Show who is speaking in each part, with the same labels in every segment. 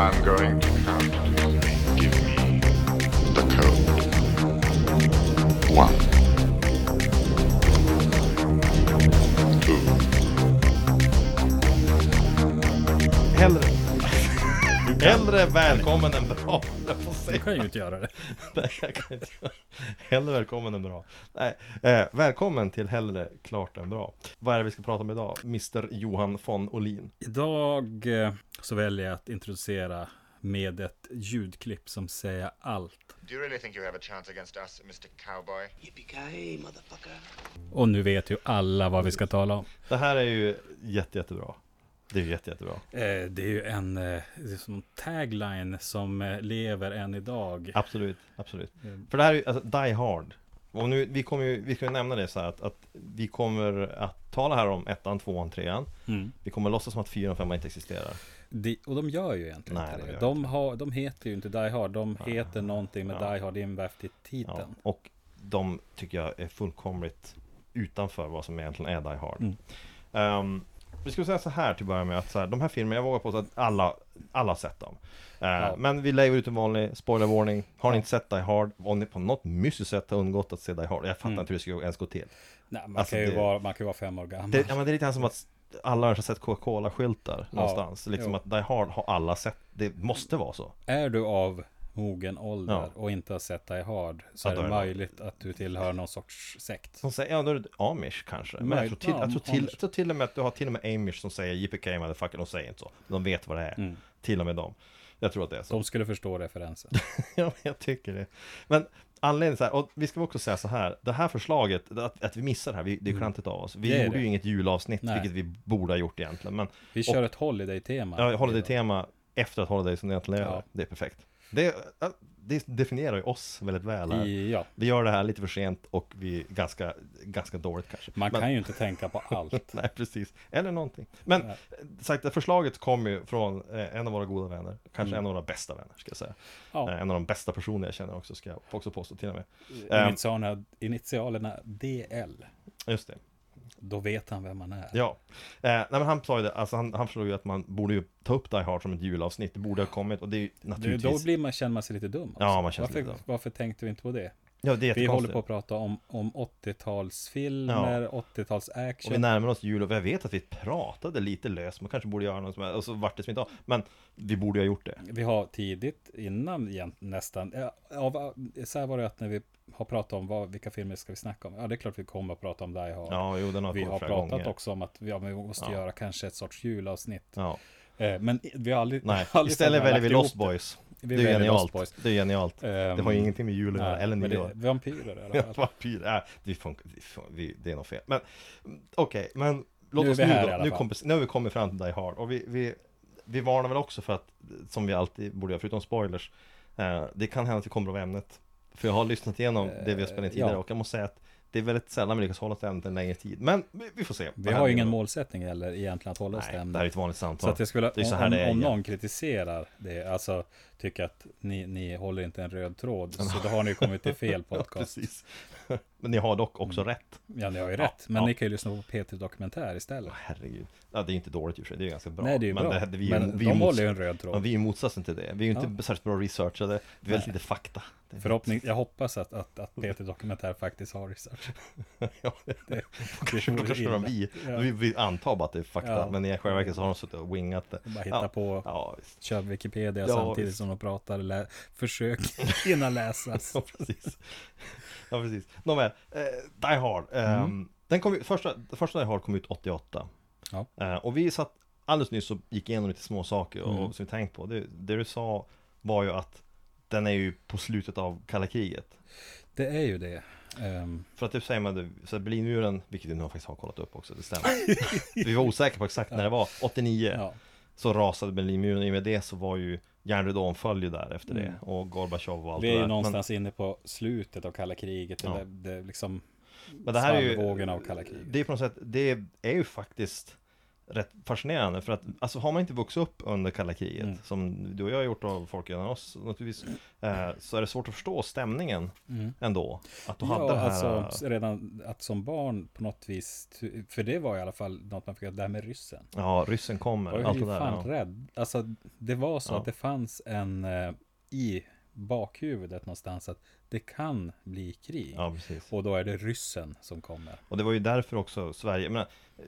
Speaker 1: I'm going to come to you and give me the code. One. Two.
Speaker 2: Hellre. Hellre välkommen än bra, jag får
Speaker 3: Du
Speaker 2: säga.
Speaker 3: kan ju inte göra det.
Speaker 2: Nej, jag kan inte. Hellre välkommen än bra. Nej, eh, välkommen till Hellre klart än bra. Vad är det vi ska prata om idag? Mr Johan von Olin.
Speaker 3: Idag eh, så väljer jag att introducera med ett ljudklipp som säger allt.
Speaker 4: Do you really think you have a chance against us, Mr. Cowboy?
Speaker 5: Yippee-ki-yay, motherfucker.
Speaker 3: Och nu vet ju alla vad vi ska tala om.
Speaker 2: Det här är ju jätte, jättebra. Det är ju jätte, jättebra.
Speaker 3: Eh, det är ju en eh, det är som en tagline som eh, lever än idag.
Speaker 2: Absolut, absolut.
Speaker 3: Mm.
Speaker 2: För det här är ju, alltså, Die Hard. Och nu, vi kommer ju, vi ska ju nämna det så här att, att vi kommer att tala här om ettan, tvåan, trean.
Speaker 3: Mm.
Speaker 2: Vi kommer låtsas som att fyran och femman inte existerar.
Speaker 3: De, och de gör ju egentligen
Speaker 2: Nej, de
Speaker 3: inte
Speaker 2: gör
Speaker 3: det. Ah, De, har, de heter ju inte Die Hard. De heter någonting med
Speaker 2: Ja.
Speaker 3: Die Hard invävt i
Speaker 2: Ja.
Speaker 3: titeln.
Speaker 2: Och de tycker jag är fullkomligt utanför vad som egentligen är Die Hard.
Speaker 3: Mm.
Speaker 2: Ehm, vi skulle säga så här till att börja med att så här, de här filmerna, jag vågar påstå att alla, alla har sett dem. Eh,
Speaker 3: Ja.
Speaker 2: Men vi lägger ut en vanlig spoiler warning. Har ni inte sett Die Hard, om ni på något mystiskt sätt har undgått att se Die Hard, jag fattar
Speaker 3: Mm.
Speaker 2: inte hur det skulle ens gå till.
Speaker 3: Nej, man,
Speaker 2: Alltså,
Speaker 3: kan ju
Speaker 2: det-
Speaker 3: vara, man kan ju vara fem år gammal.
Speaker 2: Det, ja, men det är lite grann som att alla har sett Coca-Cola-skyltar någonstans. Liksom
Speaker 3: jo.
Speaker 2: att Die Hard har alla sett, det måste vara så.
Speaker 3: Är du av mogen ålder
Speaker 2: Ja.
Speaker 3: och inte har sett Die Hard så
Speaker 2: Ja,
Speaker 3: är
Speaker 2: då
Speaker 3: det
Speaker 2: är det-
Speaker 3: möjligt att du tillhör någon sorts sekt.
Speaker 2: Som säger, ja då är det amish kanske. Men jag
Speaker 3: Nej,
Speaker 2: tror till, jag
Speaker 3: am-
Speaker 2: tror till,
Speaker 3: amish.
Speaker 2: jag tror till och med att du har till och med amish som säger JPK motherfucker, de säger inte så. De vet vad det är.
Speaker 3: Mm.
Speaker 2: Till och med dem. Jag tror att det är så.
Speaker 3: De skulle förstå referensen.
Speaker 2: ja, men jag tycker det. Men anledningen så här, och vi ska också säga så här, det här förslaget, att, att vi missar det här, vi, det är klantigt av oss. Vi
Speaker 3: Mm. Det är
Speaker 2: gjorde
Speaker 3: det.
Speaker 2: ju inget julavsnitt,
Speaker 3: Nej.
Speaker 2: vilket vi borde ha gjort egentligen. Men
Speaker 3: Vi kör ett Holiday-tema.
Speaker 2: ja, Holiday-tema efter att Holiday som det egentligen är,
Speaker 3: Ja.
Speaker 2: det är perfekt. Det, ja, det definierar ju oss väldigt väl här.
Speaker 3: I, ja.
Speaker 2: Vi gör det här lite för sent och vi är ganska, ganska dåligt kanske.
Speaker 3: Man
Speaker 2: Men-
Speaker 3: kan ju inte tänka på allt.
Speaker 2: Nej, precis. Eller någonting. Men
Speaker 3: Nej.
Speaker 2: eh, sagt, det förslaget kom ju från eh, en av våra goda vänner. Kanske en av våra bästa vänner, ska jag säga.
Speaker 3: Mm. Ja.
Speaker 2: Eh, En av de bästa personer jag känner också, ska jag också påstå till och med.
Speaker 3: Eh,
Speaker 2: Ehm,
Speaker 3: Initialerna, initialerna DL.
Speaker 2: just det.
Speaker 3: Då vet han vem man är.
Speaker 2: Ja. Eh, nej, men han sa ju det, alltså han, han förstod ju att man borde ju ta upp Die Hard som ett julavsnitt. Det borde ha kommit och det är ju
Speaker 3: Du, då
Speaker 2: naturligtvis...
Speaker 3: blir man, känner man sig lite dum. också.
Speaker 2: Ja, man känner sig
Speaker 3: varför,
Speaker 2: lite dum.
Speaker 3: varför tänkte vi inte på det?
Speaker 2: Ja, det är
Speaker 3: Vi håller
Speaker 2: jättekonstigt.
Speaker 3: på att prata om, om 80-talsfilmer,
Speaker 2: Ja.
Speaker 3: 80-talsaction.
Speaker 2: Och vi närmar oss jul och jag vet att vi pratade lite löst, man kanske borde göra något som är, och så vart det som inte av. Men vi borde ju ha gjort det.
Speaker 3: Vi har tidigt innan igen, nästan, ja, av, så här var det att när vi har pratat om vad, vilka filmer ska vi snacka om? Ja, det är klart vi kommer att prata om Die Hard.
Speaker 2: Ja, jo, den har
Speaker 3: vi
Speaker 2: kommit
Speaker 3: har
Speaker 2: flera
Speaker 3: pratat
Speaker 2: gånger.
Speaker 3: också om att ja, men vi måste
Speaker 2: Ja.
Speaker 3: göra kanske ett sorts julavsnitt.
Speaker 2: Ja.
Speaker 3: Eh, men i- vi har aldrig...
Speaker 2: Nej,
Speaker 3: aldrig
Speaker 2: istället
Speaker 3: sett-
Speaker 2: väljer vi
Speaker 3: lagt ihop
Speaker 2: Lost
Speaker 3: det.
Speaker 2: Boys.
Speaker 3: Vi
Speaker 2: det är
Speaker 3: väljer
Speaker 2: genialt.
Speaker 3: Lost Boys.
Speaker 2: Det är genialt. det har ju
Speaker 3: Ehm,
Speaker 2: ingenting med julen att göra,
Speaker 3: Nej,
Speaker 2: eller
Speaker 3: men det-
Speaker 2: nyår.
Speaker 3: Vampyrer i alla fall.
Speaker 2: Vampyr, nej, det, funkar, det, funkar, vi, det är nog fel. Men mm, okej, men låt
Speaker 3: Nu är
Speaker 2: oss
Speaker 3: vi
Speaker 2: nu
Speaker 3: här i
Speaker 2: då.
Speaker 3: alla
Speaker 2: Nu,
Speaker 3: fall.
Speaker 2: kompis, nu har vi kommit fram till Die Hard. Och vi, vi, vi varnar väl också för att, som vi alltid borde göra, förutom spoilers, eh, det kan hända att vi kommer av ämnet. För jag har lyssnat igenom det vi har spelat in
Speaker 3: Eh,
Speaker 2: tidigare
Speaker 3: ja.
Speaker 2: och jag måste säga att det är väldigt sällan vi lyckas hålla oss till ämnet en längre tid. Men vi, vi får se.
Speaker 3: Vi
Speaker 2: Vad
Speaker 3: har ju
Speaker 2: händer
Speaker 3: ingen
Speaker 2: då?
Speaker 3: målsättning eller egentligen att hålla oss till
Speaker 2: Nej,
Speaker 3: ämnet.
Speaker 2: det här är ett vanligt samtal.
Speaker 3: Så att jag skulle,
Speaker 2: det är så
Speaker 3: om,
Speaker 2: här det är
Speaker 3: om, om
Speaker 2: igen.
Speaker 3: någon kritiserar det, alltså tycker att ni, ni håller inte en röd tråd, så då har ni kommit till fel podcast.
Speaker 2: Precis. Men ni har dock också
Speaker 3: Mm.
Speaker 2: rätt.
Speaker 3: Ja, ni har ju rätt. Men
Speaker 2: ja.
Speaker 3: ni kan ju lyssna på P3 Dokumentär istället.
Speaker 2: Herregud. Ja, det är inte dåligt i och för sig, det är ganska bra.
Speaker 3: Nej, det är ju
Speaker 2: men
Speaker 3: bra.
Speaker 2: Det, det, vi är,
Speaker 3: men
Speaker 2: vi är
Speaker 3: de
Speaker 2: mots-
Speaker 3: håller ju en röd
Speaker 2: Ja,
Speaker 3: tråd.
Speaker 2: vi är ju motsatsen till det. Vi är ju inte
Speaker 3: Ja.
Speaker 2: särskilt bra researchade. Det är väldigt
Speaker 3: Nej.
Speaker 2: lite fakta. Det är-
Speaker 3: Förhoppning, jag hoppas att, att, att
Speaker 2: Mm.
Speaker 3: P3 Dokumentär faktiskt har research.
Speaker 2: ja, det, det, kanske, då
Speaker 3: vore
Speaker 2: kanske de
Speaker 3: illa.
Speaker 2: vi,
Speaker 3: Ja.
Speaker 2: vi, vi antar bara att det är fakta,
Speaker 3: Ja.
Speaker 2: men i själva verket så har de suttit och wingat det.
Speaker 3: De bara hittar
Speaker 2: ja.
Speaker 3: på.
Speaker 2: Ja, visst.
Speaker 3: Kör Wikipedia
Speaker 2: Ja,
Speaker 3: samtidigt
Speaker 2: visst.
Speaker 3: som de pratar. Lä, försök hinna läsas.
Speaker 2: Ja, precis. Ja, precis. Nåväl, eh, Die Hard. Ehm, den kom, ju- första, första Die Hard kom ut 88.
Speaker 3: Mm. Ja.
Speaker 2: Eh, och vi satt alldeles nyss och gick igenom lite små saker och,
Speaker 3: Mm.
Speaker 2: som vi tänkt på. Det, det du sa var ju att den är ju på slutet av kalla kriget.
Speaker 3: Det är ju det. Ehm,
Speaker 2: För att typ säger man det, så här Berlinmuren, vilket vi nu faktiskt har kollat upp också, det stämmer. vi var osäkra på exakt när det var, 89
Speaker 3: ja.
Speaker 2: så rasade Berlinmuren, i och med det så var ju järnridån följde ju där efter det
Speaker 3: Mm.
Speaker 2: och Gorbachev och allt
Speaker 3: Vi är
Speaker 2: det
Speaker 3: ju
Speaker 2: där.
Speaker 3: någonstans inne på slutet av kalla kriget.
Speaker 2: Ja.
Speaker 3: Eller det, liksom
Speaker 2: men, men det här är ju,
Speaker 3: svallvågen av kalla kriget.
Speaker 2: det är på något sätt, det är ju faktiskt rätt fascinerande. För att alltså, har man inte vuxit upp under kalla kriget,
Speaker 3: Mm.
Speaker 2: som du och jag har gjort och folk innan oss naturligtvis, eh, så är det svårt att förstå stämningen ändå. Att du hade
Speaker 3: Mm. Ja,
Speaker 2: det här...
Speaker 3: alltså redan att som barn på något vis, för det var i alla fall något man fick göra, det här med ryssen.
Speaker 2: Ja, ryssen
Speaker 3: Jag
Speaker 2: kommer,
Speaker 3: var
Speaker 2: allt
Speaker 3: ju
Speaker 2: det där.
Speaker 3: fan
Speaker 2: Ja.
Speaker 3: rädd. Alltså, det var så
Speaker 2: Ja.
Speaker 3: att det fanns en eh, i bakhuvudet någonstans att det kan bli krig.
Speaker 2: ja, precis.
Speaker 3: Och då är det ryssen som kommer.
Speaker 2: Och det var ju därför också Sverige, jag menar, eh,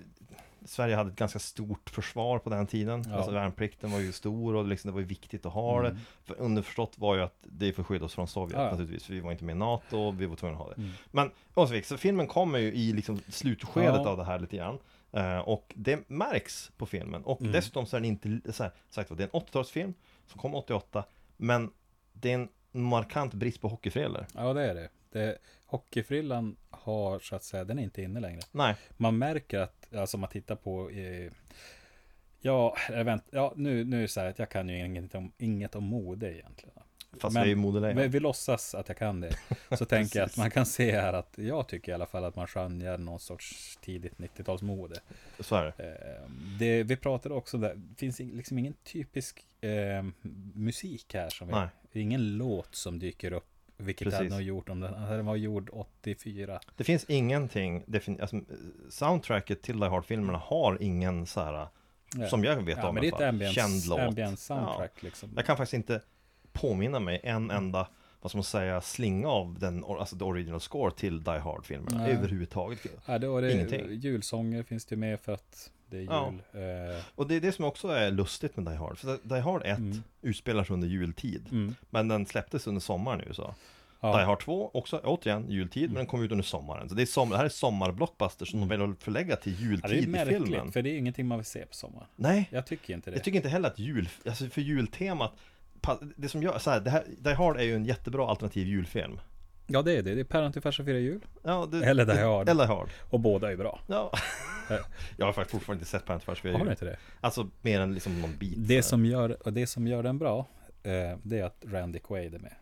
Speaker 2: Sverige hade ett ganska stort försvar på den tiden.
Speaker 3: Ja.
Speaker 2: Alltså värnplikten var ju stor och liksom, det var ju viktigt att ha
Speaker 3: Mm.
Speaker 2: det. För underförstått var ju att det är för att skydda oss från Sovjet
Speaker 3: Ja, Mm. ja.
Speaker 2: naturligtvis. För vi var inte med i NATO, vi var tvungna att ha det. Men oavsett, så filmen kommer ju i liksom slutskedet
Speaker 3: Ja.
Speaker 2: av det här lite grann. Eh, och det märks på filmen. Och
Speaker 3: Mm.
Speaker 2: dessutom så är den inte, så här, sagt vad, det är en 80-talsfilm som kom 88. Men det är en markant brist på hockeyfrillor.
Speaker 3: Ja, det är det. det hockeyfrillan har, så att säga, den är inte inne längre.
Speaker 2: Nej,
Speaker 3: Man märker att, alltså man tittar på eh, Ja, eh, vänt, ja nu, nu är det så här att jag kan ju inget om, inget om mode egentligen.
Speaker 2: fast
Speaker 3: Men-
Speaker 2: vi är ju modelejon.
Speaker 3: Men vi låtsas att jag kan det. Så tänker jag att man kan se här att jag tycker i alla fall att man skönjer någon sorts tidigt 90-talsmode.
Speaker 2: Så är det.
Speaker 3: Eh, det, vi pratade också där, det finns ing- liksom ingen typisk eh, musik här. Som
Speaker 2: Nej.
Speaker 3: vi, ingen låt som dyker upp. Vilket
Speaker 2: Precis.
Speaker 3: Precis. den har gjort om den, den var gjord 84.
Speaker 2: Det finns ingenting, defin- alltså, eh, soundtracket till Die Hard-filmerna har ingen så här,
Speaker 3: Ja.
Speaker 2: som jag vet
Speaker 3: Ja,
Speaker 2: om
Speaker 3: men det är ett
Speaker 2: känd
Speaker 3: ambience,
Speaker 2: låt.
Speaker 3: ambience soundtrack liksom.
Speaker 2: Jag kan faktiskt inte påminna mig en enda, vad ska man säga, slinga av den, or- alltså the original score till Die Hard-filmerna
Speaker 3: Nej.
Speaker 2: överhuvudtaget.
Speaker 3: Ja, det, och det,
Speaker 2: Ingenting.
Speaker 3: julsånger finns det ju med för att det är
Speaker 2: Ja.
Speaker 3: jul. Eh,
Speaker 2: Och det är det som också är lustigt med Die Hard, för Die Hard 1
Speaker 3: Mm.
Speaker 2: utspelar sig under jultid, men den släpptes under sommaren i USA.
Speaker 3: Ja. Mm.
Speaker 2: Die Hard 2, också återigen jultid, men den kom ut under sommaren. Så det, är som, det här är sommarblockbuster som de väljer att förlägga till
Speaker 3: ja, det är
Speaker 2: jultid i filmen.
Speaker 3: märkligt, för det är ju ingenting man vill se på sommaren.
Speaker 2: Nej,
Speaker 3: Jag tycker inte det.
Speaker 2: Jag tycker inte heller att jul, alltså för jultemat pa- det som gör, så här, det här, Die Hard är ju en jättebra alternativ julfilm
Speaker 3: Ja, det är det. Det är päron till farsa firar jul.
Speaker 2: ja, det,
Speaker 3: Eller Die
Speaker 2: det-
Speaker 3: Hard.
Speaker 2: Eller Die Hard
Speaker 3: Och båda är bra.
Speaker 2: ja. Eh, Jag har faktiskt fortfarande inte sett Parent Fars
Speaker 3: Har du inte det?
Speaker 2: Alltså mer än liksom någon bit
Speaker 3: Det som gör, och det som gör den bra, eh, det är att Randy Quaid är med.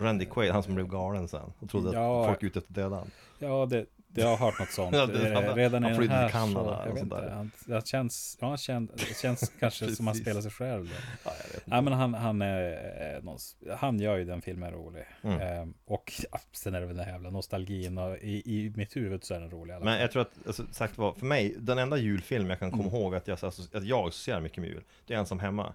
Speaker 2: Randy Quaid, han som blev galen sen och trodde
Speaker 3: Ja.
Speaker 2: att folk är ute efter döden
Speaker 3: Ja, det, det jag har hört något sånt.
Speaker 2: Ja, det-
Speaker 3: Eh,
Speaker 2: han-
Speaker 3: Redan
Speaker 2: han
Speaker 3: i den
Speaker 2: flydde
Speaker 3: här
Speaker 2: till Kanada
Speaker 3: så,
Speaker 2: och
Speaker 3: jag vet
Speaker 2: sånt där.
Speaker 3: inte, han, det känns, ja, han känns, det känns kanske som han
Speaker 2: Precis.
Speaker 3: spelar sig själv. då.
Speaker 2: ja, jag vet.
Speaker 3: Ja, men han, han, är, eh, någon s- han gör ju den filmen rolig.
Speaker 2: Mm.
Speaker 3: Eh, och ja, sen är det väl den här jävla nostalgin och i, i mitt huvud så är den rolig. i Alla. fall.
Speaker 2: Men jag tror att, alltså, sagt vad, för mig, den enda julfilm jag kan
Speaker 3: Mm.
Speaker 2: komma ihåg att jag, alltså, att jag associerar mycket med jul, det är Ensam Hemma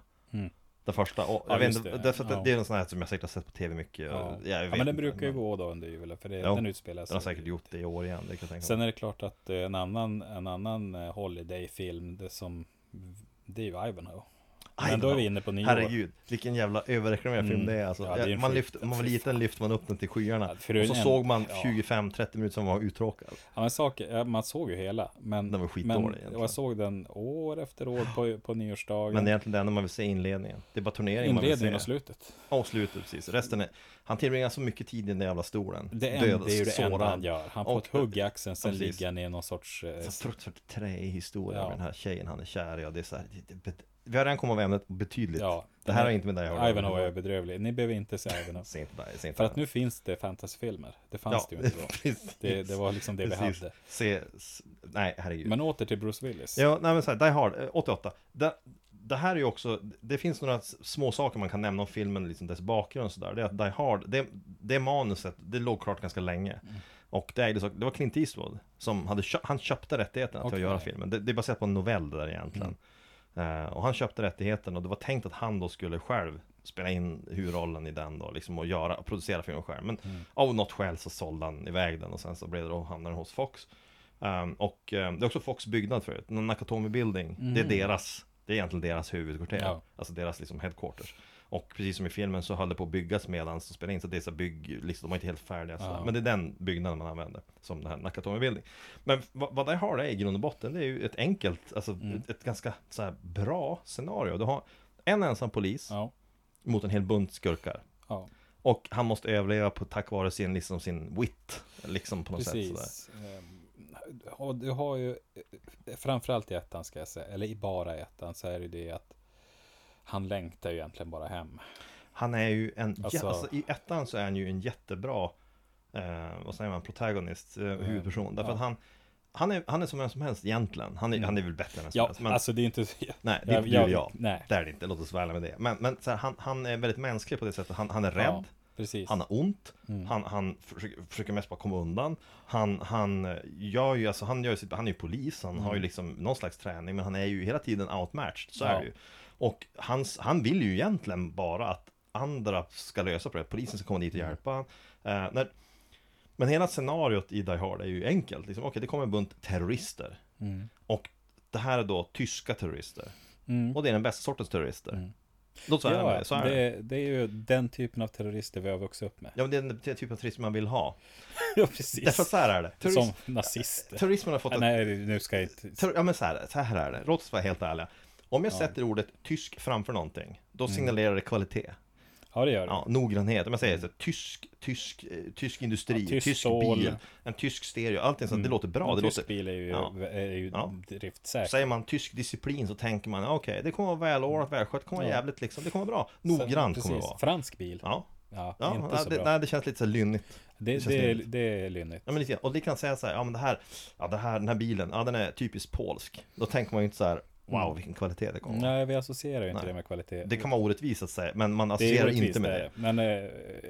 Speaker 2: Den första, och,
Speaker 3: Mm. Ja,
Speaker 2: jag vet
Speaker 3: just
Speaker 2: inte,
Speaker 3: det.
Speaker 2: därför att det,
Speaker 3: Ja.
Speaker 2: det är en sån här som jag säkert har sett på tv mycket och,
Speaker 3: ja.
Speaker 2: jag
Speaker 3: Ja,
Speaker 2: vet
Speaker 3: men den
Speaker 2: inte,
Speaker 3: brukar ju gå då under julen, för det,
Speaker 2: Jo,
Speaker 3: den utspelar
Speaker 2: Den har säkert gjort det i år igen, det kan jag tänka mig
Speaker 3: Sen är det klart att eh, en annan, en annan eh, Holiday-film, det som det är ju Ivanhoe. Men då är vi inne på nyår.
Speaker 2: Herregud, vilken jävla överreklamerad film
Speaker 3: Mm.
Speaker 2: det är alltså.
Speaker 3: Ja, det är en
Speaker 2: man,
Speaker 3: skit-
Speaker 2: lyft, man var liten lyfte man upp den till skyarna
Speaker 3: Ja,
Speaker 2: Och
Speaker 3: för det är
Speaker 2: så
Speaker 3: en-
Speaker 2: såg man
Speaker 3: ja.
Speaker 2: 25-30 minuter som var uttråkad
Speaker 3: Ja, men saker, ja, man såg ju hela. Men,
Speaker 2: Den var skitdålig
Speaker 3: men, och
Speaker 2: egentligen.
Speaker 3: jag såg den år efter år på, på nyårsdagen.
Speaker 2: Men det är egentligen det enda man vill se i inledningen Det är bara turneringen man vill
Speaker 3: Inledningen
Speaker 2: se
Speaker 3: och slutet.
Speaker 2: Ja, och slutet precis Resten är, han tillbringar så mycket tid i den där jävla stolen
Speaker 3: Det, är en, det är ju det enda han gör. Han får ett hugg i axeln, sen ligger han i någon sorts... Eh,
Speaker 2: Så fruktansvärt träig historia
Speaker 3: Ja.
Speaker 2: med den här tjejen han är kär i och det är så här, det, det, det, Vi har redan kommit av ämnet betydligt
Speaker 3: ja,
Speaker 2: Det här har inte med dig att göra
Speaker 3: Ivanhoe är bedrövlig. Ni behöver inte se Ivanhoe.
Speaker 2: Se inte dig, se inte
Speaker 3: För
Speaker 2: dig.
Speaker 3: att nu finns det fantasyfilmer. Det fanns det ju inte då.
Speaker 2: precis.
Speaker 3: Det, det var liksom det
Speaker 2: Precis.
Speaker 3: vi hade.
Speaker 2: Se, s- nej herregud.
Speaker 3: Men åter till Bruce Willis.
Speaker 2: Ja, nej men så här, Die Hard, eh, 88. Det, det här är ju också, det finns några s- små saker man kan nämna om filmen, liksom dess bakgrund och sådär. Det är att Die Hard, det, det manuset, det låg klart ganska länge. Och det, ägdes, av- det var Clint Eastwood som hade, kö- han köpte rättigheten till
Speaker 3: Okej.
Speaker 2: att göra filmen. Det, det är baserat på en novell det där egentligen. Eh, och han köpte rättigheten och det var tänkt att han då skulle själv spela in huvudrollen i den då, liksom och göra, och producera filmen själv. Men av något skäl så sålde han iväg den och sen så blev det då, hamnade den hos Fox. Ehm, och ehm, det är också Fox byggnad förut, Nakatomi Building, det är deras, det är egentligen deras huvudkvarter,
Speaker 3: Mm. Ja.
Speaker 2: alltså deras liksom headquarters. Och precis som i filmen så höll det på att byggas medan de spelade in, så det är så här bygg, liksom, de var inte helt färdiga. sådär. Men det är den byggnaden man använder, som den här Nakatomi Building. Men vad, vad det har är i grund och botten, det är ju ett enkelt, alltså
Speaker 3: Mm.
Speaker 2: ett, ett ganska så här bra scenario. Du har en ensam polis
Speaker 3: Ja.
Speaker 2: mot en hel bunt skurkar.
Speaker 3: ja.
Speaker 2: Och han måste överleva på, tack vare sin, liksom, sin wit, liksom på något sätt. Sådär.
Speaker 3: Precis. Ehm, Och du har ju, eh, framförallt i ettan ska jag säga, eller i bara ettan, så är det ju det att han längtar ju egentligen bara hem.
Speaker 2: Han är ju en, jä-
Speaker 3: Alltså-
Speaker 2: alltså, i ettan så är han ju en jättebra, eh, vad säger man, protagonist, eh, huvudperson. Därför
Speaker 3: ja. Mm.
Speaker 2: att han, han är, han är som vem som helst egentligen. Han är, han är väl bättre än vem som
Speaker 3: Ja,
Speaker 2: helst. Men,
Speaker 3: alltså det är inte...
Speaker 2: nej, det är inte du och jag.
Speaker 3: Nej.
Speaker 2: Det är det inte, låt oss vara ärliga med det. Men, men så här, han, han är väldigt mänsklig på det sättet. Han, han är rädd.
Speaker 3: Ja, precis. Mm.
Speaker 2: Han har ont, han, han försöker, försöker mest bara komma undan Han, han eh, gör ju, alltså han gör ju sitt, han är ju polis, han har ju liksom någon slags träning Men han är ju hela tiden outmatched, så
Speaker 3: Mm. Ja.
Speaker 2: är det ju Och hans, han vill ju egentligen bara att andra ska lösa problemet, polisen ska komma dit och
Speaker 3: Mm.
Speaker 2: hjälpa han Eh, när, Men hela scenariot i Die Hard är ju enkelt, liksom, okej det kommer en bunt terrorister
Speaker 3: Mm.
Speaker 2: Och det här är då tyska terrorister Och det är den bästa sortens terrorister Låt oss vara ärliga med det, så
Speaker 3: Mm. ja,
Speaker 2: är det.
Speaker 3: det, det är ju den typen av terrorister vi har vuxit upp med.
Speaker 2: Ja men det är den typen av terrorism man vill ha
Speaker 3: Ja, precis.
Speaker 2: Därför att så här är det. Terrorism,
Speaker 3: Som nazister.
Speaker 2: terrorismen har fått
Speaker 3: Ja,
Speaker 2: ett...
Speaker 3: Nej, nu ska jag inte...
Speaker 2: Terror, ja men så här, så här är det. Låt oss vara helt ärliga. Om jag sätter ordet tysk framför någonting, då
Speaker 3: Mm.
Speaker 2: signalerar det kvalitet.
Speaker 3: Ja, det gör det.
Speaker 2: Ja, noggrannhet. Om jag säger så, här, tysk, tysk, eh, tysk industri,
Speaker 3: Mm. Ja, tysk
Speaker 2: tysk,
Speaker 3: stål. Mm.
Speaker 2: bil, en tysk stereo, allting sånt. Det låter bra.
Speaker 3: En
Speaker 2: Det
Speaker 3: tysk
Speaker 2: låter...
Speaker 3: bil är ju,
Speaker 2: Ja.
Speaker 3: är ju
Speaker 2: Ja.
Speaker 3: driftsäker.
Speaker 2: Säger man tysk disciplin så tänker man, ja, okej, det kommer vara välordnat, välskött, det kommer vara
Speaker 3: Ja.
Speaker 2: jävligt liksom, det kommer vara bra. Noggrant
Speaker 3: Sen-
Speaker 2: kommer det
Speaker 3: precis.
Speaker 2: vara.
Speaker 3: Fransk bil. Ja,
Speaker 2: Ja, ja
Speaker 3: inte så
Speaker 2: det,
Speaker 3: bra.
Speaker 2: nej, det känns lite så här lynnigt.
Speaker 3: det,
Speaker 2: känns
Speaker 3: det, är-
Speaker 2: rimligt.
Speaker 3: det är lynnigt.
Speaker 2: Ja men lite grann. Och det kan säga så här, ja men det här, ja det här, den här bilen, ja den är typiskt polsk. Då tänker man ju inte så här, wow vilken kvalitet det kommer vara.
Speaker 3: Mm. Nej, vi associerar ju inte
Speaker 2: Nej.
Speaker 3: det med kvalitet.
Speaker 2: Det kan vara orättvist att säga, men man
Speaker 3: Det är
Speaker 2: associerar
Speaker 3: orättvist,
Speaker 2: inte med
Speaker 3: det är
Speaker 2: det.
Speaker 3: det. Men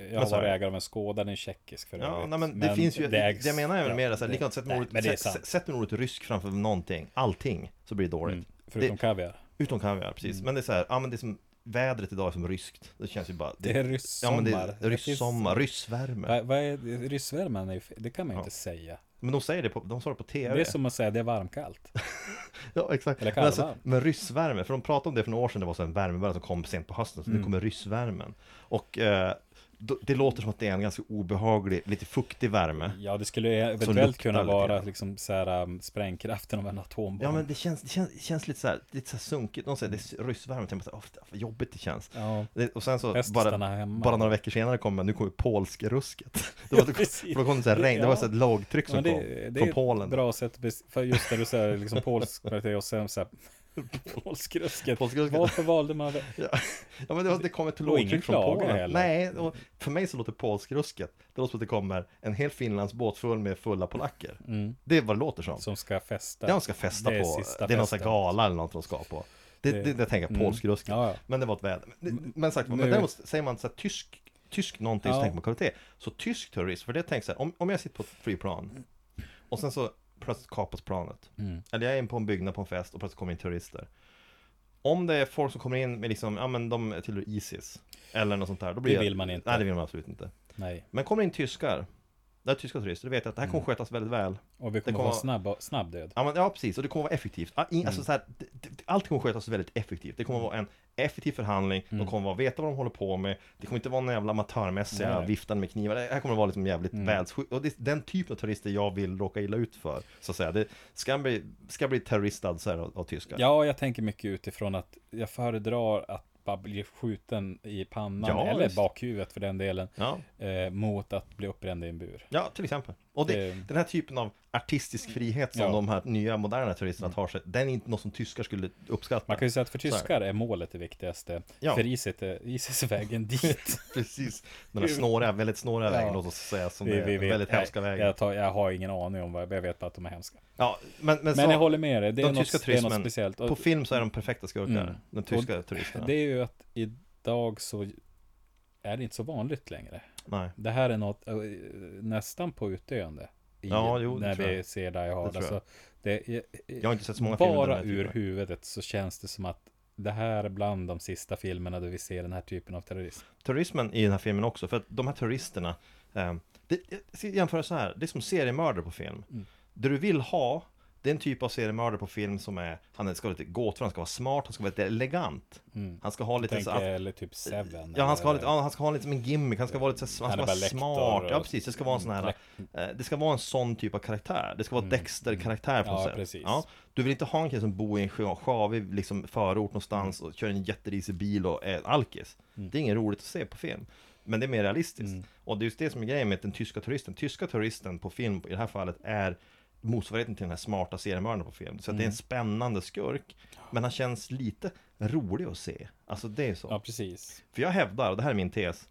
Speaker 3: eh, jag har
Speaker 2: så är
Speaker 3: varit
Speaker 2: det.
Speaker 3: ägare av en Skoda, den är tjeckisk för
Speaker 2: Ja,
Speaker 3: övrigt.
Speaker 2: nej, men det finns ju, det,
Speaker 3: ägs-
Speaker 2: jag menar även
Speaker 3: ja,
Speaker 2: mer så här,
Speaker 3: det-
Speaker 2: likadant sätt med
Speaker 3: nej, men det är
Speaker 2: ordet,
Speaker 3: sant.
Speaker 2: sätt, sätt med ordet rysk framför någonting, allting, så blir det dåligt.
Speaker 3: Mm, Förutom
Speaker 2: det,
Speaker 3: kaviar.
Speaker 2: utom kaviar, precis. Men det är så här, ja men det är som, vädret idag är som ryskt. Det känns ju bara...
Speaker 3: Det är
Speaker 2: Ja men det
Speaker 3: ryssommar.
Speaker 2: är ryssommar, ryssvärme.
Speaker 3: Vad, vad är ryssvärmen? Är, ju fe- det kan man ju
Speaker 2: Ja.
Speaker 3: inte säga.
Speaker 2: Men de säger det på, de sa det på TV.
Speaker 3: Det är som att säga det är varmkallt.
Speaker 2: Ja, exakt.
Speaker 3: Eller
Speaker 2: men, alltså,
Speaker 3: kallvarm.
Speaker 2: men ryssvärme, för de pratade om det för några år sedan, det var så en värmebölja som kom sent på hösten, så
Speaker 3: Mm.
Speaker 2: nu kommer ryssvärmen. Och eh, då, det låter som att det är en ganska obehaglig, lite fuktig värme.
Speaker 3: Ja, det skulle ju eventuellt
Speaker 2: luktar
Speaker 3: kunna
Speaker 2: lite
Speaker 3: vara
Speaker 2: grann.
Speaker 3: liksom så här, um, sprängkraften av en atombomb.
Speaker 2: Ja men det känns, det känns, det känns lite så här, lite så här sunkigt, någon säger det är ryssvärme, tänker man såhär, åh vad jobbigt det känns.
Speaker 3: Ja.
Speaker 2: Det, och sen så,
Speaker 3: Bäst att
Speaker 2: bara,
Speaker 3: stanna hemma.
Speaker 2: bara några veckor senare kommer, nu kommer polskrusket. Det var,
Speaker 3: Ja, precis.
Speaker 2: för då kom det så här regn, det var så här ett lågtryck
Speaker 3: Men
Speaker 2: som kom,
Speaker 3: det, det är
Speaker 2: från
Speaker 3: ett
Speaker 2: Polen.
Speaker 3: bra sätt, att bes- för just när du säger liksom polsk kvalitet och sen så här, polskrusket.
Speaker 2: Polskrusket.
Speaker 3: Varför valde man det?
Speaker 2: Ja, ja men det, var, det kom ett
Speaker 3: Och ingen
Speaker 2: lågtryck från
Speaker 3: klagar
Speaker 2: Polen.
Speaker 3: heller.
Speaker 2: Nej, och för mig så låter polskrusket, det låter som att det kommer en hel Finlandsbåt full med fulla polacker. Det är vad det låter som.
Speaker 3: Som ska festa.
Speaker 2: det är de ska festa
Speaker 3: Mm. Det är
Speaker 2: på,
Speaker 3: sista
Speaker 2: det är någon sån
Speaker 3: festen.
Speaker 2: här gala eller något de ska på. Det,
Speaker 3: Det- mm.
Speaker 2: det, det, jag tänker jag, polskrusket.
Speaker 3: Ja, ja.
Speaker 2: Men det var ett väder. Men, det- men, sagt,
Speaker 3: Mm. Nu-
Speaker 2: men däremot säger man så här, tysk, tysk någonting
Speaker 3: Ja.
Speaker 2: så tänker man kvalitet. Så tysk terrorism, för det tänker så här, om, om jag sitter på ett flygplan och sen så plötsligt kapas planet.
Speaker 3: Mm.
Speaker 2: Eller jag är inne på en byggnad på en fest och plötsligt kommer in terrorister. Om det är folk som kommer in med liksom, ja men de tillhör Isis. Eller något sånt där. Då blir
Speaker 3: Det
Speaker 2: jag-
Speaker 3: vill man inte.
Speaker 2: Nej, det vill man absolut inte.
Speaker 3: Nej.
Speaker 2: Men kommer in tyskar, det är tyska terrorister, då vet jag att det här
Speaker 3: Mm.
Speaker 2: kommer skötas väldigt väl.
Speaker 3: Och vi kommer,
Speaker 2: kommer-
Speaker 3: få snabb, snabb död.
Speaker 2: Ja, men, ja precis, och det kommer vara effektivt. Ah, in-
Speaker 3: Mm.
Speaker 2: Alltså, så här, d- d- allt kommer skötas väldigt effektivt. Det kommer vara en effektiv förhandling,
Speaker 3: Mm.
Speaker 2: de kommer vara, veta vad de håller på med. Det kommer inte vara någon jävla amatörmässiga
Speaker 3: Nej.
Speaker 2: viftande med knivar. Det här kommer vara liksom jävligt mm. Och det är den typen av terrorister jag vill råka illa ut för. Så att säga. Det ska bli, ska bli terroristad så här, av, av tyskar.
Speaker 3: Ja, jag tänker mycket utifrån att jag föredrar att bara bli skjuten i pannan
Speaker 2: Ja,
Speaker 3: eller
Speaker 2: visst.
Speaker 3: bakhuvudet för den delen
Speaker 2: Ja.
Speaker 3: eh, mot att bli uppbränd i en bur.
Speaker 2: Ja, till exempel. Och det,
Speaker 3: Det- Mm.
Speaker 2: den här typen av artistisk frihet som
Speaker 3: Ja. Mm.
Speaker 2: de här nya moderna terroristerna tar sig, den är inte något som tyskar skulle uppskatta.
Speaker 3: Man kan ju säga att för
Speaker 2: Så här.
Speaker 3: tyskar är målet det viktigaste.
Speaker 2: Ja.
Speaker 3: För ISIS är, ISIS är vägen dit.
Speaker 2: Precis, den här snåriga, väldigt snåriga
Speaker 3: Ja.
Speaker 2: vägen låt oss säga, som är en väldigt
Speaker 3: nej,
Speaker 2: hemska vägen.
Speaker 3: Jag, tar, jag har ingen aning om vad jag vet bara att de är hemska.
Speaker 2: Ja, men, men,
Speaker 3: Men
Speaker 2: så,
Speaker 3: jag håller med dig, det är,
Speaker 2: de
Speaker 3: något,
Speaker 2: tyska
Speaker 3: det är något
Speaker 2: turismen,
Speaker 3: speciellt. Och
Speaker 2: på film så är de perfekta skurkar,
Speaker 3: Mm.
Speaker 2: de tyska
Speaker 3: Och
Speaker 2: turisterna.
Speaker 3: det är ju att idag så är det inte så vanligt längre.
Speaker 2: Nej,
Speaker 3: Det här är något eh, nästan på utdöende. I,
Speaker 2: Ja, jo, det
Speaker 3: när
Speaker 2: tror
Speaker 3: vi
Speaker 2: jag.
Speaker 3: ser Die Hard.
Speaker 2: tror jag.
Speaker 3: Alltså, det är,
Speaker 2: jag har inte sett så många filmer
Speaker 3: bara
Speaker 2: där den här
Speaker 3: ur
Speaker 2: typen.
Speaker 3: huvudet så känns det som att det här är bland de sista filmerna där vi ser den här typen av terrorism.
Speaker 2: Terrorismen i den här filmen också, för att de här terroristerna, eh, det, jag ska jämföra så här, det är som seriemördare på film.
Speaker 3: Mm.
Speaker 2: Det du vill ha, det är en typ av seriemördare på film som är, han ska vara lite gåtfull, han ska vara smart, han ska vara lite elegant. Han ska ha lite
Speaker 3: Mm. Tänk,
Speaker 2: så att,
Speaker 3: eller typ Seven.
Speaker 2: Ja, han ska, ha
Speaker 3: eller-
Speaker 2: lite, ja, han ska ha lite som en gimmick, han ska vara lite så, här- han
Speaker 3: Hannibal
Speaker 2: ska
Speaker 3: Lecter
Speaker 2: vara smart. Ja,
Speaker 3: och-
Speaker 2: precis. Det ska vara en sån här, eh, det ska vara en sån typ av karaktär. Det ska vara Dexter-karaktär på något
Speaker 3: Mm. Ja,
Speaker 2: sätt.
Speaker 3: precis.
Speaker 2: Du vill inte ha en kille som bor i en sja- sjavig liksom, förort någonstans
Speaker 3: Mm.
Speaker 2: och kör en jätterisig bil och är alkis. Det är inget roligt att se på film. Men det är mer realistiskt.
Speaker 3: Mm.
Speaker 2: Och det är just det som är grejen med den tyska turisten. Tyska turisten på film i det här fallet är motsvarigheten till den här smarta seriemördaren på film. Så att det
Speaker 3: Mm.
Speaker 2: är en spännande skurk, men han känns lite rolig att se. Alltså det är så.
Speaker 3: Ja, precis.
Speaker 2: För jag hävdar, och det här är min tes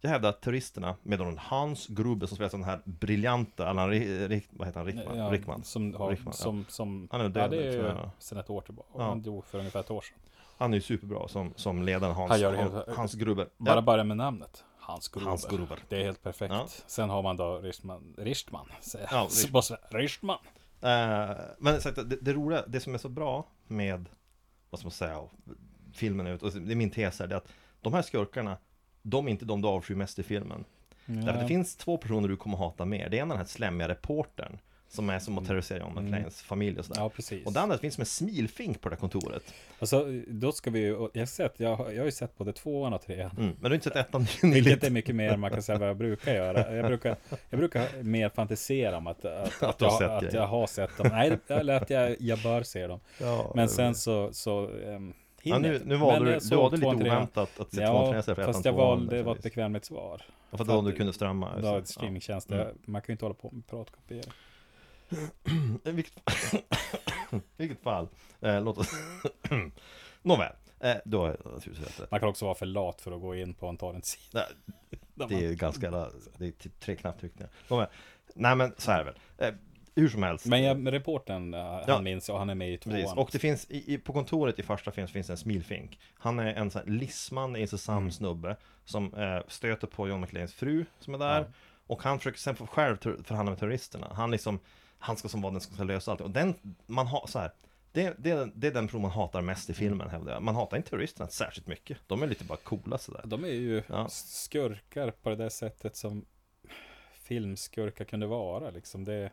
Speaker 2: Jag hävdar att terroristerna, med då den Hans Gruber som spelar den här briljanta Alan Ri- Rick, vad heter han? Rickman?
Speaker 3: Ja,
Speaker 2: Rickman.
Speaker 3: Som, har,
Speaker 2: Rickman, ja.
Speaker 3: som, som
Speaker 2: Han är
Speaker 3: ja,
Speaker 2: död
Speaker 3: det
Speaker 2: nu,
Speaker 3: är
Speaker 2: tror
Speaker 3: ju
Speaker 2: jag.
Speaker 3: sedan ett år tillbaka.
Speaker 2: Ja.
Speaker 3: Han dog för ungefär ett år sedan.
Speaker 2: Han är ju superbra som, som ledaren Hans,
Speaker 3: Han gör det
Speaker 2: Hans,
Speaker 3: helt-
Speaker 2: Hans Gruber.
Speaker 3: Bara
Speaker 2: Ja,
Speaker 3: bara med namnet. Hans Gruber.
Speaker 2: Hans Gruber.
Speaker 3: Det är helt perfekt.
Speaker 2: Ja.
Speaker 3: Sen har man då Richtman. Richtman. säger
Speaker 2: Ja,
Speaker 3: jag. Så bara så här, Richtman.
Speaker 2: eh, men sagt, det, det roliga, det som är så bra med, vad ska man säga, och filmen ut, och det är min tes här, det är att de här skurkarna, de är inte de du avskyr mest i filmen. Därför att det finns två personer du kommer hata mer. Det ena är den här slemmiga reportern som är som att terrorisera John
Speaker 3: Mm.
Speaker 2: McLeans familj och sådär.
Speaker 3: Ja, precis.
Speaker 2: Och det andra finns som en smilfink på det där kontoret.
Speaker 3: Alltså, då ska vi ju, och jag har sett, jag, har- jag har ju sett både tvåan och trean.
Speaker 2: Mm. Men du har inte sett ettan
Speaker 3: Vilket är
Speaker 2: nyligen.
Speaker 3: mycket mer än man kan säga vad jag brukar göra. Jag brukar, jag brukar mer fantisera om att, att, att,
Speaker 2: du har
Speaker 3: jag,
Speaker 2: sett
Speaker 3: att
Speaker 2: grejer.
Speaker 3: jag har sett dem. Nej, eller att jag, jag bör se dem.
Speaker 2: Ja,
Speaker 3: Men sen så, så um,
Speaker 2: Ja, nu, nu valde du, du valde lite oväntat att se tvåan, trean
Speaker 3: Ja,
Speaker 2: istället för ettan,
Speaker 3: fast jag
Speaker 2: tvåan,
Speaker 3: valde, det var ett
Speaker 2: exempelvis.
Speaker 3: bekvämlighetssvar.
Speaker 2: Ja, för då om du kunde strömma.
Speaker 3: Då,
Speaker 2: just det.
Speaker 3: streamingtjänst,
Speaker 2: Ja. Mm.
Speaker 3: det- man kan ju inte hålla på med piratkopiering.
Speaker 2: I vilket, i vilket fall, eh, låt oss... Nåväl, eh, du har naturligtvis rätt.
Speaker 3: Man kan också vara för lat för att gå in på en torrentsida.
Speaker 2: Nej, Det är ju ganska, det är typ tre knapptryckningar. Nåväl, nej men så här är det väl. Eh, hur som helst.
Speaker 3: Men jag, reportern, eh, han
Speaker 2: Ja.
Speaker 3: minns och han är med i tvåan.
Speaker 2: Precis. Och det finns, i, i, på kontoret i första filmen finns en smilfink. Han är en sån här lisman, intressant
Speaker 3: Mm.
Speaker 2: snubbe som eh, stöter på John McLeans fru som är där. Och han försöker sen få själv ter- förhandla med terroristerna. Han liksom, han ska som vara den som ska lösa allt. Och den, man har så här. Det, det, det är den person man hatar mest
Speaker 3: Mm.
Speaker 2: i filmen hävdar jag. Man hatar inte terroristerna särskilt mycket. De är lite bara coola sådär.
Speaker 3: De är ju
Speaker 2: Ja.
Speaker 3: skurkar på det där sättet som filmskurkar kunde vara liksom. Det,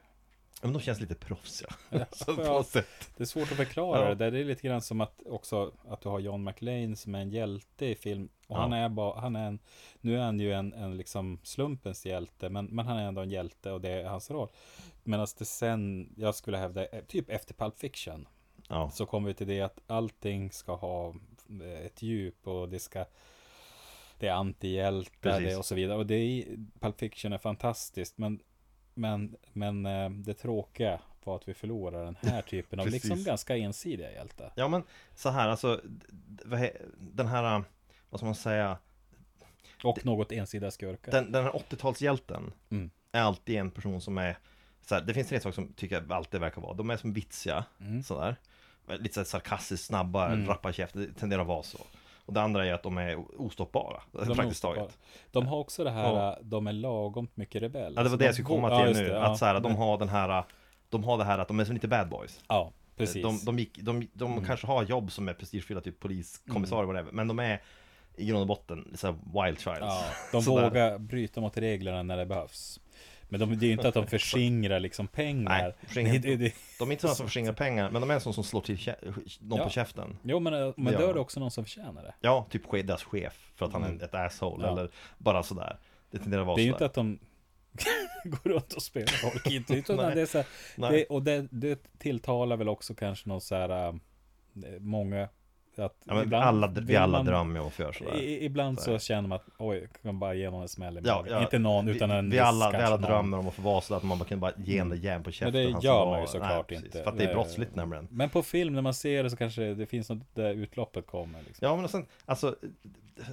Speaker 2: Men de känns lite proffsiga. så på
Speaker 3: ja.
Speaker 2: något sätt.
Speaker 3: det är svårt att förklara
Speaker 2: Ja.
Speaker 3: det där. Det är lite grann som att också att du har John McLean som är en hjälte i film. Och
Speaker 2: Ja.
Speaker 3: han är bara, han är en, nu är han ju en, en liksom slumpens hjälte, men, men han är ändå en hjälte och det är hans roll. Medan det sen, jag skulle hävda, eh, typ efter Pulp Fiction,
Speaker 2: Ja.
Speaker 3: så kommer vi till det att allting ska ha eh, ett djup och det ska det är antihjältar
Speaker 2: Precis.
Speaker 3: det och så vidare och det är Pulp Fiction är fantastiskt men men men eh, det tråkiga var att vi förlorar den här typen av
Speaker 2: Precis.
Speaker 3: liksom ganska ensidiga hjältar.
Speaker 2: Ja men så här alltså, d- d- vad he- den här, eh, vad ska man säga,
Speaker 3: Och något ensidiga skurkar.
Speaker 2: den, den här 80-talshjälten
Speaker 3: Mm.
Speaker 2: är alltid en person som är så här, Det finns tre saker som tycker jag alltid verkar vara De är som vitsiga,
Speaker 3: Mm.
Speaker 2: sådär Lite så här sarkastiskt snabba, rappa käft, det tenderar att vara så Och det andra är att de är ostoppbara,
Speaker 3: De är
Speaker 2: praktiskt
Speaker 3: ostoppbara.
Speaker 2: taget
Speaker 3: De har också det här,
Speaker 2: Ja.
Speaker 3: eh, de är lagom mycket rebeller.
Speaker 2: Ja det var
Speaker 3: Så
Speaker 2: det
Speaker 3: de
Speaker 2: jag skulle komma
Speaker 3: går-
Speaker 2: till
Speaker 3: ja, just
Speaker 2: nu,
Speaker 3: det, ja.
Speaker 2: att så här, de har den här De har det här att de är som lite bad boys
Speaker 3: Ja, precis. Mm.
Speaker 2: De, de, gick, de, de kanske har jobb som är prestigefyllda, typ poliskommissarie mm. whatever Men de är i grund och botten så här wild childs
Speaker 3: Ja, de
Speaker 2: Sådär.
Speaker 3: vågar bryta mot reglerna när det behövs. Men de, det är ju inte att de förskingrar liksom pengar.
Speaker 2: Nej, förskingrar
Speaker 3: Det- det- det-
Speaker 2: De är inte sådana som förskingrar pengar, men de är en sån som slår till kä- någon
Speaker 3: Ja.
Speaker 2: på käften
Speaker 3: Jo, men, eh, men
Speaker 2: Ja.
Speaker 3: då är det också någon som förtjänar det.
Speaker 2: Ja, typ che- deras chef för att han är ett asshole
Speaker 3: Mm. Ja.
Speaker 2: eller bara sådär. Det tenderar att vara
Speaker 3: Det är ju
Speaker 2: sådär.
Speaker 3: inte att de går runt och spelar folk inte, utan
Speaker 2: Nej.
Speaker 3: det är så här,
Speaker 2: Nej.
Speaker 3: det, och det, det tilltalar väl också kanske någon så här, eh, många, att
Speaker 2: ja, men
Speaker 3: ibland
Speaker 2: alla, vi
Speaker 3: vill
Speaker 2: alla
Speaker 3: man-
Speaker 2: drömmer om att få göra sådär.
Speaker 3: i, ibland
Speaker 2: Så här.
Speaker 3: så känner man att oj, jag kan bara ge någon en smäll i
Speaker 2: Ja,
Speaker 3: magen.
Speaker 2: ja,
Speaker 3: Inte någon,
Speaker 2: vi-
Speaker 3: utan en
Speaker 2: vi alla, vi
Speaker 3: kanske
Speaker 2: alla
Speaker 3: någon. Mm.
Speaker 2: drömmer om att få vara sådär att man bara kan bara ge en järn på käften.
Speaker 3: Men det
Speaker 2: han som
Speaker 3: gör
Speaker 2: var-
Speaker 3: man ju såklart
Speaker 2: precis,
Speaker 3: inte.
Speaker 2: För att det är
Speaker 3: Nej.
Speaker 2: brottsligt nämligen.
Speaker 3: Men på film, när man ser det så kanske det finns något där utloppet kommer. Liksom.
Speaker 2: Ja men och sen, alltså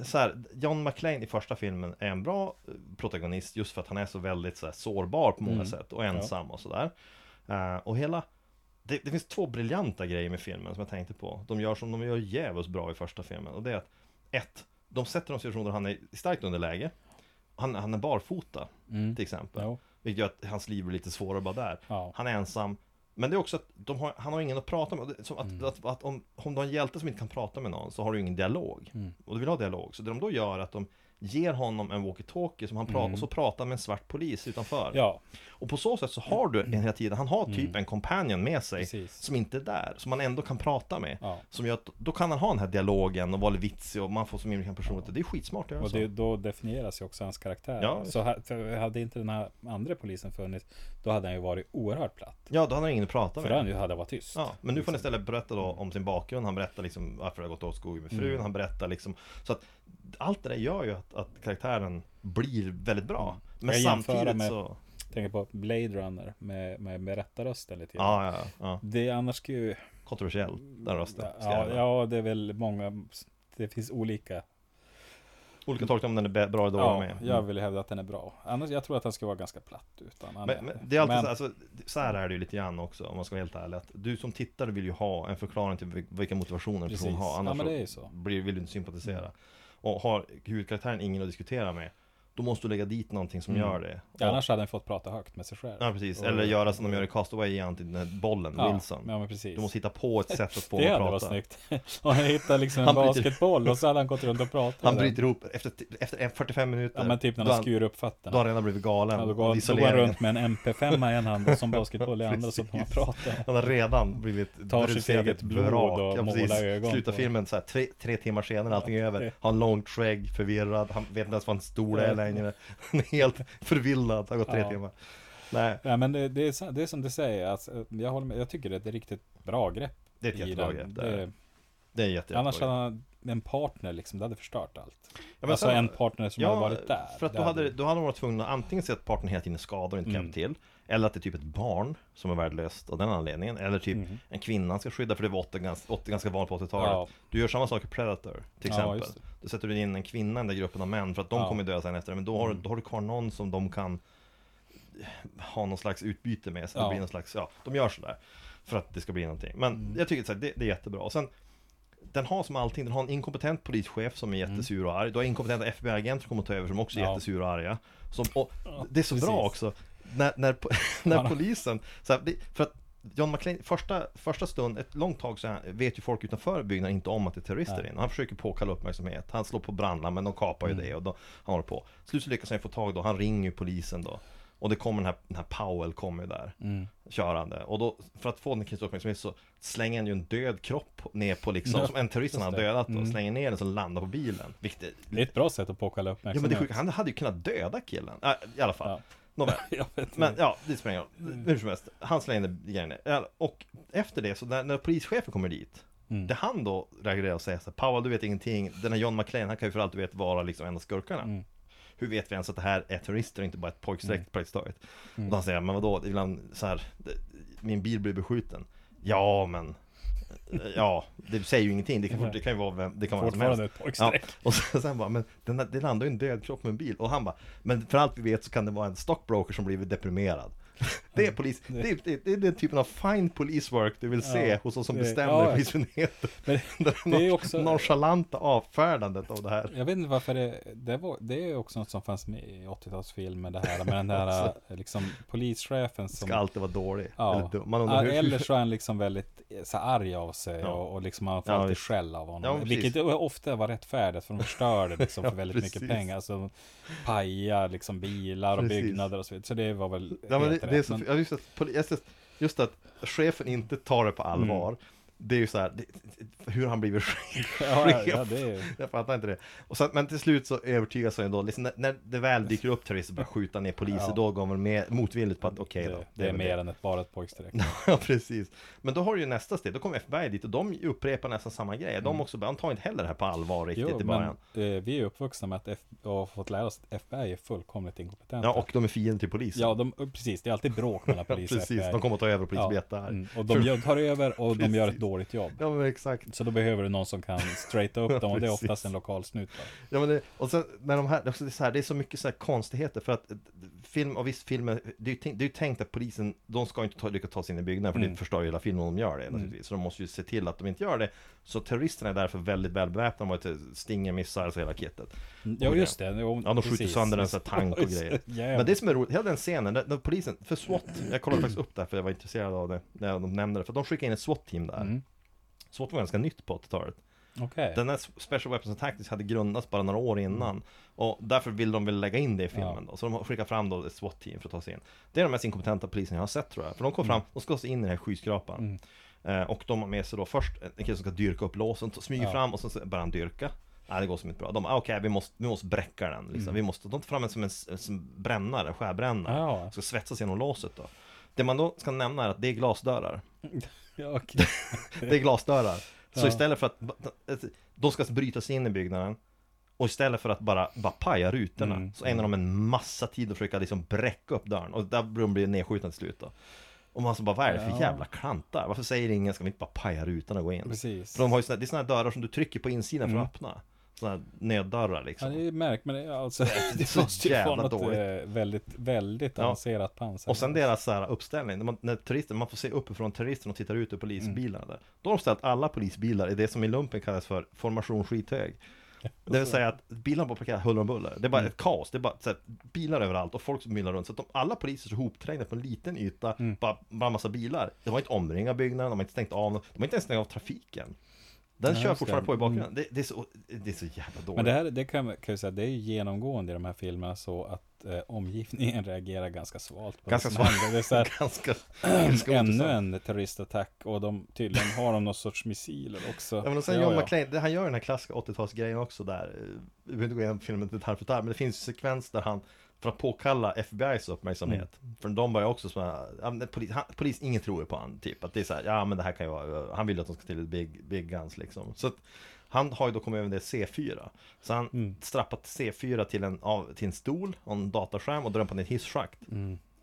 Speaker 2: så här, John McClane i första filmen är en bra eh, protagonist just för att han är så väldigt så här, sårbar på många sätt och ensam och sådär. Eh, och hela, det, det finns två briljanta grejer med filmen som jag tänkte på. De gör som de gör jävligt bra i första filmen och det är att ett, de sätter de situationer där han är i starkt underläge. Han, han är barfota till exempel.
Speaker 3: Jo.
Speaker 2: Vilket gör att hans liv blir lite svårare bara där.
Speaker 3: Ja.
Speaker 2: Han är ensam. Men det är också att de har, han har ingen att prata med. Det är Som att,
Speaker 3: Mm.
Speaker 2: att, att om, om du har en hjälte som inte kan prata med någon så har du ingen dialog.
Speaker 3: Mm.
Speaker 2: Och du vill ha dialog. Så det de då gör är att de ger honom en walkie-talkie som han pratar, och så pratar med en svart polis utanför.
Speaker 3: Mm. Ja, Mm.
Speaker 2: Och på så sätt så har du en hela tiden, han har typ en companion med sig
Speaker 3: Precis.
Speaker 2: som inte är där, som man ändå kan prata med.
Speaker 3: Ja.
Speaker 2: Som gör att då kan han ha den här dialogen och vara lite vitsig och man får som egen personlighet. Det är skitsmart att göra
Speaker 3: och
Speaker 2: så.
Speaker 3: det, då definieras ju också hans karaktär.
Speaker 2: Ja,
Speaker 3: så ha- för hade inte den här andra polisen funnits, då hade han ju varit oerhört platt.
Speaker 2: Ja, då hade han ingen att prata
Speaker 3: För
Speaker 2: med.
Speaker 3: han ju hade varit tyst.
Speaker 2: Ja, men nu får han
Speaker 3: Liksom.
Speaker 2: istället berätta då om sin bakgrund, han berättar liksom varför det har gått åt skogen med
Speaker 3: Mm.
Speaker 2: frun, han berättar liksom Så att allt det där gör ju att, att karaktären blir väldigt bra Men
Speaker 3: Mm. Jag jämför
Speaker 2: samtidigt
Speaker 3: med-
Speaker 2: så...
Speaker 3: Tänker på Blade Runner med, med, med rättarrösten lite grann.
Speaker 2: Ja, ja, ja
Speaker 3: Det är annars ska ju...
Speaker 2: Kontroversiell, den rösten ska jag
Speaker 3: Ja,
Speaker 2: säga.
Speaker 3: ja, det är väl många... Det finns olika
Speaker 2: olika tolkningar om den är bä- bra eller dålig
Speaker 3: Ja,
Speaker 2: med. Mm.
Speaker 3: jag vill hävda att den är bra. Annars, jag tror att den ska vara ganska platt utan han
Speaker 2: Men, men det är alltid
Speaker 3: Men-
Speaker 2: så, alltså, så här är det ju lite grann också om man ska vara helt ärlig att du som tittare vill ju ha en förklaring till vil- vilka motivationer en person
Speaker 3: Precis.
Speaker 2: har
Speaker 3: Ja,
Speaker 2: annars
Speaker 3: men det är
Speaker 2: så
Speaker 3: ju så.
Speaker 2: Blir, vill du inte sympatisera och har huvudkaraktären ingen att diskutera med då måste du lägga dit någonting som
Speaker 3: Mm.
Speaker 2: gör det
Speaker 3: Ja, Annars hade den fått prata högt med sig själv.
Speaker 2: Ja precis,
Speaker 3: Och-
Speaker 2: eller göra som de gör i Castaway igen till den här bollen, Wilson
Speaker 3: Ja, men precis.
Speaker 2: Du måste hitta på ett sätt att få
Speaker 3: det
Speaker 2: honom
Speaker 3: hade
Speaker 2: att
Speaker 3: varit
Speaker 2: prata
Speaker 3: snyggt. Och han hittade liksom en
Speaker 2: Han bryter-
Speaker 3: basketboll och så hade han gått runt och pratat.
Speaker 2: Han
Speaker 3: med den.
Speaker 2: bryter ihop efter, efter en 45 minuter
Speaker 3: Ja, men typ när
Speaker 2: då,
Speaker 3: han
Speaker 2: han,
Speaker 3: skur upp
Speaker 2: då har
Speaker 3: fötterna.
Speaker 2: han redan blivit galen
Speaker 3: Ja, då
Speaker 2: av
Speaker 3: går han- då går han
Speaker 2: isoleringen.
Speaker 3: runt med en MP5 i en hand och som basketboll i andra så får man
Speaker 2: Precis.
Speaker 3: prata.
Speaker 2: Han har redan blivit
Speaker 3: Tar sitt
Speaker 2: bruserad i
Speaker 3: eget
Speaker 2: ett
Speaker 3: blod
Speaker 2: vrak.
Speaker 3: och
Speaker 2: precis.
Speaker 3: målar ögon
Speaker 2: Slutar
Speaker 3: på.
Speaker 2: filmen så här, tre, tre timmar senare, allting är över. Har en långt skägg, förvirrad, han vet inte ens vad en stol är
Speaker 3: Jag vet
Speaker 2: längre. Han är helt förvillad, det har gått tre
Speaker 3: Ja.
Speaker 2: timmar. Nej,
Speaker 3: Ja, men det, det, är, så- det är som du säger, alltså, jag, håller med, jag tycker det är ett riktigt bra grepp.
Speaker 2: det är ett
Speaker 3: i den.
Speaker 2: jättebra grepp. Det,
Speaker 3: Det-
Speaker 2: är- det är en jättebra
Speaker 3: Annars
Speaker 2: grepp.
Speaker 3: hade han en partner liksom, det hade förstört allt.
Speaker 2: Ja, men
Speaker 3: alltså
Speaker 2: sen-
Speaker 3: en partner som hade varit där.
Speaker 2: för att
Speaker 3: Det
Speaker 2: då hade, då hade de varit tvungna att antingen se att partnern hela tiden är skadad och inte kan
Speaker 3: Mm.
Speaker 2: hjälpa till Eller att det är typ ett barn som är värdelöst av den anledningen Eller typ
Speaker 3: Mm.
Speaker 2: en kvinna han ska skydda för det var 80, ganska- 80, ganska vanligt på 80-talet
Speaker 3: Ja.
Speaker 2: Du gör samma sak i Predator till
Speaker 3: Ja,
Speaker 2: exempel
Speaker 3: just det.
Speaker 2: Då sätter du in en kvinna i den där gruppen av män för att de
Speaker 3: Ja. Mm.
Speaker 2: kommer dö sen efter det. Men då har, du- då har du kvar någon som de kan ha någon slags utbyte med så att
Speaker 3: Ja.
Speaker 2: det blir någon slags, ja, de gör sådär För att det ska bli någonting Men
Speaker 3: Mm.
Speaker 2: jag tycker så här, det, det är jättebra och sen den har som allting, den har en inkompetent polischef som är jättesur och arg Du har inkompetenta FBI-agenter som kommer att ta över som också är
Speaker 3: Mm. Ja.
Speaker 2: jättesura och arga som, och, Det är så
Speaker 3: precis.
Speaker 2: bra också När, när, po- när
Speaker 3: Ja.
Speaker 2: polisen, så här, det, för att John McClane, första, första stund, ett långt tag så här, vet ju folk utanför byggnaden inte om att det är terrorister inne Han försöker påkalla uppmärksamhet, han slår på brandlarmen, de kapar
Speaker 3: Mm.
Speaker 2: ju det och då, han håller på Slut så lyckas han ju få tag då, han ringer ju polisen då Och det kommer den här, den här Powell kommer ju där
Speaker 3: Mm.
Speaker 2: Körande, och då för att få den kristna uppmärksamhet så slänger han ju en död kropp ner på liksom,
Speaker 3: Ja,
Speaker 2: som en terrorist han har
Speaker 3: just det. Mm.
Speaker 2: dödat och slänger ner den som landar på bilen Vilket är
Speaker 3: Det är ett bra sätt att påkalla
Speaker 2: Ja men det
Speaker 3: uppmärksamhet.
Speaker 2: sjuka, han hade ju kunnat döda killen. Äh, I alla fall.
Speaker 3: Ja.
Speaker 2: Nåväl.
Speaker 3: Jag vet
Speaker 2: Men ja, det spelar ingen roll. Hur som helst, han slängde grejen i- ja, Och efter det, så när, när polischefen kommer dit. Det han då reagerar och säger så här, Powell du vet ingenting. Den här John McClane, han kan ju för allt du vet vara liksom en av skurkarna. Hur vet vi ens att det här är terrorister och inte bara ett pojkstreck praktiskt taget? Och han säger, men vadå, ibland så här, det- min bil blir beskjuten. Ja men, ja, det säger ju ingenting. Det kan, det kan ju vara vem, det kan vara vem som helst.
Speaker 3: Fortfarande ett pojkstreck.
Speaker 2: Ja, och sen, sen bara, men den, den landar ju en död kropp med en bil. Och han bara, men för allt vi vet så kan det vara en stockbroker som blivit deprimerad. Det är polis, det är, det är, det är den typen av fine police work du vill se
Speaker 3: Ja,
Speaker 2: hos oss som
Speaker 3: det-
Speaker 2: bestämmer
Speaker 3: ja.
Speaker 2: polismyndigheten.
Speaker 3: Men
Speaker 2: Det
Speaker 3: det är
Speaker 2: non-
Speaker 3: också-
Speaker 2: nonchalanta avfärdandet av det här.
Speaker 3: Jag vet inte varför det, det var, det är också något som fanns med i 80-talsfilmer det här med den där
Speaker 2: Alltså.
Speaker 3: liksom polischefen som...
Speaker 2: Ska alltid vara dålig. Eller, dum. man
Speaker 3: Ja,
Speaker 2: undrar hur,
Speaker 3: eller
Speaker 2: hur,
Speaker 3: så är han liksom väldigt eh, så här arg av sig
Speaker 2: Ja.
Speaker 3: och, och liksom han får
Speaker 2: Ja,
Speaker 3: alltid
Speaker 2: visst.
Speaker 3: skäll av honom.
Speaker 2: Ja, men precis.
Speaker 3: vilket ofta var rättfärdigt för de förstörde liksom
Speaker 2: Ja,
Speaker 3: för väldigt mycket
Speaker 2: precis.
Speaker 3: pengar. Så de pajar liksom bilar och
Speaker 2: Precis.
Speaker 3: byggnader och så vidare. Så det var väl
Speaker 2: Ja, men det,
Speaker 3: helt
Speaker 2: det är
Speaker 3: rätt.
Speaker 2: så,
Speaker 3: Men-
Speaker 2: ja, just, att, poli- just, att, just att chefen inte tar det på allvar.
Speaker 3: Mm.
Speaker 2: Det är ju så här, det, det- hur han blivit chef.
Speaker 3: ja, ja, ja, det är,
Speaker 2: Jag fattar inte det. Och sen, men till slut så övertygas han ju då, liksom, när, när det väl dyker upp terrorister och börjar skjuta ner poliser,
Speaker 3: Ja.
Speaker 2: då går man med, motvilligt på att okej
Speaker 3: det,
Speaker 2: då.
Speaker 3: det är
Speaker 2: väl
Speaker 3: mer än ett, bara ett pojkstreck.
Speaker 2: Ja precis. Men då har du ju nästa steg, då kommer FBI dit och de upprepar nästan samma grej. De också, de tar inte heller det här på allvar riktigt
Speaker 3: Mm. Jo,
Speaker 2: i
Speaker 3: men
Speaker 2: början.
Speaker 3: eh, vi är uppvuxna med att F- och har fått lära oss att FBI är fullkomligt inkompetenta.
Speaker 2: Ja, och de är fiender till polisen.
Speaker 3: Ja, de, precis. Det är alltid bråk mellan
Speaker 2: Ja,
Speaker 3: polis och
Speaker 2: liksom. precis.
Speaker 3: FBI.
Speaker 2: De kommer att ta över och polisbeta här.
Speaker 3: mm, Och de gör, tar över och de gör ett
Speaker 2: Precis.
Speaker 3: dåligt jobb.
Speaker 2: Ja men exakt.
Speaker 3: Så då behöver du någon som kan straighta upp dem och det är
Speaker 2: precis.
Speaker 3: oftast en lokal snut. va?
Speaker 2: Ja men det, och sen när de här, det är så- det är så, här, det är så mycket så här konstigheter för att eh, film, och visst filmer, det är ju tänkt, det är ju tänkt att polisen, de ska inte ta, lyckas ta sig in i byggnaden för det
Speaker 3: Mm.
Speaker 2: förstör ju hela filmen om de gör det naturligtvis. Så de måste ju se till att de inte gör det. Så terroristerna är därför väldigt välbeväpnade, de har ett stinger, missar, alltså hela kittet.
Speaker 3: Ja, just det. Jo,
Speaker 2: Ja, de skjuter
Speaker 3: precis.
Speaker 2: sönder en sån här tank och
Speaker 3: Just
Speaker 2: grejer.
Speaker 3: jävlar.
Speaker 2: Men det som är roligt, hela den scenen, när, när polisen, för SWAT, jag kollade faktiskt upp det här för jag var intresserad av det, när de nämnde det, för de skickade in ett SWAT-team där.
Speaker 3: Mm.
Speaker 2: SWAT var ganska nytt på 80-talet.
Speaker 3: Okej.
Speaker 2: Den här Special Weapons and Tactics hade grundats bara några år innan Och därför ville de väl lägga in det i filmen då Så de har skickat fram då ett SWAT-team för att ta sig in Det är de mest inkompetenta polisen jag har sett tror jag För de kom fram, de ska sig in i den här skyskrapan eh, Och de har med sig då först en kille som ska dyrka upp låsen, så smyger fram och sen så börjar han dyrka Nej det går som inte bra, de ah, okej vi, måste, vi måste bräcka den liksom. Vi måste, de tar fram en som en, s- som brännare, skärbrännare
Speaker 3: Ja.
Speaker 2: Ska svetsas genom låset då Det man då ska nämna är att det är glasdörrar
Speaker 3: Ja, okej.
Speaker 2: det är glasdörrar. Så
Speaker 3: Ja.
Speaker 2: istället för att de ska bryta sig in i byggnaden och istället för att bara, bara paja rutorna
Speaker 3: Mm.
Speaker 2: så ägnar de en massa tid att försöka liksom bräcka upp dörren och där blir de nedskjutna till slut då. Och man så bara, vad är det för
Speaker 3: Ja.
Speaker 2: jävla klantar? Varför säger ingen, ska vi inte bara paja rutorna och gå in?
Speaker 3: Precis. Mm.
Speaker 2: För de har ju såna, det är sådana här dörrar som du trycker på insidan för att öppna. Sådana här nöddörrar
Speaker 3: Ja,
Speaker 2: liksom.
Speaker 3: det är märk, men det, alltså, det
Speaker 2: så
Speaker 3: måste ju vara
Speaker 2: jävla
Speaker 3: något
Speaker 2: dåligt.
Speaker 3: eh, väldigt, väldigt
Speaker 2: Ja.
Speaker 3: avancerat pansar.
Speaker 2: Och sen deras så här uppställning, när, man, när turister, man får se uppifrån terroristerna och tittar ut ur polisbilarna
Speaker 3: Mm.
Speaker 2: där. Då har de ställt alla polisbilar i det som i lumpen kallas för formation skithög. Det vill säga att bilarna bara parkerar huller om buller. Det är
Speaker 3: Mm.
Speaker 2: bara ett kaos, det är bara så här, bilar överallt och folk som myllar runt. Så att de, alla poliser är så hopträngda på en liten yta,
Speaker 3: Mm.
Speaker 2: bara, bara massa bilar. De har inte omringat byggnaden, de har inte stängt av, något. de har inte ens stängt av trafiken. Den
Speaker 3: Nej,
Speaker 2: kör
Speaker 3: just det. Mm.
Speaker 2: fortfarande på i bakgrunden. Det, det, är så, det är så jävla dåligt.
Speaker 3: Men det här det kan, kan jag säga, det är ju genomgående i de här filmerna så att eh, omgivningen reagerar ganska svalt. På
Speaker 2: Ganska
Speaker 3: det som
Speaker 2: svalt.
Speaker 3: händer. Det är så här,
Speaker 2: Ganska,
Speaker 3: ännu
Speaker 2: ointressant.
Speaker 3: en terroristattack och de tydligen har de någon sorts missiler också.
Speaker 2: Ja, men och sen John McClane, det- han gör den här klassiska 80-talsgrejen också där. Eh, Vi behöver inte gå igenom filmen detalj för detalj, men det finns en sekvens där han, för att påkalla FBI's uppmärksamhet, för de börjar också som här, ja, men polis, han, polis, ingen tror ju på han, typ att det är så här, ja men det här kan ju vara, han vill ju att de ska till ett big, big guns liksom. Så att, han har ju då kommit över det C4 Så han strappat C4 till en, av, till en stol och en dataskärm och drömpat ner ett hisschakt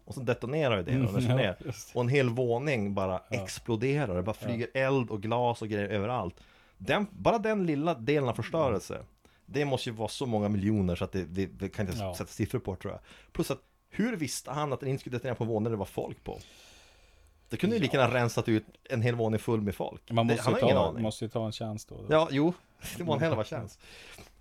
Speaker 2: Och så detonerar ju det då, när det slår
Speaker 3: ja,
Speaker 2: ner.
Speaker 3: just
Speaker 2: Och en hel våning bara exploderar, det bara flyger eld och glas och grejer överallt den, Bara den lilla delen av förstörelse Det måste ju vara så många miljoner så att det, det, det kan inte ens
Speaker 3: Ja.
Speaker 2: sätta siffror på tror jag Plus att, hur visste han att den inte skulle detonera på en våning det var folk på? Det kunde ju lika gärna rensat ut en hel våning full med folk
Speaker 3: Man
Speaker 2: det,
Speaker 3: måste,
Speaker 2: han
Speaker 3: ju
Speaker 2: har ingen
Speaker 3: ta,
Speaker 2: aning
Speaker 3: måste ju ta en chans då.
Speaker 2: Ja, jo, det var en hel
Speaker 3: Mm.
Speaker 2: av tjänst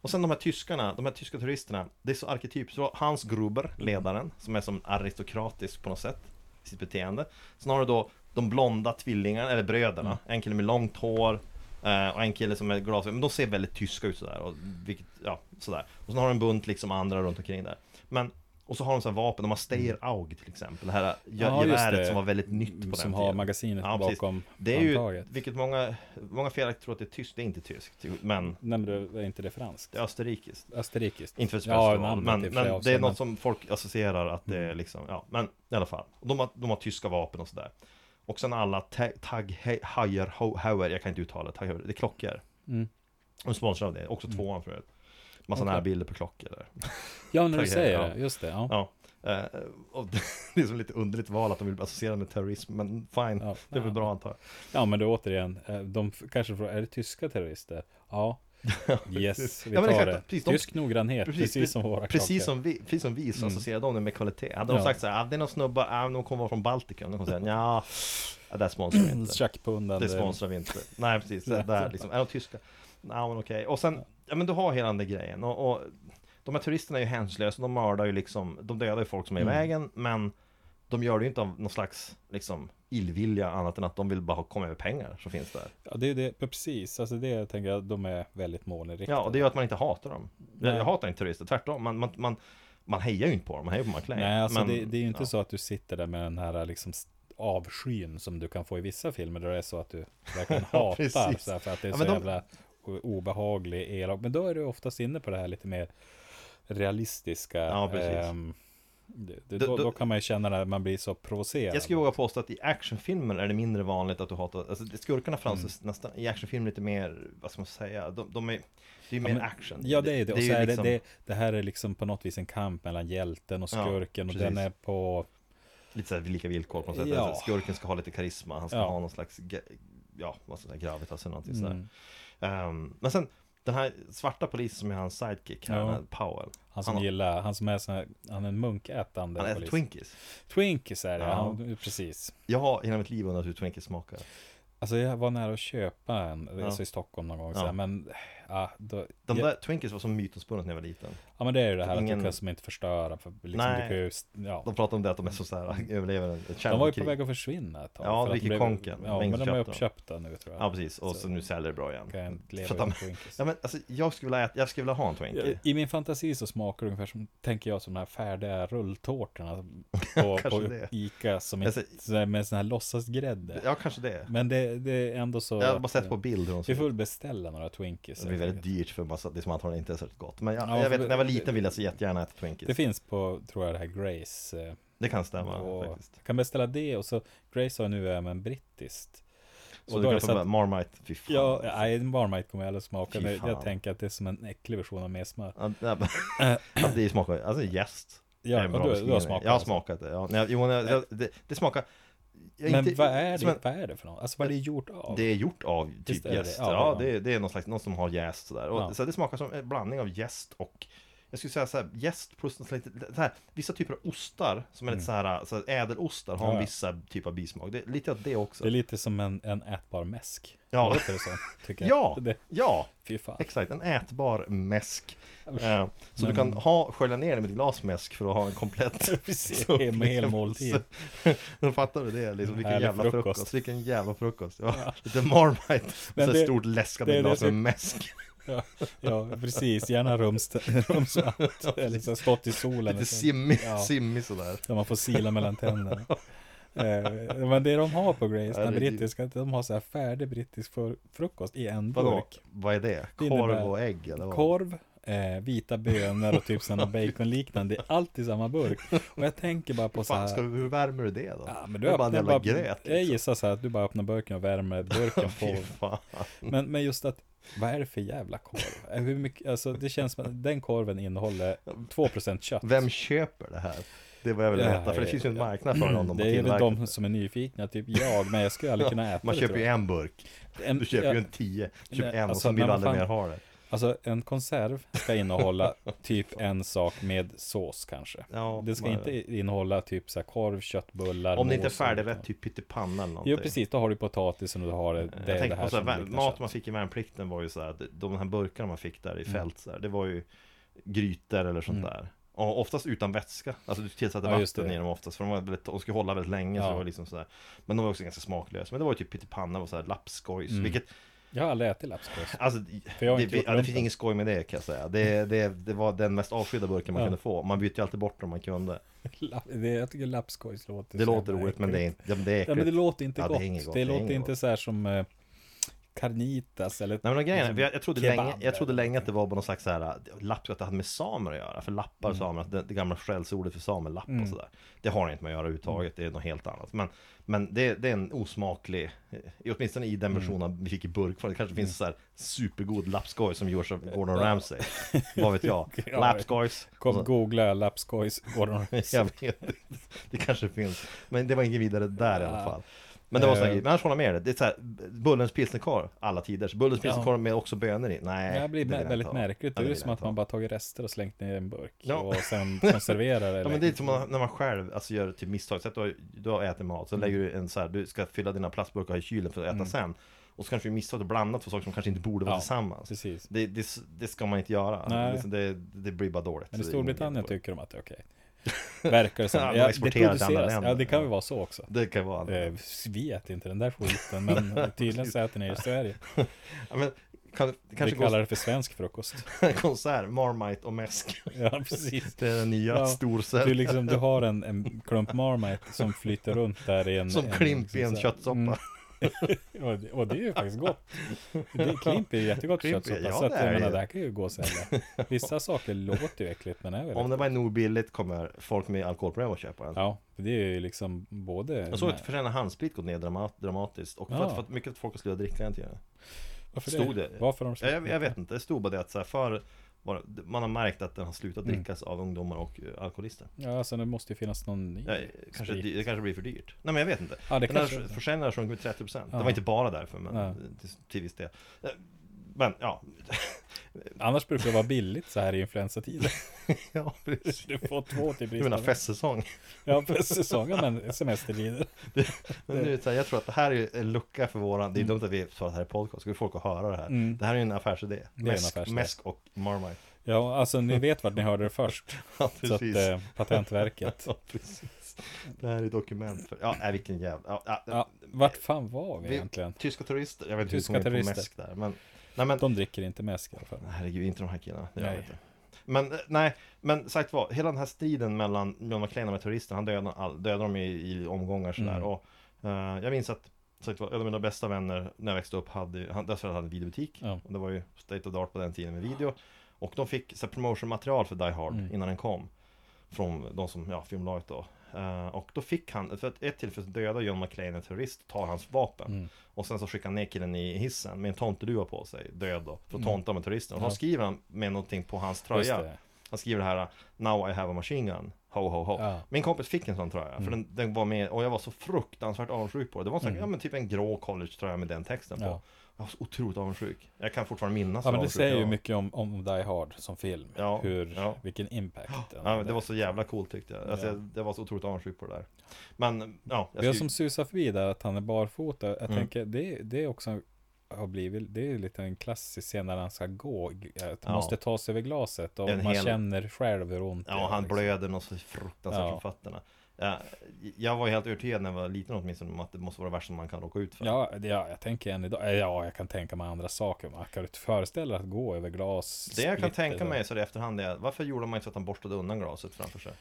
Speaker 2: Och sen de här tyskarna, de här tyska turisterna Det är så arketypiskt, Det var Hans Gruber, ledaren Som är som aristokratisk på något sätt i Sitt beteende Sen har du då de blonda tvillingarna, eller bröderna
Speaker 3: Mm.
Speaker 2: En kille med långt hår eh, Och en kille som är glasögon, men de ser väldigt tyska ut sådär och vilket, ja, sådär Och sen har de en bunt liksom andra runt omkring där Men och så har de så här vapen, de har Steyr-Aug till exempel Det här
Speaker 3: Ja,
Speaker 2: ja,
Speaker 3: just
Speaker 2: geväret
Speaker 3: det. Mm,
Speaker 2: som var väldigt nytt på den
Speaker 3: Som har magasinet
Speaker 2: precis.
Speaker 3: bakom
Speaker 2: Det är ju,
Speaker 3: handtaget.
Speaker 2: vilket många, många felaktigt tror att det är tyskt, det är inte tyskt Men
Speaker 3: Nej men det- är inte det franskt?
Speaker 2: det är österrikiskt
Speaker 3: Österrikiskt?
Speaker 2: Inte för att
Speaker 3: ja,
Speaker 2: ja,
Speaker 3: namnet
Speaker 2: men,
Speaker 3: i Mm. och för sig
Speaker 2: men
Speaker 3: också,
Speaker 2: det är något som folk associerar att det är liksom, ja men i alla fall De har, de har tyska vapen och sådär Och sen alla Ta- Tag He- Heuer, Ho- Heuer, jag kan inte uttala det, Tag Heuer, det är klockor
Speaker 3: Mm.
Speaker 2: De sponsrar av det, också tvåan för övrigt Massa
Speaker 3: Okej.
Speaker 2: närbilder på klockor där
Speaker 3: Ja, när du
Speaker 2: Tack,
Speaker 3: säger
Speaker 2: ja.
Speaker 3: det. Just det. Ja.
Speaker 2: Ja, eh, och det är som lite underligt val att de vill associera med terrorism, men fine,
Speaker 3: Ja.
Speaker 2: det är väl bra antar jag
Speaker 3: ja, men då återigen. eh, De f- kanske frågar, är det tyska terrorister? Ja. Yes, vi
Speaker 2: Ja,
Speaker 3: tar
Speaker 2: men exakt,
Speaker 3: det.
Speaker 2: precis, de-
Speaker 3: Tysk noggrannhet, precis, som våra
Speaker 2: precis
Speaker 3: kakor.
Speaker 2: som vi, precis som vi så associerar de det med kvalitet Hade de
Speaker 3: Mm. Ja.
Speaker 2: sagt såhär, ah, det är någon snubbar, ah, de kommer vara från Baltikum De kommer säga, nja, det där sponsrar vi
Speaker 3: Mm,
Speaker 2: inte
Speaker 3: Tjackpundande.
Speaker 2: Det sponsrar vi inte Nej precis, det där liksom, är de tyska? Ja men okej, och sen, ja men du har hela den där grejen och, och De här turisterna är ju hänsynslösa, de mördar ju liksom, de dödar ju folk som är i
Speaker 3: Mm.
Speaker 2: vägen Men de gör det ju inte av någon slags liksom illvilja annat än att de vill bara ha- komma över pengar som finns där
Speaker 3: Ja, det är det. Precis, alltså det jag tänker jag, de är väldigt målinriktade.
Speaker 2: Ja, och det gör att man inte hatar dem. Jag,
Speaker 3: Nej.
Speaker 2: jag hatar inte turister, tvärtom. Man, man, man, man hejar ju inte på dem, man hejar på McLean.
Speaker 3: Nej, alltså
Speaker 2: Men-
Speaker 3: det, det är ju inte
Speaker 2: ja.
Speaker 3: så att du sitter där med den här liksom st- avskyn som du kan få i vissa filmer där det är så att du verkligen hatar
Speaker 2: precis.
Speaker 3: så här, för att det är
Speaker 2: Ja,
Speaker 3: så
Speaker 2: men de-
Speaker 3: jävla o- obehaglig elak. Men då är du oftast inne på det här lite mer realistiska.
Speaker 2: Ja, precis.
Speaker 3: ehm, det, det,
Speaker 2: Då-
Speaker 3: då,
Speaker 2: då-
Speaker 3: då kan man ju känna när man blir så provocerad.
Speaker 2: Jag skulle våga påstå att i actionfilmer är det mindre vanligt att du hatar, alltså det- skurkarna framställs
Speaker 3: Mm.
Speaker 2: nästan i actionfilmer lite mer, vad ska man säga, de, de är, det är ju mer
Speaker 3: men-
Speaker 2: action.
Speaker 3: Ja, det är det. Och så
Speaker 2: ju
Speaker 3: är det,
Speaker 2: liksom
Speaker 3: det, det här är liksom på något vis en kamp mellan hjälten och
Speaker 2: Ja,
Speaker 3: skurken. och den
Speaker 2: precis.
Speaker 3: är på...
Speaker 2: lite så här lika villkor på något sätt.
Speaker 3: Ja.
Speaker 2: Alltså, skurken ska ha lite karisma, han ska
Speaker 3: Ja. Mm.
Speaker 2: ha någon slags, ge- ja, vad ska jag säga, gravitas eller någonting sådär. Ehm, men sen, den här svarta polisen som är hans sidekick, här,
Speaker 3: Ja.
Speaker 2: den här Powell.
Speaker 3: Han som
Speaker 2: har-
Speaker 3: gillar, han som är sån här, han är en munkätande
Speaker 2: han äter
Speaker 3: polis.
Speaker 2: Twinkies.
Speaker 3: Twinkies är det,
Speaker 2: Ja.
Speaker 3: ja. han, precis.
Speaker 2: Jag har hela mitt liv undrat hur Twinkies smakar.
Speaker 3: Alltså jag var nära att köpa en, alltså i Stockholm någon gång så här,
Speaker 2: Ja.
Speaker 3: men, ja, då,
Speaker 2: De
Speaker 3: ja,
Speaker 2: där Twinkies var som mytomspunnet när jag var liten
Speaker 3: ja men det är ju det här att
Speaker 2: ingen-
Speaker 3: du kan som inte förstöra, för liksom
Speaker 2: Nej.
Speaker 3: du kan ju, st- ja.
Speaker 2: De pratade om det att de är så såhär, överlever en- ett
Speaker 3: De var ju på
Speaker 2: kärnvapenkrig.
Speaker 3: väg att försvinna ett tag.
Speaker 2: Ja,
Speaker 3: för att
Speaker 2: Ricky
Speaker 3: blev-
Speaker 2: Konken.
Speaker 3: Ja,
Speaker 2: Ingen
Speaker 3: men de
Speaker 2: köpte
Speaker 3: är
Speaker 2: dem.
Speaker 3: uppköpta nu tror jag.
Speaker 2: Ja precis, och så, nu säljer det bra igen
Speaker 3: Kan jag inte leva
Speaker 2: För att de,
Speaker 3: utan Twinkies.
Speaker 2: ja, men, alltså, jag, skulle vilja, äta- jag skulle vilja ha en Twinkie
Speaker 3: I- I min fantasi så smakar det ungefär som, tänker jag, som de här färdiga rulltårtorna på,
Speaker 2: Kanske
Speaker 3: på
Speaker 2: det.
Speaker 3: Ica som är,
Speaker 2: Alltså-
Speaker 3: sådär med sån här låtsasgrädde.
Speaker 2: Ja kanske det
Speaker 3: Men det, det är ändå så...
Speaker 2: Jag har bara
Speaker 3: att,
Speaker 2: sett på
Speaker 3: eh,
Speaker 2: bild hur de
Speaker 3: Vi
Speaker 2: ser
Speaker 3: får
Speaker 2: ut.
Speaker 3: väl beställa några Twinkies. eh,
Speaker 2: Det blir
Speaker 3: helt
Speaker 2: väldigt
Speaker 3: enkelt.
Speaker 2: dyrt för en massa, det som antagligen inte är särskilt gott Men jag,
Speaker 3: Ja,
Speaker 2: jag
Speaker 3: för
Speaker 2: vet,
Speaker 3: det-
Speaker 2: när jag var liten ville jag så jättegärna äta
Speaker 3: Det
Speaker 2: Twinkies
Speaker 3: finns på, tror jag, det här Grace. eh,
Speaker 2: Det kan stämma
Speaker 3: och
Speaker 2: faktiskt
Speaker 3: kan beställa det och så Grace har nu även brittiskt.
Speaker 2: Så
Speaker 3: och
Speaker 2: du
Speaker 3: då är
Speaker 2: kan
Speaker 3: det
Speaker 2: få
Speaker 3: så att-
Speaker 2: bara Marmite, fy fan
Speaker 3: Ja, nej, en barmite kommer jag aldrig smaka.
Speaker 2: Fy
Speaker 3: Men
Speaker 2: fan.
Speaker 3: jag tänker att det är som en äcklig version av mer smör.
Speaker 2: Ja, det- ja, det smakar, alltså jäst
Speaker 3: Eh. Ja,
Speaker 2: är en
Speaker 3: och
Speaker 2: bra
Speaker 3: du- du har
Speaker 2: beskrivning.
Speaker 3: smakat
Speaker 2: Jag har
Speaker 3: alltså.
Speaker 2: smakat det, ja, Nej, jo, nej, det, det smakar jag
Speaker 3: Men
Speaker 2: inte-
Speaker 3: vad, är det,
Speaker 2: som en-
Speaker 3: vad är det för något? Alltså vad är det gjort av?
Speaker 2: Det är gjort av typ
Speaker 3: det, det är
Speaker 2: jäst. Ja,
Speaker 3: av, ja.
Speaker 2: det, är- det är någon, slags, någon som har jäst sådär. Och
Speaker 3: Ja.
Speaker 2: så det smakar som en blandning av jäst och jag skulle säga såhär, jäst plus något lite, det här, vissa typer av ostar som är lite såhär, så här, ädelostar har
Speaker 3: Mm. Ja, ja.
Speaker 2: vissa typer typ av bismak. Det är lite av det också.
Speaker 3: Det är lite som en, en ätbar mäsk.
Speaker 2: Ja.
Speaker 3: Låter det som, tycker jag.
Speaker 2: ja,
Speaker 3: Det,
Speaker 2: ja,
Speaker 3: fy fan.
Speaker 2: exakt. En ätbar mäsk. Eh, så
Speaker 3: Men-
Speaker 2: du kan ha, skölja ner det med ett glas mäsk för att ha en komplett
Speaker 3: Precis,
Speaker 2: upplevelse.
Speaker 3: med hel måltid.
Speaker 2: Då fattar du det, liksom, vilken
Speaker 3: Härlig
Speaker 2: jävla frukost.
Speaker 3: frukost.
Speaker 2: Vilken jävla frukost. Ja, Lite Marmite,
Speaker 3: Men
Speaker 2: så
Speaker 3: det-
Speaker 2: ett stort läskande
Speaker 3: det är det
Speaker 2: glas med
Speaker 3: som-
Speaker 2: mäsk.
Speaker 3: Ja, ja, precis. Gärna rumst- rumsvart. Eller så stått i solen.
Speaker 2: Lite
Speaker 3: och så-
Speaker 2: simmig,
Speaker 3: Ja.
Speaker 2: simmig sådär.
Speaker 3: Där man får sila mellan tänderna. Eh, Men det de har på Grace, den
Speaker 2: Herregud.
Speaker 3: brittiska, de har så här färdig brittisk för- frukost i en
Speaker 2: Vadå?
Speaker 3: burk.
Speaker 2: Vad är det?
Speaker 3: Det innebär-
Speaker 2: Korv och ägg eller vad?
Speaker 3: Korv, eh, vita bönor och typ sådana baconliknande. Det är allt i samma burk. Och jag tänker bara på så
Speaker 2: Fan,
Speaker 3: här.
Speaker 2: ska, du- hur värmer du det då?
Speaker 3: Ja, men
Speaker 2: det
Speaker 3: du
Speaker 2: är bara en
Speaker 3: öppnar
Speaker 2: jävla
Speaker 3: bara,
Speaker 2: gröt.
Speaker 3: jag
Speaker 2: Liksom.
Speaker 3: gissar så här att du bara öppnar burken och värmer burken
Speaker 2: Fy
Speaker 3: på.
Speaker 2: fan.
Speaker 3: Men, men just att, vad är det för jävla korv? Eh, Hur mycket, alltså det känns som att den korven innehåller 2% kött.
Speaker 2: Vem köper det här? Det var jag vill
Speaker 3: Ja,
Speaker 2: veta, för det
Speaker 3: ja,
Speaker 2: finns ju en
Speaker 3: ja.
Speaker 2: marknad för någon om man
Speaker 3: det är väl
Speaker 2: tillverkar
Speaker 3: de som är nyfikna, typ jag, men jag skulle aldrig kunna äta
Speaker 2: Man
Speaker 3: det,
Speaker 2: köper
Speaker 3: tror
Speaker 2: ju
Speaker 3: jag.
Speaker 2: en burk,
Speaker 3: En-
Speaker 2: du köper
Speaker 3: ja.
Speaker 2: ju en tio, du köper
Speaker 3: Nej,
Speaker 2: en och
Speaker 3: alltså,
Speaker 2: sen vill
Speaker 3: men
Speaker 2: du
Speaker 3: vad
Speaker 2: aldrig
Speaker 3: fan-
Speaker 2: mer ha det.
Speaker 3: Alltså en konserv ska innehålla typ en sak med sås kanske.
Speaker 2: Ja,
Speaker 3: det ska
Speaker 2: men-
Speaker 3: inte innehålla typ så här korv, köttbullar,
Speaker 2: Om det inte är
Speaker 3: mos och-
Speaker 2: färdigrätt, typ pyttipanna eller någonting. Eh,
Speaker 3: Jo precis, då har du potatisen och du har det, det,
Speaker 2: jag
Speaker 3: det
Speaker 2: tänker
Speaker 3: här
Speaker 2: på så
Speaker 3: som
Speaker 2: här, vär-
Speaker 3: liknar
Speaker 2: mat
Speaker 3: kött.
Speaker 2: man fick i värnplikten var ju så här, att de här burkarna man fick där i
Speaker 3: Mm.
Speaker 2: fält så här, det var ju grytor eller sånt där. Och oftast utan vätska, alltså du tillsatte
Speaker 3: Ja, just
Speaker 2: vatten
Speaker 3: det.
Speaker 2: i dem oftast, för de, var väldigt, de skulle hålla väldigt länge så
Speaker 3: Ja.
Speaker 2: det var liksom så här. Men de var också ganska smaklösa, men det var ju typ pyttipanna och så här lappskojs, vilket
Speaker 3: Jag har aldrig ätit lapskås.
Speaker 2: Alltså,
Speaker 3: För Mm. jag har
Speaker 2: det,
Speaker 3: inte gjort
Speaker 2: ja, det
Speaker 3: lumpen.
Speaker 2: finns ingen skoj med det kan jag säga det, det, det var den mest avskydda burken man
Speaker 3: Ja.
Speaker 2: kunde få Man bytte ju alltid bort dem man kunde
Speaker 3: Lapp- det- Jag tycker lapskojs låter
Speaker 2: Det
Speaker 3: så
Speaker 2: låter
Speaker 3: jävla
Speaker 2: roligt men det är,
Speaker 3: äckligt.
Speaker 2: inte- ja, men det är
Speaker 3: Ja, men det
Speaker 2: äckligt
Speaker 3: låter inte
Speaker 2: Ja, det är
Speaker 3: gott.
Speaker 2: inget
Speaker 3: Det,
Speaker 2: gott, det är
Speaker 3: låter
Speaker 2: inget
Speaker 3: inte
Speaker 2: gott.
Speaker 3: så här som eh, carnitas eller
Speaker 2: Nej men och grejen är, jag, jag, trodde
Speaker 3: Kebab.
Speaker 2: länge, jag trodde länge att det var på någon slags så här, lapp, att det hade med samer att göra. För lappar och samer, det, det gamla skällsordet för samelapp och sådär. Det har inte med att göra överhuvudtaget, det är något helt annat. Men, men det, det är en osmaklig, eh, åtminstone i den versionen vi fick i burkform. Det kanske finns så här supergod lappskoj som görs av Gordon Ramsay. Vad vet jag?
Speaker 3: Ja,
Speaker 2: Lappskojs.
Speaker 3: Kom,
Speaker 2: Och så-
Speaker 3: googla lapskojs Gordon Ramsay.
Speaker 2: jag vet inte. Det kanske finns. Men det var inget vidare där i alla fall. Men det var sån här
Speaker 3: Eh.
Speaker 2: grej. Men annars håller jag med dig. Det är så här, Bullens pilsnerkorv, alla tiders. Bullens pilsnerkorv med också bönor i. Nej,
Speaker 3: Det blir
Speaker 2: vill jag
Speaker 3: väldigt
Speaker 2: inte ha.
Speaker 3: märkligt. Det är
Speaker 2: vill
Speaker 3: ju
Speaker 2: jag
Speaker 3: som
Speaker 2: inte
Speaker 3: att
Speaker 2: ha.
Speaker 3: man bara tagit rester och slängt ner i en burk
Speaker 2: Ja.
Speaker 3: och sen konserverar det.
Speaker 2: Ja men det är som
Speaker 3: liksom-
Speaker 2: man- när man själv alltså, gör typ misstag, så att du, har- du har ätit mat,
Speaker 3: Mm.
Speaker 2: så lägger du en så här, du ska fylla dina plastburkar i kylen för att äta sen Och så kanske du misstag och blandat två saker som kanske inte borde vara
Speaker 3: Ja,
Speaker 2: tillsammans
Speaker 3: precis.
Speaker 2: det, det, s- det ska man inte göra,
Speaker 3: Nej.
Speaker 2: Liksom, det, det blir bara dåligt
Speaker 3: Men i
Speaker 2: Så det är
Speaker 3: Storbritannien
Speaker 2: ingen-
Speaker 3: tycker de att det är okej. Verkar det som.
Speaker 2: Ja, de
Speaker 3: Ja, det
Speaker 2: exporterar till andra
Speaker 3: produceras.
Speaker 2: länder.
Speaker 3: Ja, det kan ju
Speaker 2: Ja.
Speaker 3: vara så också.
Speaker 2: Det kan vara
Speaker 3: Eh, Vi äter inte den där skiten, men tydligen så äter ni i Sverige.
Speaker 2: ja, men, kan, det
Speaker 3: Vi
Speaker 2: kanske
Speaker 3: kallar det för svensk frukost.
Speaker 2: går konsert, Marmite och mäsk
Speaker 3: Ja, precis.
Speaker 2: Det är den nya
Speaker 3: Ja,
Speaker 2: storsälj
Speaker 3: Du, liksom, du har en, en klump Marmite som flyter runt där i en...
Speaker 2: Som
Speaker 3: en,
Speaker 2: Klimp i en
Speaker 3: liksom så här-
Speaker 2: köttsoppa
Speaker 3: Mm. Och det, och det är ju faktiskt gott. Det, klimp är ju jättegott
Speaker 2: Klimp är-
Speaker 3: köttsoppa.
Speaker 2: ja,
Speaker 3: så att,
Speaker 2: det
Speaker 3: jag
Speaker 2: är
Speaker 3: menar,
Speaker 2: det.
Speaker 3: det här kan ju gå så jävla. Vissa saker låter ju äckligt men är väl
Speaker 2: Om
Speaker 3: äckligt.
Speaker 2: det var nog billigt kommer folk med alkoholproblem att köpa den
Speaker 3: Ja, det är ju liksom både...
Speaker 2: Jag såg att försäljningen av handsprit gått ner dramat, dramatiskt Och för,
Speaker 3: Ja.
Speaker 2: att, för att mycket folk har slutat dricka den tiden
Speaker 3: Varför
Speaker 2: stod
Speaker 3: det?
Speaker 2: det.
Speaker 3: Varför de
Speaker 2: Ja, Jag, jag vet inte, det stod bara det att så här, för var, man har märkt att den har slutat
Speaker 3: Mm.
Speaker 2: drickas av ungdomar och eh, alkoholister.
Speaker 3: Ja, alltså det måste ju finnas någon ny.
Speaker 2: Ja, kanske,
Speaker 3: Mm. sprit.
Speaker 2: det kanske blir för dyrt. Nej men jag vet inte.
Speaker 3: Ja, det
Speaker 2: den här
Speaker 3: kanske det är.
Speaker 2: försäljningen har sjunkit med 30%.
Speaker 3: Ja.
Speaker 2: Det var inte bara därför, men
Speaker 3: Nej.
Speaker 2: till, till viss del. Eh, Men ja,
Speaker 3: Annars brukar det vara billigt så här i influensatider.
Speaker 2: ja precis.
Speaker 3: Du får två till
Speaker 2: Du menar
Speaker 3: priset.
Speaker 2: festsäsong?
Speaker 3: Ja, för säsongen men semestertider.
Speaker 2: Men nu, är det så här, jag tror att det här är ju en lucka för våran, det är dumt att vi tar det här i podcast, ska ju folk att höra det här.
Speaker 3: Mm.
Speaker 2: Det här är ju en affärsidé.
Speaker 3: en
Speaker 2: Mäsk,
Speaker 3: affärsidé.
Speaker 2: mäsk och Marmite.
Speaker 3: Ja, alltså ni vet vart ni hörde det först.
Speaker 2: Ja,
Speaker 3: Så att
Speaker 2: precis.
Speaker 3: eh, Patentverket.
Speaker 2: Ja, precis. Det här är dokument för, ja, nej, vilken jävla, ja, ja,
Speaker 3: Ja, vart fan var vi
Speaker 2: Vi-
Speaker 3: egentligen?
Speaker 2: Tyska terrorister, jag vet inte
Speaker 3: Tyska
Speaker 2: hur de kom in på
Speaker 3: terrorister.
Speaker 2: mäsk där men Nej men,
Speaker 3: De dricker inte mäsk i alla fall.
Speaker 2: herregud inte de här killarna, det gör
Speaker 3: Nej.
Speaker 2: jag inte Men eh, nej, men sagt vad, hela den här striden mellan John McClane och terroristerna, han dödade, all, dödade dem i, i omgångar sådär
Speaker 3: Mm.
Speaker 2: och eh, Jag minns att, sagt vad, en av mina bästa vänner när jag växte upp hade, ju- han, deras föräldrar hade en videobutik
Speaker 3: Ja.
Speaker 2: Och det var ju state of the art på den tiden med video Och de fick så här, promotionmaterial för Die Hard
Speaker 3: Mm.
Speaker 2: innan den kom Från de som, ja, filmbolaget då Eh, Och då fick han, för att ett tillfälle så dödar John McClane en terrorist och tar hans vapen
Speaker 3: Mm.
Speaker 2: och sen så skickar han ner killen i hissen med en tomteluva på sig, död då, för att tonta med terroristen. Och då
Speaker 3: Mm. Ja.
Speaker 2: skriver han med någonting på hans
Speaker 3: Just
Speaker 2: tröja.
Speaker 3: det.
Speaker 2: Han skriver det här Now I have a machine gun. ho ho ho
Speaker 3: Ja. Mm.
Speaker 2: Min kompis fick en sån tröja, för den, den var med och jag var så fruktansvärt avundsjuk på det Det var så här, ja, men typ en grå collegetröja med den texten på
Speaker 3: Ja.
Speaker 2: Jag var så otroligt avundsjuk Jag kan fortfarande minnas
Speaker 3: Ja,
Speaker 2: hur
Speaker 3: men det
Speaker 2: avundsjuk
Speaker 3: säger
Speaker 2: jag
Speaker 3: ju
Speaker 2: var.
Speaker 3: mycket om, om Die Hard som film.
Speaker 2: Alltså, Ja,
Speaker 3: Hur,
Speaker 2: ja.
Speaker 3: Vilken impact den
Speaker 2: Ja,
Speaker 3: hade.
Speaker 2: men det var så jävla coolt tyckte jag. Alltså,
Speaker 3: Ja.
Speaker 2: jag, jag var så otroligt avundsjuk på det där. Men ja, jag
Speaker 3: Och Jag
Speaker 2: skulle-
Speaker 3: som susar förbi där att han är barfota. Jag
Speaker 2: Mm.
Speaker 3: tänker det, det är också har blivit, det är lite en klassisk scen när han ska gå. Att han
Speaker 2: Ja.
Speaker 3: måste ta sig över glaset och
Speaker 2: En
Speaker 3: man
Speaker 2: hel-
Speaker 3: känner själv hur ont
Speaker 2: Ja, han
Speaker 3: liksom.
Speaker 2: blöder något så fruktansvärt
Speaker 3: Ja.
Speaker 2: från fötterna. Ja, jag var ju helt övertygad när jag var liten åtminstone om att det måste vara det värsta man kan råka ut för.
Speaker 3: Ja, det- ja, jag tänker än idag. Eh, Ja, jag kan tänka mig andra saker. Man kan ju inte föreställa att gå över glas.
Speaker 2: Det jag kan
Speaker 3: splitter
Speaker 2: tänka
Speaker 3: där.
Speaker 2: mig så i efterhand är varför gjorde man inte så att han borstade undan glaset framför sig?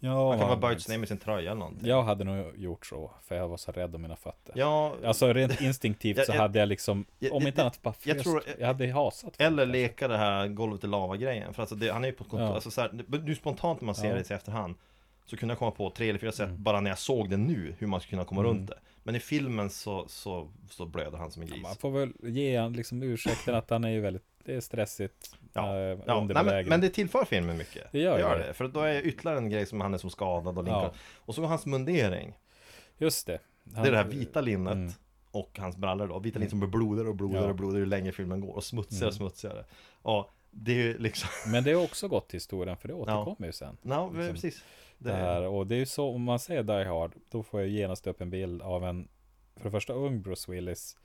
Speaker 3: Ja,
Speaker 2: Han kan vara
Speaker 3: man-
Speaker 2: böjt ner med sin tröja eller någonting.
Speaker 3: Jag hade nog gjort så, för jag var så rädd om mina fötter.
Speaker 2: Ja,
Speaker 3: Alltså rent instinktivt
Speaker 2: Jag-
Speaker 3: så
Speaker 2: jag-
Speaker 3: hade jag liksom,
Speaker 2: jag-
Speaker 3: om
Speaker 2: jag-
Speaker 3: inte annat bara fryst.
Speaker 2: jag
Speaker 3: Jag,
Speaker 2: tror-
Speaker 3: hade hasat. för
Speaker 2: eller
Speaker 3: det.
Speaker 2: leka det här golvet i lava-grejen. För alltså det, han är ju på ett kontor.
Speaker 3: Ja.
Speaker 2: Alltså så här, det- men nu spontant när man ser
Speaker 3: Ja. Mm.
Speaker 2: det i efterhand så kunde jag komma på tre eller fyra sätt bara när jag såg det nu hur man skulle kunna komma runt det. Men i filmen så, så, så blöder han som en gris.
Speaker 3: Man får väl ge han liksom ursäkten att han är ju väldigt, det är stressigt.
Speaker 2: Ja,
Speaker 3: eh,
Speaker 2: Ja, nej, men,
Speaker 3: underbelägen.
Speaker 2: men det tillför filmen mycket.
Speaker 3: Det gör ju
Speaker 2: det.
Speaker 3: det.
Speaker 2: För då är ytterligare en grej som han är som skadad och linkar.
Speaker 3: Ja.
Speaker 2: Och så hans mundering.
Speaker 3: Just det.
Speaker 2: det är
Speaker 3: Han-
Speaker 2: det här vita linnet
Speaker 3: Mm.
Speaker 2: och hans brallor då. Vita linnet som blir blodigare och blodigare
Speaker 3: Ja. Mm.
Speaker 2: och blodigare ju längre filmen går. Och smutsigare och smutsigare. Ja, det är ju liksom...
Speaker 3: Men det är också gott till historien, för det återkommer ju sen.
Speaker 2: Ja, men
Speaker 3: Liksom,
Speaker 2: precis.
Speaker 3: Det här, och det är ju så, om man säger Die Hard, då får jag genast upp en bild av en, för det första ung Bruce Willis.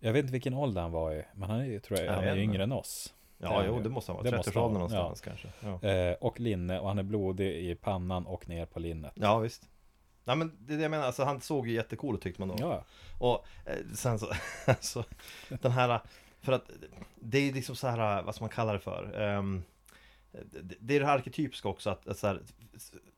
Speaker 3: Jag vet inte vilken ålder han var i, men han är ju, tror jag,
Speaker 2: Ja,
Speaker 3: han
Speaker 2: jag
Speaker 3: är
Speaker 2: vet
Speaker 3: ju
Speaker 2: inte.
Speaker 3: yngre än oss.
Speaker 2: Ja,
Speaker 3: det-
Speaker 2: jo, det måste han
Speaker 3: det
Speaker 2: vara.
Speaker 3: måste
Speaker 2: 30-årsåldern
Speaker 3: han vara, ja.
Speaker 2: någonstans kanske. Ja.
Speaker 3: Eh, och linne, och han är blodig i pannan och ner på linnet.
Speaker 2: ja, visst. Nej men det är det jag menar, alltså, han såg ju jättecool ut tyckte man då.
Speaker 3: Ja,
Speaker 2: Och eh, sen så, alltså, den här, för att det är liksom så här, vad ska man kalla det för? Ehm, det- det är det här arketypiska också att, att så här,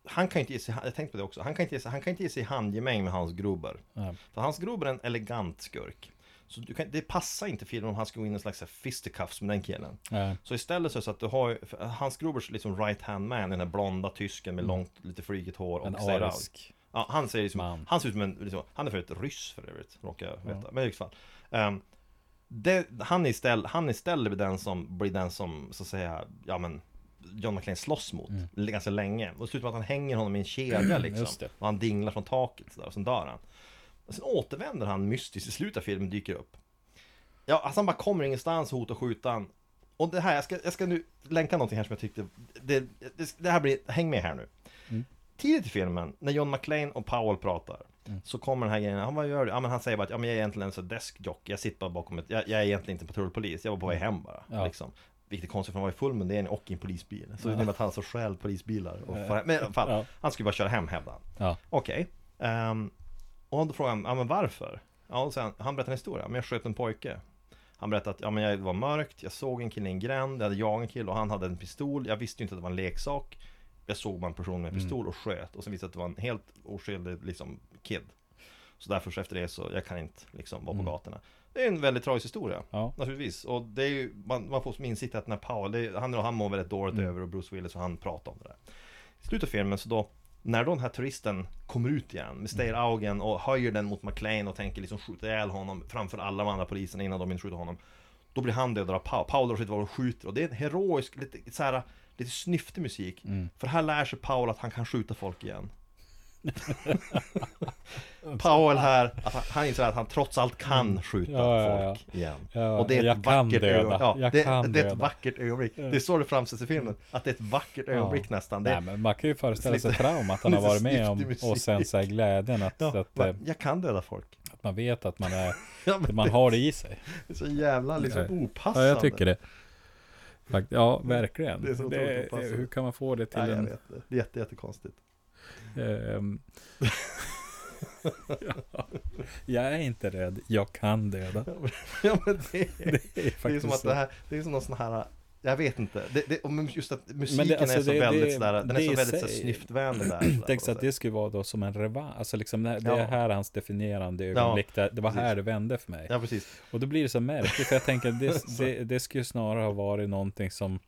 Speaker 2: han kan ju inte ge sig, jag tänkte på det också, han kan inte ge sig, han kan inte ge sig i handgemäng med Hans Gruber.
Speaker 3: Nej.
Speaker 2: För Hans Gruber är en elegant skurk. Så du kan, det passar inte filmen om han ska gå in i en slags så här fisticuffs med den killen.
Speaker 3: eh,
Speaker 2: Så istället så är det så att du har ju- för Hans Grubers liksom right hand man, den här blonda tysken med långt, lite flygigt hår och
Speaker 3: Mm. en
Speaker 2: ser out.
Speaker 3: arisk.
Speaker 2: Ja, han ser liksom,
Speaker 3: Man.
Speaker 2: han ser ut som en, liksom, han är för ett ryss för övrigt, råkar jag veta. Men i vilket fall. Ehm, det, han är istället, han är istället den som blir den som, så att säga, ja men John McClane slåss mot l- ganska länge. Och det slutar med att han hänger honom i en kedja
Speaker 3: Mm. Just
Speaker 2: liksom.
Speaker 3: det.
Speaker 2: Och han dinglar från taket sådär, och sen dör han. Och sen återvänder han mystiskt i slutet av filmen, dyker upp. Ja, alltså han bara kommer ingenstans och hotar skjutan. Och det här, jag ska, jag ska nu länka någonting här som jag tyckte, det, det, det här blir, häng med här nu.
Speaker 3: Mm.
Speaker 2: Tidigt i filmen, när John McClane och Powell pratar
Speaker 3: Mm.
Speaker 2: Så kommer den här grejen, han vad gör du? Ja men han säger bara att ja, men jag är egentligen en sån deskjock Jag sitter bara bakom ett, jag, jag är egentligen inte en patrullpolis Jag var på väg hem bara
Speaker 3: Ja.
Speaker 2: liksom. Vilket är konstigt för han var i full mundering och i en polisbil Så det innebär att han så stjäl polisbilar och far, Men i alla fall,
Speaker 3: Ja.
Speaker 2: han skulle bara köra hem hävdade han
Speaker 3: Ja.
Speaker 2: Okej ehm, Och då frågar han, ja men varför? Ja och sen, han berättar en historia, men jag sköt en pojke han berättade att ja, men jag, det var mörkt, jag såg en kille i en gränd, jag hade jagat en kille och han hade en pistol. Jag visste ju inte att det var en leksak. Jag såg bara en person med en pistol och sköt och sen visste jag att det var en helt oskyldig liksom, kid. Så därför så efter det så, jag kan inte liksom vara på gatorna. Det är en väldigt tragisk historia,
Speaker 3: Ja.
Speaker 2: naturligtvis. Och det är ju, man, man får som insikt att när Paul, det, är- han, han mår väldigt dåligt över och Bruce Willis och han pratar om det där. I slutet av filmen så då, när då den här turisten kommer ut igen med
Speaker 3: Mm.
Speaker 2: Steyr-augen och höjer den mot McLean och tänker liksom skjuta ihjäl honom framför alla de andra poliserna innan de inte skjuter honom. Då blir han dödad av Paul. Paul drar sitt vapen och skjuter och det är en heroisk, lite så här, lite snyftig musik.
Speaker 3: Mm.
Speaker 2: För här lär sig Paul att han kan skjuta folk igen. Paul här, att han, han inser att han trots allt kan skjuta
Speaker 3: Mm. Ja, ja, ja.
Speaker 2: folk igen.
Speaker 3: Ja,
Speaker 2: och det är
Speaker 3: jag
Speaker 2: ett
Speaker 3: kan
Speaker 2: vackert
Speaker 3: döda.
Speaker 2: ögonblick. Ja,
Speaker 3: Jag
Speaker 2: det,
Speaker 3: kan
Speaker 2: det är ett
Speaker 3: döda.
Speaker 2: vackert ögonblick. Det är så det framställs i filmen. Att det är ett vackert ögonblick nästan. Det,
Speaker 3: Nej, men man kan ju föreställa sig
Speaker 2: lite-
Speaker 3: traumat han har
Speaker 2: lite
Speaker 3: varit med om
Speaker 2: snyftig musik.
Speaker 3: och sen så här glädjen att,
Speaker 2: ja,
Speaker 3: att,
Speaker 2: va-
Speaker 3: eh,
Speaker 2: jag kan döda folk.
Speaker 3: att man vet att man, är,
Speaker 2: Ja, men
Speaker 3: man
Speaker 2: det-
Speaker 3: har det i sig.
Speaker 2: Det är så jävla liksom
Speaker 3: Nej.
Speaker 2: opassande.
Speaker 3: Ja, jag tycker det. Fakt, ja, verkligen.
Speaker 2: Det är så otroligt
Speaker 3: Det-
Speaker 2: opassande.
Speaker 3: hur kan man få det till
Speaker 2: Nej, jag
Speaker 3: en...
Speaker 2: vet det. Det är jätte, jättekonstigt.
Speaker 3: ehm, ja, jag är inte rädd, jag kan döda.
Speaker 2: Ja, men det,
Speaker 3: Det är
Speaker 2: det är
Speaker 3: faktiskt
Speaker 2: som att
Speaker 3: så.
Speaker 2: det här, det är som någon sån här jag vet inte, det, det, och men just att musiken
Speaker 3: alltså,
Speaker 2: är så
Speaker 3: det-
Speaker 2: väldigt
Speaker 3: det-
Speaker 2: sådär, den är
Speaker 3: det
Speaker 2: så
Speaker 3: i
Speaker 2: väldigt
Speaker 3: sig-
Speaker 2: sådär, snyftvänlig där sådär,
Speaker 3: Tänk så
Speaker 2: på
Speaker 3: att
Speaker 2: något
Speaker 3: det skulle vara då som en revansch. Alltså liksom det, det
Speaker 2: Ja.
Speaker 3: är här hans definierande ögonblick. där, det var här
Speaker 2: precis.
Speaker 3: det vände för mig.
Speaker 2: sätt. Ja precis,
Speaker 3: Och då blir det så märkligt, för jag tänker att det, det, det skulle ju snarare ha varit någonting som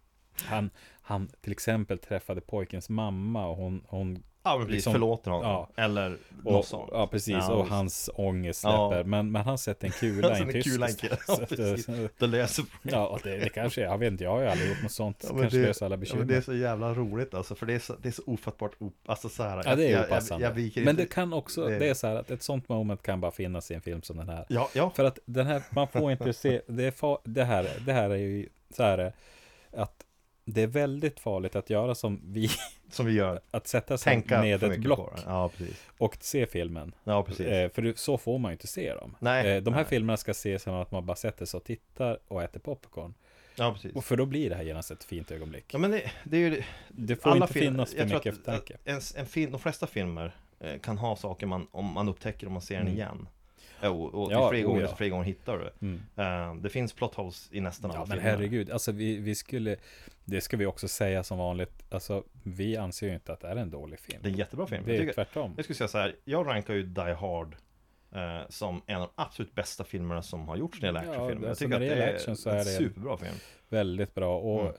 Speaker 3: han, han till exempel träffade pojkens mamma och hon, hon
Speaker 2: Ja men precis,
Speaker 3: liksom-
Speaker 2: förlåter honom.
Speaker 3: ja.
Speaker 2: Eller
Speaker 3: Och,
Speaker 2: något sånt.
Speaker 3: ja precis,
Speaker 2: Ja,
Speaker 3: och
Speaker 2: visst.
Speaker 3: hans ångest släpper.
Speaker 2: Ja.
Speaker 3: Men, men han sätter en kula i
Speaker 2: Sen
Speaker 3: en
Speaker 2: är
Speaker 3: tysk.
Speaker 2: kulan
Speaker 3: istället.
Speaker 2: Ja,
Speaker 3: Så att,
Speaker 2: precis.
Speaker 3: eh,
Speaker 2: Det löser problemet.
Speaker 3: Ja, det, det kanske är. Jag vet inte, jag har ju aldrig gjort något sånt.
Speaker 2: Ja, men
Speaker 3: kanske
Speaker 2: det-
Speaker 3: löser alla
Speaker 2: Ja, men det är
Speaker 3: bekymmer.
Speaker 2: så jävla roligt alltså, för det är så, det är så ofattbart op, alltså så här,
Speaker 3: Ja, det är
Speaker 2: jag, jag,
Speaker 3: opassande.
Speaker 2: jag viker
Speaker 3: men
Speaker 2: inte.
Speaker 3: det kan också,
Speaker 2: det-
Speaker 3: det är så här att ett sånt moment kan bara finnas i en film som den här.
Speaker 2: Ja, ja.
Speaker 3: För att den här, man får inte se, det, är fa- det, här, det här är ju så här eh, att det är väldigt farligt att göra som vi,
Speaker 2: som vi gör.
Speaker 3: att sätta sig
Speaker 2: Tänka
Speaker 3: med
Speaker 2: för
Speaker 3: ett
Speaker 2: mycket
Speaker 3: block
Speaker 2: på det. Ja, precis.
Speaker 3: och se filmen.
Speaker 2: Ja, precis.
Speaker 3: Eh, för du- så får man ju inte se dem.
Speaker 2: Nej,
Speaker 3: eh, de här
Speaker 2: nej.
Speaker 3: filmerna ska ses som att man bara sätter sig och tittar och äter popcorn.
Speaker 2: ja, precis.
Speaker 3: Och för då blir det här genast ett fint ögonblick.
Speaker 2: Ja, men det, det är ju
Speaker 3: Det får inte
Speaker 2: film-
Speaker 3: finnas för
Speaker 2: jag tror
Speaker 3: mycket
Speaker 2: att
Speaker 3: eftertanke.
Speaker 2: En, en film, de flesta filmer eh, kan ha saker man, om man upptäcker om man ser den
Speaker 3: Mm.
Speaker 2: igen. Eh, Och, och till
Speaker 3: Ja,
Speaker 2: fler
Speaker 3: oh,
Speaker 2: gånger,
Speaker 3: ja.
Speaker 2: till fler gånger hittar du det.
Speaker 3: Mm.
Speaker 2: Eh, Det finns plot holes i nästan alla
Speaker 3: Ja men
Speaker 2: filmer.
Speaker 3: herregud, alltså vi, vi skulle, det ska vi också säga som vanligt, alltså vi anser ju inte att det är en dålig film.
Speaker 2: Det är en jättebra film.
Speaker 3: Det
Speaker 2: jag,
Speaker 3: är
Speaker 2: tycker,
Speaker 3: tvärtom.
Speaker 2: jag skulle säga så här, jag rankar ju Die Hard eh, som en av de absolut bästa filmerna som har gjorts när det
Speaker 3: Ja,
Speaker 2: gäller actionfilmer. Jag
Speaker 3: alltså,
Speaker 2: tycker
Speaker 3: när
Speaker 2: att
Speaker 3: det
Speaker 2: det
Speaker 3: gäller
Speaker 2: är,
Speaker 3: action så
Speaker 2: en
Speaker 3: är det-
Speaker 2: superbra film.
Speaker 3: Väldigt bra och
Speaker 2: Mm.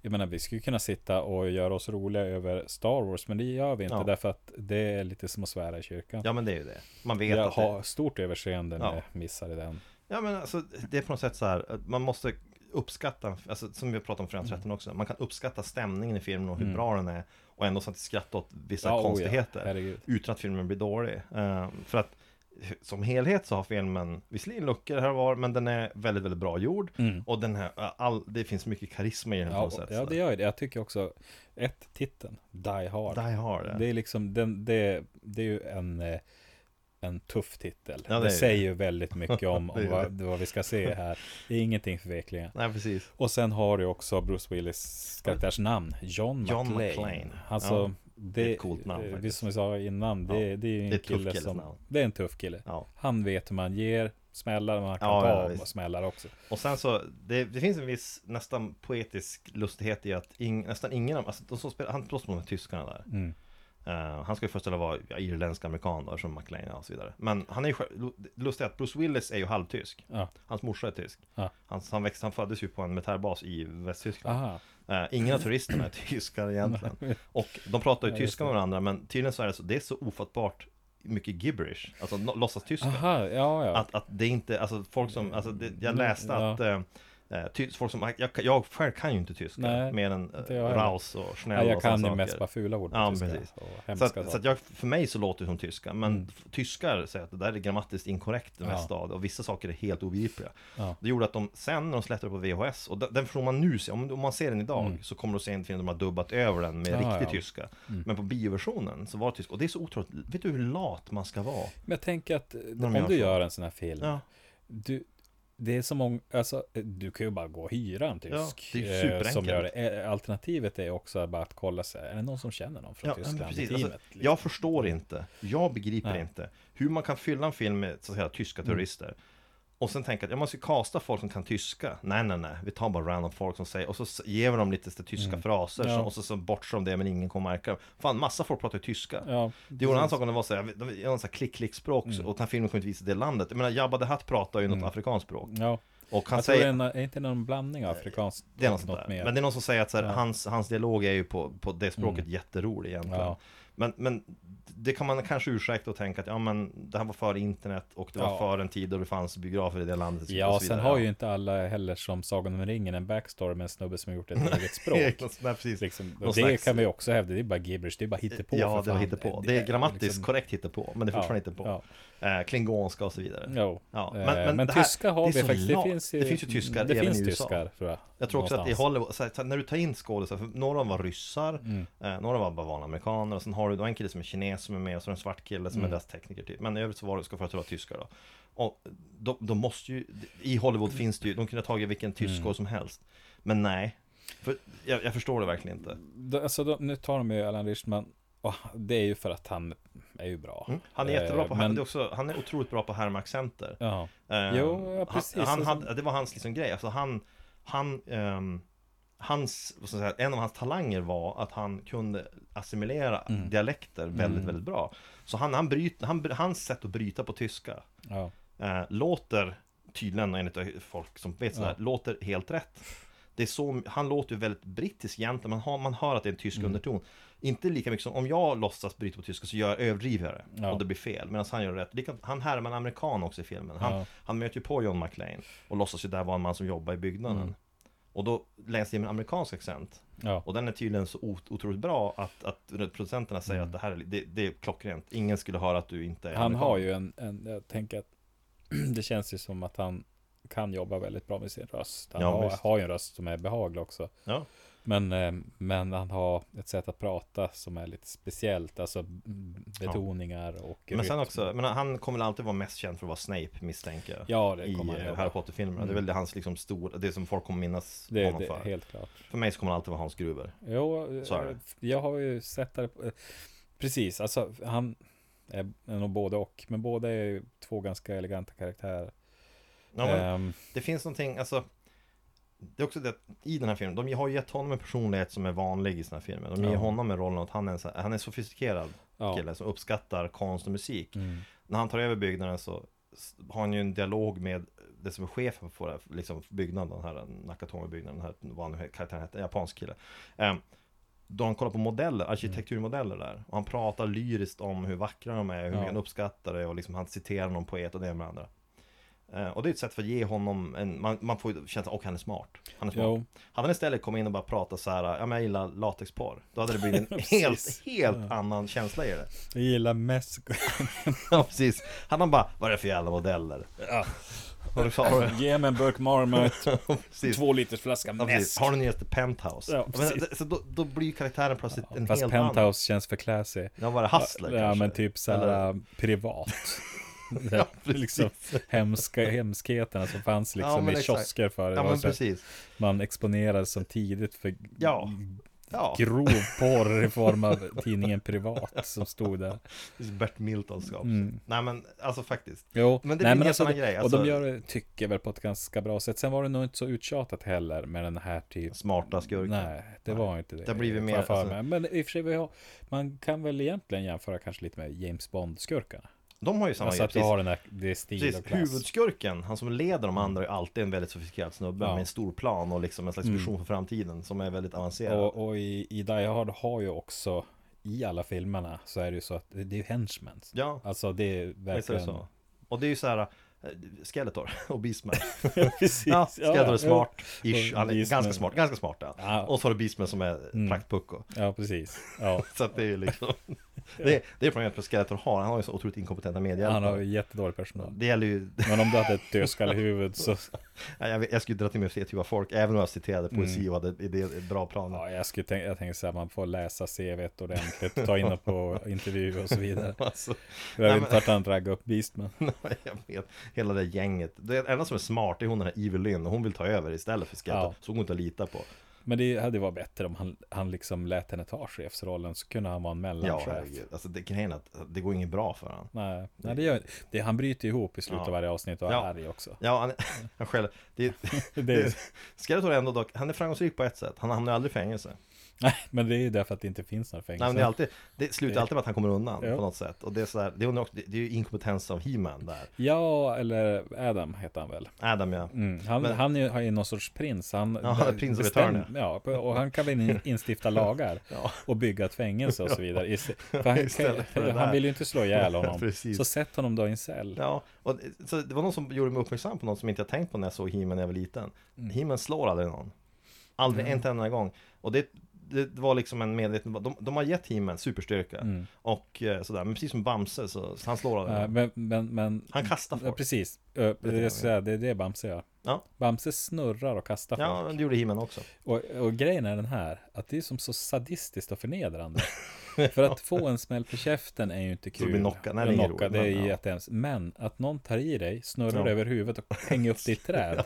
Speaker 3: jag menar vi skulle kunna sitta och göra oss roliga över Star Wars men det gör vi inte
Speaker 2: Ja.
Speaker 3: därför att det är lite som att svära i kyrkan.
Speaker 2: Ja men det är ju det. Man vet
Speaker 3: jag
Speaker 2: att det...
Speaker 3: har stort överseende när
Speaker 2: Ja.
Speaker 3: jag missar i den.
Speaker 2: Ja men alltså det är på något sätt så här, att man måste uppskatta, alltså, som vi pratade om
Speaker 3: Mm.
Speaker 2: Friends 13 också, man kan uppskatta stämningen i filmen och hur bra den är och ändå samtidigt skratta åt vissa
Speaker 3: Ja, oh ja.
Speaker 2: konstigheter
Speaker 3: Herregud.
Speaker 2: utan att filmen blir dålig. Eh, för att som helhet så har filmen visserligen luckor här och var, men den är väldigt, väldigt bra gjord
Speaker 3: Mm.
Speaker 2: och den här, eh, all, det finns mycket karisma i den på
Speaker 3: Ja,
Speaker 2: något sätt.
Speaker 3: ja
Speaker 2: så
Speaker 3: det
Speaker 2: här.
Speaker 3: gör ju det. Jag tycker också, ett, titeln, Die Hard.
Speaker 2: Die Hard, ja.
Speaker 3: Det är liksom, den, det, det är ju en, eh, en tuff titel.
Speaker 2: Ja, det är
Speaker 3: det
Speaker 2: det.
Speaker 3: säger ju väldigt mycket om,
Speaker 2: Det
Speaker 3: om
Speaker 2: är
Speaker 3: vad, vad vi ska se här. Det är ingenting förvekligen.
Speaker 2: Nej, precis.
Speaker 3: Och sen har du också Bruce Willis karaktärs namn, John,
Speaker 2: John
Speaker 3: McClane.
Speaker 2: McClane.
Speaker 3: Alltså,
Speaker 2: Ja,
Speaker 3: det,
Speaker 2: är ett coolt namn
Speaker 3: eh, Vi
Speaker 2: faktiskt.
Speaker 3: som vi sa innan, det,
Speaker 2: Ja,
Speaker 3: det är ju en
Speaker 2: det är ett tufft
Speaker 3: kille
Speaker 2: killes
Speaker 3: som,
Speaker 2: namn.
Speaker 3: det är en tuff kille.
Speaker 2: Ja.
Speaker 3: Han vet hur man ger smällar, man kan
Speaker 2: Ja,
Speaker 3: ta
Speaker 2: ja,
Speaker 3: av
Speaker 2: visst.
Speaker 3: och smällar också.
Speaker 2: Och sen så, det, det finns en viss nästan poetisk lustighet i att ing, nästan ingen av, alltså de som spelar, han slåss mot de här tyskarna där.
Speaker 3: Mm.
Speaker 2: Eh, han ska ju föreställa vara ja, irländsk amerikan då, som McLean och så vidare. Men han är ju själv- lu- det lustiga är att Bruce Willis är ju halvtysk.
Speaker 3: Ja.
Speaker 2: Hans morsa är tysk.
Speaker 3: Ja.
Speaker 2: Hans, han, växte, han föddes ju på en militärbas i Västtyskland.
Speaker 3: Aha,
Speaker 2: Uh, ingen av turisterna är tyskar egentligen. Och de pratar ju
Speaker 3: Ja, just
Speaker 2: tyska med varandra, men tydligen så är det så, det är så ofattbart mycket gibberish, alltså no, låtsas tyska.
Speaker 3: Aha ja, ja.
Speaker 2: Att, att det inte, alltså folk som, alltså det, jag
Speaker 3: Mm,
Speaker 2: läste
Speaker 3: ja.
Speaker 2: att eh, eh, ty, folk som, jag, jag själv kan ju inte tyska
Speaker 3: Nej,
Speaker 2: mer än
Speaker 3: inte
Speaker 2: eh,
Speaker 3: jag heller.
Speaker 2: Raus och
Speaker 3: Nej,
Speaker 2: Schnell
Speaker 3: jag
Speaker 2: och
Speaker 3: kan
Speaker 2: sådana
Speaker 3: ju
Speaker 2: saker.
Speaker 3: mest bara fula ord på
Speaker 2: Ja,
Speaker 3: tyska.
Speaker 2: precis.
Speaker 3: Och
Speaker 2: Så,
Speaker 3: hemska
Speaker 2: att, så
Speaker 3: saker.
Speaker 2: att jag, för mig så låter det som tyska, men
Speaker 3: Mm.
Speaker 2: f- tyskar säger att det där är grammatiskt inkorrekt det
Speaker 3: Ja.
Speaker 2: mesta av det, och vissa saker är helt obegripliga.
Speaker 3: Ja.
Speaker 2: Det gjorde att de sen när de släppte det på VHS, och de- den får man nu se, om, om man ser den idag
Speaker 3: Mm.
Speaker 2: så kommer du se en film där de har dubbat över den med
Speaker 3: Ja,
Speaker 2: riktig
Speaker 3: ja.
Speaker 2: tyska.
Speaker 3: Mm.
Speaker 2: Men på bioversionen så var det tyska, och det är så otroligt, vet du hur lat man ska vara?
Speaker 3: Men jag tänker att eh,
Speaker 2: de
Speaker 3: om
Speaker 2: gör
Speaker 3: du
Speaker 2: så.
Speaker 3: gör en sån här film,
Speaker 2: Ja,
Speaker 3: du, det är så många, alltså, eh, du kan ju bara gå och hyra en tysk.
Speaker 2: det är ju
Speaker 3: eh,
Speaker 2: superenkelt.
Speaker 3: Som gör det. Eh, Alternativet är också bara att kolla sig, är det någon som känner någon från
Speaker 2: ja men
Speaker 3: Tyskland i
Speaker 2: precis.
Speaker 3: teamet?
Speaker 2: Alltså,
Speaker 3: liksom?
Speaker 2: jag förstår inte, jag begriper
Speaker 3: Nej. Mm.
Speaker 2: inte hur man kan fylla en film med så att säga, tyska terrorister Och sen tänka att jag måste kasta folk som kan tyska Nej nej nej, vi tar bara random folk som säger Och så s- ger vi dem lite så, tyska fraser
Speaker 3: Mm. Ja.
Speaker 2: så, Och så, så bortser de det men ingen kommer märka det Fan massa folk pratar ju tyska
Speaker 3: Ja, Mm.
Speaker 2: Det vore en annan sak om det var så här, de- de- de- så här klick-klick-språk Och den här filmen kommer inte visa det landet Jag menar Jabba the Hutt pratar ju något afrikanskt språk
Speaker 3: ja.
Speaker 2: Och han
Speaker 3: Mm. Jag
Speaker 2: säger
Speaker 3: tror det är, en, är inte någon blandning av afrikanskt
Speaker 2: Eh, det är något
Speaker 3: och
Speaker 2: sånt där.
Speaker 3: mer.
Speaker 2: Men det är någon som säger att så här,
Speaker 3: Ja. Mm.
Speaker 2: hans, hans dialog är ju på, på det språket jätterolig egentligen.
Speaker 3: Ja.
Speaker 2: Men, men det kan man kanske ursäkta och tänka att ja men det här var före internet och det var
Speaker 3: Ja.
Speaker 2: före en tid då det fanns biografer i det landet.
Speaker 3: Ja,
Speaker 2: och så
Speaker 3: sen
Speaker 2: vidare.
Speaker 3: har ju inte alla heller som Sagan om ringen en backstory med en snubbe som har gjort ett eget
Speaker 2: Nej,
Speaker 3: språk.
Speaker 2: precis.
Speaker 3: Liksom,
Speaker 2: Någon
Speaker 3: det
Speaker 2: slags- Eh,
Speaker 3: kan vi också hävda, det är bara gibberish, det är bara hittepå
Speaker 2: ja,
Speaker 3: för
Speaker 2: det var
Speaker 3: fan.
Speaker 2: hittepå. Det är grammatiskt
Speaker 3: liksom-
Speaker 2: korrekt hittepå, men det är fortfarande
Speaker 3: Ja,
Speaker 2: hittepå. Eh, klingonska och så vidare.
Speaker 3: Jo.
Speaker 2: Ja,
Speaker 3: Eh,
Speaker 2: men- men det här-
Speaker 3: tyska
Speaker 2: det
Speaker 3: har
Speaker 2: är
Speaker 3: vi
Speaker 2: så
Speaker 3: faktiskt.
Speaker 2: lat.
Speaker 3: Det finns ju,
Speaker 2: Det finns ju tyskar
Speaker 3: det
Speaker 2: även
Speaker 3: finns
Speaker 2: i USA.
Speaker 3: tyskar, tror jag.
Speaker 2: Jag tror också att i
Speaker 3: någonstans. Mm.
Speaker 2: Hollywood, så här, så här, när du tar in skådisar, för några av dem var ryssar, eh, några var bara vanliga amerikaner och sen har du då en kille som är kines som är med och så är det en svart kille
Speaker 3: Mm.
Speaker 2: som är deras tekniker typ. Men i övrigt så var det, ska för att det var tyskar då. Och de, de måste ju, i Hollywood finns det ju, de kunde ha tagit vilken
Speaker 3: Mm.
Speaker 2: tysk skådis som helst. Men nej, för, jag, jag förstår det verkligen inte. Mm.
Speaker 3: Då- Alltså, då, nu tar de ju Alan Richtman. Och det är ju för att han är ju bra.
Speaker 2: Mm. Han är
Speaker 3: Eh,
Speaker 2: jättebra på, men...
Speaker 3: men-
Speaker 2: det är också, han är otroligt bra på att härma accenter.
Speaker 3: Ja.
Speaker 2: Eh,
Speaker 3: Jo, ja, precis.
Speaker 2: Han, han
Speaker 3: Alltså-
Speaker 2: hade, det var hans liksom grej. Alltså han, han, ehm, hans, vad ska jag säga, en av hans talanger var att han kunde assimilera
Speaker 3: Mm.
Speaker 2: dialekter väldigt, väldigt bra. Så han, han bryt, han, bry- hans sätt att bryta på tyska
Speaker 3: ja.
Speaker 2: eh, låter tydligen, enligt folk som vet sådär, låter helt rätt. det är så, han låter ju väldigt brittisk egentligen, man hör, man hör att det är en
Speaker 3: Mm.
Speaker 2: tysk underton. Inte lika mycket som om jag låtsas bryta på tyska så gör jag överdriver jag det
Speaker 3: Ja.
Speaker 2: och det blir fel. Medan han gör rätt. Likadant- han härmar en amerikan också i filmen. Han,
Speaker 3: Ja.
Speaker 2: han möter ju på John McClane och låtsas ju där vara en man som jobbar i byggnaden.
Speaker 3: Mm.
Speaker 2: Och då läser jag med en amerikansk accent.
Speaker 3: Ja.
Speaker 2: Och den är tydligen så ot- otroligt bra att, att producenterna säger att det här är, li- det, det är klockrent. Ingen skulle höra att du inte är
Speaker 3: Mm. Han
Speaker 2: amerikan.
Speaker 3: har ju en, en jag tänker att det känns ju som att han kan jobba väldigt bra med sin röst. Han
Speaker 2: Ja,
Speaker 3: har,
Speaker 2: visst.
Speaker 3: har ju en röst som är behaglig också.
Speaker 2: Ja.
Speaker 3: Men, eh, men han har ett sätt att prata som är lite speciellt, alltså mm, betoningar och
Speaker 2: Men sen
Speaker 3: rytm.
Speaker 2: också, men han kommer väl alltid vara mest känd för att vara Snape misstänker jag.
Speaker 3: Ja, det
Speaker 2: I
Speaker 3: kommer han
Speaker 2: eh,
Speaker 3: jobba.
Speaker 2: Harry Potter-filmerna. Det är väl det hans liksom stora, det som folk kommer minnas
Speaker 3: Det,
Speaker 2: honom
Speaker 3: det
Speaker 2: för.
Speaker 3: är helt klart.
Speaker 2: För mig så kommer han alltid vara Hans Gruber.
Speaker 3: Jo,
Speaker 2: Så är
Speaker 3: eh,
Speaker 2: det.
Speaker 3: jag har ju sett det. på- eh, Precis, alltså han är är nog både och. Men båda är ju två ganska eleganta karaktärer.
Speaker 2: Ja, men
Speaker 3: Ehm,
Speaker 2: Det finns någonting, alltså Det är också det att i den här filmen, de har gett honom en personlighet som är vanlig i sina filmer De ger
Speaker 3: Ja.
Speaker 2: honom en roll att han är en, så här, han är en sofistikerad
Speaker 3: ja.
Speaker 2: kille som uppskattar konst och musik
Speaker 3: Mm.
Speaker 2: När han tar över byggnaden så s- har han ju en dialog med det som är chefen för det här, liksom byggnaden, den här Nakatomi-byggnaden, den här, vad nu karaktären hette, en japansk kille Ehm, Då han kollar på
Speaker 3: Mm.
Speaker 2: modeller, arkitekturmodeller där Och han pratar lyriskt om hur vackra de är, hur
Speaker 3: Ja.
Speaker 2: mycket han uppskattar det och liksom han citerar någon poet och det ena med det andra Eh, Och det är ett sätt för att ge honom en, man, man får ju känslan, och han är smart Han är smart
Speaker 3: Jo.
Speaker 2: Hade han istället kommit in och bara pratat så här, ja men jag gillar latexporr Då hade det blivit en helt,
Speaker 3: Precis.
Speaker 2: helt annan känsla i det
Speaker 3: Jag gillar mest...
Speaker 2: Ja precis, han har bara, vad är det för jävla modeller?
Speaker 3: Ja.
Speaker 2: Har du kvar det?
Speaker 3: Ge mig en burk Marmite,
Speaker 2: Precis.
Speaker 3: två liters flaska
Speaker 2: Ja, precis.
Speaker 3: mäsk.
Speaker 2: Har du nyaste Penthouse?
Speaker 3: Ja,
Speaker 2: Ja, men,
Speaker 3: precis.
Speaker 2: det- så då, då blir ju karaktären plötsligt en
Speaker 3: Fast
Speaker 2: helt annan
Speaker 3: Penthouse känns för classy.
Speaker 2: Ja var det Hustler
Speaker 3: ja,
Speaker 2: kanske?
Speaker 3: men typ så
Speaker 2: Eller-
Speaker 3: här äh, privat. ja,
Speaker 2: precis.
Speaker 3: liksom hemska, hemskheterna som fanns
Speaker 2: Ja,
Speaker 3: liksom
Speaker 2: men
Speaker 3: i
Speaker 2: exakt.
Speaker 3: kiosker förr. Det
Speaker 2: Ja
Speaker 3: var
Speaker 2: men
Speaker 3: så här-
Speaker 2: precis
Speaker 3: man exponerades som tidigt för
Speaker 2: Ja.
Speaker 3: Mm.
Speaker 2: Ja,
Speaker 3: grov porr i form av tidningen Privat som stod där.
Speaker 2: det är Bert Miltons skap
Speaker 3: Mm.
Speaker 2: Nej men alltså faktiskt
Speaker 3: Jo,
Speaker 2: Men det är en helt annan grej,
Speaker 3: och
Speaker 2: alltså.
Speaker 3: de gör det, tycker jag väl, på ett ganska bra sätt. Sen var det nog inte så uttjatat heller med den här typ
Speaker 2: Smarta skurken
Speaker 3: Nej, det var inte det.
Speaker 2: Det har blivit
Speaker 3: får
Speaker 2: mer,
Speaker 3: jag för
Speaker 2: alltså-
Speaker 3: mig. Men i och för sig, vi har, man kan väl egentligen jämföra kanske lite med James Bond-skurkarna.
Speaker 2: De har ju samma
Speaker 3: Alltså
Speaker 2: grej,
Speaker 3: att du
Speaker 2: precis,
Speaker 3: har den där, det är stil och
Speaker 2: precis.
Speaker 3: klass.
Speaker 2: Huvudskurken, han som leder de andra är alltid en väldigt sofistikerad snubbe
Speaker 3: Ja. Mm.
Speaker 2: med en stor plan och liksom en slags vision för framtiden som är väldigt avancerad
Speaker 3: Och, och i, i Die Hard har ju också, i alla filmerna, så är det ju så att det det är ju henchmen.
Speaker 2: Ja,
Speaker 3: Alltså det är
Speaker 2: visst är det
Speaker 3: verkligen...
Speaker 2: så Och det är ju så här eh, Skeletor och Beastman
Speaker 3: Precis.
Speaker 2: Ja, Skeletor är smart
Speaker 3: Och
Speaker 2: Ish, han är
Speaker 3: Beastman.
Speaker 2: ganska smart, ganska smart ja.
Speaker 3: Ja. Mm.
Speaker 2: Och så har du Beastman som är praktpucko
Speaker 3: Ja, precis. Ja.
Speaker 2: Så att det är ju liksom Det är, det är problemet med Skeletor har, han har ju så otroligt inkompetenta
Speaker 3: Han har
Speaker 2: medhjälpare
Speaker 3: ju jättedålig personal.
Speaker 2: Det gäller ju
Speaker 3: Men om du hade ett dödskallehuvud så...
Speaker 2: Nej, jag, vet- jag skulle dra till mig fler typer av folk, även om jag citerade poesi och hade idé, bra planer
Speaker 3: Mm. Ja, jag skulle tänka, jag tänker så här, man får läsa CVt ordentligt, ta in det på intervju och så vidare.
Speaker 2: Alltså,
Speaker 3: Jag
Speaker 2: Nej,
Speaker 3: vet inte vart han dragg upp Beastman.
Speaker 2: nej, jag vet, hela det gänget Det enda som är smart är hon den här Evil Lynn, och hon vill ta över istället för Skeletor
Speaker 3: Ja.
Speaker 2: Så hon går inte att lita på
Speaker 3: Men det hade ju varit bättre om han, han liksom lät henne ta chefsrollen, så kunde han vara en
Speaker 2: Ja,
Speaker 3: mellanchef.
Speaker 2: herregud Alltså det, grejen är att det går inget bra för honom
Speaker 3: nej, nej, det gör det, Han bryter ihop i slutet
Speaker 2: Ja.
Speaker 3: av varje avsnitt och är
Speaker 2: Ja.
Speaker 3: arg också.
Speaker 2: Ja, han, han skäller. Det, det, Skeletor är ändå dock, han är framgångsrik på ett sätt. Han hamnar ju aldrig i fängelse.
Speaker 3: Nej, men det är ju därför att det inte finns några
Speaker 2: Nej,
Speaker 3: fängelser.
Speaker 2: men det, är alltid, det slutar alltid med att han kommer undan
Speaker 3: Ja.
Speaker 2: på något sätt. Och det är, sådär, det, är också, det är ju inkompetens av He-Man där.
Speaker 3: Ja, eller Adam heter han väl?
Speaker 2: Adam ja.
Speaker 3: Mm. Han,
Speaker 2: Men-
Speaker 3: han är ju, har ju någon sorts prins. Han,
Speaker 2: Ja, han är prins of
Speaker 3: bestäm-
Speaker 2: Eternia.
Speaker 3: Ja, på- och han kan väl in- instifta lagar och bygga ett fängelse och så vidare. Ist- För han,
Speaker 2: Istället för det
Speaker 3: kan,
Speaker 2: där.
Speaker 3: han vill ju inte slå ihjäl honom.
Speaker 2: Precis.
Speaker 3: så sätt honom då i en cell.
Speaker 2: Ja, och så det var någon som gjorde mig uppmärksam på något som inte jag tänkt på när jag såg He-Man när jag var liten.
Speaker 3: Mm.
Speaker 2: He-Man slår aldrig någon. Aldrig, inte en enda gång. Och det, det var liksom en medveten, de, de har gett He-Man superstyrka. Och eh, sådär, men precis som Bamse så, så han slår aldrig
Speaker 3: Äh,
Speaker 2: någon.
Speaker 3: Mm. Men, men, men
Speaker 2: Han kastar
Speaker 3: ja,
Speaker 2: folk.
Speaker 3: precis. Eh, Ö, Det
Speaker 2: grann,
Speaker 3: är, så här, det är det Bamse gör.
Speaker 2: Ja.
Speaker 3: Bamse snurrar och kastar
Speaker 2: Ja,
Speaker 3: folk.
Speaker 2: men det gjorde He-Man också.
Speaker 3: Och, och grejen är den här, att det är som så sadistiskt och förnedrande. För att få en smäll på käften är ju inte kul.
Speaker 2: du blir knockad, nej, det är
Speaker 3: det
Speaker 2: inget
Speaker 3: är, knocka, det
Speaker 2: roligt,
Speaker 3: är
Speaker 2: men ja.
Speaker 3: jättehemskt. Men att någon tar i dig, snurrar
Speaker 2: Ja.
Speaker 3: över huvudet och hänger upp ditt träd.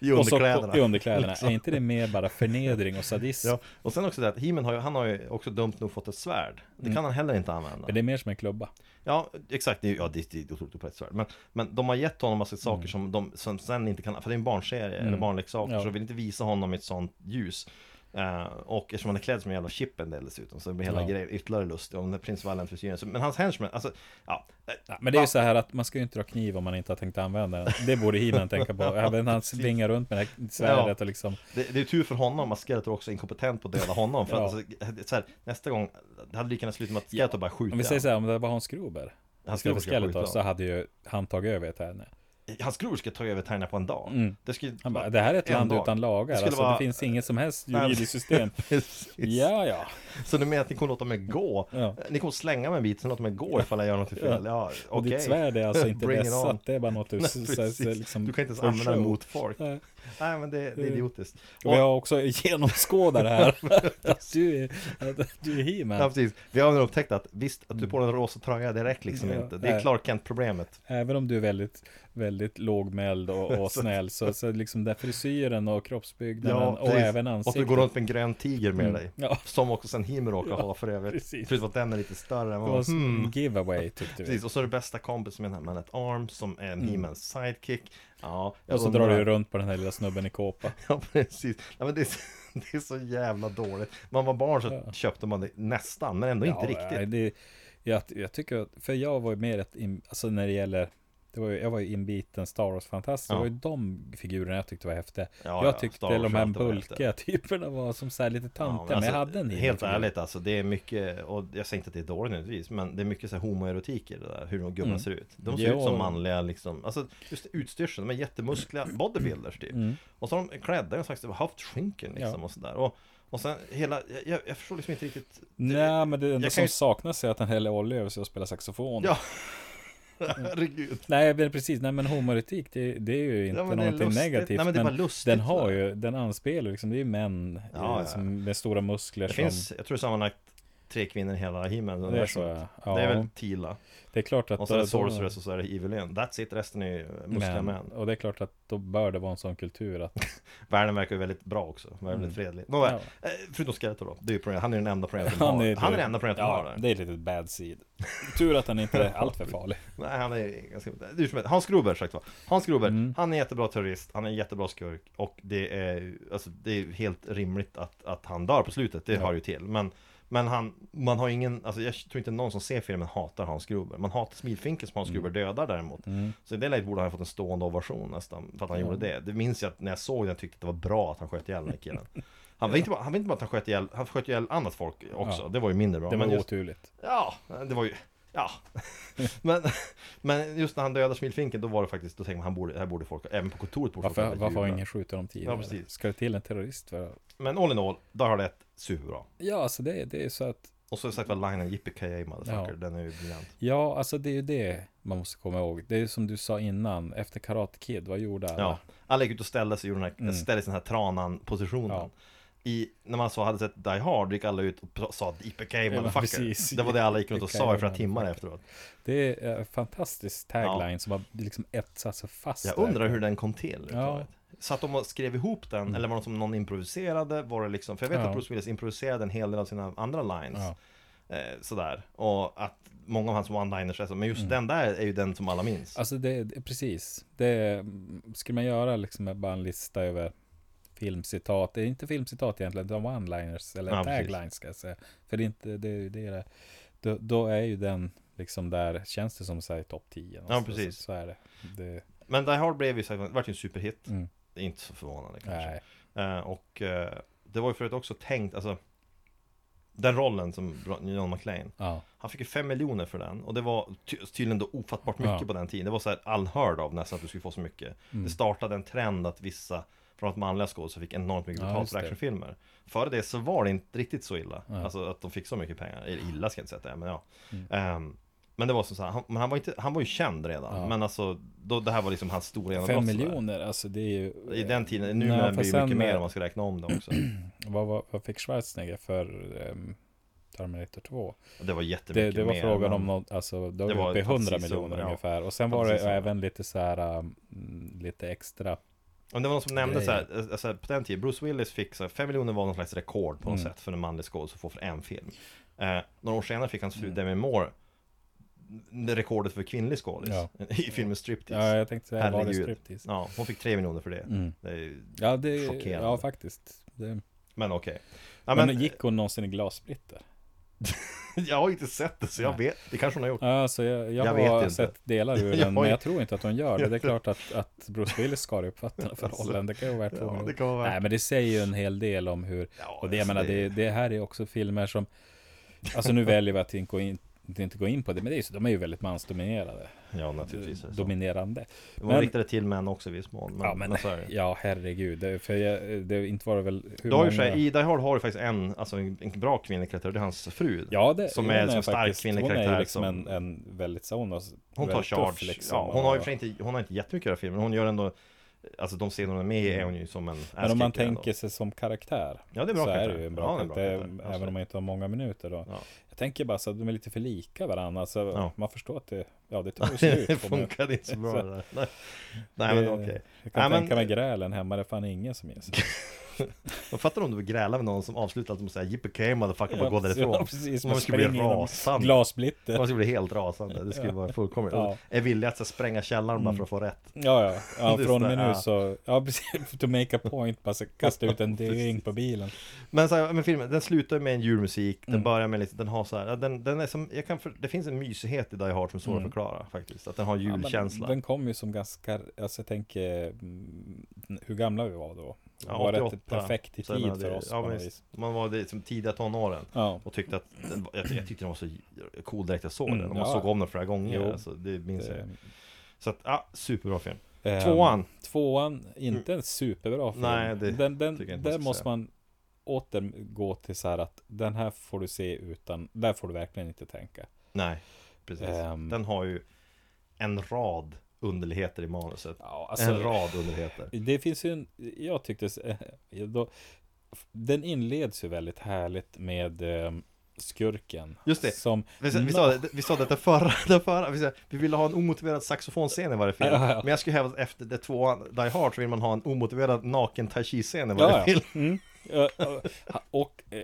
Speaker 2: I
Speaker 3: Och så
Speaker 2: underkläderna. Liksom.
Speaker 3: på, i underkläderna. Är inte det mer bara förnedring och sadism?
Speaker 2: Ja, och sen också det att He-Man har ju, han har ju också dumt nog fått ett svärd. Det kan han heller inte använda.
Speaker 3: Mm. Men det är mer som en klubba.
Speaker 2: Ja, exakt. Det är, ju- ja, det, det är ett otroligt upprätt svärd. Men, men de har gett honom massa saker som de som sen inte kan, för det är en barnserie eller barnleksaker,
Speaker 3: Mm. Ja.
Speaker 2: så de vill inte visa honom i ett sånt ljus. Eh, och eftersom han är klädd som en jävla Chippendale dessutom så blir hela
Speaker 3: Ja.
Speaker 2: grejen ytterligare lustig om den prins Valentfrisyren. Så- Men hans henchmen, alltså, ja. eh,
Speaker 3: Ja, men det är ju så här att man ska ju inte dra kniv om man inte har tänkt använda den. Det borde he tänka på. Även han svingar runt med det här svärdet och liksom.
Speaker 2: Det, det är tur för honom att Skeletor också är inkompetent på att döda honom. För
Speaker 3: Ja.
Speaker 2: alltså, så här, nästa gång, det hade lika gärna slutat med att Skeletor bara skjuter
Speaker 3: Om vi säger så här, om det var Hans Gruber.
Speaker 2: Hans
Speaker 3: Hans Gruber
Speaker 2: Gruber ska
Speaker 3: Skeletor
Speaker 2: skjuta.
Speaker 3: så hade ju han tagit över ett här.
Speaker 2: han. Hans gror ska ta över Tärna på en dag.
Speaker 3: Mm.
Speaker 2: Det, skulle,
Speaker 3: Han bara, det här är ett
Speaker 2: en
Speaker 3: land
Speaker 2: dag.
Speaker 3: utan lagar.
Speaker 2: Det
Speaker 3: Det,
Speaker 2: skulle
Speaker 3: alltså,
Speaker 2: vara-
Speaker 3: det finns inget som helst
Speaker 2: Nej.
Speaker 3: juridiskt system.
Speaker 2: Precis.
Speaker 3: ja, ja.
Speaker 2: Så du menar att ni kommer låta mig gå?
Speaker 3: Ja.
Speaker 2: Ni kommer slänga mig en bit, sen låta mig gå ifall jag gör något fel? Ja,
Speaker 3: Och
Speaker 2: okej.
Speaker 3: ditt svärd är alltså inte
Speaker 2: Bring it on.
Speaker 3: vässat. Det är bara något du...
Speaker 2: Nej,
Speaker 3: så- så-
Speaker 2: precis.
Speaker 3: så liksom-
Speaker 2: du kan inte ens använda
Speaker 3: for
Speaker 2: det
Speaker 3: show.
Speaker 2: mot folk.
Speaker 3: Nej.
Speaker 2: Nej, men det, det är idiotiskt.
Speaker 3: Och vi har också genomskådat det här. att du är, att du
Speaker 2: Ja,
Speaker 3: är He-Man.
Speaker 2: precis. Vi har nu upptäckt att visst, att du på den rosa tröja, det räcker liksom
Speaker 3: Mm. Ja,
Speaker 2: inte. Det är
Speaker 3: nej.
Speaker 2: Clark Kent-problemet.
Speaker 3: Även om du är väldigt, väldigt lågmäld och, och snäll. Så, så liksom där frisyren och kroppsbyggnaden och
Speaker 2: precis.
Speaker 3: även
Speaker 2: Och
Speaker 3: ansiktet.
Speaker 2: du går runt med en grön tiger med
Speaker 3: Mm.
Speaker 2: dig.
Speaker 3: Ja.
Speaker 2: Som också sen Himer råkar ha för övrigt.
Speaker 3: precis.
Speaker 2: Förutom att den är lite större än
Speaker 3: Det var
Speaker 2: vad Hmm.
Speaker 3: en giveaway tyckte vi.
Speaker 2: Precis, och så är det bästa kompis med den här mannen, ett arm som är en He-Mans sidekick. Ja, jag
Speaker 3: Mm. Och så
Speaker 2: undrar-
Speaker 3: drar du runt på den här lilla snubben i kåpa.
Speaker 2: Ja, precis. Nej, men det, är, så- det är så jävla dåligt. Man var barn så köpte man det nästan, men ändå inte
Speaker 3: nej,
Speaker 2: riktigt.
Speaker 3: Det, jag, jag tycker att, för jag var ju mer ett, in, alltså när det gäller, det var ju, jag var ju inbiten Star Wars-fantast.
Speaker 2: Ja.
Speaker 3: Det var ju de figurerna jag tyckte var häftiga.
Speaker 2: Ja, ja,
Speaker 3: jag tyckte
Speaker 2: Star Wars
Speaker 3: de
Speaker 2: har
Speaker 3: här
Speaker 2: alltid varit
Speaker 3: bulkiga typerna var som så här lite
Speaker 2: Ja,
Speaker 3: tantiga, men,
Speaker 2: alltså,
Speaker 3: jag hade en
Speaker 2: Helt
Speaker 3: figur.
Speaker 2: ärligt alltså, det är mycket, och jag säger inte att det är dåligt nödvändigtvis, men det är mycket så här homoerotik i det där, hur de gubbarna
Speaker 3: Mm.
Speaker 2: ser ut. De ser
Speaker 3: Ja.
Speaker 2: ut som manliga liksom, alltså just utstyrseln, de är jättemuskliga bodybuilders typ.
Speaker 3: Mm.
Speaker 2: Och så har de klädda i någon slags höftskynken liksom
Speaker 3: Ja.
Speaker 2: och sådär. Och, och sen hela, jag- jag, jag förstår liksom inte riktigt
Speaker 3: Nej, men det enda
Speaker 2: kan
Speaker 3: som
Speaker 2: ju-
Speaker 3: saknas är att han häller olja över sig och spelar saxofon.
Speaker 2: Ja, herregud.
Speaker 3: Nej, men precis. Nej, men homoerotik, det, det är ju inte
Speaker 2: men det är
Speaker 3: någonting
Speaker 2: lustigt.
Speaker 3: negativt.
Speaker 2: Nej, men det är bara lustigt,
Speaker 3: den har
Speaker 2: va?
Speaker 3: ju, den anspelar liksom, det är ju män
Speaker 2: Ja, ja,
Speaker 3: eh,
Speaker 2: ja.
Speaker 3: Som, med stora muskler
Speaker 2: Det
Speaker 3: som...
Speaker 2: finns, jag tror sammanlagt tre kvinnor i hela himlen.
Speaker 3: det är så, ja. ja.
Speaker 2: Det är väl Tila.
Speaker 3: det är klart att...
Speaker 2: Och så är det
Speaker 3: då- då-
Speaker 2: Sorceress och så är det Evelyn. That's it, resten är ju muskliga män.
Speaker 3: Och det är klart att då bör det vara en sån kultur att
Speaker 2: Världen verkar ju väldigt bra också, väldigt
Speaker 3: Mm.
Speaker 2: fredlig. Nåväl, eh, förutom Skeletor då. Det är ju programmet. han är ju den enda programmet han, har. han är den enda programmet han har
Speaker 3: ja,
Speaker 2: där.
Speaker 3: det är lite bad seed. Tur att han inte är alltför farlig.
Speaker 2: Nej, han är ganska... Hur som helst, Hans Gruber sagt va. Hans Gruber,
Speaker 3: Mm.
Speaker 2: han är en jättebra terrorist, han är en jättebra skurk och det är alltså, det är helt rimligt att, att han dör på slutet, det
Speaker 3: Ja.
Speaker 2: hör ju till. Men, men han, man har ingen, alltså jag tror inte någon som ser filmen hatar Hans Gruber. Man hatar Smilfinken som
Speaker 3: Mm.
Speaker 2: Hans Gruber dödar däremot. Så i det läget borde han ha fått en stående ovation nästan, för att han gjorde det. Det minns jag att när jag såg den tyckte att det var bra att han sköt ihjäl den här killen. Han var inte bara, han var inte bara att han sköt ihjäl, han sköt ihjäl annat folk också.
Speaker 3: Ja.
Speaker 2: Det var ju mindre bra.
Speaker 3: Det var
Speaker 2: Men just-
Speaker 3: oturligt.
Speaker 2: Ja, det var ju... Ja, men, men just när han dödar Smilfinken då var det faktiskt, då tänker man han borde, här borde folk, även på kontoret borde
Speaker 3: Varför,
Speaker 2: folk ha
Speaker 3: varför har
Speaker 2: jublat.
Speaker 3: ingen skjutit dem tidigare?
Speaker 2: Ja, precis.
Speaker 3: Ska det till en terrorist för att...
Speaker 2: Men all in all, där har det ett superbra.
Speaker 3: Ja, alltså det, det är så att...
Speaker 2: Och så är det sagt var linen Yippee motherfucker,
Speaker 3: Ja.
Speaker 2: den är ju briljant.
Speaker 3: Ja, alltså det är ju det man måste komma ihåg. Det är som du sa innan, efter Karate Kid, vad gjorde alla?
Speaker 2: Ja, alla gick ut och ställde sig i den här,
Speaker 3: Mm.
Speaker 2: ställde sig i den här tranan-positionen.
Speaker 3: Ja.
Speaker 2: I, när man så hade sett Die Hard gick alla ut och pr- sa Yippee
Speaker 3: precis.
Speaker 2: motherfucker. Det var det alla gick runt och sa i flera
Speaker 3: Yippee-ki-yay,
Speaker 2: timmar efteråt.
Speaker 3: Det är en fantastisk tagline som har liksom etsat sig fast.
Speaker 2: Jag
Speaker 3: där.
Speaker 2: undrar hur den kom till.
Speaker 3: Ja. Mm.
Speaker 2: Satt de och skrev ihop den, eller var det som någon improviserade? Var det liksom, för jag vet
Speaker 3: Ja.
Speaker 2: att Bruce Willis improviserade en hel del av sina andra lines.
Speaker 3: Ja.
Speaker 2: Eh, sådär. Och att många av hans one-liners är så, men just den där är ju den som alla minns.
Speaker 3: Mm. Alltså det, det precis. Det, skulle man göra liksom bara en lista över filmcitat. Det är inte filmcitat egentligen, utan one-liners eller
Speaker 2: Ja, precis.
Speaker 3: taglines ska jag säga. För det är inte, det, är ju det det. Då, då är ju den liksom där, känns det som säger topp 10. någonstans.
Speaker 2: precis.
Speaker 3: Så, så är det. det
Speaker 2: Men Die Hard blev ju, så- vart ju en superhit.
Speaker 3: Mm.
Speaker 2: Det är inte så förvånande kanske. Eh,
Speaker 3: nej.
Speaker 2: och eh, det var ju förut också tänkt, alltså den rollen som Bra- John McClane
Speaker 3: Ja.
Speaker 2: Han fick ju 5 miljoner för den och det var ty- tydligen då ofattbart mycket
Speaker 3: Ja. Mm.
Speaker 2: på den tiden Det var så här unheard of nästan att du skulle få så mycket Det startade en trend att vissa Framförallt manliga skådespelare fick enormt mycket
Speaker 3: Ja,
Speaker 2: betalt
Speaker 3: just
Speaker 2: för
Speaker 3: det.
Speaker 2: actionfilmer Före det så var det inte riktigt så illa
Speaker 3: Nej.
Speaker 2: Alltså att de fick så mycket pengar, eller illa ska jag inte säga att det är men ja
Speaker 3: Mm.
Speaker 2: Ehm, Men det var som så här, han, men han, var inte, han var ju känd redan
Speaker 3: Ja.
Speaker 2: Men alltså, då, det här var liksom hans stora genombrott
Speaker 3: Fem
Speaker 2: sådär.
Speaker 3: miljoner, alltså det är ju...
Speaker 2: I den tiden, nu
Speaker 3: Nej,
Speaker 2: blir det
Speaker 3: fast
Speaker 2: mycket
Speaker 3: sen- eh,
Speaker 2: mer om man ska räkna om det också
Speaker 3: Vad, vad, vad fick Schwarzenegger för ehm, Terminator 2?
Speaker 2: Det var
Speaker 3: Det,
Speaker 2: jättemycket
Speaker 3: det var
Speaker 2: mer,
Speaker 3: frågan
Speaker 2: men-
Speaker 3: om något, alltså det var,
Speaker 2: Det
Speaker 3: ju
Speaker 2: var
Speaker 3: uppe i 100
Speaker 2: precis så,
Speaker 3: miljoner
Speaker 2: ja.
Speaker 3: ungefär. Och sen var
Speaker 2: Precis
Speaker 3: det
Speaker 2: så.
Speaker 3: även lite så här, um, lite extra.
Speaker 2: Om det var någon som nämnde
Speaker 3: Grejer.
Speaker 2: så här, alltså på den tiden, Bruce Willis fick så här, 5 miljoner var någon slags rekord på något
Speaker 3: Mm.
Speaker 2: sätt för en manlig skådis att få för en film. Eh, några år senare fick hans
Speaker 3: Mm.
Speaker 2: fru Demi Moore det rekordet för kvinnlig skådis
Speaker 3: Ja.
Speaker 2: i filmen Striptease.
Speaker 3: Ja, jag tänkte säga, var det
Speaker 2: Herregud.
Speaker 3: striptease?
Speaker 2: Ja, hon fick 3 miljoner för det.
Speaker 3: Mm.
Speaker 2: det är, ju-
Speaker 3: Ja, det,
Speaker 2: Chockerande.
Speaker 3: ja, faktiskt. Det,
Speaker 2: Men okej. Ja,
Speaker 3: Men,
Speaker 2: men,
Speaker 3: gick hon någonsin i glassplitter?
Speaker 2: Jag har inte sett det så jag
Speaker 3: Nej.
Speaker 2: vet. Det kanske hon har gjort.
Speaker 3: Alltså, jag, jag,
Speaker 2: Jag vet
Speaker 3: har
Speaker 2: inte.
Speaker 3: sett delar ur
Speaker 2: Jag
Speaker 3: den,
Speaker 2: har
Speaker 3: men
Speaker 2: ju-
Speaker 3: jag tror inte att hon gör det. Det är klart att, att Bruce Willis skar upp fötterna för
Speaker 2: Alltså,
Speaker 3: rollen. Det kan ju vara värt
Speaker 2: ja,
Speaker 3: ja,
Speaker 2: det kan vara värt-
Speaker 3: Nej, men det säger ju en hel del om hur...
Speaker 2: Ja,
Speaker 3: och det, jag
Speaker 2: alltså,
Speaker 3: menar,
Speaker 2: det-
Speaker 3: det, det här är också filmer som... Alltså nu väljer vi att inte gå in, inte gå in på det, men det är, ju- de är ju väldigt mansdominerade.
Speaker 2: Ja, naturligtvis. är det så.
Speaker 3: Dominerande.
Speaker 2: Hon
Speaker 3: men-
Speaker 2: riktade till män också i viss mån. Men,
Speaker 3: ja, men,
Speaker 2: så är det.
Speaker 3: ja, herregud. Det, för jag, det, inte var det väl... Hur
Speaker 2: Du har ju för sig, I Die Hard har du faktiskt en, alltså en, en bra kvinnlig karaktär, det är hans fru.
Speaker 3: Ja, det,
Speaker 2: som
Speaker 3: hon
Speaker 2: är en stark
Speaker 3: faktiskt-
Speaker 2: kvinnlig
Speaker 3: Hon är
Speaker 2: karaktär
Speaker 3: ju liksom
Speaker 2: som-
Speaker 3: en, en väldigt så hon, har s-
Speaker 2: hon tar
Speaker 3: väldigt tuff
Speaker 2: charge.
Speaker 3: liksom,
Speaker 2: ja, hon har ju
Speaker 3: och-
Speaker 2: för sig inte, hon har inte jättemycket att göra i filmen, hon gör ändå Alltså de scener hon är med i är hon ju som en
Speaker 3: Men om man
Speaker 2: ass-kicker ändå.
Speaker 3: tänker sig som karaktär
Speaker 2: Ja, det är bra
Speaker 3: så är
Speaker 2: karaktär.
Speaker 3: det ju en
Speaker 2: Ja,
Speaker 3: bra
Speaker 2: det är en bra
Speaker 3: karaktär,
Speaker 2: karaktär,
Speaker 3: även
Speaker 2: absolut.
Speaker 3: om man inte har många minuter. Då.
Speaker 2: Ja.
Speaker 3: Jag tänker bara så att de är lite för lika varandra, så
Speaker 2: Ja.
Speaker 3: man förstår att det, ja, det tar ju
Speaker 2: Alltså, Det
Speaker 3: slut. på mig.
Speaker 2: funkade inte så bra
Speaker 3: Så-
Speaker 2: det där. Nej, Nej men
Speaker 3: Eh,
Speaker 2: okej.
Speaker 3: Jag kan
Speaker 2: Nej, men-
Speaker 3: tänka mig grälen hemma, det är fan ingen som ger sig.
Speaker 2: Man fattar om du vill gräla med någon som avslutar allt med att säga Yippee motherfucker, bara gå
Speaker 3: Ja,
Speaker 2: därifrån.
Speaker 3: Ja, precis,
Speaker 2: man
Speaker 3: man
Speaker 2: skulle bli
Speaker 3: springer inom
Speaker 2: rasande.
Speaker 3: glassplitter.
Speaker 2: Man skulle bli helt rasande. Det skulle vara fullkomligt.
Speaker 3: Ja. Mm.
Speaker 2: Är villig att så, spränga källaren bara för att få rätt.
Speaker 3: Ja, ja. ja
Speaker 2: Just
Speaker 3: från och
Speaker 2: det,
Speaker 3: med nu
Speaker 2: ja.
Speaker 3: så, ja precis, to make a point, bara så kasta ut en D-ring på bilen.
Speaker 2: Men, så här, men filmen, den slutar med en julmusik, den
Speaker 3: Mm.
Speaker 2: börjar med lite, den har så här, den, den är som, jag kan för, det finns en mysighet i Die Hard som är svår
Speaker 3: Mm.
Speaker 2: att förklara faktiskt. Att den har
Speaker 3: Ja, men
Speaker 2: julkänsla.
Speaker 3: den kom ju som ganska, alltså jag tänker mm, hur gamla vi var då. Det
Speaker 2: Ja,
Speaker 3: var rätt
Speaker 2: 88.
Speaker 3: perfekt i
Speaker 2: Så jag
Speaker 3: tid
Speaker 2: menar,
Speaker 3: för
Speaker 2: det-
Speaker 3: oss
Speaker 2: ja,
Speaker 3: på något
Speaker 2: visst.
Speaker 3: vis.
Speaker 2: Man var det, som tidiga tonåren.
Speaker 3: Ja,
Speaker 2: Och tyckte att, den, var- jag, jag tyckte den var så cool direkt jag såg
Speaker 3: Mm,
Speaker 2: den. Och
Speaker 3: ja.
Speaker 2: man såg om den flera gånger.
Speaker 3: Jo.
Speaker 2: Alltså, det minns jag.
Speaker 3: det,
Speaker 2: Så att, ja, superbra film.
Speaker 3: ehm,
Speaker 2: Tvåan.
Speaker 3: Tvåan, inte en superbra film.
Speaker 2: Nej, det
Speaker 3: den, den,
Speaker 2: tycker jag inte man
Speaker 3: där
Speaker 2: ska
Speaker 3: måste
Speaker 2: säga.
Speaker 3: man återgå till så här att den här får du se utan, där får du verkligen inte tänka.
Speaker 2: Nej, precis.
Speaker 3: Ehm.
Speaker 2: Den har ju en rad underligheter i manuset.
Speaker 3: Ja, alltså,
Speaker 2: en rad underligheter.
Speaker 3: Det finns ju en, jag tyckte, så- eh, då, den inleds ju väldigt härligt med ehm, skurken.
Speaker 2: Just det.
Speaker 3: Som,
Speaker 2: Vi, sa- vi, sa, det- vi sa detta förra, det förra vi, sa, vi ville ha en omotiverad saxofonscen i varje film.
Speaker 3: Ja, ja, ja.
Speaker 2: Men jag skulle hävda att efter det tvåan, Die Hard, så vill man ha en omotiverad naken tai chi-scen i varje film.
Speaker 3: Mm. Ja, ja. Ha- Och eh,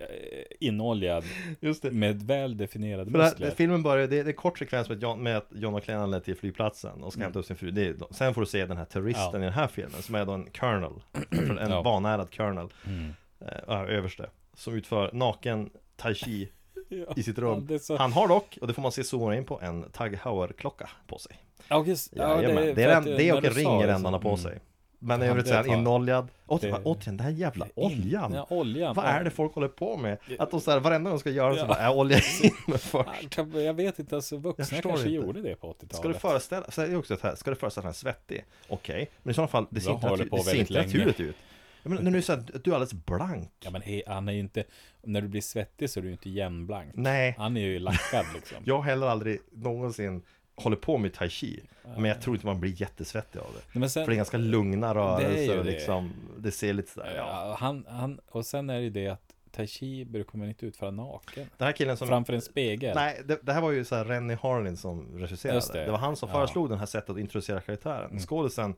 Speaker 3: inoljad
Speaker 2: Just det.
Speaker 3: med väl definierade
Speaker 2: För det här, det,
Speaker 3: muskler.
Speaker 2: filmen börjar, det, det är en kort sekvens med att, John, med att John och Glenn anländer till flygplatsen och ska hämta upp sin fru. Det är, sen får du se den här terroristen
Speaker 3: Mm. Ja.
Speaker 2: i den här filmen som är då en colonel, en
Speaker 3: Ja.
Speaker 2: vanärad colonel,
Speaker 3: Mm.
Speaker 2: eh, ja, överste, som utför naken tai chi
Speaker 3: Ja,
Speaker 2: i sitt
Speaker 3: Ja,
Speaker 2: rum.
Speaker 3: det är så-
Speaker 2: Han har dock, och det får man se zoomar in på, en Tag Hauer-klocka på sig.
Speaker 3: Ja, just- ja,
Speaker 2: Jajamän, det,
Speaker 3: för
Speaker 2: är
Speaker 3: att eh,
Speaker 2: en, det
Speaker 3: när
Speaker 2: och
Speaker 3: du
Speaker 2: en
Speaker 3: sa
Speaker 2: ring i
Speaker 3: det så-
Speaker 2: rändan på
Speaker 3: mm.
Speaker 2: sig. Men i
Speaker 3: Ja,
Speaker 2: övrigt
Speaker 3: det
Speaker 2: så är han
Speaker 3: tar-
Speaker 2: inoljad. Återigen,
Speaker 3: det-
Speaker 2: återigen, den här jävla oljan!
Speaker 3: Mm. Ja, oljan.
Speaker 2: Vad
Speaker 3: Ja.
Speaker 2: är det folk håller på med? Att de så här, varenda gång de ska göra så
Speaker 3: Ja.
Speaker 2: bara, är olja in med först.
Speaker 3: Ja, Jag vet inte, alltså vuxna
Speaker 2: förstår
Speaker 3: kanske
Speaker 2: inte.
Speaker 3: gjorde det på 80-talet.
Speaker 2: Ska du föreställa, så är det också så här, ska du föreställa dig svettig? Okej, men i sådana fall, det ser
Speaker 3: Jag
Speaker 2: inte,
Speaker 3: håller
Speaker 2: natur-
Speaker 3: på
Speaker 2: det ser
Speaker 3: väldigt
Speaker 2: inte
Speaker 3: länge.
Speaker 2: naturligt ut. Jag menar, när du säger att du är alldeles blank.
Speaker 3: Ja, men he, han är ju inte, när du blir svettig så är du ju inte jämnblank.
Speaker 2: Nej,
Speaker 3: Han är ju lackad liksom.
Speaker 2: jag har heller aldrig någonsin håller på med tai chi. Men jag tror inte man blir jättesvettig av det.
Speaker 3: Nej, men sen,
Speaker 2: För det är ganska lugna
Speaker 3: ju
Speaker 2: rörelser och
Speaker 3: det.
Speaker 2: liksom, det ser lite sådär, ja.
Speaker 3: ja, han, han, och sen är det ju det att tai chi brukar man inte utföra naken.
Speaker 2: Den här killen som
Speaker 3: Framför en spegel.
Speaker 2: Nej, det, det här var ju så här Rennie Harlin som regisserade.
Speaker 3: Just det.
Speaker 2: Det. var han som
Speaker 3: Ja. Mm.
Speaker 2: föreslog den här sättet att introducera karaktären. Skådisen,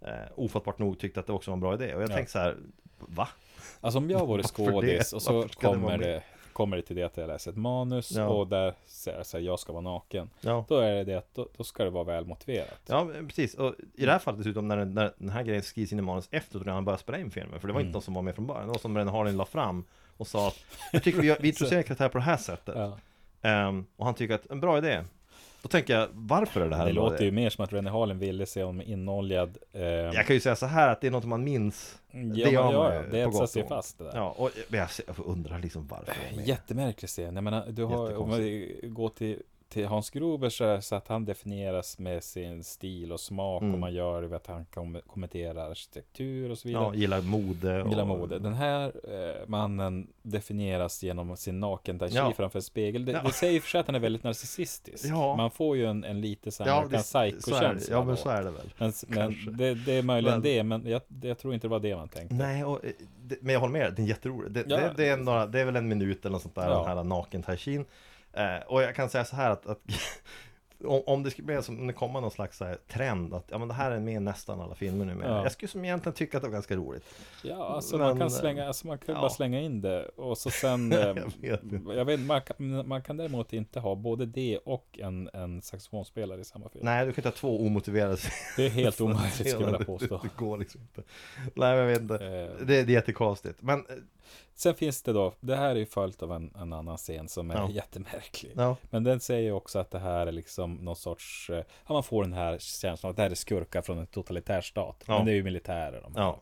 Speaker 2: eh, ofattbart nog, tyckte att det också var en bra idé. Och jag
Speaker 3: Ja.
Speaker 2: tänkte så här, va?
Speaker 3: Alltså om jag vore
Speaker 2: Varför
Speaker 3: skådis
Speaker 2: det?
Speaker 3: och så
Speaker 2: Varför ska det vara
Speaker 3: kommer
Speaker 2: med?
Speaker 3: det, kommer det till det att jag läser ett manus
Speaker 2: Ja.
Speaker 3: och där säger jag så här, jag ska vara naken.
Speaker 2: Ja.
Speaker 3: Då är det det att då, då ska det vara välmotiverat.
Speaker 2: Ja, men precis. Och i det här fallet dessutom, när den, när den här grejen skrivs in i manus efter när han började spela in filmen. För det var
Speaker 3: Mm.
Speaker 2: inte någon som var med från början. Det var som Rennie Harlin la fram och sa att, jag tycker vi, vi introducerar karaktären på det här sättet.
Speaker 3: Ja.
Speaker 2: Ehm, och han tycker att, en bra idé. Då tänker jag, varför är det här
Speaker 3: Det
Speaker 2: en bra
Speaker 3: låter ju
Speaker 2: idé?
Speaker 3: mer som att René Harlin ville se om inoljad... Eh, ja,
Speaker 2: Jag kan ju säga så här att det är något man minns.
Speaker 3: men
Speaker 2: det gör man ju
Speaker 3: det
Speaker 2: på
Speaker 3: etsar
Speaker 2: gott
Speaker 3: sig
Speaker 2: och ont.
Speaker 3: fast det där.
Speaker 2: Ja, och men jag, jag undrar liksom varför det är med.
Speaker 3: Jättemärklig scen. Jag menar, du har, om vi går till, till Hans Gruber så, är det så att han definieras med sin stil och smak och
Speaker 2: Mm.
Speaker 3: man gör det vid att han kom- kommenterar arkitektur och så vidare.
Speaker 2: Ja, gillar mode och...
Speaker 3: Gillar mode. Den här eh, mannen definieras genom sin naken tai chi
Speaker 2: Ja.
Speaker 3: framför en spegel. Det,
Speaker 2: Ja.
Speaker 3: det säger i och för sig att han är väldigt narcissistisk.
Speaker 2: Ja.
Speaker 3: Man får ju en, en lite så här
Speaker 2: Ja,
Speaker 3: American
Speaker 2: det, så är det.
Speaker 3: psycho-känsla.
Speaker 2: ja men
Speaker 3: då.
Speaker 2: så är det väl.
Speaker 3: men,
Speaker 2: kanske.
Speaker 3: men det, det är möjligen
Speaker 2: Men-
Speaker 3: det, men jag, det, jag tror inte det var det man tänkte.
Speaker 2: Nej, och, eh, det, men jag håller med, den är jätterolig. Det,
Speaker 3: Ja.
Speaker 2: det, det, är några, det är väl en minut eller något sånt där,
Speaker 3: Ja.
Speaker 2: den här naken taishin. Eh, och jag kan säga så här att, att om, om det skulle bli som, om det kommer någon slags så här trend att ja men det här är med i nästan alla filmer nu med.
Speaker 3: Ja.
Speaker 2: Jag skulle som egentligen tycka att det var ganska roligt.
Speaker 3: Ja, alltså
Speaker 2: Men,
Speaker 3: man kan
Speaker 2: eh,
Speaker 3: slänga, alltså man kan
Speaker 2: ja.
Speaker 3: bara slänga in det och så sen, eh,
Speaker 2: Jag vet inte.
Speaker 3: jag vet, man, kan, man kan däremot inte ha både det och en, en saxofonspelare i samma film.
Speaker 2: Nej, du kan inte ha två omotiverade
Speaker 3: Det är helt omöjligt skulle jag vilja
Speaker 2: Det,
Speaker 3: påstå.
Speaker 2: det går liksom inte. Nej, men jag vet inte. Det,
Speaker 3: Eh,
Speaker 2: det är jättekonstigt. Men eh,
Speaker 3: sen finns det då, det här är ju följt av en, en annan scen som är
Speaker 2: Ja.
Speaker 3: jättemärklig.
Speaker 2: ja,
Speaker 3: Men den säger ju också att det här är liksom någon sorts, eh, ja man får den här känslan att det här är skurkar från en totalitär stat.
Speaker 2: Ja.
Speaker 3: Men det är ju militärer de här.
Speaker 2: ja,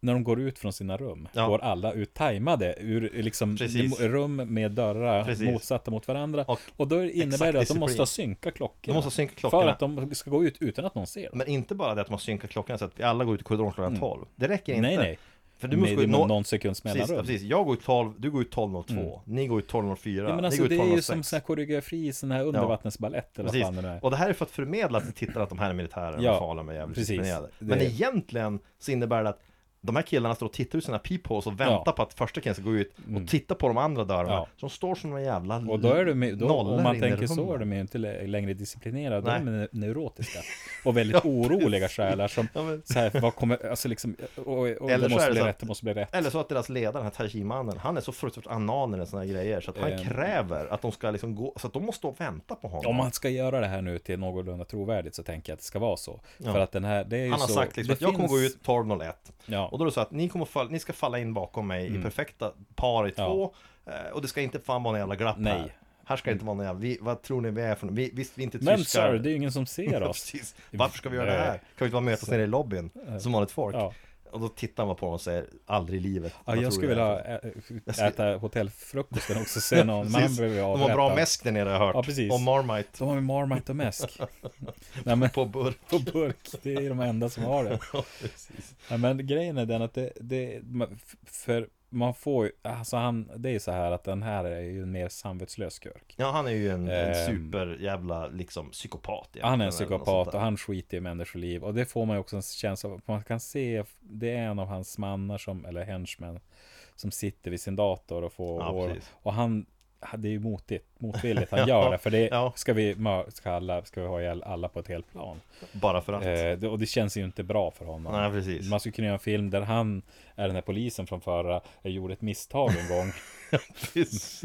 Speaker 3: När de går ut från sina rum,
Speaker 2: Ja.
Speaker 3: går alla ut tajmade ur liksom
Speaker 2: Precis.
Speaker 3: rum med dörrar
Speaker 2: Precis.
Speaker 3: motsatta mot varandra.
Speaker 2: och
Speaker 3: Och då innebär
Speaker 2: Exakt
Speaker 3: det att de måste
Speaker 2: disciplin.
Speaker 3: synka
Speaker 2: de
Speaker 3: klockorna.
Speaker 2: måste synka
Speaker 3: För
Speaker 2: klockorna.
Speaker 3: att de ska gå ut utan att någon ser dem.
Speaker 2: Men inte bara det att man synkar klockan så att vi alla går ut i korridoren klockan 12. Det räcker inte.
Speaker 3: Mm. nej, nej.
Speaker 2: För du måste
Speaker 3: Med
Speaker 2: gå ut
Speaker 3: någon,
Speaker 2: nå-
Speaker 3: någon sekunds
Speaker 2: precis,
Speaker 3: mellanrum.
Speaker 2: precis, jag går ut 12, du går ut 12.02, ni går ut 12.04,
Speaker 3: Mm. Ja, men
Speaker 2: ni
Speaker 3: alltså,
Speaker 2: går ut
Speaker 3: det
Speaker 2: 12.06.
Speaker 3: är ju som sån här koreografi i sån här undervattensbalett eller vad
Speaker 2: Precis.
Speaker 3: fan det nu är.
Speaker 2: Och det här är för att förmedla till tittarna att de här är militärer och
Speaker 3: Ja,
Speaker 2: farliga med jävligt
Speaker 3: precis.
Speaker 2: disciplinerade.
Speaker 3: Det-
Speaker 2: Men egentligen så innebär det att de här killarna står och tittar ut sina peepholes och väntar
Speaker 3: Ja. Mm.
Speaker 2: på att första killen ska gå ut och titta på de andra dörrarna.
Speaker 3: Ja.
Speaker 2: Så de står som några jävla
Speaker 3: Och då är de ju, då,
Speaker 2: nollor
Speaker 3: om man
Speaker 2: inne i
Speaker 3: tänker så,
Speaker 2: rummen.
Speaker 3: är de ju inte lä- längre disciplinerade, de är
Speaker 2: Nej.
Speaker 3: neu- neurotiska. Och väldigt
Speaker 2: Ja,
Speaker 3: oroliga själar som,
Speaker 2: Ja, men-
Speaker 3: så här, vad kommer, alltså liksom, och, och, och
Speaker 2: Eller
Speaker 3: det
Speaker 2: så
Speaker 3: måste
Speaker 2: är det
Speaker 3: bli
Speaker 2: så att-
Speaker 3: rätt, det måste bli rätt.
Speaker 2: Eller så att deras ledare, den här Taishi-mannen, han är så fruktansvärt anal i sådana här grejer så att han
Speaker 3: Eh.
Speaker 2: kräver att de ska liksom gå, så att de måste stå och vänta på honom.
Speaker 3: Om man ska göra det här nu till någorlunda trovärdigt så tänker jag att det ska vara så.
Speaker 2: Ja.
Speaker 3: För att den här, det är ju
Speaker 2: han har
Speaker 3: så,
Speaker 2: sagt liksom
Speaker 3: det
Speaker 2: att jag kommer gå
Speaker 3: finns-
Speaker 2: ut 12.01
Speaker 3: Ja.
Speaker 2: Och då är det så att ni kommer fall, ni ska falla in bakom mig
Speaker 3: Mm.
Speaker 2: i perfekta par i två eh, Och det ska inte fan vara någon jävla glapp
Speaker 3: Nej. Mm.
Speaker 2: här Här ska det inte vara någon jävla, vi, vad tror ni vi är för vi, Visst vi är inte
Speaker 3: Men
Speaker 2: tyskar
Speaker 3: sir, det är ju ingen som ser oss.
Speaker 2: Precis. Varför ska vi göra det här? Kan vi inte bara mötas nere i lobbyn som vanligt folk?
Speaker 3: Ja.
Speaker 2: Och då tittar man på dem och säger aldrig i livet
Speaker 3: Ja,
Speaker 2: Vad tror
Speaker 3: jag skulle
Speaker 2: du det är
Speaker 3: vilja
Speaker 2: för-
Speaker 3: ä- äta hotellfrukosten också sen om man
Speaker 2: Precis.
Speaker 3: behöver
Speaker 2: De har bra mäsk där nere har jag hört
Speaker 3: Ja, precis.
Speaker 2: Och Marmite
Speaker 3: De har ju Marmite och mäsk. Nej, men,
Speaker 2: på burk
Speaker 3: på burk. Det är de enda som har det. Ja, men grejen är den att det, det man- f- för man får ju, alltså han, det är ju så här att den här är ju en mer samvetslös skurk.
Speaker 2: Ja han är ju en, en
Speaker 3: Ehm.
Speaker 2: superjävla liksom psykopat
Speaker 3: Han är
Speaker 2: egentligen,
Speaker 3: en
Speaker 2: eller något
Speaker 3: psykopat
Speaker 2: sånt
Speaker 3: och
Speaker 2: där.
Speaker 3: han skiter i människoliv och det får man ju också en känsla av. Man kan se, det är en av hans mannar som, eller henchmen, som sitter vid sin dator och får,
Speaker 2: Ja,
Speaker 3: och,
Speaker 2: precis.
Speaker 3: och han, det är ju motigt, motvilligt han gör det. För det
Speaker 2: Ja.
Speaker 3: ska vi, mör- ska, alla, ska vi ha ihjäl alla på ett helt plan.
Speaker 2: Bara för att
Speaker 3: Eh, det, och det känns ju inte bra för honom.
Speaker 2: Nej precis
Speaker 3: Man skulle kunna göra en film där han är den här polisen från förra, jag gjorde ett misstag en gång.
Speaker 2: Precis.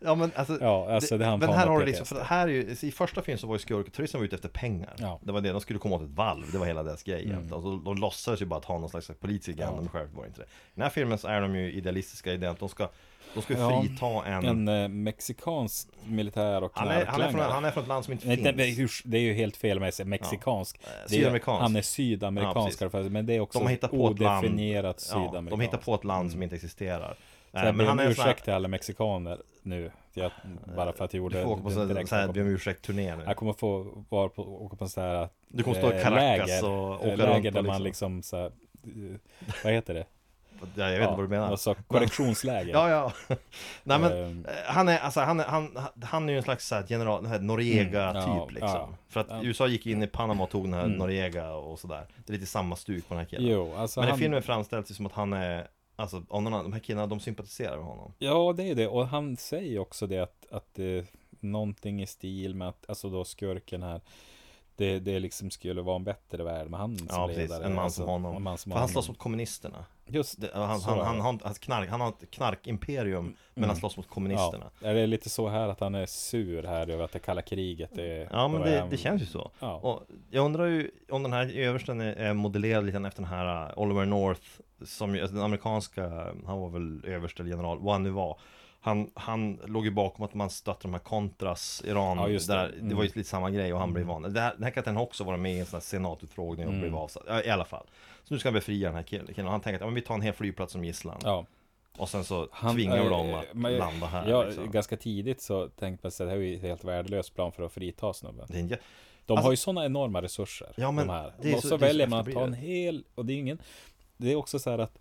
Speaker 2: Ja men alltså,
Speaker 3: Ja, alltså det, han
Speaker 2: men
Speaker 3: får
Speaker 2: här
Speaker 3: med
Speaker 2: har du liksom,
Speaker 3: PTSD.
Speaker 2: för det här är ju, i första filmen så var ju skurkturisten ute efter pengar
Speaker 3: Ja. Mm.
Speaker 2: Det var det, de skulle komma åt ett valv, det var hela deras grej egentligen alltså, De låtsades ju bara att ha någon slags politisk agenda, men själv var det inte det I den här filmen så är de ju idealistiska i det att de ska, de ska
Speaker 3: Ja.
Speaker 2: frita en,
Speaker 3: En eh, mexikansk militär och
Speaker 2: han, är, han, är från,
Speaker 3: knarklangare.
Speaker 2: han är från ett land som inte
Speaker 3: Nej, det,
Speaker 2: finns
Speaker 3: usch, det är ju helt fel om jag säger mexikansk.
Speaker 2: Eh,
Speaker 3: Det är-
Speaker 2: sydamerikansk.
Speaker 3: Han är
Speaker 2: Ja,
Speaker 3: sydamerikansk,
Speaker 2: precis.
Speaker 3: för- men det är också
Speaker 2: De har hittat på ett land
Speaker 3: odefinierat
Speaker 2: ja,
Speaker 3: sydamerikanskt.
Speaker 2: De hittar på ett land som inte existerar
Speaker 3: Så jag
Speaker 2: Eh,
Speaker 3: ber om
Speaker 2: en
Speaker 3: ursäkt
Speaker 2: sån här-
Speaker 3: till alla mexikaner nu. Jag, bara för att
Speaker 2: Du
Speaker 3: jag gjorde
Speaker 2: får åka på
Speaker 3: den
Speaker 2: sån
Speaker 3: direkta
Speaker 2: här
Speaker 3: kopplingen.
Speaker 2: be om ursäkt-turné nu
Speaker 3: Jag kommer få vara på, åka på en sån här
Speaker 2: Du kommer stå i
Speaker 3: eh,
Speaker 2: Caracas
Speaker 3: läger,
Speaker 2: och åka
Speaker 3: eh,
Speaker 2: runt
Speaker 3: läger
Speaker 2: och
Speaker 3: där man
Speaker 2: liksom-
Speaker 3: liksom så här, eh, vad heter det?
Speaker 2: Ja, Jag vet inte vad du menar
Speaker 3: Alltså korrektionsläger.
Speaker 2: Ja, ja. Nej, men
Speaker 3: Ehm.
Speaker 2: eh, han är, alltså, han, är- han, han är ju en slags så här, general, den här Noriega-typ
Speaker 3: Mm, ja,
Speaker 2: liksom.
Speaker 3: ja. Mm.
Speaker 2: För att USA gick in i Panama och tog den här Noriega och sådär. Det är lite samma stuk på den här killen.
Speaker 3: Jo, alltså
Speaker 2: men i
Speaker 3: han,
Speaker 2: filmen framställs det som att han är, alltså av någon annan, de här killarna de sympatiserar med honom.
Speaker 3: Ja, det är det. Och han säger ju också det att, att det, någonting i stil med att, alltså då skurken här, det, det liksom skulle vara en bättre värld med han som
Speaker 2: Ja, precis.
Speaker 3: ledare.
Speaker 2: En man
Speaker 3: alltså,
Speaker 2: som honom.
Speaker 3: En man som
Speaker 2: För han
Speaker 3: honom.
Speaker 2: slåss mot kommunisterna.
Speaker 3: Just
Speaker 2: Det, han,
Speaker 3: så
Speaker 2: han,
Speaker 3: är
Speaker 2: han,
Speaker 3: det. Mm.
Speaker 2: han, han, knark, han har ett knarkimperium, men han slåss mot kommunisterna.
Speaker 3: Ja, det är lite så här att han är sur här över att det kalla kriget är...
Speaker 2: Ja men
Speaker 3: och
Speaker 2: det,
Speaker 3: är-
Speaker 2: det känns ju så.
Speaker 3: Ja.
Speaker 2: Och jag undrar ju om den här översten är, är modellerad lite efter den här eh, Oliver North Som ju, alltså den amerikanska, han var väl överste eller general, vad han nu var han, han låg ju bakom att man stötte de här kontras, Iran,
Speaker 3: Ja, just det.
Speaker 2: Där, det
Speaker 3: Mm.
Speaker 2: var ju lite samma grej och han blev van. Det här, den här katten har också varit med i en sån här senatutfrågning
Speaker 3: Mm.
Speaker 2: och blev avsatt, ja, i alla fall. Så nu ska han befria den här killen, killen. och han tänker att ja, men vi tar en hel flygplats som gisslan.
Speaker 3: Ja,
Speaker 2: Och sen så
Speaker 3: han,
Speaker 2: tvingar
Speaker 3: eh,
Speaker 2: vi dem att
Speaker 3: men-
Speaker 2: landa här.
Speaker 3: Ja,
Speaker 2: liksom.
Speaker 3: ganska tidigt så tänkte man sig att det här är ju ett helt värdelös plan för att frita snubben.
Speaker 2: Det är en jä-
Speaker 3: De
Speaker 2: Alltså-
Speaker 3: har ju sådana enorma resurser.
Speaker 2: Ja, men
Speaker 3: de här.
Speaker 2: det är
Speaker 3: och
Speaker 2: så-
Speaker 3: så,
Speaker 2: det är så
Speaker 3: väljer man att ta en
Speaker 2: efterblivet.
Speaker 3: hel, och det är ingen, det är också så här att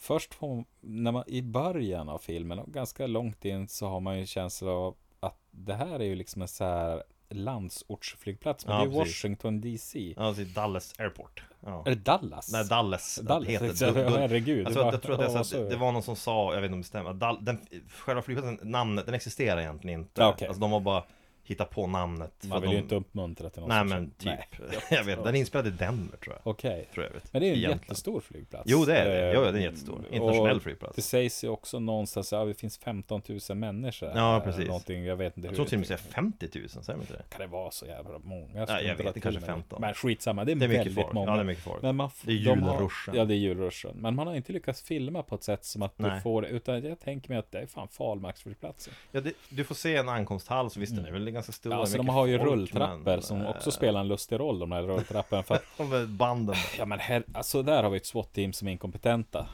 Speaker 3: först får man, när man, i början av filmen, och ganska långt in, så har man ju en känsla av att det här är ju liksom en så här landsortsflygplats, men
Speaker 2: Ja,
Speaker 3: det är
Speaker 2: precis.
Speaker 3: Washington DC.
Speaker 2: ja, det är Dallas Airport. Ja.
Speaker 3: Är det Dallas?
Speaker 2: Nej, Dallas,
Speaker 3: Dallas,
Speaker 2: heter
Speaker 3: exakt.
Speaker 2: Dun- Dun-
Speaker 3: Herregud,
Speaker 2: jag tror, att, Alltså,
Speaker 3: vad-
Speaker 2: jag tror att det, är så
Speaker 3: vad
Speaker 2: att
Speaker 3: sa jag?
Speaker 2: det var någon som sa, jag vet inte om det stämmer, att Dal, den, själva flygplatsen, namnet, den existerar egentligen inte
Speaker 3: Ja, okej.
Speaker 2: Alltså de var bara hitta på namnet. för
Speaker 3: Man vill ju
Speaker 2: de-
Speaker 3: inte uppmuntra till något
Speaker 2: Nej
Speaker 3: sånt.
Speaker 2: men
Speaker 3: Nej.
Speaker 2: typ. jag vet, den är inspelad i Denver tror jag.
Speaker 3: Okej.
Speaker 2: För övrigt.
Speaker 3: Men det är ju en
Speaker 2: Egentligen.
Speaker 3: jättestor flygplats.
Speaker 2: Jo det är det.
Speaker 3: Eh,
Speaker 2: Jo, det är en jättestor. Internationell
Speaker 3: och Det
Speaker 2: flygplats.
Speaker 3: sägs ju också någonstans, ja det finns 15 000 människor. här,
Speaker 2: Ja,
Speaker 3: eller
Speaker 2: precis.
Speaker 3: Någonting, jag vet inte
Speaker 2: Jag
Speaker 3: hur
Speaker 2: tror till och med
Speaker 3: det-
Speaker 2: säga 50 000, säger man inte det?
Speaker 3: Kan det vara så jävla många?
Speaker 2: jag
Speaker 3: skulle
Speaker 2: vet,
Speaker 3: dra
Speaker 2: det
Speaker 3: till
Speaker 2: kanske
Speaker 3: med
Speaker 2: 15.
Speaker 3: Men skitsamma, det är,
Speaker 2: Det är mycket
Speaker 3: väldigt
Speaker 2: folk.
Speaker 3: många.
Speaker 2: Ja det är mycket folk.
Speaker 3: Men man, f-
Speaker 2: Det är
Speaker 3: de har-
Speaker 2: julruschen.
Speaker 3: Ja, det är julruschen. Men man har inte lyckats filma på ett sätt som att du
Speaker 2: Nej.
Speaker 3: får det. Utan jag tänker mig att det är fan Falmarksflygplatsen.
Speaker 2: Ja, det, du får se en ankomsthall, så visst den är väl ganska stor.
Speaker 3: Ja,
Speaker 2: det är
Speaker 3: alltså de
Speaker 2: mycket
Speaker 3: har ju
Speaker 2: folk,
Speaker 3: rulltrappor
Speaker 2: men,
Speaker 3: som
Speaker 2: eh,
Speaker 3: också spelar en lustig roll, de här rulltrapporna. För att,
Speaker 2: De där banden.
Speaker 3: ja men här, alltså där har vi ett SWAT-team som är inkompetenta.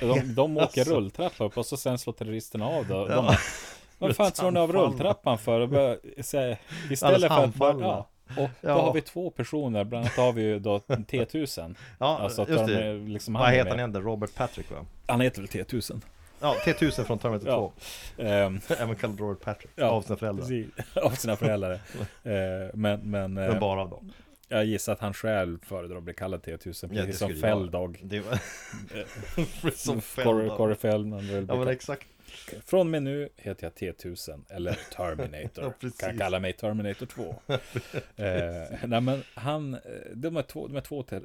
Speaker 3: De, de åker
Speaker 2: alltså.
Speaker 3: rulltrappor upp och så sen slår terroristerna av då. De,
Speaker 2: Ja.
Speaker 3: bara, Vad fan slår ni av
Speaker 2: Handfallna.
Speaker 3: rulltrappan för? Och bara, så här, istället för att bara,
Speaker 2: handfallna.
Speaker 3: ja. Och då
Speaker 2: Ja.
Speaker 3: har vi två personer, bland annat har vi ju då T1000.
Speaker 2: Ja,
Speaker 3: Alltså att
Speaker 2: just
Speaker 3: de
Speaker 2: det.
Speaker 3: är liksom
Speaker 2: Vad
Speaker 3: han är
Speaker 2: heter han
Speaker 3: med.
Speaker 2: igen? Robert Patrick va?
Speaker 3: Han heter väl T1000?
Speaker 2: Ja, T1000 från Terminator
Speaker 3: Ja.
Speaker 2: 2.
Speaker 3: Ehm,
Speaker 2: Även kallad Robert Patrick.
Speaker 3: Ja,
Speaker 2: av sina föräldrar.
Speaker 3: precis. av sina föräldrar. Eh, men men eh,
Speaker 2: Men bara av dem.
Speaker 3: jag gissar att han själv föredrar att bli kallad T1000,
Speaker 2: Ja, det
Speaker 3: precis som
Speaker 2: skulle jag.
Speaker 3: Felldog.
Speaker 2: Det var...
Speaker 3: Eh.
Speaker 2: som
Speaker 3: Corey,
Speaker 2: Feldman.
Speaker 3: Corey Feldman vill bli
Speaker 2: Ja men
Speaker 3: kallad.
Speaker 2: exakt.
Speaker 3: Från och med nu heter jag T1000 eller
Speaker 2: Ja,
Speaker 3: Terminator.
Speaker 2: precis.
Speaker 3: kan kalla mig Terminator 2. eh, nej men han, eh, de är två, de är två ter,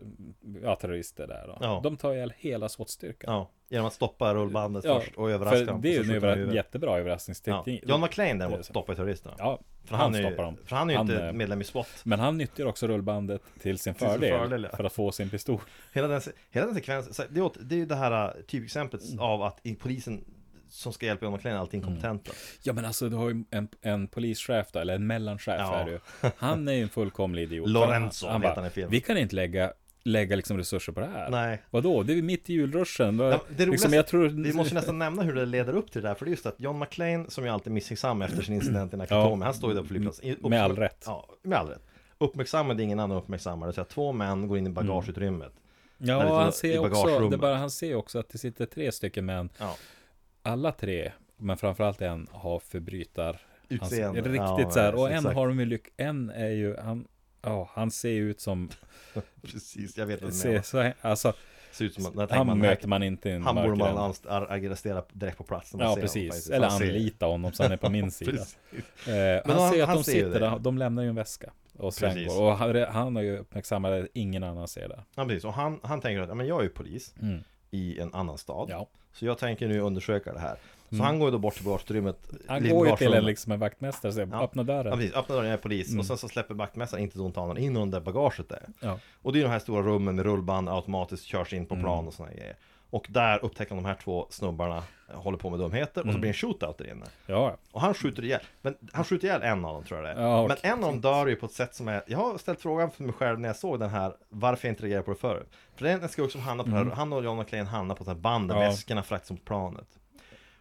Speaker 3: ja, terrorister där då.
Speaker 2: Ja.
Speaker 3: De tar ihjäl hela SWAT-styrkan.
Speaker 2: Ja, genom att stoppa rullbandet
Speaker 3: Ja,
Speaker 2: först och
Speaker 3: För
Speaker 2: överraska dem.
Speaker 3: det är
Speaker 2: och
Speaker 3: ju
Speaker 2: så skjuter
Speaker 3: en
Speaker 2: de i
Speaker 3: överra-
Speaker 2: huvudet.
Speaker 3: jättebra
Speaker 2: Ja.
Speaker 3: överraskningsteknik.
Speaker 2: John McClane
Speaker 3: Det är
Speaker 2: däremot
Speaker 3: så.
Speaker 2: stoppar ju terroristerna.
Speaker 3: Ja,
Speaker 2: För han, är ju,
Speaker 3: stoppar dem.
Speaker 2: För han är ju inte
Speaker 3: eh,
Speaker 2: medlem i SWAT.
Speaker 3: Men han nyttjar också rullbandet till sin
Speaker 2: Till sin
Speaker 3: fördel,
Speaker 2: fördel, ja.
Speaker 3: för att få sin pistol.
Speaker 2: Hela den, se- hela den sekvensen, så det, är åt- det är ju det här äh, typexemplet
Speaker 3: Mm.
Speaker 2: av att i- polisen som ska hjälpa John McClane är alltid inkompetenta.
Speaker 3: Ja men alltså du har ju en, en polischef då, eller en mellanchef
Speaker 2: Ja.
Speaker 3: är det ju. Han är ju en fullkomlig idiot.
Speaker 2: Lorenzo
Speaker 3: han,
Speaker 2: heter
Speaker 3: bara,
Speaker 2: han i filmen.
Speaker 3: Vi kan inte lägga, lägga liksom resurser på det här.
Speaker 2: Nej.
Speaker 3: Vadå, det är ju mitt i julruschen. Då,
Speaker 2: Ja, det
Speaker 3: liksom,
Speaker 2: roligaste-
Speaker 3: jag tror...
Speaker 2: Vi måste nästan nämna hur det leder upp till det där, för det är just att John McClane, som ju alltid är misstänksam efter sin incident i Nakatomi,
Speaker 3: Ja.
Speaker 2: han står ju där på flygplatsen. I-
Speaker 3: Med all rätt.
Speaker 2: Ja, med all rätt. Uppmärksammade ingen annan uppmärksammade, så att två män går in i bagageutrymmet.
Speaker 3: Ja,
Speaker 2: lite
Speaker 3: han
Speaker 2: i
Speaker 3: ser, också,
Speaker 2: bagagerummet.
Speaker 3: det är bara, han ser också att det sitter tre stycken män.
Speaker 2: Ja.
Speaker 3: Alla tre, men framförallt en, har förbrytar...
Speaker 2: Utseende.
Speaker 3: Alltså, riktigt
Speaker 2: Ja,
Speaker 3: så här. Och en
Speaker 2: exakt.
Speaker 3: har de ju lyck... En är ju... Han, ja, han ser ju ut som...
Speaker 2: Precis, jag vet vad du
Speaker 3: Ser,
Speaker 2: menar.
Speaker 3: så, alltså,
Speaker 2: Ser ut som att, när jag tänker
Speaker 3: han
Speaker 2: man,
Speaker 3: möter man inte i en
Speaker 2: han borde man
Speaker 3: mörkgränd.
Speaker 2: anst- ar- arrestera direkt på plats. när man
Speaker 3: Ja,
Speaker 2: ser honom,
Speaker 3: precis.
Speaker 2: faktiskt.
Speaker 3: Eller
Speaker 2: Han ser-
Speaker 3: anlita honom så han är på min sida.
Speaker 2: Precis.
Speaker 3: Eh,
Speaker 2: Men
Speaker 3: han,
Speaker 2: han-
Speaker 3: ser att
Speaker 2: han
Speaker 3: de
Speaker 2: ser ju
Speaker 3: sitter
Speaker 2: det.
Speaker 3: där, de lämnar ju en väska. Och, sen
Speaker 2: Precis.
Speaker 3: går, och han, han har ju uppmärksammat att ingen annan ser det.
Speaker 2: Ja, precis. Och han, han tänker att ja, men jag är ju polis
Speaker 3: Mm.
Speaker 2: i en annan stad.
Speaker 3: Ja. Mm.
Speaker 2: Så jag tänker nu undersöka det här. Så han går ju då bort till bagagerummet.
Speaker 3: Han
Speaker 2: lite
Speaker 3: går ju till
Speaker 2: bagagerummet.
Speaker 3: en, liksom, Mm. en vaktmästare och säger
Speaker 2: Ja.
Speaker 3: öppna dörren.
Speaker 2: Ja, precis. Öppnar dörren, jag är polis. Och sen så släpper vaktmästaren, inte ont anande, in under bagaget där.
Speaker 3: Ja.
Speaker 2: Och det är de här stora rummen med rullband, automatiskt körs in på
Speaker 3: Mm.
Speaker 2: plan och såna här grejer. Och där upptäcker de här två snubbarna eh, håller på med dumheter
Speaker 3: Mm.
Speaker 2: och så blir det en shootout där inne.
Speaker 3: Ja,
Speaker 2: Och han skjuter ihjäl, men han skjuter ihjäl en av dem tror jag det är.
Speaker 3: Ja, okej.
Speaker 2: Men en av dem dör ju på ett sätt som är, jag har ställt frågan för mig själv när jag såg den här, varför jag inte reagerade på det förut. För det är en skurk som hamnar på det här, han och John McClane hamnar på det här bandet,
Speaker 3: Mm. Ja.
Speaker 2: väskorna fraktas som planet.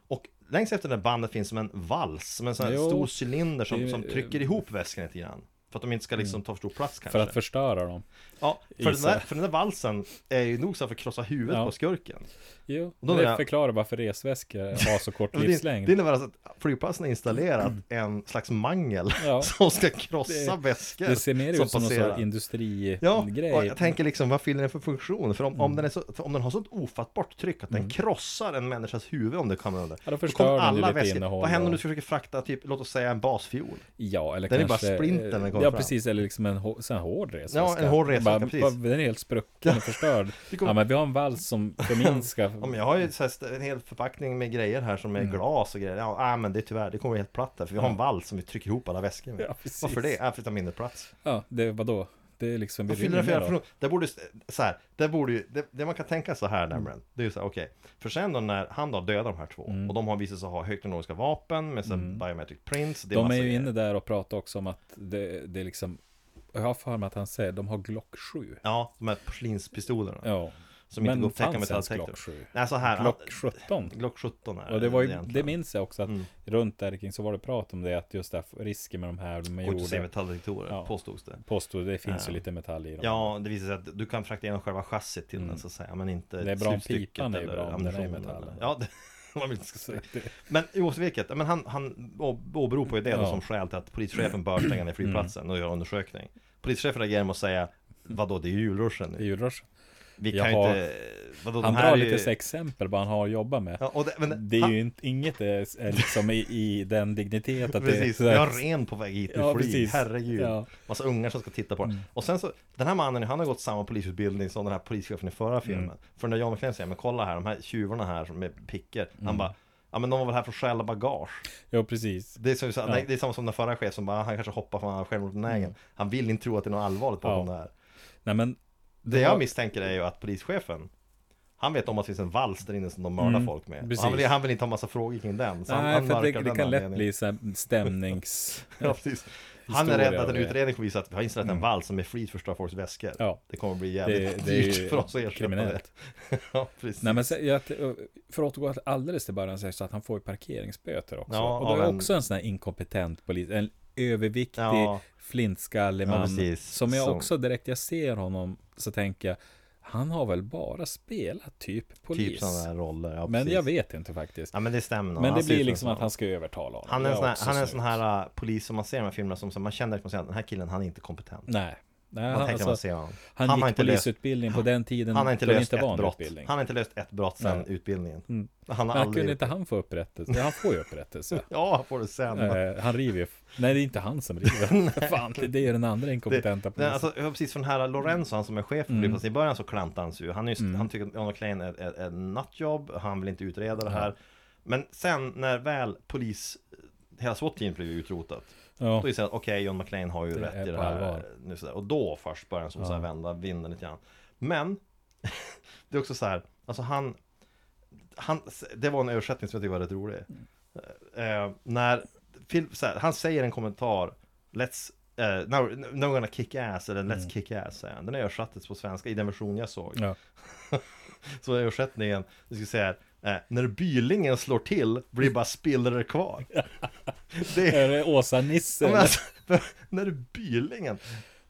Speaker 2: Och längst efter det här bandet finns som en vals, som en sån här
Speaker 3: Jo.
Speaker 2: stor cylinder
Speaker 3: Det
Speaker 2: som,
Speaker 3: är-
Speaker 2: som trycker ihop väskan lite grann. För att de inte ska liksom ta för stor plats kanske.
Speaker 3: för att förstöra dem.
Speaker 2: ja, för, den
Speaker 3: Isa.
Speaker 2: där, för den där valsen är ju nog så här för att krossa huvudet
Speaker 3: Ja.
Speaker 2: på skurken. Alltså,
Speaker 3: Jo,
Speaker 2: då
Speaker 3: men det
Speaker 2: menar jag-
Speaker 3: förklarar varför resväskor har så kort
Speaker 2: Ja, men Det,
Speaker 3: livslängd. Mm.
Speaker 2: det innebär alltså att flygplatsen har installerat en slags mangel
Speaker 3: Ja.
Speaker 2: som ska krossa väskor
Speaker 3: Det ser mer ut som någon
Speaker 2: passerar.
Speaker 3: sorts industrigrej.
Speaker 2: Ja, och jag tänker liksom vad fyller den för funktion? För om,
Speaker 3: Mm.
Speaker 2: om, den är så, för om den har sånt ofattbart tryck att den krossar en människas huvud om det kommer under
Speaker 3: Ja, då förstör
Speaker 2: kommer
Speaker 3: den ju
Speaker 2: alla
Speaker 3: lite
Speaker 2: väskor.
Speaker 3: innehåll
Speaker 2: Vad händer om
Speaker 3: och-
Speaker 2: du försöker frakta typ, låt oss säga en basfiol?
Speaker 3: ja, eller
Speaker 2: den är
Speaker 3: kanske, eh,
Speaker 2: bara splinter när den kommer
Speaker 3: Ja,
Speaker 2: fram.
Speaker 3: precis. Eller liksom en, hå- sån här hård resväska.
Speaker 2: Ja, en hård resväska,
Speaker 3: Bara-
Speaker 2: precis.
Speaker 3: bara- Den är helt sprucken och förstörd.
Speaker 2: kommer-
Speaker 3: Ja, men vi har en vals som förminskar.
Speaker 2: Ja, men jag har ju så här, st- en hel förpackning med grejer här som är
Speaker 3: Mm.
Speaker 2: glas och grejer. Ja, ah, men det är tyvärr, det kommer bli helt platt här för vi har en vall som vi trycker ihop alla väskor med.
Speaker 3: Ja, precis.
Speaker 2: Varför det? Ja, för att ta mindre plats.
Speaker 3: Ja, det, vadå? Det är liksom... vi
Speaker 2: Vad fyller
Speaker 3: ringer
Speaker 2: den för jävla
Speaker 3: med då.
Speaker 2: funktion? Det borde, så här, det borde ju, det, det man kan tänka så här nämligen, det är ju så här, okej. För sen då när han då dödar de här två,
Speaker 3: Mm.
Speaker 2: och de har visat sig ha högteknologiska vapen med så här biometric prints. Det
Speaker 3: De
Speaker 2: massa
Speaker 3: är ju
Speaker 2: grejer.
Speaker 3: inne där och pratar också om att det, det är liksom... Jag har för mig att han säger de har Glock 7.
Speaker 2: Ja, de här porslinspistolerna.
Speaker 3: Ja.
Speaker 2: Som inte
Speaker 3: Men
Speaker 2: går att täcka
Speaker 3: fanns
Speaker 2: med
Speaker 3: ens
Speaker 2: metalldetektor.
Speaker 3: Glock 7?
Speaker 2: Nej, så här.
Speaker 3: Glock
Speaker 2: han-
Speaker 3: 17.
Speaker 2: Glock 17 är
Speaker 3: Och det, var ju, det
Speaker 2: egentligen. Mm.
Speaker 3: minns jag också att runt där kring så var det prat om det att just det här risken med de här de
Speaker 2: Och inte se
Speaker 3: gjorde
Speaker 2: metalldetektorer,
Speaker 3: Ja.
Speaker 2: påstods det.
Speaker 3: påstod det finns
Speaker 2: Ja.
Speaker 3: ju lite metall i dem.
Speaker 2: Ja, det visar sig att du kan frakta igenom själva chassit till den så att säga, men inte
Speaker 3: Mm. Det är bra om
Speaker 2: slutstycket
Speaker 3: pipan är ju
Speaker 2: eller
Speaker 3: bra om den är i
Speaker 2: ammunitionen.
Speaker 3: metallen.
Speaker 2: Ja, det, vad vill jag ska
Speaker 3: Så
Speaker 2: säga.
Speaker 3: det-
Speaker 2: Men oavsett vilket, men han, han å- åberopar ju det då
Speaker 3: Ja. Mm.
Speaker 2: som skäl till att polischefen bör stänga ner flygplatsen och göra undersökning. Polischefen reagerar med att säga Vadå, det är ju julruschen
Speaker 3: Det är
Speaker 2: nu.
Speaker 3: julrush.
Speaker 2: Vi
Speaker 3: Jag
Speaker 2: kan ju
Speaker 3: har-
Speaker 2: inte... Vadå, de
Speaker 3: Han
Speaker 2: här
Speaker 3: drar
Speaker 2: är ju-
Speaker 3: lite så exempel vad han har att jobba med.
Speaker 2: Ja, och det, men,
Speaker 3: Det är
Speaker 2: han,
Speaker 3: ju inte, inget är, är liksom i, i den dignitet att
Speaker 2: Precis,
Speaker 3: det är
Speaker 2: vi har ren på väg hit nu,
Speaker 3: Ja,
Speaker 2: flyg,
Speaker 3: precis.
Speaker 2: herregud
Speaker 3: Ja.
Speaker 2: Massa ungar som ska titta på den
Speaker 3: Mm.
Speaker 2: Och sen så, den här mannen, han har gått samma polisutbildning som den här polischefen i
Speaker 3: Mm.
Speaker 2: förra filmen För när John McClane säger, men kolla här, de här tjuvarna här som med pickor
Speaker 3: Mm.
Speaker 2: Han bara, ja men de var väl här för att stjäla bagage
Speaker 3: Ja, precis.
Speaker 2: det är, som, nej, det är samma som den förra chefen som bara, han kanske hoppar från självmordsbenägen Han vill inte tro att det är något allvarligt bakom
Speaker 3: Ja.
Speaker 2: det här
Speaker 3: Nej, men
Speaker 2: Det jag
Speaker 3: var-
Speaker 2: misstänker är ju att polischefen han vet om att det finns en vals där inne som de mördar folk med. Och
Speaker 3: Mm. precis.
Speaker 2: han vill, han vill inte ha massa frågor kring den. Så han,
Speaker 3: Nej,
Speaker 2: han
Speaker 3: för det,
Speaker 2: mörkar
Speaker 3: det
Speaker 2: den
Speaker 3: kan lätt
Speaker 2: anledningen.
Speaker 3: bli så här stämnings...
Speaker 2: Ja, precis. Han är
Speaker 3: Historia
Speaker 2: rädd att
Speaker 3: och
Speaker 2: en
Speaker 3: det.
Speaker 2: utredning kommer visa att vi har inställt en vals som med flit förstör folks väskor.
Speaker 3: Ja.
Speaker 2: Det kommer bli
Speaker 3: Det,
Speaker 2: jävligt
Speaker 3: det är
Speaker 2: dyrt för oss att
Speaker 3: ju
Speaker 2: ersätta
Speaker 3: kriminellt.
Speaker 2: det. ja, precis.
Speaker 3: Nej, men sen- jag, för att återgå alldeles till början så är det så att han får ju parkeringsböter också.
Speaker 2: Ja,
Speaker 3: och då
Speaker 2: av
Speaker 3: är
Speaker 2: en-
Speaker 3: också en sån här inkompetent polis, en överviktig
Speaker 2: Ja.
Speaker 3: flintskallig
Speaker 2: Ja,
Speaker 3: man.
Speaker 2: precis.
Speaker 3: som jag
Speaker 2: Som-
Speaker 3: också direkt jag ser honom så tänker jag, han har väl bara spelat typ polis.
Speaker 2: Typ sådana här roller. Ja,
Speaker 3: men
Speaker 2: precis.
Speaker 3: jag vet inte faktiskt.
Speaker 2: Ja, men det stämmer nog.
Speaker 3: men
Speaker 2: Han
Speaker 3: det
Speaker 2: ser ut
Speaker 3: blir
Speaker 2: som en
Speaker 3: liksom
Speaker 2: sån.
Speaker 3: att han ska övertala honom.
Speaker 2: Han är en
Speaker 3: Jag
Speaker 2: sån här,
Speaker 3: också
Speaker 2: han är en
Speaker 3: snyggt.
Speaker 2: sån här äh, polis som man ser i de här filmerna som, som man känner liksom att den här killen, han är inte kompetent.
Speaker 3: Nej. Nej,
Speaker 2: Man
Speaker 3: han,
Speaker 2: tänker när man
Speaker 3: alltså,
Speaker 2: ser honom.
Speaker 3: han,
Speaker 2: Han
Speaker 3: gick
Speaker 2: har inte löst-
Speaker 3: polisutbildning på den tiden
Speaker 2: Han har inte
Speaker 3: då det
Speaker 2: löst
Speaker 3: var
Speaker 2: ett
Speaker 3: en
Speaker 2: brott.
Speaker 3: utbildning.
Speaker 2: Han har inte löst ett brott sedan
Speaker 3: Nej. Mm.
Speaker 2: utbildningen. Han har
Speaker 3: Men kunde
Speaker 2: aldrig...
Speaker 3: inte han få upprättelse? Han får ju upprättelse.
Speaker 2: Ja, han får det sen.
Speaker 3: Eh, han river ju. Nej, det är inte han som river. Fan, det det är den andra inkompetenta
Speaker 2: Nej,
Speaker 3: polisen.
Speaker 2: alltså, ja, precis, för den här Lorenzo, han som är chef mm. i början så klantar han sig ju. Han, är just, han tycker att John McClane är ett- ett nattjobb, han vill inte utreda det här. Men sen när väl polis, hela SWAT-teamet blev utrotat,
Speaker 3: ja.
Speaker 2: då inser han att okej, John McClane har ju
Speaker 3: Det är
Speaker 2: rätt i det
Speaker 3: på allvar.
Speaker 2: här. Nu, sådär. Och då först börjar han som så här vända vinden lite grann. Men, det är också så här, alltså han, han, det var en översättning som jag tyckte var rätt rolig.
Speaker 3: Mm.
Speaker 2: Eh, när, Phil, så här, han säger en kommentar Let's, uh, now, now we're gonna kick ass eller Let's
Speaker 3: Mm.
Speaker 2: kick ass säger han. Den är översattes på svenska i den version jag såg
Speaker 3: Ja.
Speaker 2: Så översättningen, jag ska säga här, eh, När bylingen slår till blir bara spillror kvar Det är,
Speaker 3: Är det Åsa-Nisse?
Speaker 2: ja, men
Speaker 3: eller?
Speaker 2: alltså, när bylingen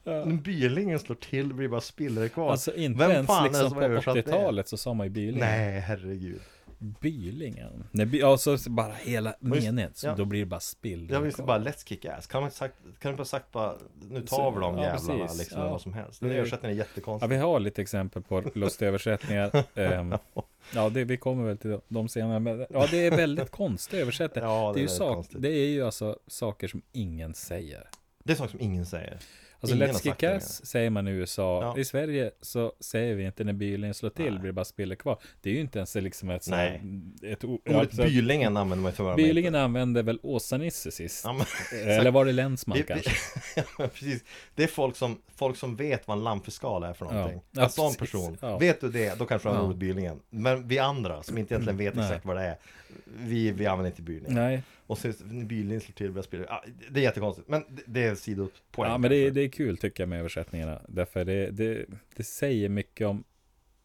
Speaker 2: När bylingen slår till blir bara spillror kvar
Speaker 3: Alltså inte
Speaker 2: Vem
Speaker 3: ens
Speaker 2: fan är det
Speaker 3: liksom
Speaker 2: som
Speaker 3: på
Speaker 2: har översatt det?
Speaker 3: 80-talet så sa man ju Bylingen.
Speaker 2: Nej herregud
Speaker 3: Bylingen. Nej, by, ja, så bara hela
Speaker 2: just-
Speaker 3: meningen. Så
Speaker 2: ja.
Speaker 3: Då blir det bara spill.
Speaker 2: Jag visste bara let's kick ass Kan man inte sagt, kan du bara sagt bara Nu tar vi de
Speaker 3: Ja,
Speaker 2: jävlarna
Speaker 3: precis.
Speaker 2: liksom
Speaker 3: Ja.
Speaker 2: eller vad som helst Den
Speaker 3: Det är-
Speaker 2: översättningen är
Speaker 3: Ja,
Speaker 2: jättekonstig
Speaker 3: vi har lite exempel på lustöversättningar. Ehm, ja, det, vi kommer väl till de senare. Men, ja, det är väldigt konstiga översättningar.
Speaker 2: Ja, det är
Speaker 3: det, är ju
Speaker 2: väldigt
Speaker 3: sak,
Speaker 2: konstigt.
Speaker 3: det är ju alltså saker som ingen säger.
Speaker 2: Det är saker som ingen säger
Speaker 3: Alltså
Speaker 2: Ingen har
Speaker 3: Let's
Speaker 2: sagt
Speaker 3: Kick
Speaker 2: det
Speaker 3: Ass säger man i USA.
Speaker 2: Ja.
Speaker 3: I Sverige så säger vi inte när bylingen slår till, blir det bara spiller kvar. Det är ju inte ens liksom ett sånt...
Speaker 2: Nej.
Speaker 3: Ett, o-
Speaker 2: Ordet
Speaker 3: alltså,
Speaker 2: bylingen använder man ju tyvärr inte.
Speaker 3: bylingen använde väl Åsa-Nisse sist? Eh,
Speaker 2: Ja, men,
Speaker 3: Eller var det Länsman
Speaker 2: det,
Speaker 3: kanske?
Speaker 2: det, ja, precis. det är folk som, folk som vet vad en lampfiskal är för någonting.
Speaker 3: Ja,
Speaker 2: en sån
Speaker 3: precis.
Speaker 2: person.
Speaker 3: Ja.
Speaker 2: Vet du det, då kanske du använder
Speaker 3: Ja. Mm,
Speaker 2: ordet bylningen. Men vi andra som inte egentligen vet
Speaker 3: Nej.
Speaker 2: exakt vad det är, vi, vi använder inte bylningen.
Speaker 3: Nej,
Speaker 2: Och så bylningen slår till och börjar spela. Ja, det är jättekonstigt, men det, det är en sidopoäng.
Speaker 3: ja, men det,
Speaker 2: kanske.
Speaker 3: det är kul tycker jag med översättningarna. Därför det, det, det säger mycket om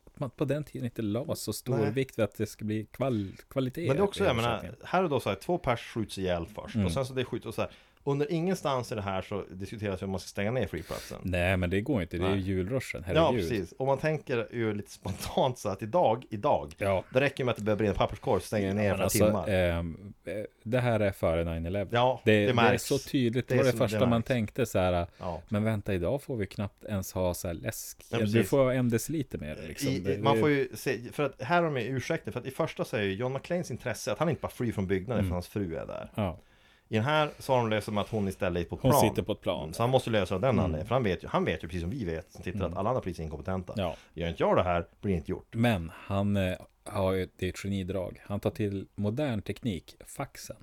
Speaker 3: att man på den tiden inte la så stor
Speaker 2: Nej.
Speaker 3: vikt vid att det ska bli kval, kvalitet.
Speaker 2: Men det är också,
Speaker 3: i
Speaker 2: jag menar,
Speaker 3: översättningen.
Speaker 2: här och då så här, två pers skjuts ihjäl först.
Speaker 3: Mm.
Speaker 2: Och sen så det skjuts och så här. Under ingenstans i det här så diskuteras ju om man ska stänga ner flygplatsen.
Speaker 3: Nej, men det går ju inte. Det är ju
Speaker 2: Nej.
Speaker 3: julruschen,
Speaker 2: Ja,
Speaker 3: Mm, herregud.
Speaker 2: precis. Och man tänker ju lite spontant så att idag, idag,
Speaker 3: Ja.
Speaker 2: det räcker med att det börjar brinna en papperskorg så stänger den ner
Speaker 3: Men
Speaker 2: för några
Speaker 3: alltså,
Speaker 2: timmar.
Speaker 3: ehm, eh, det här är före 9-11.
Speaker 2: Ja,
Speaker 3: det,
Speaker 2: det
Speaker 3: det, är
Speaker 2: märks.
Speaker 3: så tydligt. Det
Speaker 2: Det
Speaker 3: var
Speaker 2: är
Speaker 3: det
Speaker 2: så- det
Speaker 3: första man
Speaker 2: märks.
Speaker 3: tänkte så här.
Speaker 2: Ja.
Speaker 3: Men vänta, idag får vi knappt ens ha så här läsk.
Speaker 2: Ja,
Speaker 3: du
Speaker 2: precis.
Speaker 3: får ha en deciliter mer. Liksom.
Speaker 2: I,
Speaker 3: Det-
Speaker 2: i, man
Speaker 3: det-
Speaker 2: får ju se, för att här har de ju ursäkter, för att i första så är ju John McClanes intresse att han inte bara flyr från byggnaden
Speaker 3: Mm.
Speaker 2: för hans fru är där.
Speaker 3: ja.
Speaker 2: I den här så har de löst det med att hon istället är på ett
Speaker 3: Hon
Speaker 2: plan.
Speaker 3: sitter på ett plan. Mm.
Speaker 2: Så han måste lösa av den anledningen, för han vet ju, han vet ju precis som vi vet, som tittar att alla andra poliser är inkompetenta.
Speaker 3: Ja.
Speaker 2: Gör inte jag det här, blir det inte gjort.
Speaker 3: Men han eh, har ju det är ett genidrag. Han tar till modern teknik, faxen.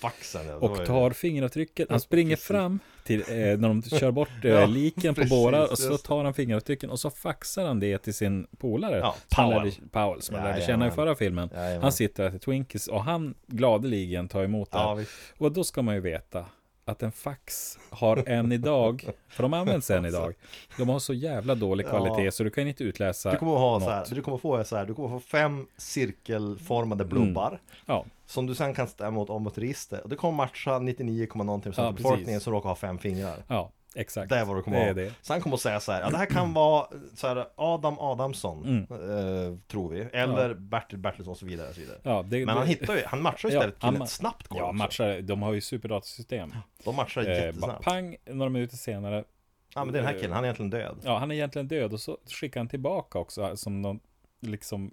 Speaker 2: Faxen, ja, då är
Speaker 3: Och
Speaker 2: det-
Speaker 3: tar fingeravtrycken. Han springer fram till eh, när de kör bort eh,
Speaker 2: Ja,
Speaker 3: liken på
Speaker 2: precis,
Speaker 3: bårar. Och så
Speaker 2: just det.
Speaker 3: tar han fingeravtrycken och så faxar han det till sin polare.
Speaker 2: Ja,
Speaker 3: som han
Speaker 2: Powell.
Speaker 3: lärde- Powell som han lärde
Speaker 2: Jajamän.
Speaker 3: känna i förra filmen.
Speaker 2: Jajamän.
Speaker 3: Han sitter och äter Twinkies och han gladeligen tar emot det.
Speaker 2: Ja, visst.
Speaker 3: och då ska man ju veta att en fax har en idag, för de används än idag. De har så jävla dålig kvalitet så du kan inte utläsa
Speaker 2: Du kommer att ha
Speaker 3: något. Mm.
Speaker 2: så här, du kommer att få så här, du kommer att få fem cirkelformade blubbar.
Speaker 3: Ja,
Speaker 2: Som du sen kan ställa mot om ett register och det kommer matcha 99, någonting procent
Speaker 3: Ja,
Speaker 2: av befolkningen
Speaker 3: precis.
Speaker 2: som råkar ha fem fingrar
Speaker 3: ja, exakt.
Speaker 2: Det är vad du kommer
Speaker 3: det
Speaker 2: att
Speaker 3: är
Speaker 2: ha
Speaker 3: det.
Speaker 2: Så han kommer att säga så här, ja det här kan vara så här Adam Adamsson
Speaker 3: Mm.
Speaker 2: eh, Tror vi, eller Bertil Bertilsson och så vidare, och så vidare.
Speaker 3: Ja, det-
Speaker 2: Men han
Speaker 3: det-
Speaker 2: hittar ju, han matchar ju
Speaker 3: Ja,
Speaker 2: istället
Speaker 3: han
Speaker 2: killen
Speaker 3: ma-
Speaker 2: snabbt går
Speaker 3: Ja,
Speaker 2: också.
Speaker 3: matchar, de har ju superdatasystem.
Speaker 2: De matchar
Speaker 3: Eh, bara
Speaker 2: jättesnabbt
Speaker 3: pang, några minuter senare
Speaker 2: Ja men det är den här killen, han är egentligen död.
Speaker 3: Ja, han är egentligen död och så skickar han tillbaka också eh, som någon liksom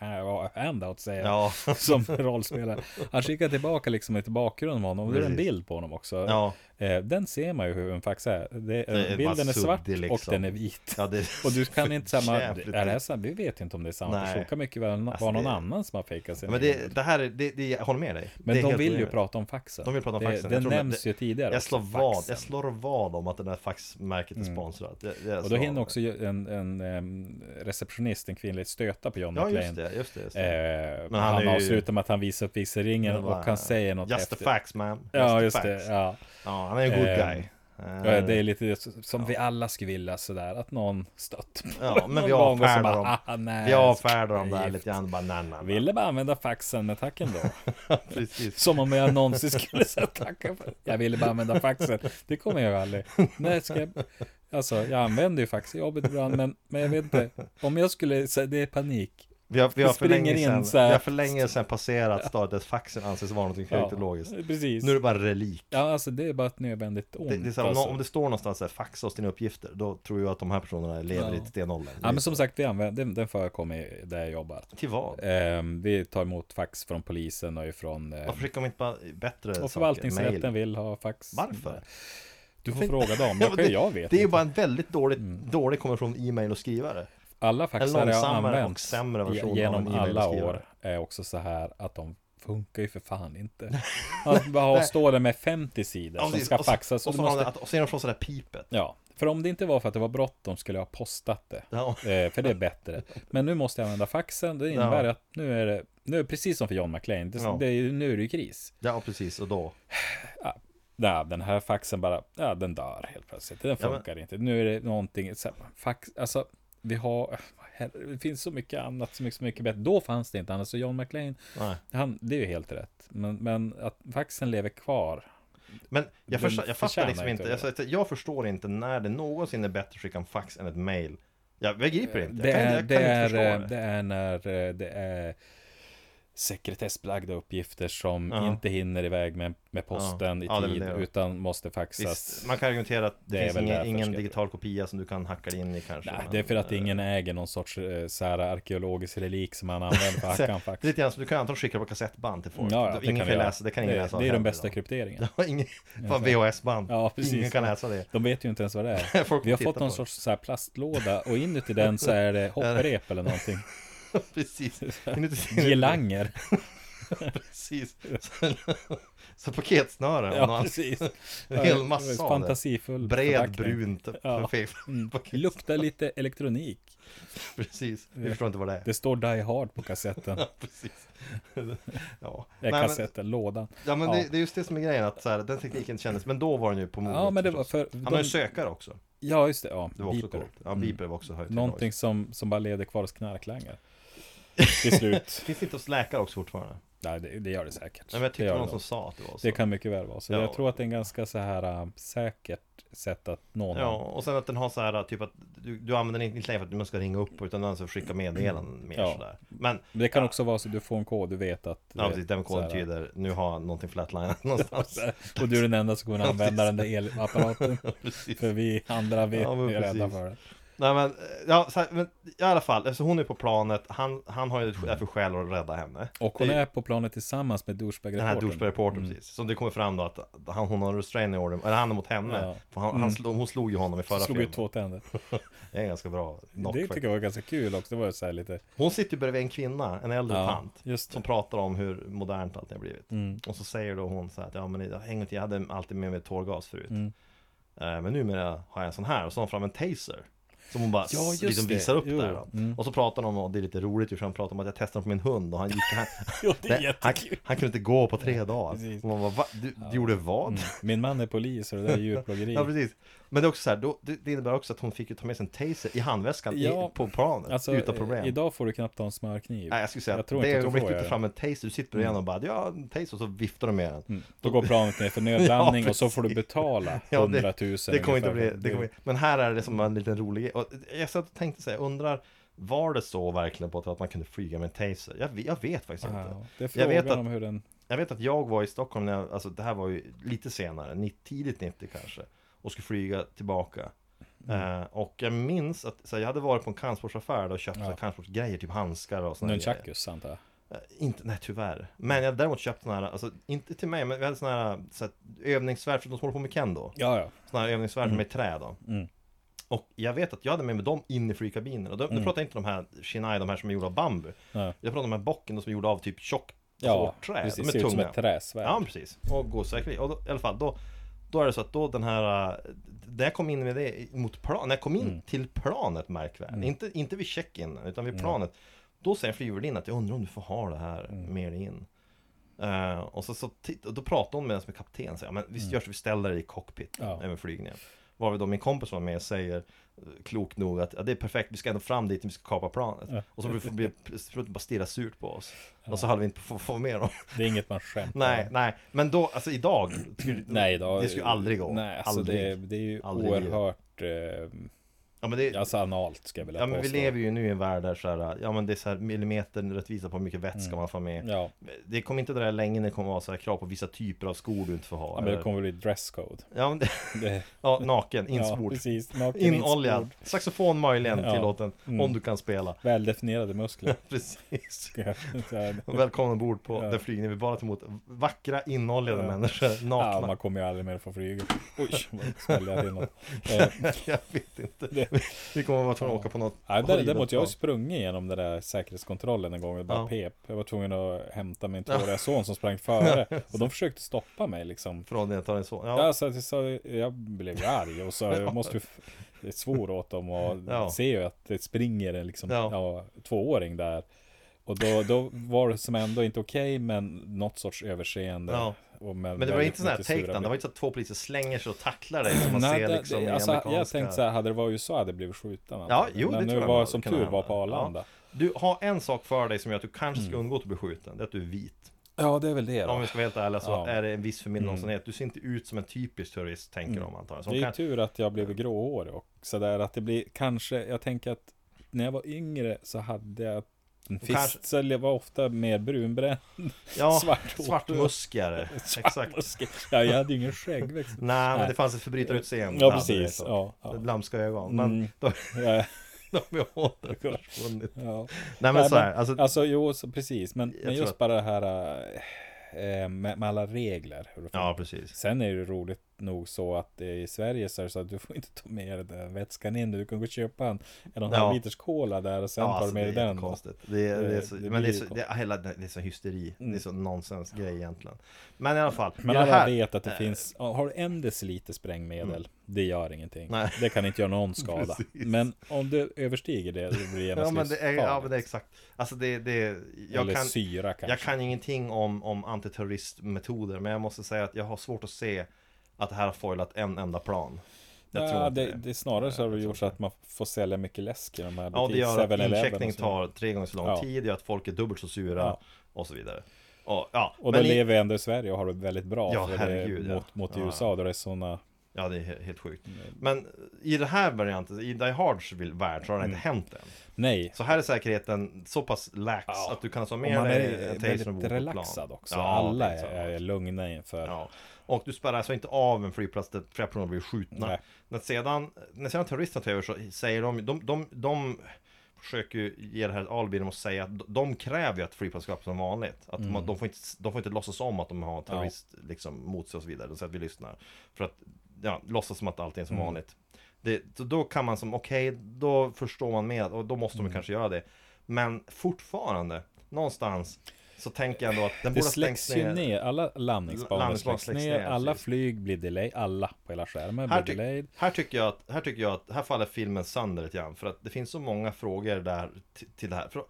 Speaker 3: eh, ha- handout säger jag,
Speaker 2: Ja,
Speaker 3: som rollspelare. Han skickar tillbaka liksom ett bakgrund av honom och det är en
Speaker 2: Precis.
Speaker 3: bild på honom också.
Speaker 2: ja,
Speaker 3: Eh, den ser man ju hur den faktiskt är. Det,
Speaker 2: är bara
Speaker 3: bilden är svart
Speaker 2: suddig,
Speaker 3: och
Speaker 2: liksom.
Speaker 3: den är vit.
Speaker 2: ja det
Speaker 3: Och du kan inte samma,
Speaker 2: jävligt
Speaker 3: är det här samma? Vi vet inte om det är samma
Speaker 2: Nej.
Speaker 3: person. Det kan mycket väl
Speaker 2: Alltså,
Speaker 3: vara någon
Speaker 2: det-
Speaker 3: annan som har fejkat sin
Speaker 2: Men
Speaker 3: egen
Speaker 2: det,
Speaker 3: bild.
Speaker 2: det här, är- det, det, jag håller med dig.
Speaker 3: Men
Speaker 2: det är
Speaker 3: de
Speaker 2: helt
Speaker 3: vill ju
Speaker 2: orimligt.
Speaker 3: prata om faxen.
Speaker 2: De vill prata om
Speaker 3: det,
Speaker 2: faxen.
Speaker 3: Det
Speaker 2: Jag tror de-
Speaker 3: nämns ju tidigare.
Speaker 2: Jag
Speaker 3: också,
Speaker 2: slår, vad,
Speaker 3: faxen.
Speaker 2: jag slår vad om att det där faxmärket är sponsrat. Jag, jag
Speaker 3: Mm. Och då
Speaker 2: slår
Speaker 3: hinner
Speaker 2: vad.
Speaker 3: också ju- en, en, em, receptionist, en kvinnlig, stöta på John
Speaker 2: Ja just
Speaker 3: McLean.
Speaker 2: det, just det. Just det.
Speaker 3: Eh,
Speaker 2: Men
Speaker 3: han
Speaker 2: han är ju-
Speaker 3: avslutar med att han visar upp viseringen
Speaker 2: Men
Speaker 3: och
Speaker 2: bara,
Speaker 3: han säger något
Speaker 2: Just the
Speaker 3: häftigt.
Speaker 2: facts man. Just
Speaker 3: Ja,
Speaker 2: the
Speaker 3: just det.
Speaker 2: facts.
Speaker 3: Ja.
Speaker 2: Ja, han är en good
Speaker 3: Eh,
Speaker 2: guy.
Speaker 3: Ja,
Speaker 2: Eh,
Speaker 3: Det är lite det som vi alla skulle vilja sådär, att någon stöttar
Speaker 2: Ja, men
Speaker 3: någon
Speaker 2: vi
Speaker 3: gång och så
Speaker 2: avfärdar
Speaker 3: bara,
Speaker 2: dem.
Speaker 3: "Ah, nej,
Speaker 2: Vi avfärdar dem där
Speaker 3: gift."
Speaker 2: lite grann. Bara nej, nej, nej.
Speaker 3: Ville bara använda faxen, men tack ändå.
Speaker 2: Precis.
Speaker 3: Som om jag någonsin skulle säga tacka för Jag ville bara använda faxen. Det kommer jag ju aldrig. Nej, ska jag... Alltså, jag använder ju fax i jobbet ibland, men, men jag vet inte. Om jag skulle säga, det är panik.
Speaker 2: Vi har, vi har för
Speaker 3: springer
Speaker 2: länge
Speaker 3: in
Speaker 2: sedan,
Speaker 3: så här.
Speaker 2: vi har för länge sedan passerat stadiet att faxen anses vara något högt och logiskt.
Speaker 3: precis.
Speaker 2: Nu är det bara en relik.
Speaker 3: Ja, alltså det är bara ett nödvändigt ont.
Speaker 2: Det, det är så här, om,
Speaker 3: alltså.
Speaker 2: nå- om det står någonstans så här, faxa oss dina uppgifter, då tror jag att de här personerna lever i
Speaker 3: Ja.
Speaker 2: ett stenåldern.
Speaker 3: Ja, men som sagt, vi använder, den, den förekommer där jag jobbar.
Speaker 2: Till vad?
Speaker 3: Ehm, vi tar emot fax från polisen och ifrån... Eh,
Speaker 2: Varför skickar de inte bara bättre
Speaker 3: och
Speaker 2: saker?
Speaker 3: förvaltningsrätten
Speaker 2: Mail?
Speaker 3: vill ha fax.
Speaker 2: Varför?
Speaker 3: Du får
Speaker 2: Varför-
Speaker 3: fråga dem.
Speaker 2: Ja,
Speaker 3: Jag,
Speaker 2: men
Speaker 3: kan- jag vet
Speaker 2: Det är ju
Speaker 3: inte. Mm.
Speaker 2: bara en väldigt dålig, dålig konvention e-mail och skrivare.
Speaker 3: Alla
Speaker 2: En
Speaker 3: faxar jag
Speaker 2: långsammare och
Speaker 3: använt
Speaker 2: sämre version
Speaker 3: ge-
Speaker 2: av
Speaker 3: genom
Speaker 2: en
Speaker 3: alla
Speaker 2: e-mailskrivare.
Speaker 3: år är också så här att de funkar ju för fan inte. Att bara stå där med 50 sidor
Speaker 2: Ja,
Speaker 3: som
Speaker 2: precis.
Speaker 3: ska
Speaker 2: Och så-
Speaker 3: faxas. Och
Speaker 2: Och
Speaker 3: du
Speaker 2: så, måste...
Speaker 3: måste,
Speaker 2: att, och så är de från sådär pipet.
Speaker 3: ja, för om det inte var för att det var bråttom skulle jag ha postat det.
Speaker 2: Ja.
Speaker 3: Eh, för det är bättre. Men nu måste jag använda faxen. Det innebär
Speaker 2: Ja.
Speaker 3: att nu är det, nu är det precis som för John McLean. Det,
Speaker 2: Ja.
Speaker 3: det är, ju- nu är det ju kris.
Speaker 2: ja, precis. Och då?
Speaker 3: Ja, den här faxen bara, ja, den dör helt plötsligt. Den
Speaker 2: Ja, men-
Speaker 3: funkar inte. Nu är det någonting, så här, fax, alltså, vi har, herre, det finns så mycket annat, så mycket, så mycket bättre. Då fanns det inte annars. Så John McLean,
Speaker 2: Nej.
Speaker 3: han, det är ju helt rätt. Men, men att faxen lever kvar.
Speaker 2: Men jag,
Speaker 3: Den
Speaker 2: förstår, jag
Speaker 3: förtjänar
Speaker 2: fattar liksom
Speaker 3: inte
Speaker 2: inte. Jag, sa- jag förstår inte när det någonsin är bättre att skicka en fax än ett mail. Jag begriper inte.
Speaker 3: Eh, Det
Speaker 2: jag kan,
Speaker 3: är,
Speaker 2: jag
Speaker 3: det
Speaker 2: kan
Speaker 3: är,
Speaker 2: inte förstå det.
Speaker 3: det är när eh, det är sekretessbelagda uppgifter som
Speaker 2: Ja.
Speaker 3: inte hinner iväg med, med posten
Speaker 2: Ja, det
Speaker 3: i
Speaker 2: är väl
Speaker 3: tid,
Speaker 2: det då.
Speaker 3: utan måste faxas.
Speaker 2: Visst, man kan argumentera att det,
Speaker 3: Det är
Speaker 2: finns
Speaker 3: väl
Speaker 2: ingen,
Speaker 3: därför,
Speaker 2: ingen
Speaker 3: skulle jag
Speaker 2: digital kopia som du kan hacka dig in i kanske.
Speaker 3: Nej,
Speaker 2: men,
Speaker 3: det är för att
Speaker 2: eh,
Speaker 3: ingen äger någon sorts eh, så här arkeologisk relik som man använder för
Speaker 2: så-
Speaker 3: hackan
Speaker 2: Det är
Speaker 3: faktiskt.
Speaker 2: lite grann som du kan antagligen skicka på kassettband till folk.
Speaker 3: Ja, ja,
Speaker 2: Du- ingen
Speaker 3: kan
Speaker 2: kan,
Speaker 3: vi göra.
Speaker 2: läsa, det kan ingen
Speaker 3: det,
Speaker 2: läsa.
Speaker 3: Det är
Speaker 2: av hänt
Speaker 3: den bästa
Speaker 2: idag.
Speaker 3: krypteringen.
Speaker 2: Ja, ingen, fan VHS-band.
Speaker 3: Ja, precis.
Speaker 2: Ingen kan läsa det.
Speaker 3: De vet ju inte ens vad det är.
Speaker 2: Folk
Speaker 3: Vi har
Speaker 2: tittar
Speaker 3: fått någon
Speaker 2: på det.
Speaker 3: sorts så här plastlåda och inuti den så är det hopprep eller någonting.
Speaker 2: Precis. Inuti-
Speaker 3: Gelanger.
Speaker 2: Precis. Så, så paketsnören.
Speaker 3: Ja, precis.
Speaker 2: En hel massa av det.
Speaker 3: Fantasifull
Speaker 2: Bred,
Speaker 3: förpackning.
Speaker 2: brunt,
Speaker 3: Ja.
Speaker 2: perfekt. paket.
Speaker 3: Luktar lite elektronik.
Speaker 2: Precis. Vi förstår inte vad det är.
Speaker 3: Det står Die Hard på kassetten.
Speaker 2: Precis. Ja,
Speaker 3: Eh,
Speaker 2: Nej, men,
Speaker 3: kassetten, lådan.
Speaker 2: ja, men
Speaker 3: ja.
Speaker 2: Det, det är just det som är grejen, att så här, den tekniken kändes, men då var den ju på modet.
Speaker 3: Ja, men det var
Speaker 2: förstås.
Speaker 3: för...
Speaker 2: Han har ju
Speaker 3: De,
Speaker 2: en sökare också.
Speaker 3: ja, just det. Ja,
Speaker 2: Det var också
Speaker 3: beeper. Mm.
Speaker 2: coolt. Ja, beeper var också högt. i
Speaker 3: Någonting
Speaker 2: noise.
Speaker 3: som, som bara leder kvar hos knarklangare. Till slut.
Speaker 2: Finns det inte hos läkare också fortfarande? Nej,
Speaker 3: Nej, det, det gör det säkert.
Speaker 2: men jag
Speaker 3: det,
Speaker 2: tyckte
Speaker 3: gör
Speaker 2: det
Speaker 3: det
Speaker 2: var någon som
Speaker 3: nog.
Speaker 2: sa att det var så.
Speaker 3: det kan mycket väl vara. Så
Speaker 2: Ja.
Speaker 3: jag tror att det är en ganska så här äh, säkert sätt att nå någon.
Speaker 2: Ja, och sen att den har så här typ att du, du använder den inte längre för att man ska ringa upp utan den ska skicka meddelanden mer
Speaker 3: Ja.
Speaker 2: sådär. Men
Speaker 3: Men Det kan också vara så att du får en kod, du vet att... eh,
Speaker 2: ja, precis, den
Speaker 3: så
Speaker 2: koden
Speaker 3: här,
Speaker 2: betyder nu har någonting flatlinat någonstans.
Speaker 3: Och du är den enda som kommer att
Speaker 2: Ja,
Speaker 3: använda den
Speaker 2: precis.
Speaker 3: där elapparaten.
Speaker 2: Precis.
Speaker 3: För vi andra, vi
Speaker 2: Ja, men
Speaker 3: är rädda
Speaker 2: precis.
Speaker 3: för det.
Speaker 2: Nej men, ja, så här, men i alla fall, eftersom hon är på planet, han, han har ju
Speaker 3: Mm.
Speaker 2: därför skäl att rädda henne.
Speaker 3: Och hon
Speaker 2: Det-
Speaker 3: är på planet tillsammans med douchebag
Speaker 2: Den här douchebag-reportern
Speaker 3: Mm.
Speaker 2: precis. Som det kommer fram då att han, hon har en restraining order, eller han är mot henne.
Speaker 3: Ja. Mm.
Speaker 2: För han, han slog, hon slog ju honom i förra
Speaker 3: Slog
Speaker 2: filmen.
Speaker 3: ut två tänder.
Speaker 2: Det är en ganska bra knock
Speaker 3: Det tycker
Speaker 2: faktiskt.
Speaker 3: jag var ganska kul också. Det var ju så här lite...
Speaker 2: Hon sitter ju bredvid en kvinna, en äldre
Speaker 3: Ja,
Speaker 2: tant.
Speaker 3: just det.
Speaker 2: Som pratar om hur modernt allt har blivit.
Speaker 3: Mm.
Speaker 2: Och så säger då hon så här att ja men jag, hänger inte, jag hade alltid med mig tårgas förut.
Speaker 3: Mm.
Speaker 2: Eh, men numera har jag en sån här. Och så har hon fram en taser. Som hon bara
Speaker 3: Ja,
Speaker 2: s-
Speaker 3: just
Speaker 2: liksom
Speaker 3: det.
Speaker 2: visar upp
Speaker 3: Jo, Mm.
Speaker 2: där.
Speaker 3: jo.
Speaker 2: Då. Och så pratar de om, det är lite roligt ju, för han pratar om att jag testade den på min hund och han gick, han,
Speaker 3: Jo, det är
Speaker 2: Nej, han,
Speaker 3: jättekul.
Speaker 2: han kunde inte gå på tre dagar.
Speaker 3: precis. Mm.
Speaker 2: Och man bara, va? Du, du gjorde vad?
Speaker 3: Min man är polis och det där är djurplågeri.
Speaker 2: Ja precis. Men det är också så här, då, det, det innebär också att hon fick ju ta med sig en taser i handväskan
Speaker 3: Ja,
Speaker 2: i, på planet
Speaker 3: Alltså,
Speaker 2: utan problem.
Speaker 3: eh, idag får du knappt ha en smörkniv.
Speaker 2: Nej jag skulle säga
Speaker 3: jag
Speaker 2: att
Speaker 3: tror
Speaker 2: det
Speaker 3: inte att du får
Speaker 2: ögonblick du
Speaker 3: göra
Speaker 2: tar fram en taser, du sitter bredvid mm. och bara ja en taser och så viftar du med den.
Speaker 3: Då går planet ner för nödlandning
Speaker 2: Ja,
Speaker 3: och så får du
Speaker 2: precis.
Speaker 3: betala
Speaker 2: Ja, det-
Speaker 3: 100 000
Speaker 2: Det kommer inte bli,
Speaker 3: ungefär.
Speaker 2: det kommer, men här är det som en liten rolig grej. Och Jag satt och tänkte säga, undrar var det så verkligen på att man kunde flyga med en taser? Jag, vet- jag vet faktiskt inte.
Speaker 3: Ja, det är
Speaker 2: Jag
Speaker 3: frågan
Speaker 2: vet att-
Speaker 3: om hur den...
Speaker 2: Jag vet att jag var i Stockholm när jag, alltså det här var ju lite senare, ni- tidigt 90 kanske Och skulle flyga tillbaka
Speaker 3: Mm.
Speaker 2: Eh, och jag minns att så här, jag hade varit på en kampsportsaffär då och köpt så här kampsportsgrejer, typ handskar och sådana grejer.
Speaker 3: Nunchakus antar jag.
Speaker 2: Eh, Inte, nej tyvärr. Men jag hade däremot köpt sådana här, alltså inte till mig, men vi hade sådana här, så här övningssvärd, för de som håller på med kendo.
Speaker 3: Ja, ja.
Speaker 2: Sådana här övningssvärd
Speaker 3: Mm.
Speaker 2: med trä då. Och jag vet att jag hade med mig dem in i flygkabinen. Och då,
Speaker 3: Mm.
Speaker 2: nu pratar jag inte om de här Shinai, de här som är gjorda av bambu.
Speaker 3: Nej.
Speaker 2: Jag pratar om de här bocken de som är gjorda av typ tjockt
Speaker 3: Ja,
Speaker 2: hårt trä.
Speaker 3: precis.
Speaker 2: de är
Speaker 3: Ser
Speaker 2: tunga.
Speaker 3: ut som ett träsvärd.
Speaker 2: Ja, men precis. Och god säkerhet. Och då, i alla fall, då, då är det så att då den här... eh, När jag kom in med det mot plan, när jag kom in till planet märk väl, inte, inte vid check-in, utan vid planet. Då säger flygvärdinnan att jag undrar om du får ha det här med dig in. Eh, och så, så titt, och då pratade hon med den som är kapten, säger, "Ja, men visst gör så vi ställer dig i cockpit
Speaker 3: Ja.
Speaker 2: över flygningen. Varvid då min kompis som var med säger eh, klokt nog att ja, det är perfekt, vi ska ändå fram dit, vi ska kapa planet. Och så blir blir- blir- bara stirra surt på oss. Och så hade vi inte fått få med dem.
Speaker 3: Det är inget man skämtar
Speaker 2: Nej,
Speaker 3: om.
Speaker 2: nej, men då, alltså idag skulle-
Speaker 3: Eh. Nej, då,
Speaker 2: Det skulle aldrig gå
Speaker 3: Nej, alltså
Speaker 2: aldrig.
Speaker 3: det, det är ju
Speaker 2: Aldrig i livet.
Speaker 3: oerhört eh,
Speaker 2: Ja men, det,
Speaker 3: alltså analt ska jag vilja
Speaker 2: ja, men vi
Speaker 3: påstå.
Speaker 2: lever ju nu i en värld där så här, ja men det är så här millimeter rättvisa på hur mycket vätska
Speaker 3: Mm.
Speaker 2: man får med
Speaker 3: Ja,
Speaker 2: Det kommer inte dröja länge när det kommer vara så här krav på vissa typer av skor du inte får ha
Speaker 3: ja, men
Speaker 2: eller-
Speaker 3: det kommer bli dresscode.
Speaker 2: ja, men det,
Speaker 3: Det-
Speaker 2: ja, naken,
Speaker 3: Ja,
Speaker 2: insmord
Speaker 3: precis. Naken
Speaker 2: Inoljad,
Speaker 3: insmord.
Speaker 2: saxofon möjligen
Speaker 3: Ja.
Speaker 2: tillåten
Speaker 3: Mm.
Speaker 2: Om du kan spela
Speaker 3: Väldefinierade muskler.
Speaker 2: Precis
Speaker 3: Så här.
Speaker 2: Välkommen ombord på
Speaker 3: Ja.
Speaker 2: den flygning vi bara tar emot vackra inoljade
Speaker 3: Ja.
Speaker 2: människor
Speaker 3: Ja,
Speaker 2: nakna
Speaker 3: man kommer ju aldrig mer få flyga. Oj, vad smällde jag till något. Eh,
Speaker 2: Jag vet inte
Speaker 3: Det-
Speaker 2: Vi kommer vara tvungna att åka på något
Speaker 3: Nej, där,
Speaker 2: horribelt
Speaker 3: däremot, jag har
Speaker 2: plan.
Speaker 3: ju sprungit igenom den där säkerhetskontrollen en gång och det bara
Speaker 2: Ja.
Speaker 3: pep. Jag var tvungen att hämta min tvååriga son som sprang före. Och de försökte stoppa mig liksom.
Speaker 2: Från det jag tar en så
Speaker 3: Ja. så att jag, sa, jag blev ju arg och så jag måste ju f- jag svor åt dem och
Speaker 2: Ja.
Speaker 3: ser ju att det springer en liksom,
Speaker 2: Ja.
Speaker 3: ja. tvååring där. Och då, då var det som ändå inte okej men något sorts överseende.
Speaker 2: Ja.
Speaker 3: Och
Speaker 2: Men det var inte sån här
Speaker 3: take
Speaker 2: takedown, det var inte så att två poliser slänger sig och tacklar dig som man
Speaker 3: Nej,
Speaker 2: ser
Speaker 3: det,
Speaker 2: liksom i
Speaker 3: det, alltså, jag
Speaker 2: amerikanska-
Speaker 3: tänkte så här, hade det varit USA hade det blivit skjuten.
Speaker 2: Ja,
Speaker 3: antagligen.
Speaker 2: jo, det
Speaker 3: men
Speaker 2: tror
Speaker 3: nu
Speaker 2: jag
Speaker 3: var
Speaker 2: nog
Speaker 3: som
Speaker 2: kan
Speaker 3: tur
Speaker 2: hända.
Speaker 3: var på Arlanda.
Speaker 2: Du har en sak för dig som gör att du kanske ska undgå att bli skjuten, det är att du är vit.
Speaker 3: Mm. Ja, det är väl det
Speaker 2: Om vi ska vara helt ärliga så
Speaker 3: Ja. Mm.
Speaker 2: är det en viss förmildrande omständighet. Du ser inte ut som en typisk terrorist, tänker de antagligen.
Speaker 3: Det är
Speaker 2: Som
Speaker 3: ju typ
Speaker 2: kan...
Speaker 3: tur att jag blev gråhårig och sådär att det blir kanske, jag tänker att när jag var yngre så hade jag en
Speaker 2: Kanske-
Speaker 3: fist, så jag var ofta mer brunbränd.
Speaker 2: Ja,
Speaker 3: svart hår.
Speaker 2: svartmuskare. Exakt.
Speaker 3: Muske. Ja, jag hade ju ingen skäggväxt.
Speaker 2: Nej, men
Speaker 3: Nej.
Speaker 2: det fanns ett förbrytarutseende.
Speaker 3: Ja,
Speaker 2: hade det,
Speaker 3: precis.
Speaker 2: så.
Speaker 3: Ja, ja.
Speaker 2: Lamska ögon. Men
Speaker 3: Mm.
Speaker 2: de,
Speaker 3: Ja,
Speaker 2: de är återförsvunnit.
Speaker 3: ja.
Speaker 2: Nej, men
Speaker 3: Nej,
Speaker 2: så här, alltså,
Speaker 3: Alltså, jo, så precis. Men, men
Speaker 2: tror
Speaker 3: just
Speaker 2: att-
Speaker 3: bara det här eh, med, med alla regler. hur det
Speaker 2: Ja,
Speaker 3: funkar.
Speaker 2: precis.
Speaker 3: Sen är det roligt nog så att eh, i Sverige så är det så att du får inte ta med dig den vätskan in. Du kan gå och köpa en, en och en
Speaker 2: Ja.
Speaker 3: halv liters cola där och sen tar du
Speaker 2: alltså,
Speaker 3: med dig
Speaker 2: det är
Speaker 3: den.
Speaker 2: konstigt. Det, är- det är så,
Speaker 3: Det- det
Speaker 2: men det är
Speaker 3: blir
Speaker 2: så,
Speaker 3: ju
Speaker 2: det, är hela, det är så hysteri. Det är så nonsens grej egentligen. Men i alla fall.
Speaker 3: Men
Speaker 2: i det
Speaker 3: alla
Speaker 2: här-
Speaker 3: vet att det
Speaker 2: eh, Mm.
Speaker 3: finns, ja, har du en deciliter sprängmedel, det gör ingenting.
Speaker 2: Nej.
Speaker 3: Det kan inte göra någon skada.
Speaker 2: Precis.
Speaker 3: men om du överstiger det, då blir
Speaker 2: Ja
Speaker 3: det genast
Speaker 2: men det är, ja, men det är
Speaker 3: livsfarligt.
Speaker 2: exakt. Alltså det, det jag
Speaker 3: Eller
Speaker 2: kan,
Speaker 3: syra kanske.
Speaker 2: jag kan ingenting om, om antiterroristmetoder. Men jag måste säga att jag har svårt att se att det här har foilat en enda plan. Jag tror
Speaker 3: ja,
Speaker 2: inte
Speaker 3: det, det. är snarare så har det gjort så att man får sälja mycket läsk i de här
Speaker 2: Ja, det gör att
Speaker 3: 7-Eleven och
Speaker 2: incheckning
Speaker 3: så.
Speaker 2: tar tre gånger så lång
Speaker 3: Ja.
Speaker 2: tid, det gör att folk är dubbelt så sura
Speaker 3: Ja.
Speaker 2: och så vidare. Och, ja,
Speaker 3: Och då
Speaker 2: men i-
Speaker 3: lever vi ändå i Sverige och har det väldigt bra.
Speaker 2: Ja,
Speaker 3: för
Speaker 2: herregud,
Speaker 3: det,
Speaker 2: ja.
Speaker 3: är mot, mot
Speaker 2: Ja,
Speaker 3: USA, då det är sådana...
Speaker 2: ja, det är he- helt sjukt.
Speaker 3: Mm.
Speaker 2: Men i det här varianten, i Die Hards vill- värld, så har det inte
Speaker 3: Mm.
Speaker 2: hänt än.
Speaker 3: Nej,
Speaker 2: Så här är säkerheten så pass lax
Speaker 3: Ja.
Speaker 2: att du kan ta
Speaker 3: och
Speaker 2: med
Speaker 3: man
Speaker 2: dig
Speaker 3: är
Speaker 2: en taser ombord
Speaker 3: väldigt
Speaker 2: på plan.
Speaker 3: relaxad också.
Speaker 2: Ja,
Speaker 3: Alla
Speaker 2: det är så.
Speaker 3: är, är lugna inför...
Speaker 2: Ja. Och du spärrar alltså inte av en flygplats där flera personer blir skjutna.
Speaker 3: Nej.
Speaker 2: När sedan, när sedan terroristerna tar över så säger de, de, de, de försöker ju ge det här ett alibi genom att säga att de- de kräver ju att flygplatsen ska vara som vanligt. Att
Speaker 3: Mm.
Speaker 2: man, de, får inte, de får inte låtsas om att de har terrorist liksom, mot sig och så vidare. De säger att vi lyssnar. För att ja, låtsas som att allting är
Speaker 3: Mm.
Speaker 2: som vanligt. Det, så då kan man som, okej, då förstår man mer och då måste
Speaker 3: Mm.
Speaker 2: de kanske göra det. Men fortfarande, någonstans, så tänker jag ändå att den
Speaker 3: Det
Speaker 2: borde ha stängts
Speaker 3: släcks ju ner, alla landningsbanor
Speaker 2: Landningsbanor
Speaker 3: släcks
Speaker 2: släcks
Speaker 3: ner,
Speaker 2: ner,
Speaker 3: alla
Speaker 2: precis.
Speaker 3: flyg blir delay, alla på hela skärmen
Speaker 2: här,
Speaker 3: blir
Speaker 2: tyck-
Speaker 3: delayed.
Speaker 2: här tycker jag att, här tycker jag att, här faller filmen sönder lite grann. För att det finns så många frågor där till, till det här. För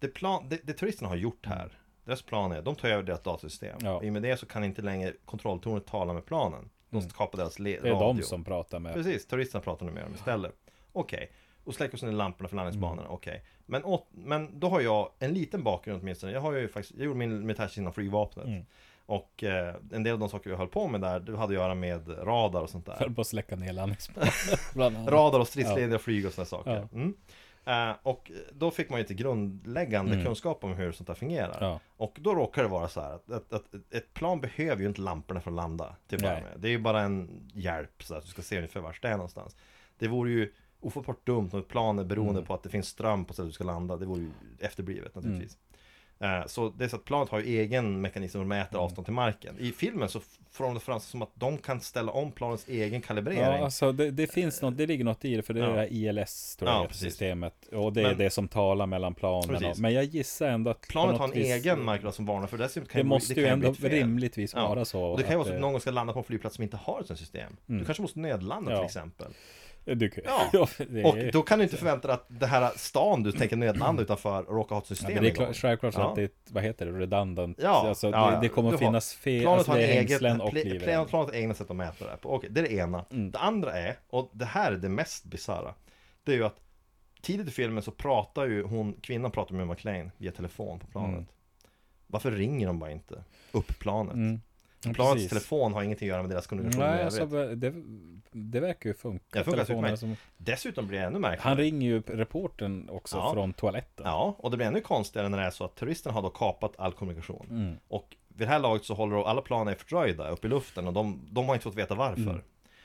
Speaker 2: det, plan, det, det turisterna har gjort här, deras plan är, de tar över deras datasystem.
Speaker 3: Ja.
Speaker 2: I och med det så kan inte längre kontrolltornet tala med planen. De kapar deras le-
Speaker 3: Mm. Det är
Speaker 2: radio.
Speaker 3: de som pratar med.
Speaker 2: Precis, turisterna pratar nu med dem istället. Okej. Och släcker sig ner lamporna för landningsbanorna,
Speaker 3: Mm.
Speaker 2: okej. Men, åt, men då har jag en liten bakgrund åtminstone. Jag har ju faktiskt, jag gjorde min militärtjänst inom flygvapnet.
Speaker 3: Mm.
Speaker 2: Och eh, en del av de saker jag höll på med där, det hade att göra med radar och sånt där.
Speaker 3: Höll på att släcka ner landningsbanan. bland annat.
Speaker 2: Radar och stridsledningar, och flyg och sådana saker.
Speaker 3: Ja.
Speaker 2: Mm. Eh, och då fick man ju inte grundläggande kunskap om hur sånt här fungerar.
Speaker 3: Mm. Ja.
Speaker 2: Och då råkar det vara så här att, att, att ett plan behöver ju inte lamporna för att landa. typ Till att börja
Speaker 3: Nej.
Speaker 2: med. Det är ju bara en hjälp så att du ska se ungefär vart det är någonstans. Det vore ju ofattbart dumt om ett plan är beroende
Speaker 3: Mm.
Speaker 2: på att det finns ström på stället du ska landa. Det vore ju efterblivet naturligtvis. Eh, Så det är så att planet har ju egen mekanism som
Speaker 3: Mm.
Speaker 2: mäter avstånd till marken. I filmen så får de fram som att de kan ställa om planets egen
Speaker 3: Ja,
Speaker 2: kalibrering.
Speaker 3: alltså det, det finns något, det ligger något i det, för det är
Speaker 2: Ja.
Speaker 3: det här ILS tror jag
Speaker 2: Ja,
Speaker 3: heter,
Speaker 2: precis.
Speaker 3: systemet. Och det är
Speaker 2: Men-
Speaker 3: det som talar mellan planen.
Speaker 2: Precis.
Speaker 3: Och, men jag gissar ändå att på
Speaker 2: Planet
Speaker 3: något
Speaker 2: har en
Speaker 3: vis-
Speaker 2: egen marknad som varnar för det. dessutom Kan
Speaker 3: Det måste
Speaker 2: kan
Speaker 3: ju
Speaker 2: bli
Speaker 3: ändå
Speaker 2: ett fel.
Speaker 3: rimligtvis
Speaker 2: Ja.
Speaker 3: vara så.
Speaker 2: Och det kan ju
Speaker 3: att eh,
Speaker 2: vara
Speaker 3: Mm.
Speaker 2: så att någon ska landa på en flygplats som inte har ett sånt system. Du kanske måste nödlanda till
Speaker 3: Ja.
Speaker 2: exempel.
Speaker 3: Du,
Speaker 2: Ja.
Speaker 3: ja, det
Speaker 2: Och
Speaker 3: är- Mm.
Speaker 2: då kan du inte förvänta dig att det här stan du tänker nödlanda utanför råkar ha ett
Speaker 3: Ja,
Speaker 2: system
Speaker 3: men det är
Speaker 2: igång.
Speaker 3: klart, självklart så
Speaker 2: Ja.
Speaker 3: att det är, ett- vad heter det, redundant.
Speaker 2: Ja,
Speaker 3: alltså,
Speaker 2: ja, ja.
Speaker 3: Det, det kommer
Speaker 2: Du
Speaker 3: att
Speaker 2: har-
Speaker 3: finnas fel,
Speaker 2: Planet
Speaker 3: alltså,
Speaker 2: har
Speaker 3: det Mm.
Speaker 2: en
Speaker 3: är
Speaker 2: egen,
Speaker 3: hängslen och
Speaker 2: pl- plan,
Speaker 3: livrem.
Speaker 2: planet har egna sätt att mäta det här på. Okej, det är det ena. Det andra är, och det här är det mest bisarra, det är ju att tidigt i filmen så pratar ju hon, kvinnan pratar med McLean via telefon på planet.
Speaker 3: Mm.
Speaker 2: Varför ringer de bara inte upp planet?
Speaker 3: Mm. Ja,
Speaker 2: Planets
Speaker 3: precis.
Speaker 2: telefon har ingenting att göra med deras kommunikation i
Speaker 3: Nej,
Speaker 2: övrigt.
Speaker 3: alltså, det, det verkar ju funka.
Speaker 2: Det funkar
Speaker 3: Telefonerna
Speaker 2: utmärkt. Dessutom blir det ännu märkligare.
Speaker 3: han ringer ju reportern också
Speaker 2: Ja.
Speaker 3: från toaletten.
Speaker 2: Ja, och det blir ännu konstigare när det är så att terroristerna har då kapat all kommunikation.
Speaker 3: Mm.
Speaker 2: Och vid det här laget så håller då alla plan är fördröjda uppe i luften och de, de har inte fått veta varför.
Speaker 3: Mm.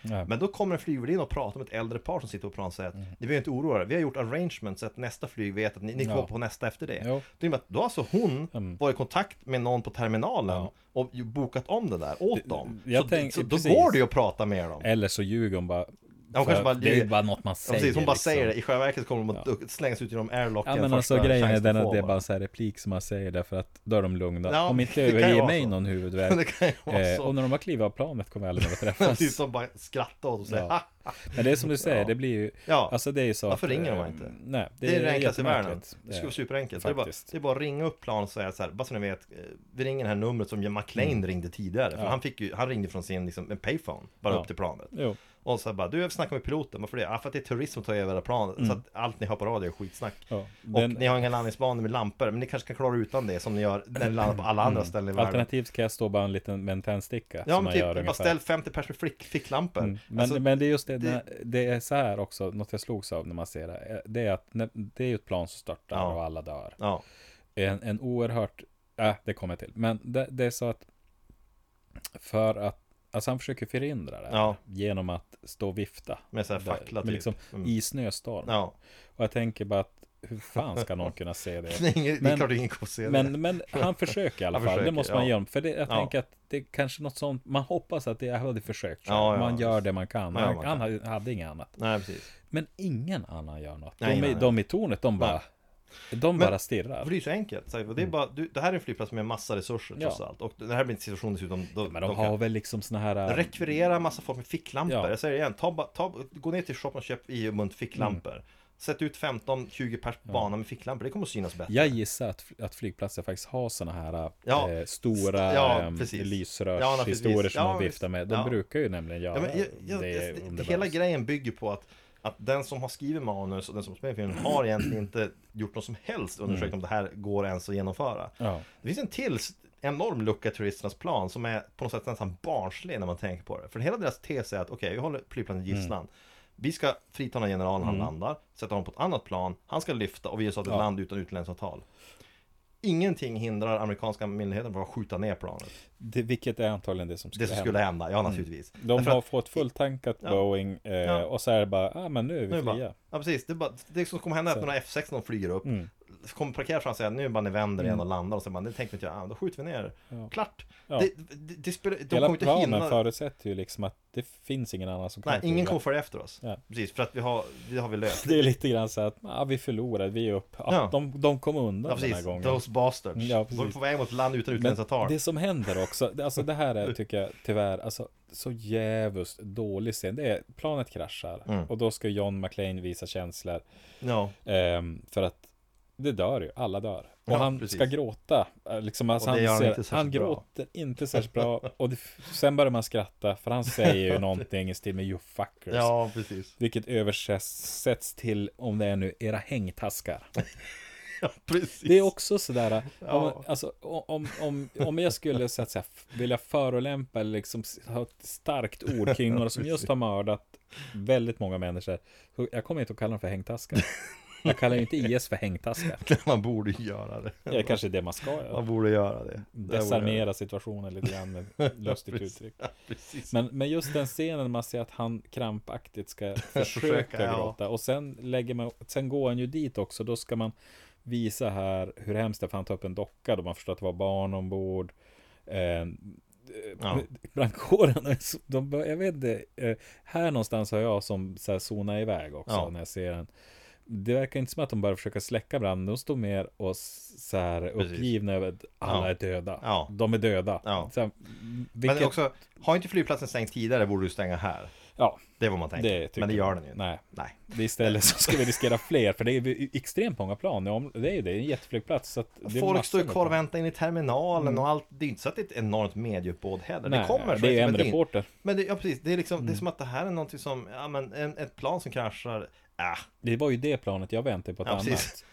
Speaker 3: Nej. Mm.
Speaker 2: Men då kommer en flygvärdinna och pratar med ett äldre par som sitter på planet och säger att ni behöver inte oroa er, vi har gjort arrangements så att nästa flyg vet att ni, ni
Speaker 3: Ja.
Speaker 2: går på nästa efter det.
Speaker 3: Jo.
Speaker 2: Det innebär att då har alltså hon
Speaker 3: Mm.
Speaker 2: varit i kontakt med någon på terminalen
Speaker 3: Ja.
Speaker 2: och ju bokat om det där åt dem.
Speaker 3: jag
Speaker 2: så,
Speaker 3: tänk-
Speaker 2: så då
Speaker 3: precis.
Speaker 2: går det ju att prata med dem.
Speaker 3: Eller så ljuger hon bara.
Speaker 2: kanske
Speaker 3: för
Speaker 2: bara
Speaker 3: det är ju
Speaker 2: ljuger.
Speaker 3: bara något man
Speaker 2: Ja,
Speaker 3: säger.
Speaker 2: precis, hon bara
Speaker 3: liksom.
Speaker 2: säger det, i själva verket kommer de att slängas ut genom airlocken
Speaker 3: Ja men
Speaker 2: första
Speaker 3: alltså grejen är
Speaker 2: chans de
Speaker 3: den
Speaker 2: får
Speaker 3: att det är
Speaker 2: bara.
Speaker 3: bara en sån här replik som man säger därför att då är de lugna.
Speaker 2: Ja,
Speaker 3: Om inte
Speaker 2: det kan ju
Speaker 3: överger
Speaker 2: vara
Speaker 3: mig
Speaker 2: så.
Speaker 3: någon
Speaker 2: Det
Speaker 3: huvudvärk.
Speaker 2: kan ju vara
Speaker 3: Eh,
Speaker 2: så.
Speaker 3: och när de har klivit av planet kommer jag aldrig mer att
Speaker 2: Men
Speaker 3: träffas.
Speaker 2: typ som bara skrattar åt och säger
Speaker 3: Ja.
Speaker 2: "Ha,
Speaker 3: Men det är som du säger,
Speaker 2: Ja.
Speaker 3: det blir ju...
Speaker 2: Ja.
Speaker 3: Alltså det är ju så
Speaker 2: Varför
Speaker 3: att,
Speaker 2: ringer de
Speaker 3: eh,
Speaker 2: inte?
Speaker 3: Nej,
Speaker 2: Det, är det enklaste i världen.
Speaker 3: jättemärkligt.
Speaker 2: Det skulle vara
Speaker 3: Eh,
Speaker 2: superenkelt. Det är, bara,
Speaker 3: faktiskt.
Speaker 2: det är bara att ringa upp planet och säga så här, bara så ni vet, eh, vi ringer det här numret som Jim McLean ringde tidigare. För
Speaker 3: Mm. Ja.
Speaker 2: han, fick ju, han ringde från sin liksom, en payphone, bara
Speaker 3: Ja.
Speaker 2: upp till planet.
Speaker 3: Jo.
Speaker 2: Och så här bara, du jag vill snacka med piloten, varför det? Ja, för att det är terrorism som tar över det här planet. Så att allt ni har på radio är skitsnack.
Speaker 3: Ja.
Speaker 2: Och
Speaker 3: Mm. Den-
Speaker 2: ni har inga landningsbanor med lampor, men ni kanske kan klara utan det som ni gör när ni landar på alla andra ställen i världen.
Speaker 3: Mm. Alternativt ska jag stå bara en liten, med en
Speaker 2: Ja
Speaker 3: tändsticka. Äh, som
Speaker 2: men
Speaker 3: man
Speaker 2: typ,
Speaker 3: gör
Speaker 2: bara
Speaker 3: ungefär.
Speaker 2: ställ 50 pers med flick, ficklampor.
Speaker 3: Mm. Men,
Speaker 2: Alltså,
Speaker 3: men det är just det,
Speaker 2: det-
Speaker 3: när, det är så här också, något jag slogs av när man ser det. eh, Det är att när, det är ju ett plan som störtar
Speaker 2: Ja.
Speaker 3: och alla dör.
Speaker 2: ja.
Speaker 3: En, en oerhört, äh, det kommer jag till. Men det, det är så att, för att, alltså han försöker förhindra det här
Speaker 2: Ja,
Speaker 3: genom att stå och vifta.
Speaker 2: med så här
Speaker 3: Där,
Speaker 2: fackla
Speaker 3: men
Speaker 2: typ.
Speaker 3: liksom,
Speaker 2: Mm.
Speaker 3: I snöstorm.
Speaker 2: Ja,
Speaker 3: Och jag tänker bara att, hur fan ska någon kunna se det?
Speaker 2: det är, inget, det är
Speaker 3: Men-
Speaker 2: klart ingen kommer se det.
Speaker 3: Men, men han försöker i alla
Speaker 2: Han
Speaker 3: fall, det
Speaker 2: försöker,
Speaker 3: måste man
Speaker 2: ja.
Speaker 3: ge honom. För det, jag
Speaker 2: Ja.
Speaker 3: tänker att det är kanske något sånt, man hoppas att det, jag hade försökt själv.
Speaker 2: Ja, ja,
Speaker 3: Man gör
Speaker 2: visst.
Speaker 3: det man kan.
Speaker 2: Ja,
Speaker 3: han,
Speaker 2: man
Speaker 3: han
Speaker 2: kan.
Speaker 3: hade, hade inget annat.
Speaker 2: Nej precis.
Speaker 3: Men ingen annan gör något.
Speaker 2: Nej,
Speaker 3: de, i-
Speaker 2: nej, nej.
Speaker 3: de i tornet, de bara, de
Speaker 2: Men-
Speaker 3: bara
Speaker 2: Ja,
Speaker 3: stirrar.
Speaker 2: För det är ju så enkelt. Så här, det, är bara, du, det här är en flygplats med massa resurser trots
Speaker 3: Mm. Ja.
Speaker 2: allt. Och det här blir en situation dessutom. Då,
Speaker 3: Men de, har väl liksom såna
Speaker 2: kan
Speaker 3: här...
Speaker 2: rekvirera massa folk med ficklampor.
Speaker 3: Ja.
Speaker 2: Jag säger det igen, ta, bara- ta, gå ner till shoppen och köp i och munt ficklampor.
Speaker 3: Mm.
Speaker 2: Sätt ut 15-20 pers på banan med ficklampor. Det kommer att synas bättre.
Speaker 3: Jag gissar att, att flygplatser faktiskt har såna här
Speaker 2: Ja.
Speaker 3: eh, stora
Speaker 2: Ja,
Speaker 3: eh,
Speaker 2: precis. Ja, precis.
Speaker 3: lysrörshistorier som
Speaker 2: Ja,
Speaker 3: de viftar
Speaker 2: visst.
Speaker 3: med. De
Speaker 2: Ja.
Speaker 3: brukar ju nämligen göra
Speaker 2: Ja, men, jag, jag,
Speaker 3: det.
Speaker 2: det,
Speaker 3: om det
Speaker 2: hela
Speaker 3: behövs.
Speaker 2: grejen bygger på att, att den som har skrivit manus och den som spelar filmen har egentligen inte gjort någon som helst undersökning om det här går ens att genomföra.
Speaker 3: Mm. Ja.
Speaker 2: Det finns en till s- enorm lucka i turisternas plan som är på något sätt nästan barnslig när man tänker på det. För hela deras tes är att okej, vi håller flygplanet i
Speaker 3: Mm.
Speaker 2: gisslan. Vi ska frita den här generalen när han landar, sätta honom på ett annat plan, han ska lyfta och vi gör så att ett land utan utlänningsavtal. Ingenting hindrar amerikanska myndigheter från att skjuta ner planet.
Speaker 3: Det, vilket är antagligen det som
Speaker 2: Det
Speaker 3: skulle
Speaker 2: som
Speaker 3: hända. Mm.
Speaker 2: skulle hända, ja naturligtvis.
Speaker 3: De
Speaker 2: Därför
Speaker 3: har
Speaker 2: att-
Speaker 3: fått fulltankat
Speaker 2: Ja.
Speaker 3: Boeing eh,
Speaker 2: Ja.
Speaker 3: och så är det bara, ah men nu är vi
Speaker 2: nu är det bara,
Speaker 3: fria. Mm.
Speaker 2: ja precis, det, är bara, det som kommer hända är att några F16 flyger upp, kommer parkera fram och säga nu är det bara ni vänder igen och landar och så bara, det tänkte inte jag, ah, då skjuter vi ner. Klart!
Speaker 3: Ja.
Speaker 2: Det, det, det spelar, de kommer
Speaker 3: Hela
Speaker 2: inte
Speaker 3: planen
Speaker 2: hinna.
Speaker 3: förutsätter ju liksom att det finns ingen annan som kan
Speaker 2: Nej, ingen
Speaker 3: flyga.
Speaker 2: kommer följa efter oss.
Speaker 3: Ja.
Speaker 2: Precis, för att vi har, det har vi löst.
Speaker 3: Det är lite grann så att, ah, vi förlorade, vi är upp. Ah,
Speaker 2: Ja.
Speaker 3: de, de kom undan
Speaker 2: Ja,
Speaker 3: den här
Speaker 2: precis.
Speaker 3: gången.
Speaker 2: Those bastards.
Speaker 3: Ja, precis.
Speaker 2: de är på väg mot land utan
Speaker 3: Men
Speaker 2: utlänningsavtal.
Speaker 3: det som händer också, det- alltså det här är tycker jag tyvärr, alltså så jävligt dålig scen. Det är, planet kraschar
Speaker 2: Mm.
Speaker 3: och då ska John McClane visa känslor.
Speaker 2: Ja,
Speaker 3: Ehm, för att det dör ju, alla dör. Och
Speaker 2: Ja,
Speaker 3: han
Speaker 2: precis.
Speaker 3: ska gråta. Eh, Liksom, alltså,
Speaker 2: Och det
Speaker 3: han
Speaker 2: gör han
Speaker 3: ser,
Speaker 2: inte särskilt
Speaker 3: han
Speaker 2: bra.
Speaker 3: gråter inte särskilt bra. Och det, sen börjar man skratta, för han säger ju någonting i stil med you fuckers.
Speaker 2: ja precis.
Speaker 3: Vilket översätts till, om det är nu, era hängtaskar.
Speaker 2: Ja, precis.
Speaker 3: Det är också sådär,
Speaker 2: Ja.
Speaker 3: om, alltså, om, om, om jag skulle så att säga, vilja förolämpa eller liksom, s- ha ett starkt ord kring några som just har mördat väldigt många människor. så Jag kommer inte att kalla dem för hängtaskar. Jag kallar ju inte IS för hängtaskar.
Speaker 2: Man borde ju göra det.
Speaker 3: Det är kanske det man ska göra.
Speaker 2: Man borde göra det. Det borde jag-
Speaker 3: Desarmera situationen lite grann med lustigt
Speaker 2: Precis.
Speaker 3: uttryck.
Speaker 2: Ja, precis.
Speaker 3: Men, men just den scenen man ser att han krampaktigt ska försöka
Speaker 2: ja.
Speaker 3: gråta och sen, lägger man, sen går han ju dit också. Då ska man visa här hur hemskt det är för han tar upp en docka då man förstår att det var barn ombord. Eh,
Speaker 2: Ja.
Speaker 3: Brandkåren, är så- de, bör- jag vet inte. Eh, här någonstans har jag som så här zonar iväg också
Speaker 2: Ja.
Speaker 3: när jag ser den. Det verkar inte som att de bara försöker släcka branden. De står mer och s- så här uppgivna över att alla
Speaker 2: Ja.
Speaker 3: är döda.
Speaker 2: Ja.
Speaker 3: De är döda.
Speaker 2: Ja.
Speaker 3: Så här,
Speaker 2: Men
Speaker 3: vilket,
Speaker 2: det är också, har inte flygplatsen stängts tidigare borde du stänga här.
Speaker 3: ja,
Speaker 2: Det är vad man tänker.
Speaker 3: Det tycker
Speaker 2: Men det
Speaker 3: jag.
Speaker 2: gör den ju inte.
Speaker 3: nej.
Speaker 2: Nej.
Speaker 3: Det Istället så ska vi riskera fler, för det är ju extremt många plan. Ja, Det är ju det, det är en jätteflygplats. Så att det är massor
Speaker 2: Folk står
Speaker 3: med
Speaker 2: kvar och
Speaker 3: plan.
Speaker 2: väntar in i terminalen och allt. Det är inte så att det är ett enormt medieuppbåd heller.
Speaker 3: Nej,
Speaker 2: det kommer. så
Speaker 3: det är
Speaker 2: liksom,
Speaker 3: en Mm.
Speaker 2: men det
Speaker 3: reporter.
Speaker 2: Men det, ja, precis. Det är, liksom, det är som att det här är någonting som, ja men en, ett plan som kraschar, äh.
Speaker 3: Det var ju det planet jag väntade på ett
Speaker 2: Ja,
Speaker 3: annat.
Speaker 2: precis.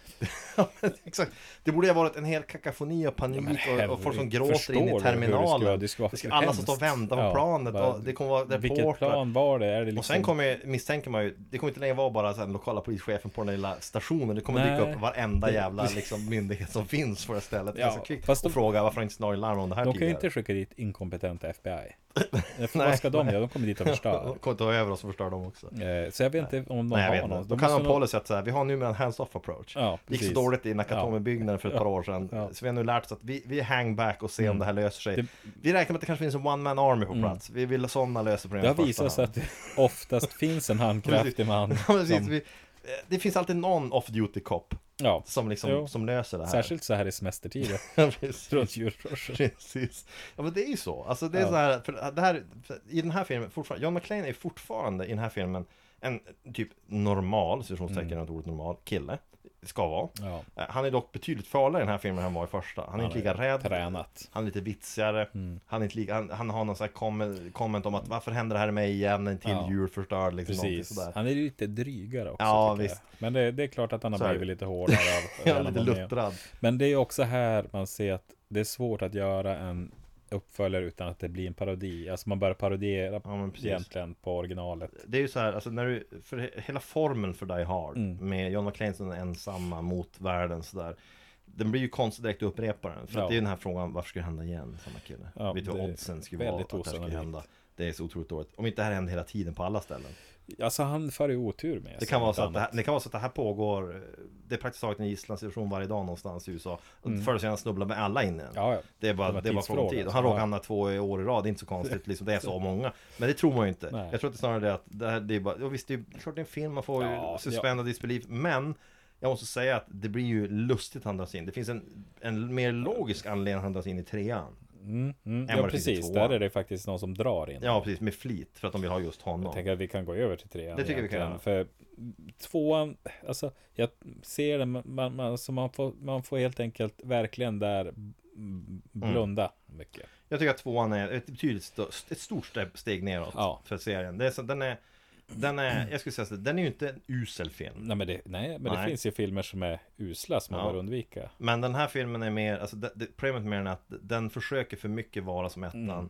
Speaker 2: Ja, men Exakt. Det borde ju ha varit en hel kakafoni av panik och, och folk som
Speaker 3: herregud,
Speaker 2: gråter in
Speaker 3: förstår du hur
Speaker 2: i
Speaker 3: det skulle vara?
Speaker 2: terminalen.
Speaker 3: Det skulle vara
Speaker 2: alla som
Speaker 3: hemskt.
Speaker 2: står och väntar på
Speaker 3: Ja,
Speaker 2: planet
Speaker 3: bara,
Speaker 2: och det kommer vara
Speaker 3: Vilket
Speaker 2: reportrar.
Speaker 3: plan var det? Är det liksom...
Speaker 2: Och sen kommer, ju- misstänker man ju, det kommer inte längre vara bara så här, den lokala polischefen på den lilla stationen. Det kommer
Speaker 3: Nej.
Speaker 2: dyka upp varenda
Speaker 3: Det-
Speaker 2: jävla liksom, myndighet som finns på det stället.
Speaker 3: Ja,
Speaker 2: ganska kvickt
Speaker 3: fast de-
Speaker 2: och fråga varför har inte slagit larm om det här
Speaker 3: De kan ju
Speaker 2: tidigare.
Speaker 3: inte skicka dit inkompetenta FBI. För
Speaker 2: Nej,
Speaker 3: vad ska de
Speaker 2: nej.
Speaker 3: göra? De kommer dit och förstör.
Speaker 2: De kommer ta över oss och förstör dem också.
Speaker 3: Eh, Så jag vet inte om de
Speaker 2: Nej jag
Speaker 3: har
Speaker 2: vet
Speaker 3: någon.
Speaker 2: inte. Då kan man policy att så här, vi har numera en hands-off approach.
Speaker 3: Ja,
Speaker 2: det gick
Speaker 3: precis.
Speaker 2: så dåligt i Nakatomi-byggnaden för ett par år sedan.
Speaker 3: Ja. Mm.
Speaker 2: Så vi har nu lärt oss att vi, vi hang back och ser om det här löser sig.
Speaker 3: Det- Mm.
Speaker 2: Vi räknar med att det kanske finns en one man army på plats. Vi vill att sådana löser
Speaker 3: Det
Speaker 2: problemet
Speaker 3: har
Speaker 2: i första
Speaker 3: visat sig
Speaker 2: hand.
Speaker 3: att det oftast finns en handkraftig man.
Speaker 2: Ja, precis,
Speaker 3: som-
Speaker 2: vi, eh, det finns alltid någon off-duty cop
Speaker 3: ja,
Speaker 2: som, liksom,
Speaker 3: Jo.
Speaker 2: som löser det här.
Speaker 3: särskilt så här i semestertider.
Speaker 2: Precis.
Speaker 3: Runt julruschen.
Speaker 2: Precis. Ja men det är ju så. Alltså det är
Speaker 3: Ja.
Speaker 2: så här, för det här, för i den här filmen, fortfarande, John McClane är fortfarande i den här filmen en typ normal,
Speaker 3: Mm.
Speaker 2: situationstecken runt ordet normal, kille. Ska vara.
Speaker 3: Ja,
Speaker 2: Eh, Han är dock betydligt farligare i den här filmen än han var i första. Han är inte lika rädd.
Speaker 3: tränat. Mm.
Speaker 2: Han är lite vitsigare. Han, är inte lika, han, han har någon sån här comment, comment om att varför händer det här med mig igen? En till
Speaker 3: Ja.
Speaker 2: jul förstörd liksom. någonting
Speaker 3: Precis.
Speaker 2: Sådär.
Speaker 3: Han är ju lite drygare också.
Speaker 2: Ja,
Speaker 3: tycker jag.
Speaker 2: visst.
Speaker 3: Men det, det är klart att han
Speaker 2: Så är
Speaker 3: har
Speaker 2: det.
Speaker 3: blivit lite hårdare. Av,
Speaker 2: Han är
Speaker 3: av
Speaker 2: lite
Speaker 3: alla med.
Speaker 2: luttrad.
Speaker 3: Men det är också här man ser att det är svårt att göra en uppföljare utan att det blir en parodi. Alltså man börjar parodiera
Speaker 2: Ja, men precis.
Speaker 3: egentligen på originalet.
Speaker 2: Det är ju så här, alltså när du, för he- hela formen för Die Hard
Speaker 3: Mm.
Speaker 2: med John McClane som den ensamma mot världen sådär. Den blir ju konstig direkt att upprepa den. För
Speaker 3: Ja.
Speaker 2: att det är ju den här frågan, varför ska det hända igen? Samma kille.
Speaker 3: Ja,
Speaker 2: Vet du
Speaker 3: det
Speaker 2: vad
Speaker 3: är
Speaker 2: oddsen skulle vara
Speaker 3: väldigt
Speaker 2: att det här skulle
Speaker 3: osannolikt.
Speaker 2: hända? Det är så otroligt dåligt. Om inte det här händer hela tiden på alla ställen.
Speaker 3: Alltså han för ju otur med
Speaker 2: Det
Speaker 3: sig,
Speaker 2: kan, vara
Speaker 3: något
Speaker 2: så att det, här,
Speaker 3: annat.
Speaker 2: det kan vara så att det här pågår eh, Det är praktiskt taget en gisslansituation varje dag någonstans i USA Förr eller senare snubblar med alla in i den
Speaker 3: Mm. Ja, ja.
Speaker 2: Det är bara,
Speaker 3: Det var
Speaker 2: det är bara frågan om
Speaker 3: tidsfråga,
Speaker 2: tid Och han råkar
Speaker 3: ja.
Speaker 2: hamna två i år i rad, det är inte så konstigt liksom, Det är så många Men det tror man ju inte
Speaker 3: Nej.
Speaker 2: Jag tror att det är snarare det att det, här, det är bara, ja, Visst, det är klart det är en film, man får
Speaker 3: Ja,
Speaker 2: ju suspenda disbelief Men jag måste säga att det blir ju lustigt att han dras in Det finns en, en mer logisk anledning att han dras in i trean
Speaker 3: Mm,
Speaker 2: Än
Speaker 3: ja
Speaker 2: vad det finns i
Speaker 3: precis,
Speaker 2: tvåan.
Speaker 3: där är det faktiskt någon som drar in.
Speaker 2: Ja precis, med flit för att de vill ha just
Speaker 3: Jag
Speaker 2: honom
Speaker 3: tänker att vi kan gå över till trean.
Speaker 2: Det tycker vi
Speaker 3: egentligen,
Speaker 2: kan göra.
Speaker 3: För tvåan, alltså jag ser det, man, man, alltså, man, får, man får helt enkelt verkligen där mm, blunda mycket.
Speaker 2: Jag tycker att tvåan är ett betydligt st- ett stort ste- steg neråt
Speaker 3: Ja.
Speaker 2: för serien. Det är så, den är, den är, jag skulle säga så, den är ju inte en usel film.
Speaker 3: Nej men, det, nej, men det
Speaker 2: Nej.
Speaker 3: finns ju filmer som är usla som man
Speaker 2: Ja.
Speaker 3: bör undvika.
Speaker 2: Men den här filmen är mer, alltså det, det, problemet med den är att den försöker för mycket vara som ettan.
Speaker 3: Mm.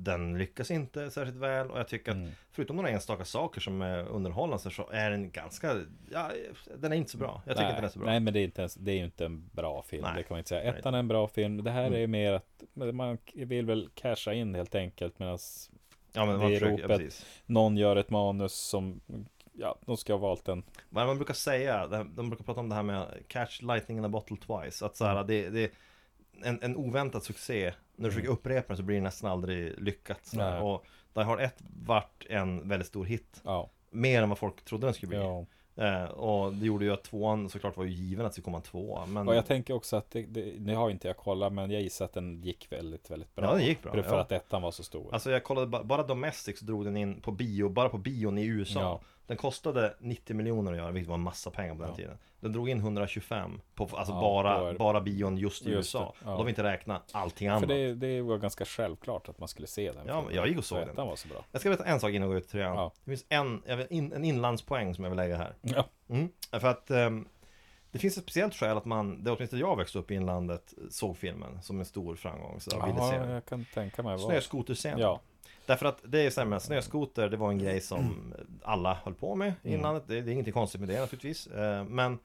Speaker 2: Den lyckas inte särskilt väl och jag tycker att förutom några enstaka saker som är underhållande så är den ganska, ja, den är inte så bra. Jag tycker
Speaker 3: nej,
Speaker 2: inte den är så bra.
Speaker 3: Nej men det är, inte ens, det är ju inte en bra film.
Speaker 2: Nej.
Speaker 3: Det kan man inte säga.
Speaker 2: Nej.
Speaker 3: Ettan är en bra film. Det här
Speaker 2: Mm.
Speaker 3: är ju mer att men man vill väl casha in helt enkelt. Medan
Speaker 2: ja, men
Speaker 3: det
Speaker 2: man
Speaker 3: är
Speaker 2: försöker, ja,
Speaker 3: ropet.
Speaker 2: precis.
Speaker 3: någon gör ett manus som Ja, de ska ha valt den.
Speaker 2: Vad man brukar säga, det här- de brukar prata om det här med catch lightning in a bottle twice. Att så här,
Speaker 3: Mm.
Speaker 2: det, det en, en oväntad succé, när du försöker upprepa den så blir det nästan aldrig lyckat. Så här.
Speaker 3: Nej.
Speaker 2: Och Die Hard 1 vart en väldigt stor hit.
Speaker 3: Ja,
Speaker 2: Mer än vad folk trodde den skulle bli.
Speaker 3: ja.
Speaker 2: Eh, och det gjorde ju att tvåan såklart var ju given att det skulle komma en tvåa. Men
Speaker 3: Och jag tänker också att det, det, nu har inte jag kollat, men jag gissar att den gick väldigt, väldigt bra.
Speaker 2: Ja, den gick bra,
Speaker 3: För
Speaker 2: ja.
Speaker 3: att ettan var så stor.
Speaker 2: Alltså jag kollade bara, bara Domestic så drog den in på bio, bara på bion i USA.
Speaker 3: Ja.
Speaker 2: Den kostade 90 miljoner att göra, vilket var en massa pengar på den
Speaker 3: Ja.
Speaker 2: tiden. Den drog in 125 på alltså
Speaker 3: Ja, då är
Speaker 2: bara,
Speaker 3: det-
Speaker 2: bara bion just i
Speaker 3: Just
Speaker 2: USA.
Speaker 3: det, ja.
Speaker 2: Och då har vi inte räknat allting annat.
Speaker 3: För det, det var ganska självklart att man skulle se den.
Speaker 2: Ja,
Speaker 3: filmen.
Speaker 2: jag gick och såg
Speaker 3: För
Speaker 2: den.
Speaker 3: Ettan var så bra.
Speaker 2: Jag ska berätta en sak innan jag går ut till trean.
Speaker 3: Ja.
Speaker 2: Det finns en, jag vill in, en inlandspoäng som jag vill lägga här.
Speaker 3: Ja,
Speaker 2: Mm. För att ehm, det finns ett speciellt skäl att man, det åtminstone jag växte upp i inlandet, såg filmen som en stor framgång. Så jag ville se
Speaker 3: Jaha,
Speaker 2: den.
Speaker 3: jag kan tänka mig. vad-
Speaker 2: Snöskoterscenen.
Speaker 3: Ja,
Speaker 2: Därför att det är ju så här med snöskoter, det
Speaker 3: Mm.
Speaker 2: var en grej som alla höll på med i inlandet. Det, det är ingenting konstigt med det naturligtvis. Eh, Men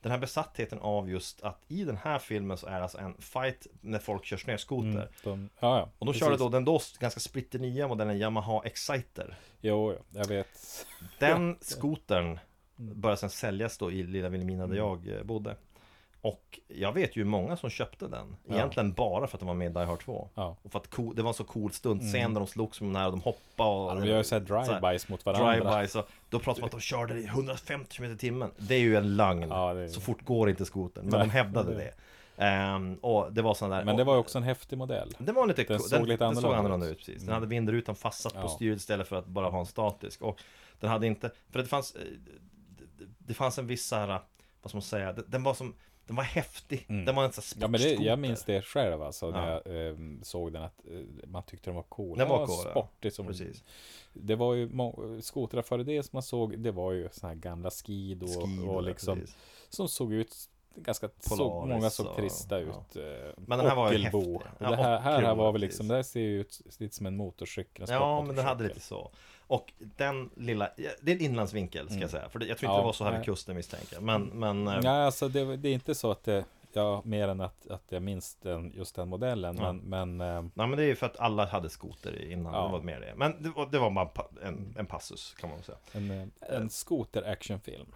Speaker 2: den här besattheten av just att i den här filmen så är det alltså en fight när folk kör snöskoter.
Speaker 3: Mm, de, ja, ja.
Speaker 2: Och de
Speaker 3: precis.
Speaker 2: körde då den då ganska splitternya modellen Yamaha Exciter.
Speaker 3: Jo, jo, jag vet.
Speaker 2: Den skotern
Speaker 3: Mm.
Speaker 2: började sen säljas då i lilla Vilhelmina där jag eh, bodde. Och jag vet ju många som köpte den. Egentligen bara för att den var med i Die Hard 2.
Speaker 3: Ja.
Speaker 2: Och för att co- det var en så cool stundscen där de slogs med den här och de hoppade och...
Speaker 3: Mm. Ja, de gör ju så här drive-bys mot varandra.
Speaker 2: Drive-by, så då pratar man att de körde i 150 km i timmen. Det är ju en lögn.
Speaker 3: Ja, det är-
Speaker 2: Så fort går inte skotern. Men de hävdade det. Ehm, och det var sån där...
Speaker 3: Men det var ju också en häftig modell.
Speaker 2: Det var en lite
Speaker 3: Den
Speaker 2: cool-
Speaker 3: såg lite
Speaker 2: den såg
Speaker 3: annorlunda
Speaker 2: annorlunda
Speaker 3: ut. Mm.
Speaker 2: ut precis. Den hade vindrutan fastsatt på
Speaker 3: Ja.
Speaker 2: styret istället för att bara ha en statisk. Och den hade inte, för det fanns, eh, det- det fanns en viss så här, vad ska man säga, den- den var som, den var häftig. Den var en sån här
Speaker 3: Mm. Ja, men det,
Speaker 2: sportskoter.
Speaker 3: jag minns det själv alltså, när jag ehm, såg den att eh, man tyckte den var cool.
Speaker 2: Den var
Speaker 3: Ja,
Speaker 2: cool, ja.
Speaker 3: sportig som
Speaker 2: Precis.
Speaker 3: Det var ju må- skotrar före det som man såg, det var ju såna här gamla skid och,
Speaker 2: Skidor,
Speaker 3: och liksom
Speaker 2: precis.
Speaker 3: som såg ut ganska, såg,
Speaker 2: Polaris
Speaker 3: många såg
Speaker 2: och-
Speaker 3: trista
Speaker 2: ja.
Speaker 3: ut. eh,
Speaker 2: Men den här var ju
Speaker 3: Ockelbo.
Speaker 2: häftig.
Speaker 3: Och
Speaker 2: Ja,
Speaker 3: det här, här, här
Speaker 2: Ockelbo,
Speaker 3: var väl liksom,
Speaker 2: precis.
Speaker 3: det här ser ju ut lite som en motorcykel. en
Speaker 2: Ja, men den hade
Speaker 3: sportmotorcykel.
Speaker 2: lite så. Och den lilla, ja, det är en inlandsvinkel ska jag säga. För det, jag tror inte
Speaker 3: Mm. Ja,
Speaker 2: det var så här
Speaker 3: nej.
Speaker 2: vid kusten misstänker jag. Men, men eh,
Speaker 3: Nej, alltså det, det är inte så att det, ja, mer än att, att jag minns den, just den modellen.
Speaker 2: Ja.
Speaker 3: Men, men ehm,
Speaker 2: Nej men det är ju för att alla hade skoter innan,
Speaker 3: Ja.
Speaker 2: det var mer det. Men det var, det var bara en pa- en, en passus kan man säga.
Speaker 3: en, eh, en skoter-actionfilm.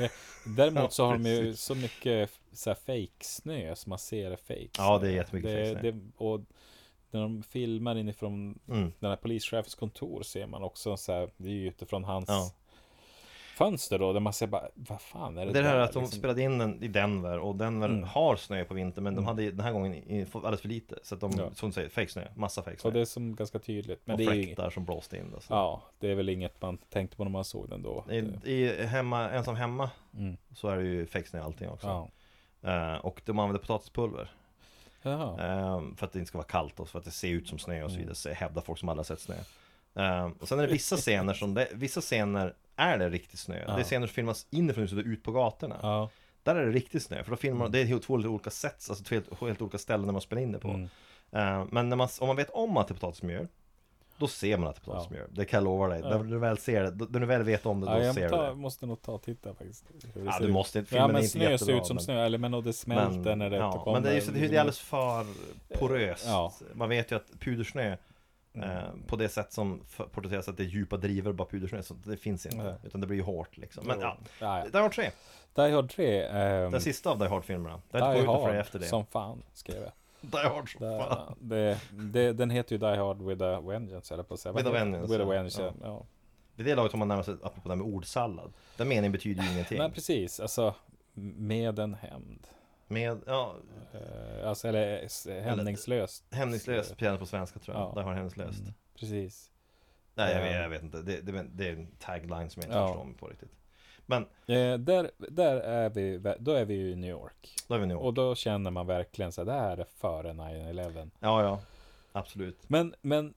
Speaker 3: Eh, Däremot så har de ju
Speaker 2: precis.
Speaker 3: så mycket så här fejksnö, så man ser det fake.
Speaker 2: Ja, det är jättemycket
Speaker 3: det,
Speaker 2: fejksnö.
Speaker 3: det, Och när de filmar inifrån
Speaker 2: Mm.
Speaker 3: den här polischefens kontor ser man också så här, det är ju utifrån hans
Speaker 2: Ja.
Speaker 3: fönster då, där man ser bara, vad fan är det
Speaker 2: Det är det här
Speaker 3: där?"
Speaker 2: att de
Speaker 3: liksom.
Speaker 2: spelade in den i Denver och Denver
Speaker 3: Mm.
Speaker 2: har snö på vintern men de hade den här gången i- fått alldeles för lite Så att de,
Speaker 3: Ja.
Speaker 2: som du säger, fake snö, massa fake snö
Speaker 3: Och det är som ganska tydligt. Men
Speaker 2: Och
Speaker 3: det är ju inget,
Speaker 2: fläktar som blåste in det, så.
Speaker 3: ja, det är väl inget man tänkte på när man såg den då.
Speaker 2: I,
Speaker 3: Det-
Speaker 2: i hemma, ensam hemma
Speaker 3: Mm.
Speaker 2: så är det ju fake snö allting också
Speaker 3: Ja.
Speaker 2: Eh, Och de använder potatispulver
Speaker 3: Jaha.
Speaker 2: eh, För att det inte ska vara kallt och för att det ser ut som snö och så
Speaker 3: Mm.
Speaker 2: vidare så Hävdar folk som aldrig har sett snö Eh, Och sen är det vissa scener som det, vissa scener är det riktigt snö Det är scener som filmas inifrån huset och ut på gatorna
Speaker 3: Ja. Mm.
Speaker 2: Där är det riktigt snö, för då filmar de, det är helt två helt olika sätt, alltså två helt, helt olika ställen där man spelar in det på.
Speaker 3: Mm.
Speaker 2: Eh, men när man, om man vet om att det är potatismjöl, då ser man att det är potatismjöl. Det kan jag lova dig. När du väl ser det, då- när du väl vet om det, då
Speaker 3: Ja, jag
Speaker 2: ser
Speaker 3: ta,
Speaker 2: du det.
Speaker 3: måste nog ta och titta faktiskt. hur det
Speaker 2: Ja,
Speaker 3: ser
Speaker 2: du
Speaker 3: ut.
Speaker 2: måste inte-
Speaker 3: Ja,
Speaker 2: filmen
Speaker 3: men
Speaker 2: är inte
Speaker 3: snö ser
Speaker 2: jättebra,
Speaker 3: ut som
Speaker 2: men-
Speaker 3: snö, eller men och det smälter när det
Speaker 2: ja,
Speaker 3: återkommer. liksom-
Speaker 2: men det är, just, det det är alldeles för poröst.
Speaker 3: Ja. Mm.
Speaker 2: Man vet ju att pudersnö, eh, på det sätt som f- porträtteras att det är djupa driver bara pudersnö, så det finns inte.
Speaker 3: Nej.
Speaker 2: Utan det blir ju hårt liksom. Men
Speaker 3: Jo.
Speaker 2: ja,
Speaker 3: Ja, ja.
Speaker 2: Die Hard 3,
Speaker 3: Die Hard 3. ehm,
Speaker 2: den sista av Die Hard-filmerna. Det har
Speaker 3: Die
Speaker 2: inte gått ut någon
Speaker 3: Hard
Speaker 2: fler efter det.
Speaker 3: som fan, skrev jag.
Speaker 2: Die Hard som
Speaker 3: Där,
Speaker 2: fan.
Speaker 3: det, det, den heter ju Die Hard with a Vengeance, eller på att säga. Vad
Speaker 2: With a
Speaker 3: heter-
Speaker 2: Vengeance,
Speaker 3: With a
Speaker 2: ja.
Speaker 3: Vengeance, ja. ja.
Speaker 2: Vid det laget har man närmat sig, apropå det här med ordsallad Den meningen betyder ju ingenting
Speaker 3: Nej, precis. Alltså, med en hämnd.
Speaker 2: Med, ja,
Speaker 3: Eh, Alltså, eller s- hämningslöst.
Speaker 2: hämningslöst piano på svenska tror jag
Speaker 3: Ja.
Speaker 2: Där har jag hämningslöst
Speaker 3: Precis.
Speaker 2: Nej jag vet,
Speaker 3: Ehm.
Speaker 2: jag vet inte, det, det, det är en tagline som jag inte
Speaker 3: Ja.
Speaker 2: förstår mig på riktigt Men,
Speaker 3: Eh, där, där är vi, vä- då är vi ju i New York.
Speaker 2: då är vi nu
Speaker 3: Och då känner man verkligen så här, det här är före 9-11.
Speaker 2: Ja, ja, absolut
Speaker 3: Men, men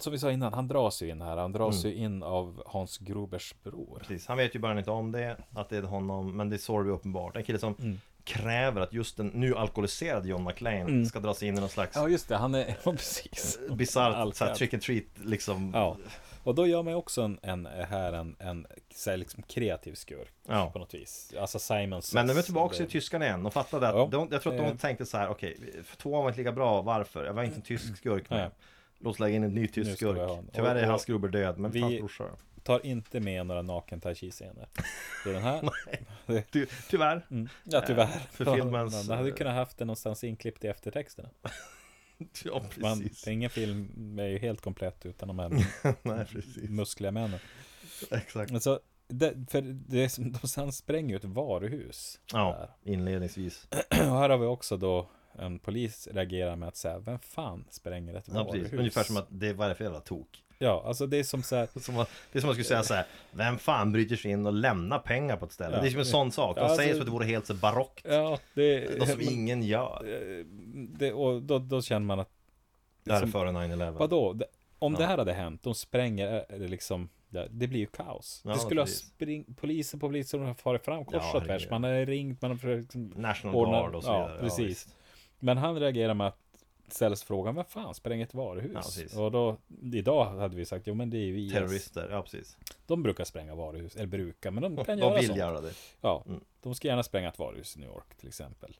Speaker 3: som vi sa innan, han dras ju in här. Han dras ju in av Hans Grobers bror.
Speaker 2: Mm. Precis, han vet ju bara inte om det, att det är honom Men det såg vi uppenbart En kille som
Speaker 3: Mm.
Speaker 2: kräver att just den nu alkoholiserade John McClane
Speaker 3: Mm.
Speaker 2: ska dras in i någon slags
Speaker 3: Ja, just det. Han är, ja, precis.
Speaker 2: bisarrt
Speaker 3: Allt
Speaker 2: så här,
Speaker 3: rätt.
Speaker 2: trick and treat liksom
Speaker 3: Ja, och då gör man ju också en, en här en, en så här liksom kreativ skurk
Speaker 2: Ja.
Speaker 3: på något vis. Alltså Simon Says.
Speaker 2: Men de är tillbaka i typ-
Speaker 3: Det-
Speaker 2: tyskarna igen, de fattade att,
Speaker 3: Ja.
Speaker 2: de, jag tror att
Speaker 3: Eh.
Speaker 2: de tänkte så här, okej, för tvåan var inte lika bra, varför? Jag var inte en tysk skurk med.
Speaker 3: Mm. Nej.
Speaker 2: Låt oss lägga in en ny tysk
Speaker 3: Nu ska vi ha
Speaker 2: skurk.
Speaker 3: en.
Speaker 2: Tyvärr
Speaker 3: Och-
Speaker 2: är
Speaker 3: och
Speaker 2: hans gruber död, men
Speaker 3: vi-
Speaker 2: vi... hans brorsa.
Speaker 3: Tar inte med några naken tai chi-scener. Det är den här.
Speaker 2: Ty, tyvärr.
Speaker 3: Ja, tyvärr.
Speaker 2: för filmens-
Speaker 3: Man hade ju kunnat haft den någonstans inklippt i eftertexterna.
Speaker 2: Ja,
Speaker 3: Man,
Speaker 2: precis.
Speaker 3: ingen film är ju helt komplett utan de här
Speaker 2: Nej, precis.
Speaker 3: muskliga männen.
Speaker 2: Exakt.
Speaker 3: Alltså, det, för det är som, de sen spränger ju ett varuhus.
Speaker 2: Ja, inledningsvis.
Speaker 3: Och här har vi också då en polis reagerar med att säga, vem fan spränger ett
Speaker 2: Ja,
Speaker 3: varuhus?
Speaker 2: precis. Ungefär som att det var det för jävla tok.
Speaker 3: Ja, alltså det är som så här,
Speaker 2: Som att- Det är som att man skulle säga så här, vem fan bryter sig in och lämnar pengar på ett ställe?
Speaker 3: Ja.
Speaker 2: Det är som en sån sak. De
Speaker 3: Ja,
Speaker 2: säger
Speaker 3: alltså-
Speaker 2: som att det vore helt så barockt.
Speaker 3: Ja, det,
Speaker 2: Något som
Speaker 3: men-
Speaker 2: ingen gör.
Speaker 3: det och då, då känner man att,
Speaker 2: Det här är
Speaker 3: som-
Speaker 2: före 9-11.
Speaker 3: vadå? Det- Om det här hade hänt, de spränger, eh, det liksom, det, det blir ju kaos.
Speaker 2: Ja,
Speaker 3: det skulle ha
Speaker 2: precis.
Speaker 3: spring, polisen på polisen har farit fram kors
Speaker 2: Ja,
Speaker 3: och tvärs.
Speaker 2: herregud.
Speaker 3: Man har ringt, man har försökt liksom
Speaker 2: National
Speaker 3: ordna-
Speaker 2: Guard och så
Speaker 3: ja,
Speaker 2: vidare.
Speaker 3: precis.
Speaker 2: visst.
Speaker 3: Men han reagerar med att ställs frågan, vad fan, spräng ett
Speaker 2: Ja,
Speaker 3: varuhus?
Speaker 2: precis.
Speaker 3: och då, idag hade vi sagt, jo men det är ju IS.
Speaker 2: Terrorister, ja precis.
Speaker 3: De brukar spränga varuhus, eller brukar, men de kan
Speaker 2: De
Speaker 3: göra
Speaker 2: vill
Speaker 3: sånt.
Speaker 2: göra det.
Speaker 3: Ja,
Speaker 2: Mm.
Speaker 3: de ska gärna spränga ett varuhus i New York till exempel.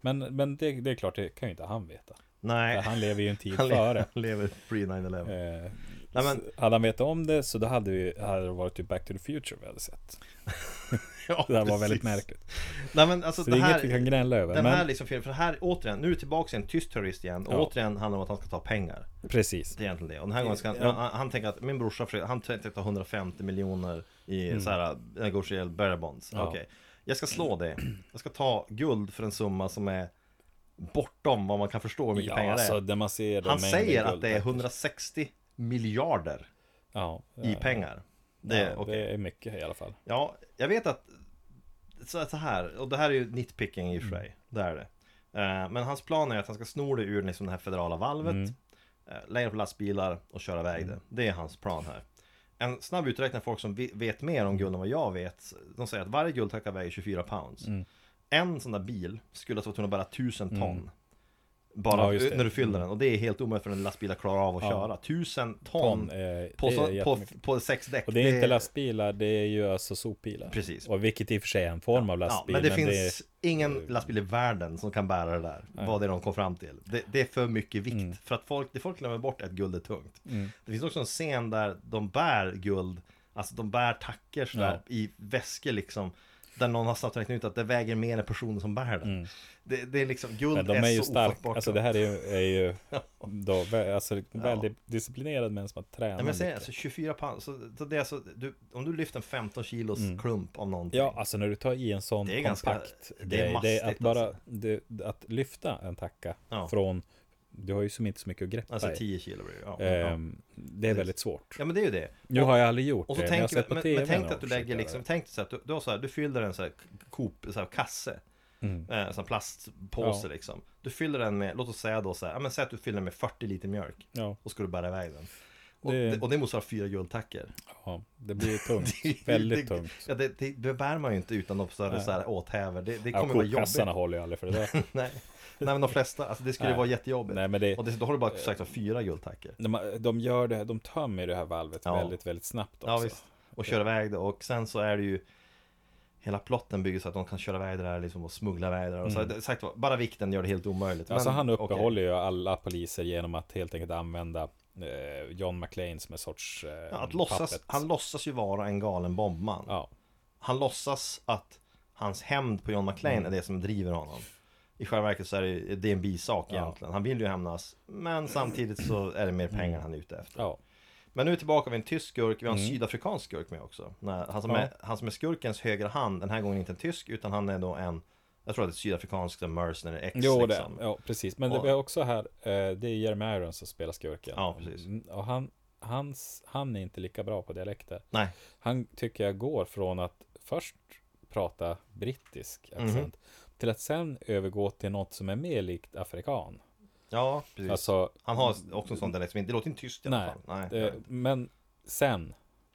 Speaker 3: Men, men det, det är klart, det kan ju inte han veta. För
Speaker 2: Nej,
Speaker 3: Han lever ju en tid
Speaker 2: han le-
Speaker 3: före.
Speaker 2: lever pre 9-11.
Speaker 3: Eh,
Speaker 2: Nej, men-
Speaker 3: så Hade han vetat om det så då hade, vi, hade det varit typ Back to the Future vi hade sett.
Speaker 2: Ja,
Speaker 3: Det här var
Speaker 2: precis.
Speaker 3: väldigt märkligt.
Speaker 2: Nej men alltså
Speaker 3: Så
Speaker 2: det
Speaker 3: det är
Speaker 2: här...
Speaker 3: inget vi kan gnälla över.
Speaker 2: Den
Speaker 3: men
Speaker 2: här liksom filmen, för här återigen, nu är det tillbaka till en tyst terrorist igen och
Speaker 3: Ja.
Speaker 2: återigen handlar det om att han ska ta pengar.
Speaker 3: Precis.
Speaker 2: Det är egentligen det. Och den här gången ska han,
Speaker 3: Ja.
Speaker 2: han, han tänker att min brorsa försöker, han tänkte ta 150 miljoner i så här negotiable bearer bonds.
Speaker 3: Mm. Ja.
Speaker 2: Okej. Jag ska slå det. Jag ska ta guld för en summa som är bortom vad man kan förstå hur mycket
Speaker 3: Ja,
Speaker 2: pengar det
Speaker 3: alltså
Speaker 2: är.
Speaker 3: där man ser de
Speaker 2: Han
Speaker 3: mängder
Speaker 2: säger
Speaker 3: guld
Speaker 2: att det är
Speaker 3: faktiskt.
Speaker 2: 160 miljarder
Speaker 3: ja, ja,
Speaker 2: i pengar. Det, är
Speaker 3: ja,
Speaker 2: okej.
Speaker 3: det är mycket i alla fall.
Speaker 2: Ja, jag vet att så, så här, och det här är ju nitpicking i
Speaker 3: Mm.
Speaker 2: och för sig, det är det. Eh, Men hans plan är att han ska sno det ur liksom det här federala valvet,
Speaker 3: Mm.
Speaker 2: eh, lägga det på lastbilar och köra iväg det. Det är hans plan här. En snabb uträkning av folk som vi- vet mer om guld än vad jag vet, de säger att varje guldtacka väger 24 pounds.
Speaker 3: Mm.
Speaker 2: En sån där bil skulle alltså vara tvungen att bära 1000 ton.
Speaker 3: Ja,
Speaker 2: Bara
Speaker 3: just det. Mm.
Speaker 2: när du fyller den, och det är helt omöjligt för en lastbil att klara av att köra. 1000 ton,
Speaker 3: Ton, eh,
Speaker 2: Mm. på,
Speaker 3: det är
Speaker 2: så, på,
Speaker 3: jättemycket.
Speaker 2: på sex däck.
Speaker 3: Och det är
Speaker 2: det
Speaker 3: inte lastbilar, det är ju alltså sopbilar.
Speaker 2: Precis.
Speaker 3: Och vilket i och för sig är en form av lastbil.
Speaker 2: Ja, men det
Speaker 3: är- eh,
Speaker 2: finns ingen lastbil i världen som kan bära det där. Vad det är de kom fram till. Det, det är för mycket vikt.
Speaker 3: Mm.
Speaker 2: För att folk, det folk glömmer bort är att guld är tungt. Det finns också en scen där de bär guld, alltså de bär tackor sådär i väskor liksom. Där någon har snabbt räknat ut att det väger mer än personen som bär det. Det, det är liksom, guld
Speaker 3: Men Mm. de är,
Speaker 2: är,
Speaker 3: ju
Speaker 2: så
Speaker 3: starka.
Speaker 2: ofattbart.
Speaker 3: Alltså det här är ju, är ju då, vä- alltså, väldigt disciplinerad men som har tränat
Speaker 2: Nej, men säg
Speaker 3: mycket.
Speaker 2: alltså 24 pound, så, så det är alltså, du, om du lyfter en 15 kilos klump av någonting.
Speaker 3: Mm. Ja, alltså när du tar i en sån
Speaker 2: Det är ganska-
Speaker 3: kompakt
Speaker 2: det är
Speaker 3: grej, det är att
Speaker 2: mastigt,
Speaker 3: bara
Speaker 2: alltså.
Speaker 3: det, att lyfta en tacka
Speaker 2: Ja.
Speaker 3: från, du har ju som inte så mycket att greppa
Speaker 2: Alltså
Speaker 3: i.
Speaker 2: 10 kilo blir det. Ja, ja.
Speaker 3: Ehm, Det är väldigt svårt.
Speaker 2: ja men det är ju det.
Speaker 3: Nu har jag aldrig gjort
Speaker 2: Och så
Speaker 3: det, men jag Eh, har
Speaker 2: tänker
Speaker 3: sett
Speaker 2: vi,
Speaker 3: på
Speaker 2: men,
Speaker 3: TV
Speaker 2: men tänk
Speaker 3: någon
Speaker 2: dig att du
Speaker 3: försöker
Speaker 2: lägger
Speaker 3: göra
Speaker 2: liksom,
Speaker 3: det.
Speaker 2: tänk dig så här, att du, du, har så här, du fyller en så här Coop, så här kasse
Speaker 3: Mm.
Speaker 2: eh, En sån här plastpåse
Speaker 3: Ja.
Speaker 2: liksom Du fyller den med, låt oss säga då så här, ja, men säg att du fyller den med 40 liter mjölk
Speaker 3: Ja,
Speaker 2: Och ska du bära iväg den Och
Speaker 3: Det-
Speaker 2: det, och det motsvarar fyra guldtackor
Speaker 3: ja, det blir tungt. väldigt
Speaker 2: det,
Speaker 3: tungt.
Speaker 2: ja, det, det, det bär man ju inte utan något större
Speaker 3: Nej.
Speaker 2: så här åthävor Det, det
Speaker 3: Ja,
Speaker 2: kommer vara
Speaker 3: kokkassarna
Speaker 2: jobbigt
Speaker 3: håller ju aldrig för det där.
Speaker 2: Nej. Nej men de flesta, alltså det skulle
Speaker 3: Nej.
Speaker 2: vara jättejobbigt
Speaker 3: Nej, men det,
Speaker 2: Och dessutom då har du bara sagt så här, fyra guldtackor
Speaker 3: när man- de gör det, de tömmer det här valvet
Speaker 2: Ja.
Speaker 3: väldigt, väldigt snabbt också.
Speaker 2: Ja visst, och köra iväg det och sen så är det ju Hela plotten bygger så att de kan köra iväg det där liksom och smuggla iväg det där och så, det- sagt var, bara vikten gör det helt omöjligt
Speaker 3: Mm. Alltså
Speaker 2: Men,
Speaker 3: han
Speaker 2: okej.
Speaker 3: uppehåller ju alla poliser genom att helt enkelt använda eh, John McClane som en sorts eh,
Speaker 2: ja, att låtsas,
Speaker 3: puppet.
Speaker 2: Han låtsas ju vara en galen bombman
Speaker 3: Ja,
Speaker 2: Han låtsas att hans hämnd på John McClane
Speaker 3: Mm.
Speaker 2: är det som driver honom I själva verket så är det, det är en bisak
Speaker 3: Ja.
Speaker 2: egentligen Han vill ju hämnas Men samtidigt så är det mer pengar
Speaker 3: Mm.
Speaker 2: han är ute efter
Speaker 3: ja,
Speaker 2: Men nu är tillbaka vid en tysk skurk, vi har en sydafrikansk skurk med också. Nej, Han som,
Speaker 3: Mm. Ja.
Speaker 2: är, han som är skurkens högra hand, den här gången inte en tysk, utan han är då en, jag tror att det är sydafrikansk, det är mercenary X
Speaker 3: jo det,
Speaker 2: liksom.
Speaker 3: ja precis. Men det
Speaker 2: Och-
Speaker 3: vi har också här, eh, det är Jeremy Irons som spelar skurken.
Speaker 2: Ja, precis.
Speaker 3: Mm, Och han, hans, han är inte lika bra på dialekter.
Speaker 2: Nej,
Speaker 3: Han tycker jag går från att först prata brittisk
Speaker 2: Mhm.
Speaker 3: accent till att sen övergå till något som är mer likt afrikan.
Speaker 2: ja precis.
Speaker 3: Alltså,
Speaker 2: han har också en sån dialekt som inte, det låter inte tyskt i alla
Speaker 3: nej,
Speaker 2: fall. Nej.
Speaker 3: eh, men sen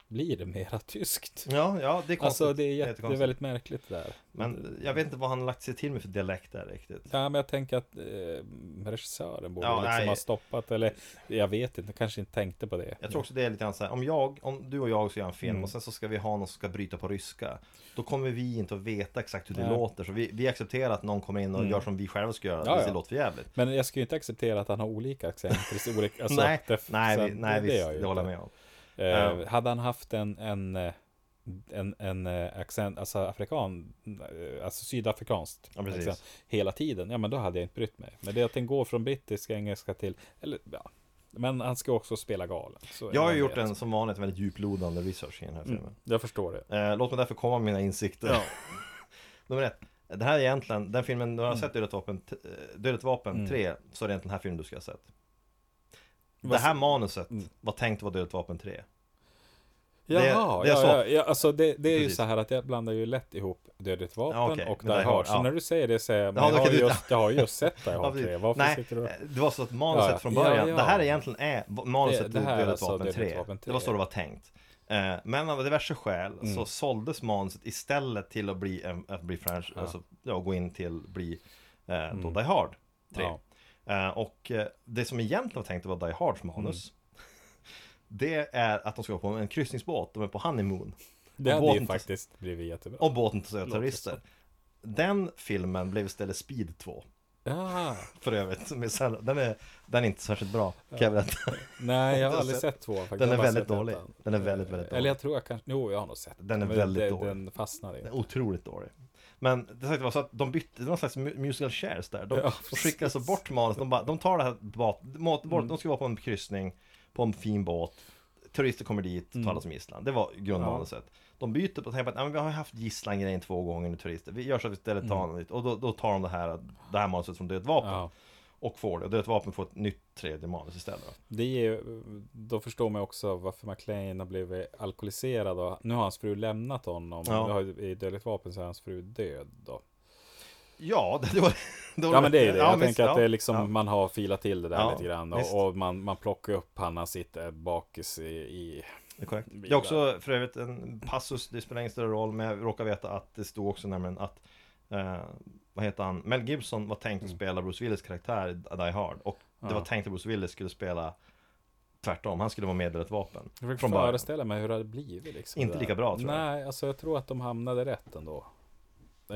Speaker 3: blir det mera tyskt.
Speaker 2: Ja, ja, Mm. det är konstigt.
Speaker 3: Alltså det är, jätte, det är
Speaker 2: jättekonstigt.
Speaker 3: väldigt märkligt det där.
Speaker 2: Men jag vet inte vad han har lagt sig till med för dialekt där riktigt.
Speaker 3: Ja, men jag tänker att eh, regissören borde
Speaker 2: Ja,
Speaker 3: liksom
Speaker 2: nej.
Speaker 3: ha stoppat eller jag vet inte, kanske inte tänkte på det.
Speaker 2: Jag tror också det är lite grann så här, om jag, om du och jag ska göra en film
Speaker 3: Mm.
Speaker 2: och sen så ska vi ha någon som ska bryta på ryska Då kommer vi inte att veta exakt hur det
Speaker 3: Nej. Mm.
Speaker 2: låter, så vi, vi accepterar att någon kommer in och gör som vi själva ska göra,
Speaker 3: Ja,
Speaker 2: ja, det
Speaker 3: ja.
Speaker 2: låter för jävligt
Speaker 3: Men jag ska ju inte acceptera att han har olika accenter. Olika, alltså,
Speaker 2: nej,
Speaker 3: det- så
Speaker 2: nej,
Speaker 3: att
Speaker 2: vi, nej
Speaker 3: det
Speaker 2: visst,
Speaker 3: gör jag ju
Speaker 2: det håller jag
Speaker 3: inte.
Speaker 2: med om.
Speaker 3: Eh,
Speaker 2: Ja.
Speaker 3: Hade han haft en, en, eh, en, en eh, accent, alltså afrikan, eh, alltså sydafrikanskt
Speaker 2: Ja, precis.
Speaker 3: accent, hela tiden, ja men då hade jag inte brytt mig. Men det är att den går från brittisk engelska till, eller ja, men han ska också spela galen. så är
Speaker 2: Jag har
Speaker 3: det
Speaker 2: ju gjort
Speaker 3: det.
Speaker 2: en som vanligt väldigt djuplodande research i den här
Speaker 3: Mm.
Speaker 2: filmen.
Speaker 3: Jag förstår det.
Speaker 2: Eh, låt mig därför komma med mina insikter. Nummer ett. Det här är egentligen, den filmen, du har
Speaker 3: Mm.
Speaker 2: sett Dödligt vapen, t- eh, Dödligt vapen 3, så är det egentligen den här filmen du ska ha sett. Det
Speaker 3: Vad Mm.
Speaker 2: här manuset var tänkt att vara Dödligt vapen 3.
Speaker 3: Jaha,
Speaker 2: Det- det är
Speaker 3: ja,
Speaker 2: så.
Speaker 3: ja, ja, alltså det, det är ju
Speaker 2: Precis.
Speaker 3: så här att jag blandar ju lätt ihop Dödligt vapen
Speaker 2: Ja, okej,
Speaker 3: och Die
Speaker 2: med Die
Speaker 3: Hard.
Speaker 2: Hard,
Speaker 3: Så
Speaker 2: ja.
Speaker 3: när du säger det säger jag, men
Speaker 2: Ja,
Speaker 3: jag,
Speaker 2: då
Speaker 3: har
Speaker 2: kan
Speaker 3: ju
Speaker 2: du-
Speaker 3: just, jag har ju just sett Die
Speaker 2: Ja,
Speaker 3: Hard
Speaker 2: precis.
Speaker 3: 3. Varför
Speaker 2: Nej,
Speaker 3: sitter du och-
Speaker 2: eh, det var så att manuset
Speaker 3: Ja, ja.
Speaker 2: från början,
Speaker 3: Ja, ja.
Speaker 2: det här egentligen är v- manuset
Speaker 3: Det-
Speaker 2: det,
Speaker 3: det här är
Speaker 2: Dödligt
Speaker 3: alltså
Speaker 2: vapen
Speaker 3: Dödligt
Speaker 2: 3.
Speaker 3: vapen 3.
Speaker 2: Det var så det var tänkt. Eh, Men av diverse skäl så
Speaker 3: Mm.
Speaker 2: såldes manuset istället till att bli, en, att bli franchise, alltså, ja, gå in till bli eh, då Die Hard 3.
Speaker 3: Mm. Ja.
Speaker 2: Eh, och eh, det som egentligen var tänkt att vara Die Hards manus
Speaker 3: Mm.
Speaker 2: Det är att de ska vara på en kryssningsbåt, de är på honeymoon
Speaker 3: Det
Speaker 2: Och
Speaker 3: hade
Speaker 2: båten-
Speaker 3: ju faktiskt blivit jättebra.
Speaker 2: Och båten tar sig av terrorister Den filmen blev istället Speed 2
Speaker 3: Ah,
Speaker 2: För övrigt, med Sal- den är, den är inte särskilt bra kan jag berätta
Speaker 3: nej, jag har
Speaker 2: Den
Speaker 3: aldrig
Speaker 2: är-
Speaker 3: sett två faktiskt.
Speaker 2: Den är
Speaker 3: Jag har bara
Speaker 2: väldigt
Speaker 3: sett ettan.
Speaker 2: dålig Den är väldigt, väldigt
Speaker 3: Eller
Speaker 2: dålig
Speaker 3: jag tror jag kanske, jo jag har nog sett
Speaker 2: Den är
Speaker 3: men
Speaker 2: väldigt
Speaker 3: det-
Speaker 2: dålig.
Speaker 3: Den fastnar
Speaker 2: Den
Speaker 3: inte.
Speaker 2: är otroligt dålig Men det sagt var så att de bytte, det var någon slags mu- musical chairs där De,
Speaker 3: Ja,
Speaker 2: de skickade alltså bort manus, de, bara, de tar det här bat, mat, bort,
Speaker 3: Mm.
Speaker 2: de ska vara på en kryssning På en fin båt Terrorister kommer dit,
Speaker 3: Mm.
Speaker 2: tar alla som gisslan Det var grundmanuset De byter på tänker att "Ja, men vi har ju haft gisslan-grejen två gånger nu turister Vi gör så att vi istället tar mm. Och då, då tar de det här, det här manuset från Dödligt Vapen
Speaker 3: Ja,
Speaker 2: Och får det, och Dödligt Vapen får ett nytt tredje manus istället då.
Speaker 3: det är ju, då förstår man också varför McLean har blivit alkoholiserad och nu har hans fru lämnat honom.
Speaker 2: Ja.
Speaker 3: Nu har ju- I Dödligt Vapen så är hans fru död då.
Speaker 2: Ja, det var då-
Speaker 3: Ja men det är ju det. Jag
Speaker 2: visst,
Speaker 3: tänker att det är
Speaker 2: ja.
Speaker 3: liksom
Speaker 2: Ja.
Speaker 3: man har filat till det där
Speaker 2: Ja,
Speaker 3: lite grann.
Speaker 2: visst.
Speaker 3: Och, och man, man plockar upp han, han sitter bakis i, i
Speaker 2: Det är korrekt. Det är också för övrigt en passus, det spelar ingen större roll, men jag råkar veta att det stod också nämligen att eh, vad heter han? Mel Gibson var tänkt
Speaker 3: Mm.
Speaker 2: att spela Bruce Willis karaktär i Die Hard och det var tänkt att Bruce Willis skulle spela tvärtom, han skulle vara med i ett vapen.
Speaker 3: Jag försöker
Speaker 2: Från början.
Speaker 3: föreställa mig hur det hade blivit liksom.
Speaker 2: Inte
Speaker 3: det där.
Speaker 2: lika bra, tror jag.
Speaker 3: Nej, alltså jag tror att de hamnade rätt ändå. I,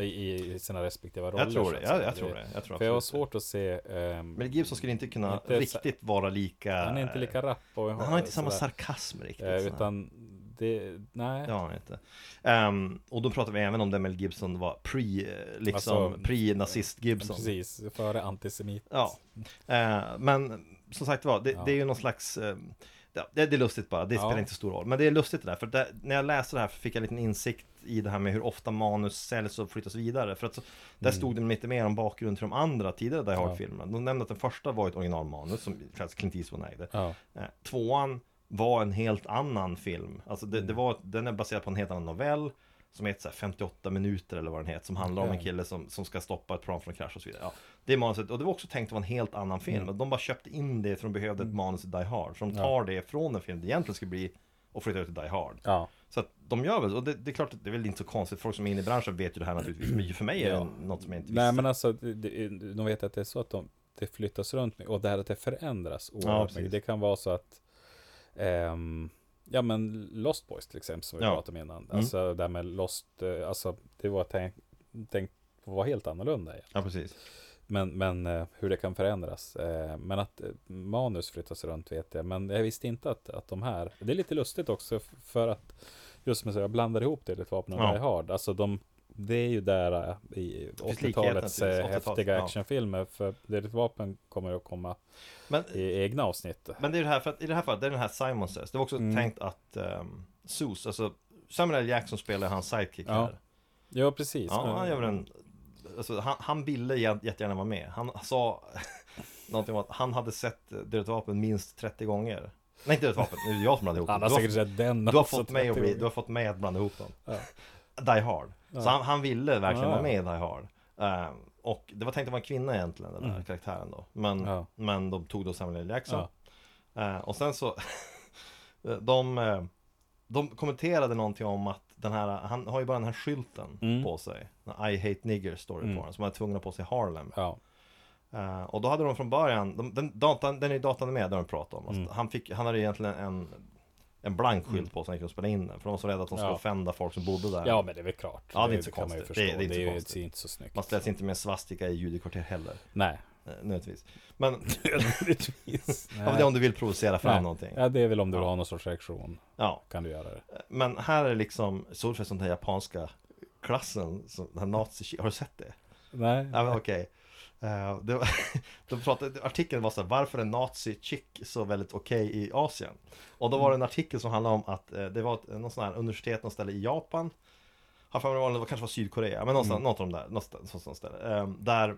Speaker 3: i sina respektive roller.
Speaker 2: Jag tror
Speaker 3: så
Speaker 2: det,
Speaker 3: att
Speaker 2: jag,
Speaker 3: säga.
Speaker 2: jag tror det. Jag tror
Speaker 3: För jag har
Speaker 2: absolut det.
Speaker 3: svårt att se... ehm,
Speaker 2: Mel Gibson skulle inte kunna
Speaker 3: Inte så-
Speaker 2: riktigt vara lika...
Speaker 3: han är inte lika rapp och...
Speaker 2: Han har inte samma
Speaker 3: sådär.
Speaker 2: sarkasm riktigt.
Speaker 3: Eh,
Speaker 2: sådär.
Speaker 3: Utan det... Nej.
Speaker 2: Det har han inte. Ehm, och då pratar vi även om det Mel Gibson var pre, eh, liksom,
Speaker 3: Alltså,
Speaker 2: pre-nazist Gibson.
Speaker 3: Precis, före antisemit.
Speaker 2: liksom. Ja, eh, men som sagt var, det,
Speaker 3: Ja.
Speaker 2: det är ju någon slags eh, ja, det, det är lustigt bara, det
Speaker 3: Ja.
Speaker 2: spelar inte stor roll. Men det är lustigt det där, för det, när jag läste det här fick jag en liten insikt i det här med hur ofta manus säljs och flyttas vidare. För att så, där
Speaker 3: Mm.
Speaker 2: stod det lite mer om bakgrund till de andra tidigare Die Hard-filmerna. De nämnde att den första var ett originalmanus som faktiskt Clint Eastwood ägde.
Speaker 3: Ja.
Speaker 2: Eh, Tvåan var en helt annan film. Alltså det,
Speaker 3: Mm.
Speaker 2: det var, den är baserad på en helt annan novell som heter så här 58 minuter eller vad den heter, som handlar om en
Speaker 3: Okej.
Speaker 2: kille som, som ska stoppa ett plan från krasch och så vidare. Ja, det är manuset, och det var också tänkt att vara en helt annan
Speaker 3: Mm.
Speaker 2: film. De bara köpte in det för de behövde ett manus i Die Hard. Så de tar det från den film det egentligen skulle bli och flyttar ut till Die Hard.
Speaker 3: Ja.
Speaker 2: Så att de gör väl, och det, det är klart att det är väl inte så konstigt, folk som är inne i branschen vet ju det här naturligtvis, men för mig är det
Speaker 3: Ja.
Speaker 2: något som jag inte visste.
Speaker 3: Nej men alltså, det- det- de vet att det är så att de, det flyttas runt med- och det här att det förändras
Speaker 2: Ja,
Speaker 3: oerhört
Speaker 2: precis.
Speaker 3: mycket. Det kan vara så att, ehm, ja men Lost Boys till exempel som vi
Speaker 2: Ja. Mm.
Speaker 3: pratade om innan. Alltså det här med Lost, eh, alltså det var tänkt tänkt att vara helt annorlunda. Ja.
Speaker 2: Ja, precis.
Speaker 3: Men, men eh, hur det kan förändras. Eh, men att eh, manus flyttas runt vet jag. Men jag visste inte att, att de här, det är lite lustigt också f- för att just som jag säger, jag blandar ihop det lite vapen och
Speaker 2: Ja.
Speaker 3: Die Hard. Alltså de, det är ju där eh, i
Speaker 2: finns likheter
Speaker 3: 80-talets eh,
Speaker 2: naturligtvis, 80-talet,
Speaker 3: häftiga
Speaker 2: ja.
Speaker 3: actionfilmer. För det lite vapen kommer att komma
Speaker 2: Men,
Speaker 3: i egna avsnitt.
Speaker 2: Eh, Men det är det här, för att i det här fallet, det är den här Simon Says. Det var också tänkt att um, Sus, alltså Samuel L. Jackson spelar hans sidekick
Speaker 3: Ja,
Speaker 2: här.
Speaker 3: Ja, precis.
Speaker 2: Ja, han gör väl en... Alltså, han, han ville jä- jättegärna vara med. Han sa någonting om att han hade sett eh, Dödligt Vapen minst 30 gånger. Nej, inte Dödligt Vapen, det är jag som blandade ihop
Speaker 3: Han
Speaker 2: dem.
Speaker 3: har
Speaker 2: Du
Speaker 3: säkert sett den
Speaker 2: du har,
Speaker 3: också
Speaker 2: fått mig att
Speaker 3: 30
Speaker 2: bli,
Speaker 3: gånger.
Speaker 2: du har fått mig att blanda ihop dem. Die Hard. Så han, han ville verkligen
Speaker 3: Ja.
Speaker 2: vara med i Die Hard. Ehm, och det var tänkt att vara en kvinna egentligen, den där karaktären då. Men,
Speaker 3: Mm. Ja.
Speaker 2: men de tog då Samuel L. Jackson. Eh, och sen så, de, eh, de kommenterade någonting om att den här, han har ju bara den här skylten
Speaker 3: Mm.
Speaker 2: på sig. Den här I hate niggers står det på den, som han är tvungen att ha på sig i Harlem.
Speaker 3: Ja,
Speaker 2: Eh, och då hade de från början, de, den, datan, den är ju datan med, den har de pratat om.
Speaker 3: Mm.
Speaker 2: Alltså, han, fick, han hade egentligen en, en blank skylt på sig när han kunde spela in den. För de var så rädda att de skulle
Speaker 3: Ja.
Speaker 2: offenda folk som bodde där.
Speaker 3: ja, men det är väl klart.
Speaker 2: Ja, det är inte så
Speaker 3: kan man ju
Speaker 2: konstigt.
Speaker 3: förstå.
Speaker 2: Det är- det är inte så
Speaker 3: ju-
Speaker 2: konstigt.
Speaker 3: det är inte så snyggt.
Speaker 2: Man ställs inte med en svastika i judekvarter heller,
Speaker 3: Nej.
Speaker 2: eh, nödvändigtvis. Men,
Speaker 3: Nödvändigtvis.
Speaker 2: ja, men det är om du vill provocera fram någonting.
Speaker 3: Ja, det är väl om du vill ha någon sorts reaktion.
Speaker 2: Ja,
Speaker 3: Kan du göra det.
Speaker 2: men här är liksom, Solfest den här japanska klassen, som, den här nazi har du sett det?
Speaker 3: Nej.
Speaker 2: Ja men okej Eh, det var- de pratade, artikeln var så här, varför är nazi-chick så väldigt okej i Asien? Och då var det en artikel som handlade om att eh, det var ett, någon sån här universitet, någon ställe i Japan Har för mig det var- det kanske var Sydkorea, men någonstans, något av de där, någonstans, någonstans där eh, Där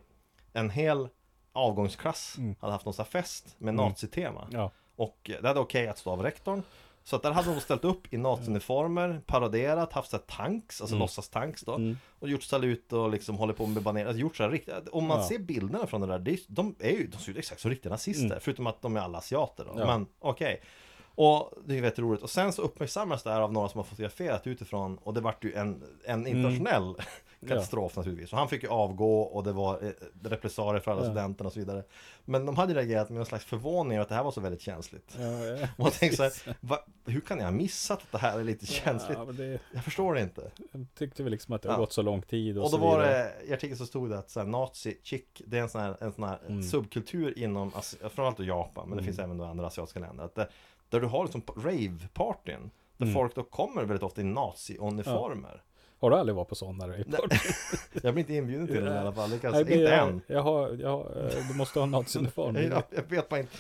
Speaker 2: en hel avgångsklass hade haft någon sån här fest med nazitema
Speaker 3: Ja.
Speaker 2: och det hade okej att stå av rektorn Så att där hade de ställt upp i naziuniformer, paraderat, haft så här tanks,
Speaker 3: Mm.
Speaker 2: alltså låtsastanks då Och gjort salut och liksom håller på med baner, alltså gjort så här riktigt Om man
Speaker 3: Ja.
Speaker 2: ser bilderna från det där, det är, de, är ju, de ser ut exakt som riktiga nazister Förutom att de är alla asiater då,
Speaker 3: Mm. Ja.
Speaker 2: men okej Och det är väldigt roligt,
Speaker 3: Mm.
Speaker 2: och sen så uppmärksammas det här av några som har fotograferat utifrån Och det vart ju en, en internationell Katastrof naturligtvis. Och han fick ju avgå och det var eh, repressalier för alla
Speaker 3: Ja.
Speaker 2: studenterna och så vidare. Men de hade reagerat med någon slags förvåning över att det här var så väldigt känsligt.
Speaker 3: Ja, ja.
Speaker 2: Och jag tänkte så här, va, hur kan jag ha missat att det här är lite känsligt?
Speaker 3: Ja, men det
Speaker 2: Jag förstår det inte.
Speaker 3: tyckte vi liksom att det har
Speaker 2: Ja.
Speaker 3: gått så lång tid och,
Speaker 2: Och då
Speaker 3: så
Speaker 2: var
Speaker 3: vidare.
Speaker 2: det, i artikeln så stod det att så här, nazi chick, det är en sån här, en sån här
Speaker 3: Mm.
Speaker 2: subkultur inom, asi- framförallt då Japan, men det finns även då andra asiatiska länder, att det, där du har liksom rave-partyn, där
Speaker 3: Mm.
Speaker 2: folk då kommer väldigt ofta i nazi-uniformer.
Speaker 3: Har du aldrig varit på sådana ravepartyn?
Speaker 2: Jag blir inte inbjuden till den i alla fall, det kan,
Speaker 3: Nej, men
Speaker 2: alltså, inte
Speaker 3: jag,
Speaker 2: än.
Speaker 3: Jag har, jag har, eh, du måste ha en naziuniform.
Speaker 2: Jag, jag vet bara inte.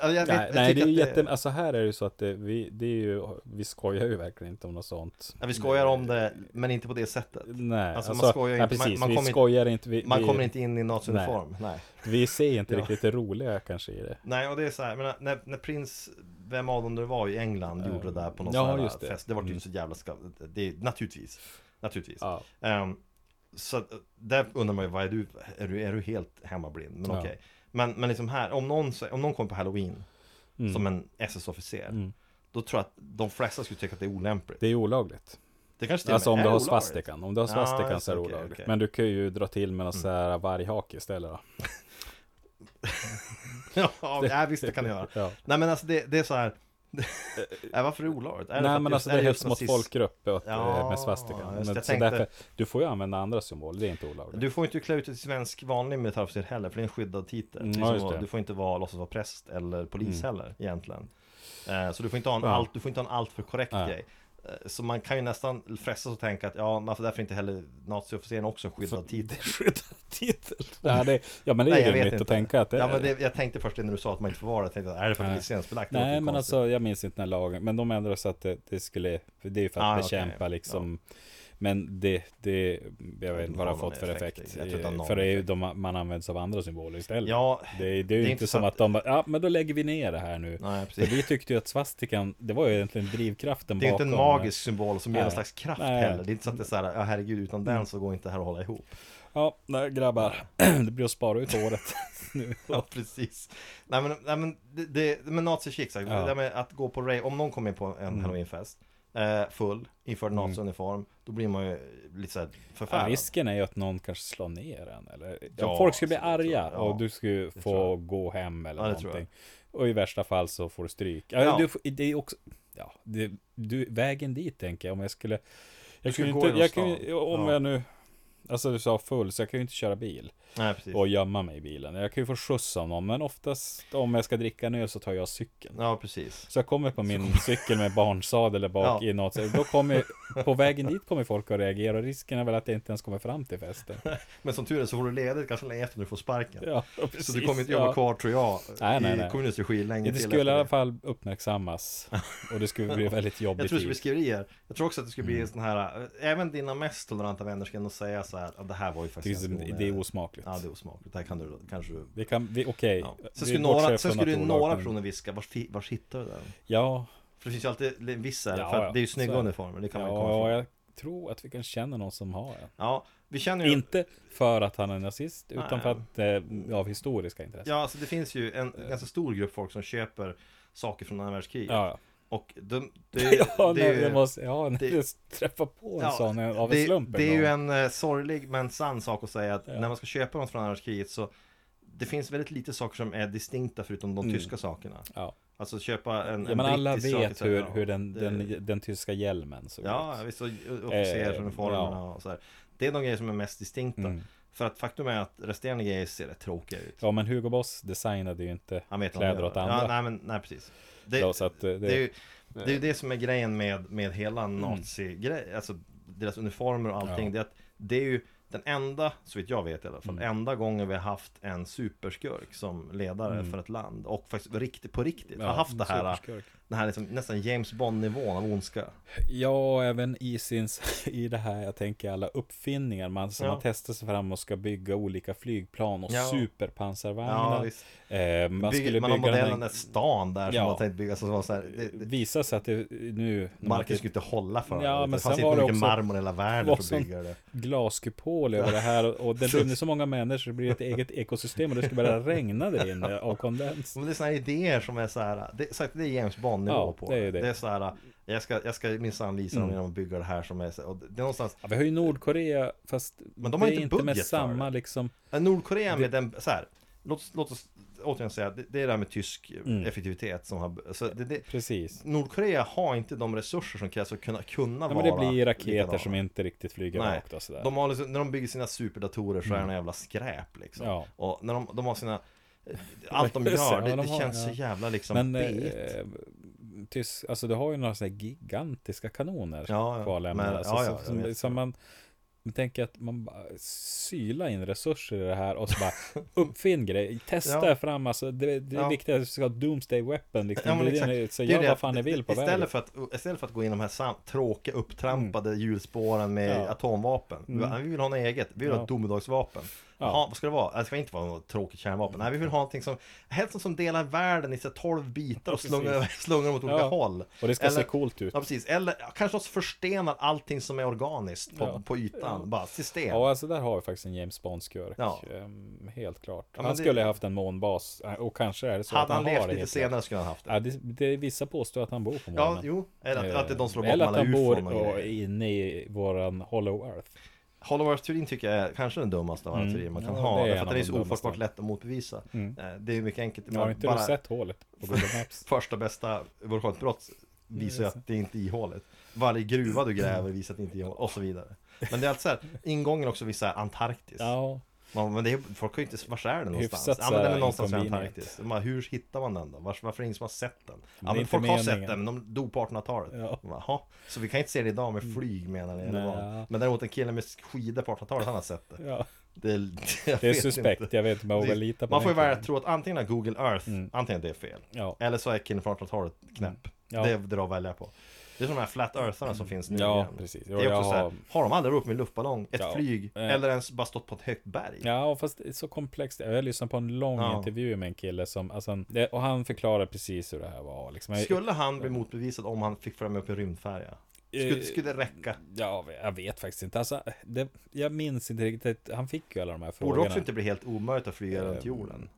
Speaker 2: Alltså, jag vet,
Speaker 3: Nej,
Speaker 2: jag
Speaker 3: nej det
Speaker 2: tycker
Speaker 3: är ju
Speaker 2: att
Speaker 3: jätte, alltså här är det ju så att det, vi, det är ju, vi skojar ju verkligen inte om något sånt.
Speaker 2: Ja, vi skojar om det, men inte på det sättet.
Speaker 3: Nej,
Speaker 2: Alltså,
Speaker 3: alltså,
Speaker 2: man skojar
Speaker 3: nej,
Speaker 2: inte, man-
Speaker 3: precis,
Speaker 2: man
Speaker 3: vi
Speaker 2: kommer inte-
Speaker 3: skojar inte, vi,
Speaker 2: Man
Speaker 3: vi,
Speaker 2: kommer inte in i nazi-uniform, nej.
Speaker 3: vi ser inte
Speaker 2: Ja.
Speaker 3: riktigt det roliga kanske i det.
Speaker 2: Nej, och det är så här, jag menar, när, när prins, vem av dem det var i England, gjorde det där på någon
Speaker 3: ja,
Speaker 2: sån här
Speaker 3: just det.
Speaker 2: fest. Det var ju
Speaker 3: Mm.
Speaker 2: så jävla skav... Det, är- naturligtvis. Naturligtvis.
Speaker 3: Ja.
Speaker 2: Ehm, så att, där undrar man ju, vad är du, är du, är du helt hemmablind? Men
Speaker 3: Ja.
Speaker 2: okej. Men, men liksom här, om någon, sä- om någon kommer på halloween
Speaker 3: Mm.
Speaker 2: som en SS-officer,
Speaker 3: Mm.
Speaker 2: då tror jag att de flesta skulle tycka att det är olämpligt.
Speaker 3: Det är ju olagligt.
Speaker 2: Det kanske till och
Speaker 3: Alltså
Speaker 2: med
Speaker 3: om
Speaker 2: är
Speaker 3: du har
Speaker 2: olagligt.
Speaker 3: svastikan. Om du har
Speaker 2: Ja,
Speaker 3: svastikan
Speaker 2: just
Speaker 3: så är det
Speaker 2: det, okej,
Speaker 3: olagligt.
Speaker 2: okej. Mm.
Speaker 3: Men du kan ju dra till med någon så här varghake istället då.
Speaker 2: ja, ja, visst det kan jag göra.
Speaker 3: Ja.
Speaker 2: Nej men alltså det, det är så här. Nej, varför är det olagligt? Är det för
Speaker 3: Eh, Nej
Speaker 2: att
Speaker 3: men
Speaker 2: just-
Speaker 3: alltså
Speaker 2: är
Speaker 3: det är
Speaker 2: just
Speaker 3: hets mot
Speaker 2: nazism?
Speaker 3: folkgrupp åt,
Speaker 2: Ja,
Speaker 3: eh, med
Speaker 2: just
Speaker 3: svastikan.
Speaker 2: det,
Speaker 3: Men,
Speaker 2: jag
Speaker 3: så
Speaker 2: tänkte-
Speaker 3: därför, du får ju använda andra symboler, det är inte olagligt.
Speaker 2: Du får inte klä ut dig till svensk vanlig militärofficer heller, för det är en skyddad titel.
Speaker 3: Mm,
Speaker 2: Det är
Speaker 3: ja,
Speaker 2: som
Speaker 3: just
Speaker 2: att-
Speaker 3: det. Mm.
Speaker 2: Du får inte vara, låtsas vara präst eller polis heller egentligen. Eh, Så du får inte ha en,
Speaker 3: Ja.
Speaker 2: allt, du får inte ha en alltför korrekt
Speaker 3: Ja.
Speaker 2: grej. Eh, Så man kan ju nästan frestas att tänka att ja, varför därför är inte heller naziofficeren också en skyddad titel?
Speaker 3: skyddad titel. Nej, det, ja, men det
Speaker 2: Nej,
Speaker 3: är
Speaker 2: jag
Speaker 3: ju
Speaker 2: vet
Speaker 3: rimligt
Speaker 2: inte.
Speaker 3: att tänka att det
Speaker 2: Ja
Speaker 3: är
Speaker 2: men det, jag tänkte först när du sa att man inte får vara det, jag tänkte är det för att det är
Speaker 3: Nej.
Speaker 2: licensbelagt? Det låter
Speaker 3: Nej,
Speaker 2: ju
Speaker 3: men
Speaker 2: konstigt.
Speaker 3: alltså jag minns inte den här lagen, men de ändrade så att det, det skulle, för det är ju för
Speaker 2: Ah,
Speaker 3: att
Speaker 2: okej.
Speaker 3: bekämpa liksom, men det, det, jag vet inte vad det har
Speaker 2: om
Speaker 3: fått
Speaker 2: det
Speaker 3: för
Speaker 2: är
Speaker 3: effekt. Eh,
Speaker 2: effekt. Jag tror inte det har någon
Speaker 3: för det är ju de, man använder av andra symboler istället.
Speaker 2: Ja,
Speaker 3: det, är- det är ju
Speaker 2: det är
Speaker 3: inte som
Speaker 2: intressant.
Speaker 3: att de bara, ja men då lägger vi ner det här nu.
Speaker 2: nej
Speaker 3: För
Speaker 2: precis.
Speaker 3: vi tyckte ju att svastikan, det var ju egentligen drivkraften
Speaker 2: Det är ju inte
Speaker 3: bakom. eh,
Speaker 2: en magisk symbol som ger
Speaker 3: Nej.
Speaker 2: någon slags kraft
Speaker 3: Nej. Mm.
Speaker 2: heller. Det är inte så att det är så här, ja herregud, utan den så går inte det här att hålla ihop.
Speaker 3: Ja, nej grabbar, det blir att spara ut året. nu.
Speaker 2: Ja, precis. Nej men, nej, men, det, det, men nazikick, sagt.
Speaker 3: Ja. Mm.
Speaker 2: Det där med att gå på rave, om någon kommer in på en halloweenfest eh, full, införd naziuniform, då blir man ju lite såhär förfärad.
Speaker 3: Risken är ju att någon kanske slår ner en. Eller,
Speaker 2: Ja,
Speaker 3: folk skulle bli
Speaker 2: alltså, det tror
Speaker 3: arga
Speaker 2: jag. Ja,
Speaker 3: och du skulle
Speaker 2: tror
Speaker 3: få gå hem eller
Speaker 2: Ja, det tror
Speaker 3: någonting. Och i värsta fall så får du stryk. Ja,
Speaker 2: Ja.
Speaker 3: Du, får- det är också, ja, det, du, vägen dit tänker jag om jag skulle... Jag
Speaker 2: skulle
Speaker 3: skulle
Speaker 2: gå
Speaker 3: inte,
Speaker 2: genom
Speaker 3: jag kan, ju-
Speaker 2: stan.
Speaker 3: om
Speaker 2: Ja.
Speaker 3: jag nu... Alltså du sa full, så jag kan ju inte köra bil
Speaker 2: Nej, precis.
Speaker 3: och gömma mig i bilen. Jag kan ju få skjuts av någon, men oftast om jag ska dricka en öl så tar jag cykeln.
Speaker 2: Ja, precis.
Speaker 3: Så jag kommer på min cykel med barnsadel där bak
Speaker 2: Ja.
Speaker 3: i något sätt. Då kommer, på vägen dit kommer folk att reagera och risken är väl att jag inte ens kommer fram till festen.
Speaker 2: Men som tur är så får du ledigt ganska länge efter när du får sparken.
Speaker 3: Ja, precis.
Speaker 2: så du kommer inte jobba kvar, tror jag,
Speaker 3: Nej, nej,
Speaker 2: i
Speaker 3: nej.
Speaker 2: kommunens regi länge
Speaker 3: Ja, det
Speaker 2: till
Speaker 3: skulle i
Speaker 2: efter
Speaker 3: alla
Speaker 2: det.
Speaker 3: fall uppmärksammas. Och det skulle bli väldigt
Speaker 2: Jag
Speaker 3: jobbigt.
Speaker 2: tror det skulle bli skriverier. Jag tror också att det skulle bli
Speaker 3: Mm.
Speaker 2: en sån här, eh, även dina mest toleranta vänner ska nog säga så här, att det här var ju faktiskt
Speaker 3: det,
Speaker 2: ganska
Speaker 3: är- det är
Speaker 2: onödigt."
Speaker 3: osmakligt.
Speaker 2: Ja, det är osmakligt. Det här kan du, kanske du...
Speaker 3: Vi kan, vi, okej.
Speaker 2: Ja.
Speaker 3: Vi
Speaker 2: Sen skulle
Speaker 3: bortser
Speaker 2: några,
Speaker 3: från
Speaker 2: sen skulle
Speaker 3: att
Speaker 2: ju
Speaker 3: olagligt-
Speaker 2: några personer viska, var, var hittar du den?
Speaker 3: Ja,
Speaker 2: För det finns ju alltid en viss här,
Speaker 3: Ja,
Speaker 2: för
Speaker 3: ja,
Speaker 2: att det är ju snygga
Speaker 3: så är det.
Speaker 2: uniformer, det kan man ju komma
Speaker 3: ja
Speaker 2: ifrån.
Speaker 3: jag tror att vi kan känna någon som har en.
Speaker 2: Ja, vi känner ju...
Speaker 3: Inte för att han är nazist,
Speaker 2: Nej.
Speaker 3: utan för att, eh, av historiska intressen.
Speaker 2: Ja, alltså det finns ju en ganska stor grupp folk som köper saker från andra världskriget.
Speaker 3: Eh. ja. ja.
Speaker 2: Och de, det,
Speaker 3: Ja,
Speaker 2: det är
Speaker 3: nej,
Speaker 2: ju-
Speaker 3: jag måste, ja,
Speaker 2: det-
Speaker 3: när jag träffar på en
Speaker 2: ja,
Speaker 3: sån eh, av en
Speaker 2: det,
Speaker 3: slump.
Speaker 2: det är
Speaker 3: en
Speaker 2: ju
Speaker 3: gång.
Speaker 2: en eh, sorglig men sann sak att säga att
Speaker 3: Ja.
Speaker 2: när man ska köpa något från andra världskriget så det finns väldigt lite saker som är distinkta förutom de tyska sakerna.
Speaker 3: Mm. Ja.
Speaker 2: Alltså köpa en,
Speaker 3: Ja,
Speaker 2: en
Speaker 3: men alla
Speaker 2: brittisk sak,
Speaker 3: vet
Speaker 2: så-
Speaker 3: hur,
Speaker 2: ja,
Speaker 3: hur den,
Speaker 2: det-
Speaker 3: den, den tyska hjälmen såg
Speaker 2: Ja,
Speaker 3: ut.
Speaker 2: visst, och officersuniformerna och sådär. Det är de grejer som är mest distinkta.
Speaker 3: Eh, Mm.
Speaker 2: För att faktum är att resterande grejer ser rätt tråkiga ut.
Speaker 3: Ja, men Hugo Boss designade ju inte
Speaker 2: Han vet vad han
Speaker 3: kläder
Speaker 2: gör.
Speaker 3: åt andra.
Speaker 2: Ja, nej, men, nej, precis. Det,
Speaker 3: Ja, så att, eh, det-
Speaker 2: det, är ju, det är ju det som är grejen med, med hela nazi-grej, alltså deras uniformer och allting.
Speaker 3: Ja.
Speaker 2: Det, är att, det är ju den enda, så vitt jag vet i alla fall,
Speaker 3: Mm.
Speaker 2: enda gången vi har haft en superskurk som ledare för ett land. Och faktiskt riktigt, på riktigt
Speaker 3: Mm. Ja,
Speaker 2: har haft det här,
Speaker 3: superskurk.
Speaker 2: den här liksom, nästan James Bond-nivån av ondska.
Speaker 3: Ja, även i, sin, i det här, jag tänker alla uppfinningar. Man, som
Speaker 2: Ja.
Speaker 3: man testar sig fram och ska bygga olika flygplan och
Speaker 2: Ja. Ja,
Speaker 3: superpansarvagnar.
Speaker 2: visst.
Speaker 3: eh, man
Speaker 2: Bygger,
Speaker 3: skulle
Speaker 2: man har
Speaker 3: bygga den
Speaker 2: modellen
Speaker 3: här,
Speaker 2: ett stan där som
Speaker 3: Ja.
Speaker 2: har tänkt byggas och så var så här, det, det,
Speaker 3: Visa sig att det nu... när man
Speaker 2: Marken skulle inte hålla för
Speaker 3: Ja,
Speaker 2: det.
Speaker 3: men
Speaker 2: Det
Speaker 3: sen
Speaker 2: fanns inte
Speaker 3: var det
Speaker 2: mycket
Speaker 3: också-
Speaker 2: marmor i hela världen
Speaker 3: var
Speaker 2: för
Speaker 3: sån-
Speaker 2: att bygga det.
Speaker 3: glaskupol över det här och- och den rymde så många människor, det blir ett eget ekosystem och det skulle bara regna där inne av kondens.
Speaker 2: Men det är sådana idéer som är så här, det, så att det är James Bond nivå
Speaker 3: Ja,
Speaker 2: på
Speaker 3: det är ju det. Mm.
Speaker 2: Det är så här, jag ska, jag ska minsann visa dem genom att bygga det här som är så, och det är någonstans,
Speaker 3: Ja, vi har ju Nordkorea, fast
Speaker 2: Men de har
Speaker 3: det är
Speaker 2: inte
Speaker 3: inte med
Speaker 2: budget för
Speaker 3: samma
Speaker 2: det.
Speaker 3: liksom.
Speaker 2: Ja, Nordkorea med den, så här, låt, oss- låt oss återigen säga, det, det är det här med tysk
Speaker 3: Mm.
Speaker 2: effektivitet som har, så det, det,
Speaker 3: Precis.
Speaker 2: Nordkorea har inte de resurser som krävs för att kunna, kunna
Speaker 3: Ja, men
Speaker 2: vara
Speaker 3: det blir raketer
Speaker 2: likadana.
Speaker 3: som inte riktigt flyger
Speaker 2: Nej,
Speaker 3: rakt och sådär. Mm.
Speaker 2: de har liksom, när de bygger sina superdatorer så är de jävla skräp liksom.
Speaker 3: Ja.
Speaker 2: Och när de, de har sina, eh, allt de
Speaker 3: Ja,
Speaker 2: gör, det,
Speaker 3: de
Speaker 2: det
Speaker 3: har-
Speaker 2: känns så
Speaker 3: ja.
Speaker 2: jävla liksom
Speaker 3: Men
Speaker 2: bet.
Speaker 3: eh, tysk, alltså du har ju några sådana här gigantiska kanoner
Speaker 2: Ja, ja.
Speaker 3: kvarlämnade.
Speaker 2: Men-
Speaker 3: alltså,
Speaker 2: ja, ja,
Speaker 3: så,
Speaker 2: jag
Speaker 3: som,
Speaker 2: vet.
Speaker 3: som man man tänker att man bara syla in resurser i det här och så bara uppfinn grejer. Testa
Speaker 2: Ja.
Speaker 3: fram alltså. Det, det är
Speaker 2: Ja.
Speaker 3: viktigt att du ska ha Doomsday Weapon. Liksom.
Speaker 2: Ja, men
Speaker 3: Det är
Speaker 2: exakt.
Speaker 3: det- så
Speaker 2: Det är
Speaker 3: gör
Speaker 2: det
Speaker 3: vad
Speaker 2: att-
Speaker 3: fan ni vill på
Speaker 2: istället
Speaker 3: vägen. Mm.
Speaker 2: för, att, istället för att gå in i de här sam- tråkiga upptrampade hjulspåren med
Speaker 3: Ja. Mm.
Speaker 2: atomvapen Vi bara, "Nej, Vi vill ha något eget, vi vill ha
Speaker 3: Ja.
Speaker 2: ett domedagsvapen
Speaker 3: Ja.
Speaker 2: Jaha, vad ska det vara? Det ska inte vara något tråkigt kärnvapen Nej, vi vill ha någonting som Helst som- som delar världen i så här 12 bitar och
Speaker 3: Precis.
Speaker 2: slungar, slungar dem åt olika
Speaker 3: Ja.
Speaker 2: håll
Speaker 3: Och det ska se
Speaker 2: Eller-
Speaker 3: coolt ut.
Speaker 2: Ja precis, eller ja, kanske också förstenar allting som är organiskt på,
Speaker 3: Ja.
Speaker 2: på ytan, bara system
Speaker 3: Ja, alltså där har vi faktiskt en James Bond-skurk.
Speaker 2: Ja.
Speaker 3: Ehm, helt klart.
Speaker 2: Ja, men
Speaker 3: han
Speaker 2: det-
Speaker 3: skulle ha haft en månbas. eh, Och kanske är det så att
Speaker 2: Hade
Speaker 3: han,
Speaker 2: han
Speaker 3: har
Speaker 2: levt
Speaker 3: det
Speaker 2: lite
Speaker 3: helt klart.
Speaker 2: senare skulle han haft det
Speaker 3: Ja, det, det, vissa påstår att han bor på
Speaker 2: Ja,
Speaker 3: månen.
Speaker 2: jo, eller att,
Speaker 3: Eh,
Speaker 2: att det är de slår bort
Speaker 3: Eller
Speaker 2: med
Speaker 3: att
Speaker 2: alla
Speaker 3: han
Speaker 2: ufon
Speaker 3: bor
Speaker 2: och
Speaker 3: och
Speaker 2: grejer.
Speaker 3: inne i våran Hollow Earth.
Speaker 2: Hollow Earth-teorin tycker jag är kanske den dummaste av alla
Speaker 3: Mm.
Speaker 2: teorier man kan
Speaker 3: Ja, det är
Speaker 2: ha
Speaker 3: en
Speaker 2: Därför att
Speaker 3: av
Speaker 2: den är så
Speaker 3: de
Speaker 2: ofattbart
Speaker 3: dummaste.
Speaker 2: lätt att motbevisa
Speaker 3: Mm.
Speaker 2: Eh, Det är ju mycket enkelt
Speaker 3: Har inte
Speaker 2: bara
Speaker 3: du sett hålet på Google Maps?
Speaker 2: första bästa vulkanutbrott visar
Speaker 3: Mm.
Speaker 2: ju att det inte är ihåligt Varje gruva du gräver visar att det inte är ihåligt och så vidare Men det är alltid så här, ingången också visar Antarktis
Speaker 3: Ja,
Speaker 2: Man, men det är, folk har ju inte, vars är den någonstans?
Speaker 3: Hyfsat
Speaker 2: ja men
Speaker 3: så
Speaker 2: den
Speaker 3: här
Speaker 2: är någonstans i
Speaker 3: inconvenient.
Speaker 2: Antarktis man, Hur hittar man den då? Vars, varför är det ingen som har sett den?
Speaker 3: det är
Speaker 2: Ja men
Speaker 3: inte
Speaker 2: folk har sett
Speaker 3: meningen.
Speaker 2: den, men de dog på 1800-talet
Speaker 3: Ja. Mm.
Speaker 2: Man bara, Jaha, så vi kan inte se det idag med flyg menar ni? eller
Speaker 3: Nej.
Speaker 2: vad? Men däremot en kille med skidor på 1800-talet, han har sett det
Speaker 3: ja.
Speaker 2: Det är, jag
Speaker 3: Det är
Speaker 2: vet
Speaker 3: suspekt,
Speaker 2: inte.
Speaker 3: jag vet inte om jag vågar lita på
Speaker 2: Man får ju
Speaker 3: den
Speaker 2: välja
Speaker 3: killen.
Speaker 2: att tro att antingen är Google Earth,
Speaker 3: Mm.
Speaker 2: antingen det är fel
Speaker 3: Ja,
Speaker 2: Eller så är killen från 1800-talet knäpp
Speaker 3: Ja. Mm.
Speaker 2: Det är det att välja på Det är som de här flat eartharna som finns nu
Speaker 3: Ja,
Speaker 2: igen.
Speaker 3: precis.
Speaker 2: Det
Speaker 3: Och
Speaker 2: är
Speaker 3: jag
Speaker 2: också så här,
Speaker 3: har-
Speaker 2: har de aldrig upp med en luftballong, ett
Speaker 3: Ja.
Speaker 2: flyg,
Speaker 3: Eh.
Speaker 2: eller ens bara stått på ett högt berg?
Speaker 3: ja, fast det är så komplext. Jag lyssnade på en lång
Speaker 2: Ja.
Speaker 3: intervju med en kille som, alltså, han- det- och han förklarar precis hur det här var. Liksom. Jag-
Speaker 2: Skulle han bli motbevisad om han fick följa med upp i en rymdfärja?
Speaker 3: Eh,
Speaker 2: Skulle, skulle det räcka?
Speaker 3: Ja, jag vet faktiskt inte. Alltså, det, jag minns inte riktigt. Han fick ju alla de här
Speaker 2: Borde det
Speaker 3: frågorna.
Speaker 2: också inte bli helt omöjligt att flyga runt
Speaker 3: Eh,
Speaker 2: jorden?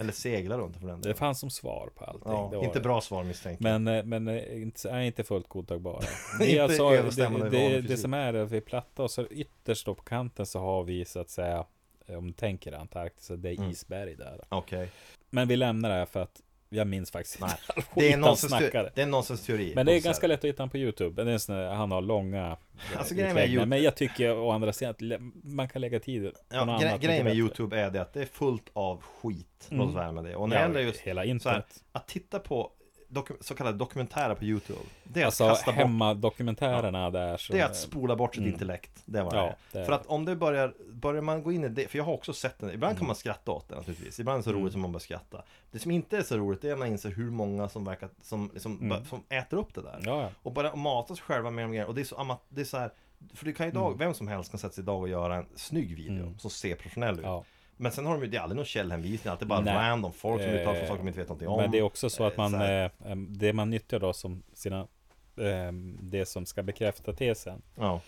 Speaker 2: Eller segla runt för den
Speaker 3: Det
Speaker 2: delen?
Speaker 3: fanns som svar på allting. det
Speaker 2: Ja,
Speaker 3: var
Speaker 2: inte
Speaker 3: det.
Speaker 2: bra svar misstänker jag.
Speaker 3: Men, eh, men eh, inte, är inte fullt godtagbara. Det,
Speaker 2: Inte
Speaker 3: jag sa, det,
Speaker 2: överensstämmande med
Speaker 3: det,
Speaker 2: vanlig
Speaker 3: det
Speaker 2: fysik.
Speaker 3: som är att vi är platta och så ytterst då på kanten så har vi så att säga eh, om du tänker Antarktis, så det är
Speaker 2: Mm.
Speaker 3: isberg där.
Speaker 2: Okej.
Speaker 3: Men vi lämnar det här för att jag minns faktiskt
Speaker 2: Nej.
Speaker 3: all skit
Speaker 2: Det är
Speaker 3: han
Speaker 2: nonsens-
Speaker 3: snackade.
Speaker 2: det är en nonsensteori.
Speaker 3: Men det är
Speaker 2: på
Speaker 3: ganska
Speaker 2: sätt.
Speaker 3: lätt att hitta honom på Youtube. Det är en sån här, han har långa eh,
Speaker 2: Alltså, grejen med
Speaker 3: utläggningar.
Speaker 2: YouTube-
Speaker 3: Men jag tycker å andra sidan att lä- man kan lägga tid på
Speaker 2: Ja,
Speaker 3: något
Speaker 2: gre- grejen
Speaker 3: annat mycket
Speaker 2: med
Speaker 3: bättre. Mm.
Speaker 2: Youtube är det att det är fullt av skit. Låt oss vara med det. Och när det
Speaker 3: Ja,
Speaker 2: gäller just
Speaker 3: hela
Speaker 2: så här,
Speaker 3: internet.
Speaker 2: att titta på doku- så kallade dokumentärer på Youtube. Det är
Speaker 3: Alltså
Speaker 2: att kasta bort
Speaker 3: hemmadokumentärerna där. Som, Mm.
Speaker 2: Det är att spola bort sitt intellekt, det var
Speaker 3: Ja,
Speaker 2: det.
Speaker 3: det är
Speaker 2: För
Speaker 3: det.
Speaker 2: att om det börjar, börjar man gå in i det, för jag har också sett den, ibland kan
Speaker 3: Mm.
Speaker 2: man skratta åt det naturligtvis, ibland är det så roligt som man börjar skratta. Det som inte är så roligt, det är när man inser hur många som verkar, som, liksom, bör- som äter upp det där.
Speaker 3: Mm. Ja, ja.
Speaker 2: Och bara mata sig själva med de grejerna, och det är så, ama- det är så här, för det kan
Speaker 3: Mm.
Speaker 2: ju idag, vem som helst kan sätta sig idag och göra en snygg video som ser professionell ut.
Speaker 3: Ja.
Speaker 2: Men sen har de ju, det är aldrig någon källhänvisning, alltid bara
Speaker 3: Nej.
Speaker 2: random folk som uttalar sig
Speaker 3: Eh,
Speaker 2: om saker de inte vet någonting om.
Speaker 3: Men det är också så att
Speaker 2: Eh,
Speaker 3: man,
Speaker 2: här.
Speaker 3: eh, em, det man nyttjar då som sina, ehm, det som ska bekräfta tesen.
Speaker 2: ja.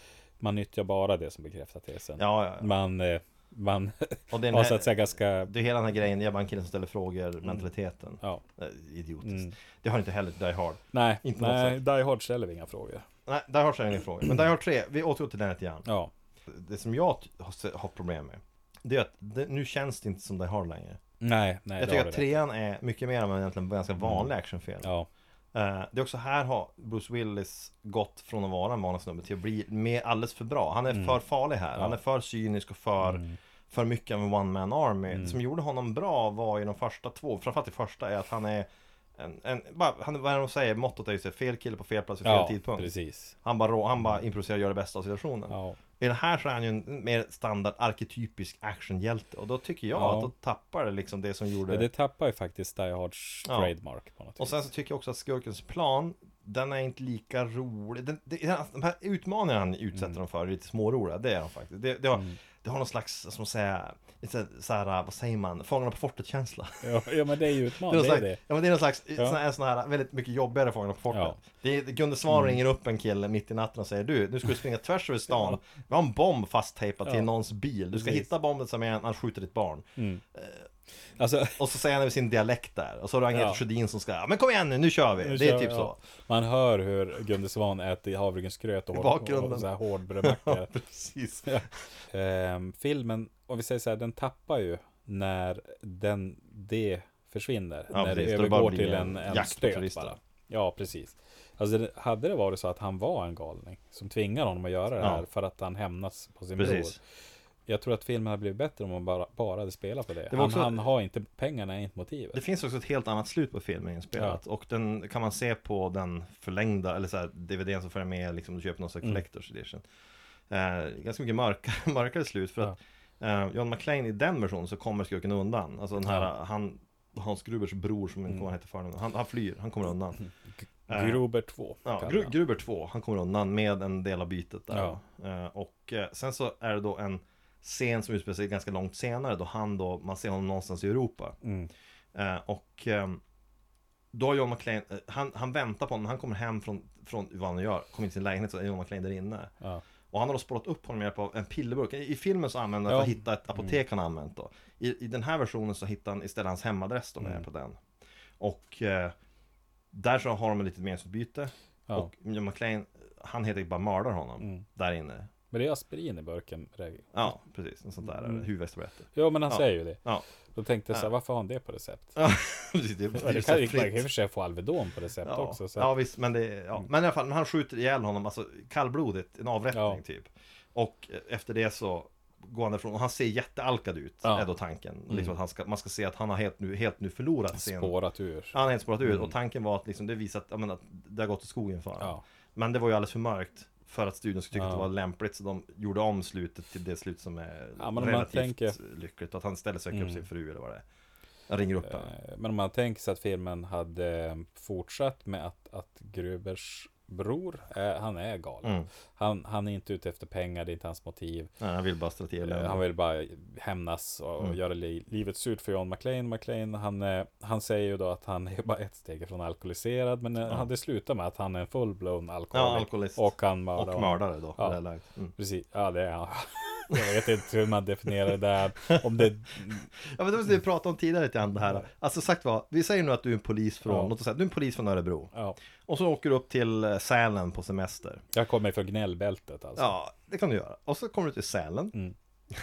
Speaker 3: Man nyttjar bara det som bekräftar tesen.
Speaker 2: Ja, ja, ja.
Speaker 3: Man, eh, man
Speaker 2: Och det är den
Speaker 3: har
Speaker 2: här-
Speaker 3: så att säga ganska,
Speaker 2: Det är hela den här grejen, jag bara en kille som ställer frågor, mentaliteten.
Speaker 3: ja.
Speaker 2: Eh, Idiotiskt.
Speaker 3: Mm.
Speaker 2: Det har inte heller Die Hard.
Speaker 3: Nej,
Speaker 2: Inte något
Speaker 3: nej Die Hard ställer vi inga frågor.
Speaker 2: Nej, Die Hard är ingen fråga. Men Die Hard 3, vi återgår till den lite grann.
Speaker 3: Ja,
Speaker 2: Det som jag t- har se- har problem med, det är att det, nu känns det inte som Die Hard längre.
Speaker 3: nej, nej.
Speaker 2: jag
Speaker 3: det Mm.
Speaker 2: tycker
Speaker 3: har
Speaker 2: att
Speaker 3: du rätt.
Speaker 2: trean är mycket mer än egentligen ganska vanlig actionfilm.
Speaker 3: Ja,
Speaker 2: Eh, Det är också här har Bruce Willis gått från att vara en vanlig snubbe till att bli mer alldeles för bra. Han är
Speaker 3: Mm.
Speaker 2: för farlig här. Han är för cynisk och för, för mycket av en one man army.
Speaker 3: Mm.
Speaker 2: Det som gjorde honom bra var ju de första två, framförallt det första är att han är en, en, bara, han, vad är det de säger? Mottot är ju så här, fel kille på fel plats vid fel
Speaker 3: ja
Speaker 2: tidpunkt.
Speaker 3: precis.
Speaker 2: Han bara, rå, han bara improviserar och gör det bästa av situationen.
Speaker 3: Ja.
Speaker 2: I den här så är han ju en mer standard arketypisk actionhjälte. Och då tycker jag
Speaker 3: Ja.
Speaker 2: att då tappar det liksom det som gjorde...
Speaker 3: Men det tappar ju faktiskt Die Hards
Speaker 2: Ja.
Speaker 3: trademark på något
Speaker 2: Och
Speaker 3: vis.
Speaker 2: sen så tycker jag också att skurkens plan Den är inte lika rolig den, det, den- De här utmaningarna han utsätter
Speaker 3: Mm.
Speaker 2: dem för är lite småroliga Det är de faktiskt Det, det, har, det har någon slags, som säga Lite så här, vad säger man? Fångarna på fortet-känsla
Speaker 3: Ja, ja, men det är ju
Speaker 2: det är,
Speaker 3: utmaning,
Speaker 2: någon
Speaker 3: det är
Speaker 2: slags,
Speaker 3: det.
Speaker 2: ja, men det är någon slags
Speaker 3: Ja.
Speaker 2: sån, här, sån här väldigt mycket jobbigare Fångarna på fortet.
Speaker 3: Ja. Mm.
Speaker 2: Det är, Gunde Svan ringer upp en kille mitt i natten och säger du, nu ska du springa tvärs över stan. Vi har en bomb fasttejpad
Speaker 3: Ja.
Speaker 2: till någons bil. Du ska
Speaker 3: Precis. Mm.
Speaker 2: hitta bomben som är, han skjuter ditt barn. Eh,
Speaker 3: Alltså,
Speaker 2: Och så säger han över sin dialekt där Och så har du Agneta
Speaker 3: Ja.
Speaker 2: Sjödin som ska "Ja, Men kom igen nu, nu kör vi!
Speaker 3: nu
Speaker 2: det är
Speaker 3: kör-
Speaker 2: typ
Speaker 3: ja.
Speaker 2: så
Speaker 3: Man hör hur Gunde Svan äter havregrynsgröt och,
Speaker 2: I bakgrunden.
Speaker 3: och så här hårdbrödmackor.
Speaker 2: Precis
Speaker 3: Ehm, filmen, om vi säger så här, den tappar ju när den, det försvinner.
Speaker 2: Ja,
Speaker 3: när
Speaker 2: precis.
Speaker 3: det
Speaker 2: Då det bara
Speaker 3: övergår
Speaker 2: blir
Speaker 3: till
Speaker 2: en
Speaker 3: en, en
Speaker 2: jakt på
Speaker 3: stöt
Speaker 2: turister.
Speaker 3: bara. Ja, precis. Alltså, det- hade det varit så att han var en galning som tvingar honom att göra det
Speaker 2: Ja.
Speaker 3: här för att han hämnas på sin
Speaker 2: Precis.
Speaker 3: bror. Jag tror att filmen hade blivit bättre om man bara, bara hade spelat på det.
Speaker 2: Det var
Speaker 3: han,
Speaker 2: också-
Speaker 3: han har inte, pengarna är inte motivet.
Speaker 2: Det finns också ett helt annat slut på filmen inspelat Och den kan man se på den förlängda Eller så här, DVDn som följer med liksom Du köper någon
Speaker 3: Mm.
Speaker 2: slags collector's edition eh, Ganska mycket mörkare, mörkare slut För att eh, John McClane i den versionen så kommer skurken undan Alltså den här,
Speaker 3: Ja. Mm.
Speaker 2: han Hans Grubers bror som inte kommer ihåg vad han heter förnamn han, han flyr, han kommer undan Eh,
Speaker 3: Gruber 2.
Speaker 2: Ja,
Speaker 3: kallar
Speaker 2: Gru-
Speaker 3: han.
Speaker 2: Gruber 2, han kommer undan med en del av bytet där.
Speaker 3: Ja.
Speaker 2: Eh, och eh, sen så är det då en scen som utspelar sig ganska långt senare då han då, man ser honom någonstans i Europa.
Speaker 3: Mm.
Speaker 2: Eh, och ehm, då har John McClane, eh, han, han väntar på honom, han kommer hem från, från vad han nu gör, kommer in till sin lägenhet så är John McClane där inne.
Speaker 3: Ja.
Speaker 2: Och han har då spårat upp honom med hjälp av en pillerburk. I, i filmen så använder han
Speaker 3: Ja.
Speaker 2: för
Speaker 3: Mm.
Speaker 2: att hitta ett apotek han har använt då. I, I den här versionen så hittar han istället hans hemadress då med
Speaker 3: Mm.
Speaker 2: hjälp av den. Och eh, där så har de ett litet meningsutbyte.
Speaker 3: Ja. Mm.
Speaker 2: Och John McClane, han helt enkelt bara mördar honom där inne.
Speaker 3: Men det är aspirin i burken. regel.
Speaker 2: Ja, precis. En sån där mm. huvudvärkstabletter.
Speaker 3: Ja, men han
Speaker 2: Ja.
Speaker 3: säger ju det.
Speaker 2: Ja,
Speaker 3: Då tänkte jag så här, varför har han det på recept?
Speaker 2: ja precis. Det,
Speaker 3: Ja,
Speaker 2: är
Speaker 3: det
Speaker 2: ju
Speaker 3: kan
Speaker 2: så
Speaker 3: ju man kan i och
Speaker 2: fritt.
Speaker 3: för sig få Alvedon på recept
Speaker 2: Ja.
Speaker 3: också. Så Mm.
Speaker 2: ja, visst. Men, det, ja. men i alla fall, men han skjuter ihjäl honom, alltså kallblodigt, en avrättning
Speaker 3: Ja.
Speaker 2: typ. Och eh, efter det så går han därifrån och han ser jättealkad ut,
Speaker 3: Ja. Mm.
Speaker 2: är då tanken. Liksom att han ska, man ska se att han har helt nu, helt nu förlorat sin...
Speaker 3: spårat ur.
Speaker 2: Han har helt spårat ur och tanken var att liksom, det visar att, jag menar, att det har gått åt skogen för honom.
Speaker 3: Mm. Ja.
Speaker 2: Men det var ju alldeles för mörkt för att studion skulle tycka att det
Speaker 3: Ja.
Speaker 2: var lämpligt så de gjorde om slutet till det slut som är
Speaker 3: Ja, men om man
Speaker 2: relativt
Speaker 3: tänker- Mm.
Speaker 2: lyckligt och att han istället söker upp sin fru eller vad det är. Han ringer upp henne.
Speaker 3: Eh, Men om man tänker sig att filmen hade eh, fortsatt med att, att Grubers bror, eh, han är galen.
Speaker 2: Mm.
Speaker 3: Han, han är inte ute efter pengar, det är inte hans motiv.
Speaker 2: Nej, han vill bara strå till
Speaker 3: Eh, Han
Speaker 2: henne.
Speaker 3: vill bara hämnas och,
Speaker 2: Mm.
Speaker 3: och göra li- livet surt för John McLean. McLean han, eh, han säger ju då att han är bara ett steg från alkoholiserad, men eh, han det slutar med att han är en full-blown alkoholist.
Speaker 2: Ja, alkoholist.
Speaker 3: Och han mördar
Speaker 2: Och
Speaker 3: honom.
Speaker 2: mördare då.
Speaker 3: Ja.
Speaker 2: Ja. Det här läget. mm.
Speaker 3: Precis, ja det är han. Jag vet inte hur man definierar det där. Om det,
Speaker 2: ja men det var som vi pratade om tidigare lite grann det här. Alltså sagt vad, vi säger nu att du är en polis från,
Speaker 3: Ja.
Speaker 2: låt oss säga, du är en polis från Örebro.
Speaker 3: ja.
Speaker 2: Och så åker du upp till eh, Sälen på semester.
Speaker 3: Jag kommer från gnällbältet alltså.
Speaker 2: Ja, det kan du göra. Och så kommer du till Sälen.
Speaker 3: Mm.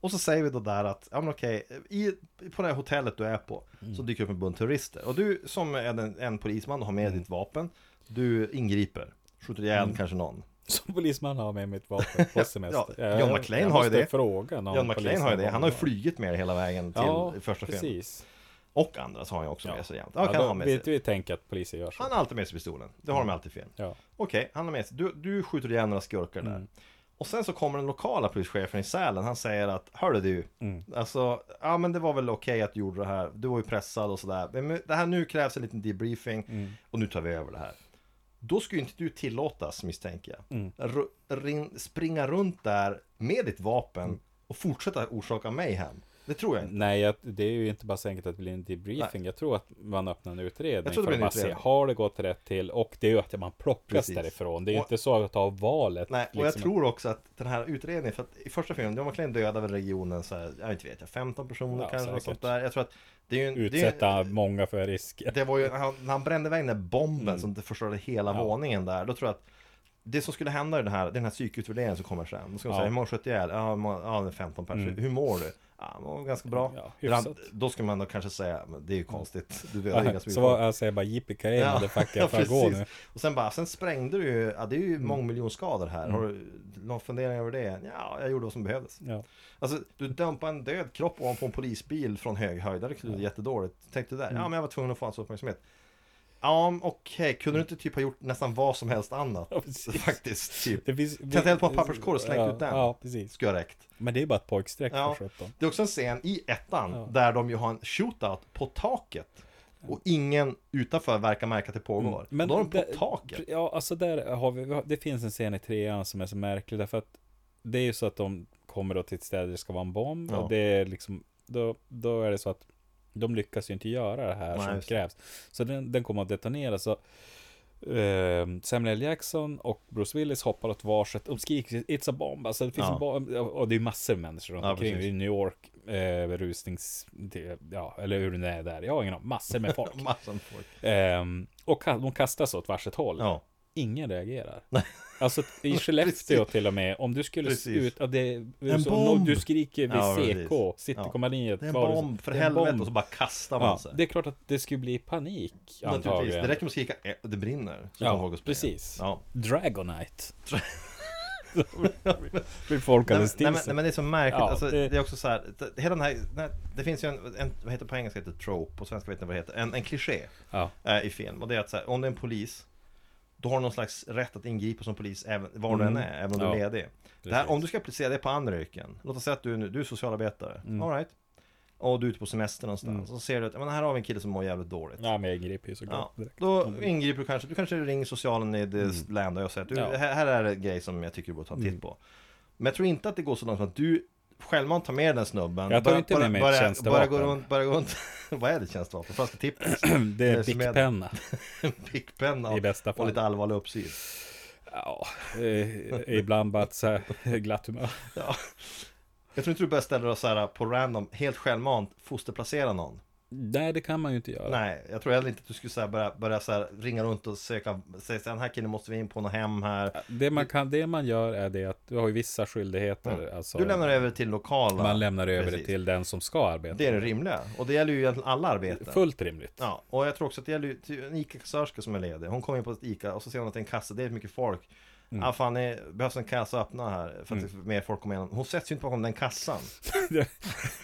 Speaker 2: och så säger vi då där att, ja men okej, i, på det här hotellet du är på
Speaker 3: Mm.
Speaker 2: så dyker upp en bunt terrorister. Och du som är den, en polisman och har
Speaker 3: Mm.
Speaker 2: med ditt vapen, du ingriper. Skjuter ihjäl kanske någon.
Speaker 3: Som polisman har med mitt vapen på semester.
Speaker 2: ja, John McClane
Speaker 3: jag
Speaker 2: har ju
Speaker 3: måste
Speaker 2: det.
Speaker 3: Fråga någon
Speaker 2: John McClane
Speaker 3: polis
Speaker 2: har ju det,
Speaker 3: någon
Speaker 2: han har ju
Speaker 3: gång.
Speaker 2: flugit med det hela vägen till
Speaker 3: ja,
Speaker 2: första filmen.
Speaker 3: precis.
Speaker 2: Och andra så har han ju också
Speaker 3: Ja.
Speaker 2: med sig jämt. Ja,
Speaker 3: Ja,
Speaker 2: kan han ha
Speaker 3: då, Mm.
Speaker 2: med
Speaker 3: vi,
Speaker 2: sig.
Speaker 3: vi tänker att poliser gör så.
Speaker 2: Han har alltid med sig pistolen, det har de alltid i film.
Speaker 3: Ja.
Speaker 2: Okej, han har med sig, du, du skjuter ihjäl några skurkar där. Och sen så kommer den lokala polischefen i Sälen, han säger att Hörru du, alltså, ja men det var väl okej att du gjorde det här, du var ju pressad och sådär. Men det här nu krävs en liten debriefing och nu tar vi över det här. Då skulle ju inte du tillåtas misstänker jag. Ru- rin- springa runt där med ditt vapen och fortsätta orsaka mig hem. Det tror jag inte.
Speaker 3: Nej, jag, det är ju inte bara så enkelt att det blir en debriefing. Jag tror att man öppnar en utredning
Speaker 2: Jag tror det blir
Speaker 3: för att
Speaker 2: en
Speaker 3: bara
Speaker 2: utredning.
Speaker 3: se, har det gått rätt till? Och det är ju att man plockas
Speaker 2: Precis.
Speaker 3: därifrån. Det är ju
Speaker 2: Och-
Speaker 3: inte så att ta valet.
Speaker 2: Nej, och jag
Speaker 3: liksom.
Speaker 2: tror också att den här utredningen, för att i första filmen, John McClane dödar väl regionen så här, jag vet inte vet jag, 15 personer
Speaker 3: Ja,
Speaker 2: kanske, något sånt
Speaker 3: säkert.
Speaker 2: där. Jag tror att det är ju en, det är
Speaker 3: Utsätta
Speaker 2: ju,
Speaker 3: många för risker.
Speaker 2: det var ju, han, när han brände iväg den där bomben
Speaker 3: Mm.
Speaker 2: som det förstörde hela våningen där, då tror jag att det som skulle hända i den här, det är den här psykutvärderingen som kommer sen, då ska de
Speaker 3: Ja. Mm.
Speaker 2: säga, hur många sköt ihjäl? Ja, hur många- ja, det är 15 personer. Hur mår du? Ja, jag mår ganska bra.
Speaker 3: Ja,
Speaker 2: Eller han,
Speaker 3: hyfsat. Mm.
Speaker 2: då skulle man då kanske säga, men det är ju konstigt, du dödar ju ganska
Speaker 3: så
Speaker 2: mycket
Speaker 3: var, alltså, jag säger bara jippie ja. motherfucker, jag får gå nu.
Speaker 2: och sen bara, sen sprängde du ju, ja det är ju
Speaker 3: Mm.
Speaker 2: mångmiljonskador här. Har du någon fundering över det? Ja, jag gjorde vad som behövdes.
Speaker 3: Ja.
Speaker 2: Alltså, du dumpade en död kropp ovanpå en polisbil från hög höjd. Det låter jättedåligt. Tänkte du där?
Speaker 3: Mm.
Speaker 2: Ja, men jag var tvungen att få hans uppmärksamhet. Ja, men okej, kunde du inte typ ha gjort nästan vad som helst annat?
Speaker 3: Ja, precis.
Speaker 2: Faktiskt, typ.
Speaker 3: Det finns,
Speaker 2: Tänt eld på en papperskorg och slängt
Speaker 3: ja,
Speaker 2: ut den.
Speaker 3: Ja, precis.
Speaker 2: Skulle ha räckt.
Speaker 3: Men det är bara ett pojkstreck
Speaker 2: Ja.
Speaker 3: för 17.
Speaker 2: Det är också en scen i ettan där de ju har en shootout på taket. Och ingen utanför verkar märka att det pågår.
Speaker 3: Mm,
Speaker 2: Men då har de på
Speaker 3: där-
Speaker 2: taket.
Speaker 3: Ja, alltså där har vi, vi har- det finns en scen i trean som är så märklig därför att det är ju så att de kommer då till ett ställe där det ska vara en bomb
Speaker 2: Ja.
Speaker 3: och det är liksom, då, då är det så att de lyckas ju inte göra det här
Speaker 2: Nej,
Speaker 3: som
Speaker 2: just det.
Speaker 3: krävs. Så den, den kommer att detonera så eh, Samuel L. Jackson och Bruce Willis hoppar åt varsitt. De skriker It's a bomb. Alltså, det finns
Speaker 2: Ja.
Speaker 3: en bomb. Och det är massor av människor runt
Speaker 2: Ja,
Speaker 3: omkring.
Speaker 2: precis.
Speaker 3: Det är New York, eh, rusnings... Det, ja, eller hur det är där. Jag har ingen aning. Massor med folk.
Speaker 2: Massor av folk.
Speaker 3: Ehm, och ka- de kastas åt varsitt håll.
Speaker 2: Ja,
Speaker 3: Ingen reagerar. Alltså i Skellefteå till och med, om du skulle
Speaker 2: Precis.
Speaker 3: ut, ja, det,
Speaker 2: En
Speaker 3: så, om någon-
Speaker 2: bomb!
Speaker 3: du skriker vid
Speaker 2: Ja,
Speaker 3: CK,
Speaker 2: precis.
Speaker 3: Citykompaniet.
Speaker 2: det är en
Speaker 3: var så-
Speaker 2: bomb för
Speaker 3: det är en
Speaker 2: helvete
Speaker 3: bomb.
Speaker 2: och så bara kastar man
Speaker 3: Ja,
Speaker 2: sig.
Speaker 3: det är klart att det skulle bli panik
Speaker 2: Naturligtvis, det
Speaker 3: antagligen.
Speaker 2: räcker med att skrika "Eh, det brinner. Så
Speaker 3: Ja,
Speaker 2: kommer folk att springa.
Speaker 3: precis.
Speaker 2: Ja.
Speaker 3: Dragonite. Blir folk
Speaker 2: Nej, men- nej,
Speaker 3: alldeles till
Speaker 2: men, nej
Speaker 3: sig.
Speaker 2: men det är så märkligt,
Speaker 3: Ja,
Speaker 2: alltså,
Speaker 3: det-
Speaker 2: det... är också så här, det, hela den här, nej, det finns ju en, en, vad heter det på engelska, heter det trope, på svenska vet jag vad det heter, en, en kliché
Speaker 3: Ja,
Speaker 2: eh, i film. Och det är att så här, om det är en polis, då har du någon slags rätt att ingripa som polis även, var du än
Speaker 3: Mm.
Speaker 2: är, även om du är
Speaker 3: Ja,
Speaker 2: ledig. Det här,
Speaker 3: precis.
Speaker 2: om du ska applicera det på andra yrken, låt oss säga att du, är nu- du är socialarbetare,
Speaker 3: Mm.
Speaker 2: all right. Och du är ute på semester någonstans, och så ser du att, "Ja, men här har vi en kille som mår jävligt dåligt.
Speaker 3: ja men jag griper ju
Speaker 2: Ja,
Speaker 3: såklart direkt. Mm.
Speaker 2: då ingriper du kanske, du kanske ringer socialen i det land och jag säger att du,
Speaker 3: Ja. Mm.
Speaker 2: här, här är en grej som jag tycker du borde ta en titt på. Men jag tror inte att det går så långt som att du självmant tar med den snubben.
Speaker 3: Jag tar inte med mig ett
Speaker 2: börja, börja
Speaker 3: tjänstevapen.
Speaker 2: gå runt, börja gå runt. vad är det tjänstevapen? Franska tippen?
Speaker 3: Det
Speaker 2: det
Speaker 3: är
Speaker 2: som
Speaker 3: Big
Speaker 2: är-
Speaker 3: Penna.
Speaker 2: En pickpenna?
Speaker 3: I bästa
Speaker 2: Och
Speaker 3: fall.
Speaker 2: lite allvarlig uppsyn.
Speaker 3: Ja, eh, ibland bara ett så här glatt humör.
Speaker 2: Ja. Jag tror inte du börjar ställa dig så här på random, helt självmant, fosterplacera någon.
Speaker 3: Nej, det kan man ju inte göra.
Speaker 2: Nej, jag tror heller inte att du skulle så här börja, börja så här ringa runt och söka, säga så här, den här killen måste vi in på något hem här.
Speaker 3: Det man, kan, det man gör är det att du har ju vissa skyldigheter. Alltså,
Speaker 2: Du lämnar över till lokala.
Speaker 3: man lämnar över det
Speaker 2: Precis.
Speaker 3: till den som ska arbeta.
Speaker 2: Det är det rimliga. Och det gäller ju egentligen alla arbeten.
Speaker 3: Fullt rimligt.
Speaker 2: Ja, och jag tror också att det gäller ju ty- en ICA-kassörska som är ledig. Hon kommer in på ett ICA och så ser hon att det är en kassa, det är mycket folk.
Speaker 3: Mm.
Speaker 2: Ah, fan, det behövs en kassa att öppna här för att det är mer folk kommer igenom. Hon sätts ju inte bakom den kassan.
Speaker 3: Det,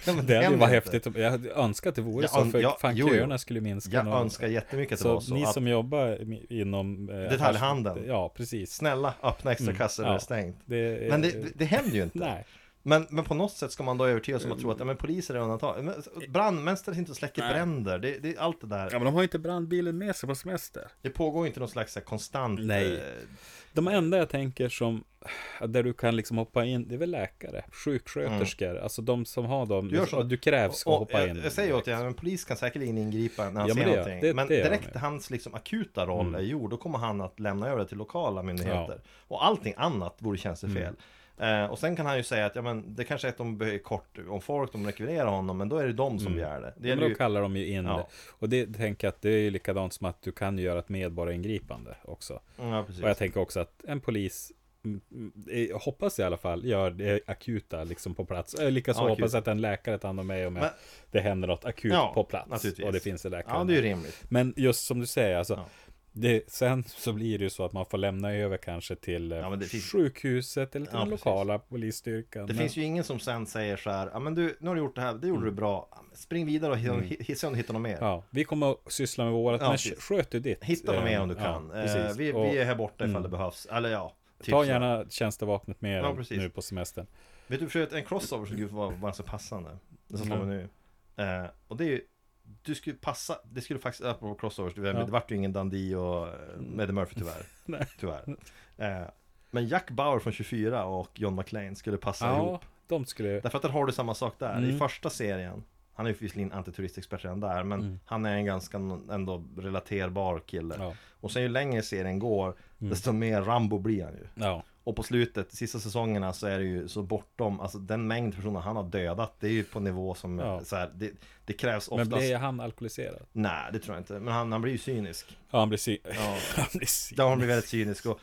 Speaker 2: Ja, men
Speaker 3: det hade ju
Speaker 2: händer
Speaker 3: varit
Speaker 2: inte.
Speaker 3: häftigt. om- Jag hade önskat att det vore
Speaker 2: Jag
Speaker 3: så,
Speaker 2: an-
Speaker 3: för
Speaker 2: ja,
Speaker 3: fan
Speaker 2: jo, jo.
Speaker 3: köerna skulle minska.
Speaker 2: Jag
Speaker 3: någon-
Speaker 2: önskar jättemycket att det
Speaker 3: så
Speaker 2: var så.
Speaker 3: ni
Speaker 2: att,
Speaker 3: som jobbar i- inom... Eh,
Speaker 2: Detaljhandeln.
Speaker 3: affärs- Ja, precis.
Speaker 2: Snälla, öppna extra kassor när det
Speaker 3: Mm. ja.
Speaker 2: är stängt.
Speaker 3: Det är-
Speaker 2: Men det, det händer ju inte.
Speaker 3: Nej.
Speaker 2: Men, men på något sätt ska man då övertyga sig om att tro att ja, men poliser är undantag. Men Brandmän ställs inte och släcker
Speaker 3: Nej.
Speaker 2: bränder. Det, det, allt det där.
Speaker 3: men de har ju inte brandbilen med sig på semester.
Speaker 2: Det pågår ju inte någon slags så här, konstant...
Speaker 3: Nej.
Speaker 2: eh,
Speaker 3: De enda jag tänker som, där du kan liksom hoppa in, det är väl läkare, sjuksköterskor, alltså de som har dem,
Speaker 2: Mm. Du gör så.
Speaker 3: och du krävs
Speaker 2: Och-
Speaker 3: att
Speaker 2: och
Speaker 3: hoppa
Speaker 2: jag,
Speaker 3: in.
Speaker 2: Jag säger åt dig, en polis kan säkerligen ingripa när han
Speaker 3: Ja, men
Speaker 2: ser
Speaker 3: det-
Speaker 2: någonting.
Speaker 3: det-
Speaker 2: men
Speaker 3: det gör
Speaker 2: direkt
Speaker 3: han ju. Mm.
Speaker 2: hans liksom, akuta roll är gjord, då kommer han att lämna över det till lokala myndigheter. Och allting annat vore tjänstefel.
Speaker 3: Mm.
Speaker 2: Eh, och sen kan han ju säga att ja, men det kanske är att de behöver kort om folk, de rekvirerar honom, men då är det de som begär det. det
Speaker 3: Mm. Ja,
Speaker 2: gäller
Speaker 3: men
Speaker 2: ju,
Speaker 3: då kallar de ju in
Speaker 2: Ja.
Speaker 3: det. Och det tänker jag att det är ju likadant som att du kan ju göra ett medborgaringripande också.
Speaker 2: Mm, ja, precis.
Speaker 3: Och jag tänker också att en polis mm, mm, eh, hoppas i alla fall gör det akuta liksom på plats. Eh, Likaså
Speaker 2: Ja, akut.
Speaker 3: hoppas att en läkare tar hand om mig om jag,
Speaker 2: Men-
Speaker 3: det händer något akut
Speaker 2: Ja,
Speaker 3: på plats.
Speaker 2: naturligtvis.
Speaker 3: Och det finns en läkare.
Speaker 2: ja, det är ju rimligt.
Speaker 3: Men just som du säger, alltså,
Speaker 2: Ja.
Speaker 3: det, sen så blir det ju så att man får lämna över kanske till ja,
Speaker 2: men det finns-
Speaker 3: sjukhuset eller till
Speaker 2: Ja,
Speaker 3: den
Speaker 2: precis.
Speaker 3: lokala polisstyrkan.
Speaker 2: Det
Speaker 3: Men- Mm.
Speaker 2: finns ju ingen som sen säger så här, ja men du, nu har du gjort det här, det gjorde du bra, Ja, men spring vidare och hitta- hitta- se om du hittar något mer.
Speaker 3: Ja, vi kommer att syssla med vårat,
Speaker 2: Ja,
Speaker 3: men
Speaker 2: precis.
Speaker 3: sköt du ditt.
Speaker 2: Hitta något mer om du
Speaker 3: Eh,
Speaker 2: kan.
Speaker 3: Ja,
Speaker 2: eh,
Speaker 3: precis.
Speaker 2: vi,
Speaker 3: Och mm.
Speaker 2: vi är här borta ifall det behövs, eller ja. typ så
Speaker 3: ta
Speaker 2: här.
Speaker 3: gärna tjänstevapnet med
Speaker 2: Ja,
Speaker 3: er
Speaker 2: precis.
Speaker 3: nu på semestern.
Speaker 2: Vet du, för att en crossover skulle vara, vara så passande. Det
Speaker 3: Mm.
Speaker 2: som slår mig nu. Eh, och det är ju, du skulle passa, det skulle faktiskt, apropå crossovers, det,
Speaker 3: Ja.
Speaker 2: det vart ju ingen Dundee och eh, Eddie Murphy tyvärr.
Speaker 3: Nej.
Speaker 2: tyvärr. Eh, men Jack Bauer från 24 och John McClane skulle passa
Speaker 3: Ja,
Speaker 2: ihop.
Speaker 3: de skulle...
Speaker 2: Därför att där har du samma sak där. I
Speaker 3: Mm.
Speaker 2: första serien, han är ju visserligen antituristexpert redan där, men han är en ganska ändå relaterbar kille.
Speaker 3: Mm. Ja. Mm.
Speaker 2: Och sen ju längre serien går, desto mer Rambo blir han ju.
Speaker 3: Ja,
Speaker 2: Och på slutet, sista säsongerna så är det ju så bortom, alltså den mängd personer han har dödat, det är ju på nivå som,
Speaker 3: Ja.
Speaker 2: så här, det, det krävs
Speaker 3: men
Speaker 2: oftast...
Speaker 3: blir han alkoholiserad?
Speaker 2: Nej, det tror jag inte. Men han, han blir ju cynisk.
Speaker 3: Ja, han blir sy...
Speaker 2: Ja.
Speaker 3: han blir sy...
Speaker 2: Ja, han blir väldigt cynisk. Och,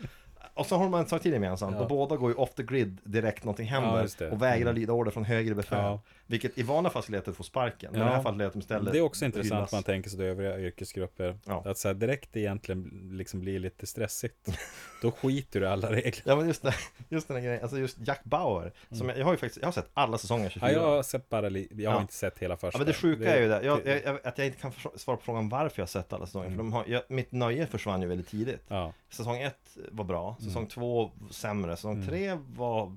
Speaker 2: och så har de en sak till gemensamt, och båda går ju off the grid direkt någonting
Speaker 3: Ja,
Speaker 2: händer
Speaker 3: just det. Mm.
Speaker 2: och vägrar lyda order från högre befäl.
Speaker 3: Ja.
Speaker 2: Vilket i vanliga fall skulle leda till att få sparken, men i
Speaker 3: Ja.
Speaker 2: det här fallet leder till istället
Speaker 3: Det är också intressant
Speaker 2: hyllas.
Speaker 3: man tänker sig det övriga yrkesgrupper.
Speaker 2: Ja.
Speaker 3: Att så här direkt egentligen liksom blir lite stressigt. Då skiter du i alla regler.
Speaker 2: Ja men just, det, just den här grejen, alltså just Jack Bauer, som jag, jag har ju faktiskt, jag har sett alla säsonger 24.
Speaker 3: Mm. Ja, jag har sett bara li... Jag har
Speaker 2: Ja.
Speaker 3: inte sett hela första.
Speaker 2: Ja men det sjuka är ju det, jag, jag, jag, att jag inte kan förs- svara på frågan varför jag har sett alla säsonger, för de har, jag, mitt nöje försvann ju väldigt tidigt.
Speaker 3: Mm. Ja. Mm.
Speaker 2: Säsong ett var bra, säsong två sämre, säsong tre var,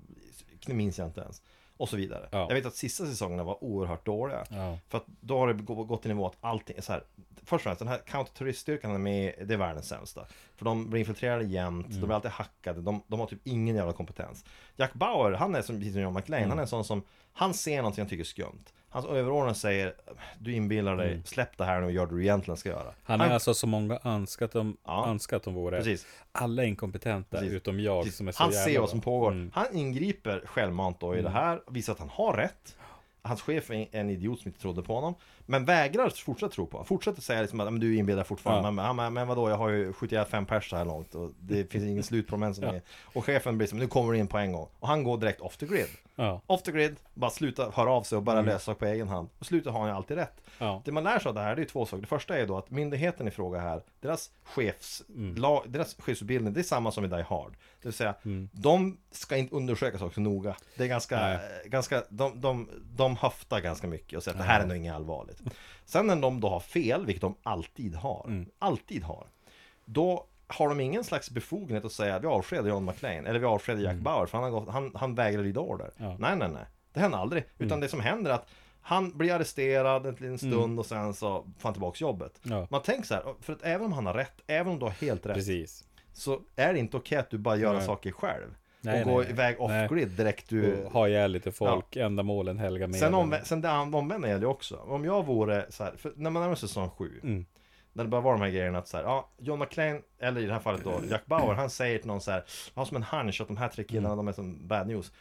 Speaker 2: minns jag inte ens. Och så vidare.
Speaker 3: Ja.
Speaker 2: Jag vet att sista säsongerna var oerhört dåliga.
Speaker 3: Ja.
Speaker 2: För att då har det gå- gått till nivå att allting är så här. Först och främst, den här counterterroriststyrkan de är med, i, det är världens sämsta. För de blir infiltrerade jämt, de
Speaker 3: Mm. Mm.
Speaker 2: blir alltid hackade, de, de har typ ingen jävla kompetens. Jack Bauer, han är som, precis som John McLean, han är en sån som Han ser någonting han tycker är skumt. Hans överordnade säger Du inbillar dig, släpp det här nu och gör det du egentligen ska göra.
Speaker 3: Mm. Han är alltså så många önskat de,
Speaker 2: Ja.
Speaker 3: önskat de våre.
Speaker 2: Precis.
Speaker 3: Alla inkompetenta
Speaker 2: Precis.
Speaker 3: utom jag
Speaker 2: Precis.
Speaker 3: som är så
Speaker 2: Typ, Han
Speaker 3: jävla
Speaker 2: ser
Speaker 3: bra.
Speaker 2: vad som pågår.
Speaker 3: Mm.
Speaker 2: Han ingriper självmant då i det här, visar att han har rätt. Hans chef är en idiot som inte trodde på honom. Men vägrar fortsätta tro på honom. Fortsätter säga liksom att "Men du inbillar fortfarande.
Speaker 3: Ja.
Speaker 2: Men, "Ja, men, men vadå, jag har ju skjutit ihjäl fem pers så här långt. Och det finns ingen slut på de än som är. Och chefen blir som, nu kommer du in på en gång. Och han går direkt off the grid.
Speaker 3: Ja. Mm.
Speaker 2: Off the grid, bara sluta höra av sig och bara lösa på egen hand. Och sluta har han ju alltid rätt.
Speaker 3: Ja.
Speaker 2: Det man lär sig av det här, det är ju två saker. Det första är då att myndigheten i fråga här, deras, chefs, la, deras chefsutbildning, det är samma som i Die Hard. Det vill säga, de ska inte undersöka saker så noga. Det är ganska, ganska de, de, de höftar ganska mycket och säger att det här är nog inget allvarligt. Sen när de då har fel, vilket de alltid har, alltid har, då har de ingen slags befogenhet att säga vi avskedar John McClane eller vi avskedar Jack
Speaker 3: Mm.
Speaker 2: Bauer för han, har gått, han, han vägrar lyda order. Nej, nej, nej. Det händer aldrig.
Speaker 3: Mm.
Speaker 2: Utan det som händer är att han blir arresterad en liten stund och sen så får han tillbaks jobbet.
Speaker 3: Ja.
Speaker 2: Man tänker så här, för att även om han har rätt, även om du har helt rätt,
Speaker 3: Precis.
Speaker 2: så är det inte okej att du bara gör
Speaker 3: Nej.
Speaker 2: saker själv.
Speaker 3: Nej,
Speaker 2: och går
Speaker 3: nej, nej.
Speaker 2: iväg
Speaker 3: Nej.
Speaker 2: off grid direkt du...
Speaker 3: Och ha ihjäl lite folk, ändamålen helga medlen.
Speaker 2: Sen, omvä- sen det an- omvända gäller ju också. Om jag vore så här, för när man närmar sig säsong 7
Speaker 3: Mm.
Speaker 2: När det bara var de här grejerna att så här, ja, John McClane, eller i det här fallet då Jack Bauer, han säger till någon så här, jag har som en hunch att de här tre killarna,
Speaker 3: Mm.
Speaker 2: de är som bad news.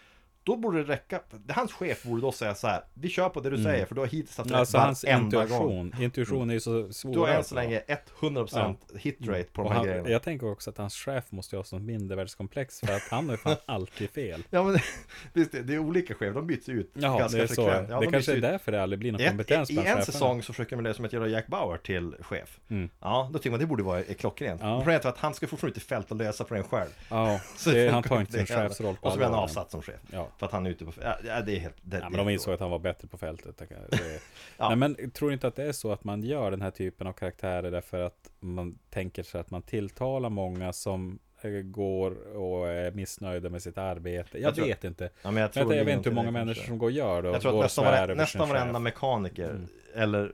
Speaker 2: Då borde det räcka, hans chef borde då säga så här, vi kör på det du säger för du har hittills haft
Speaker 3: Mm. Alltså hans
Speaker 2: varenda gång. Mm.
Speaker 3: intuition. Intuition är ju så svår.
Speaker 2: Du har än
Speaker 3: alltså.
Speaker 2: så länge 100% hit rate på de
Speaker 3: Och
Speaker 2: här
Speaker 3: han,
Speaker 2: grejerna.
Speaker 3: jag tänker också att hans chef måste ju ha sånt mindervärdeskomplex för att han har ju fan alltid fel.
Speaker 2: Ja men visst, det det är olika chefer, de byts ut
Speaker 3: Jaha,
Speaker 2: ganska
Speaker 3: det är så.
Speaker 2: frekvent. Ja, de byts
Speaker 3: det kanske är
Speaker 2: ut.
Speaker 3: därför det aldrig blir någon
Speaker 2: I,
Speaker 3: kompetens
Speaker 2: i, I
Speaker 3: bland
Speaker 2: en
Speaker 3: cheferna. Mm.
Speaker 2: säsong så försöker man lösa med att göra Jack Bauer till chef. Ja, då tycker man det borde vara eh, klockrent.
Speaker 3: Ja.
Speaker 2: Men Problemet är att han ska fortfarande ut i fält och lösa för en själv.
Speaker 3: Ja,
Speaker 2: Så
Speaker 3: det,
Speaker 2: funkar
Speaker 3: han tar inte sin
Speaker 2: heller.
Speaker 3: chefsroll på
Speaker 2: Och så blir han
Speaker 3: allvar.
Speaker 2: avsatt som chef.
Speaker 3: Ja.
Speaker 2: För att han är ute på... Ja, ja, det är helt... Det,
Speaker 3: Ja,
Speaker 2: det
Speaker 3: men
Speaker 2: är
Speaker 3: de
Speaker 2: helt
Speaker 3: insåg att han var bättre på fältet. Det kan- det-
Speaker 2: Ja.
Speaker 3: Nej, men tror du inte att det är så att man gör den här typen av karaktärer därför att man tänker sig att man tilltalar många som eh, går och är missnöjda med sitt arbete. Jag,
Speaker 2: Jag tror-
Speaker 3: vet inte.
Speaker 2: Ja, men jag tror
Speaker 3: Vänta, jag
Speaker 2: det
Speaker 3: vet
Speaker 2: är
Speaker 3: inte hur många
Speaker 2: någonting där
Speaker 3: människor
Speaker 2: kanske.
Speaker 3: som går och gör det. och
Speaker 2: Jag tror
Speaker 3: går
Speaker 2: att
Speaker 3: och
Speaker 2: nästan,
Speaker 3: svär
Speaker 2: varenda,
Speaker 3: över sin
Speaker 2: nästan varenda
Speaker 3: chef. Mm.
Speaker 2: mekaniker eller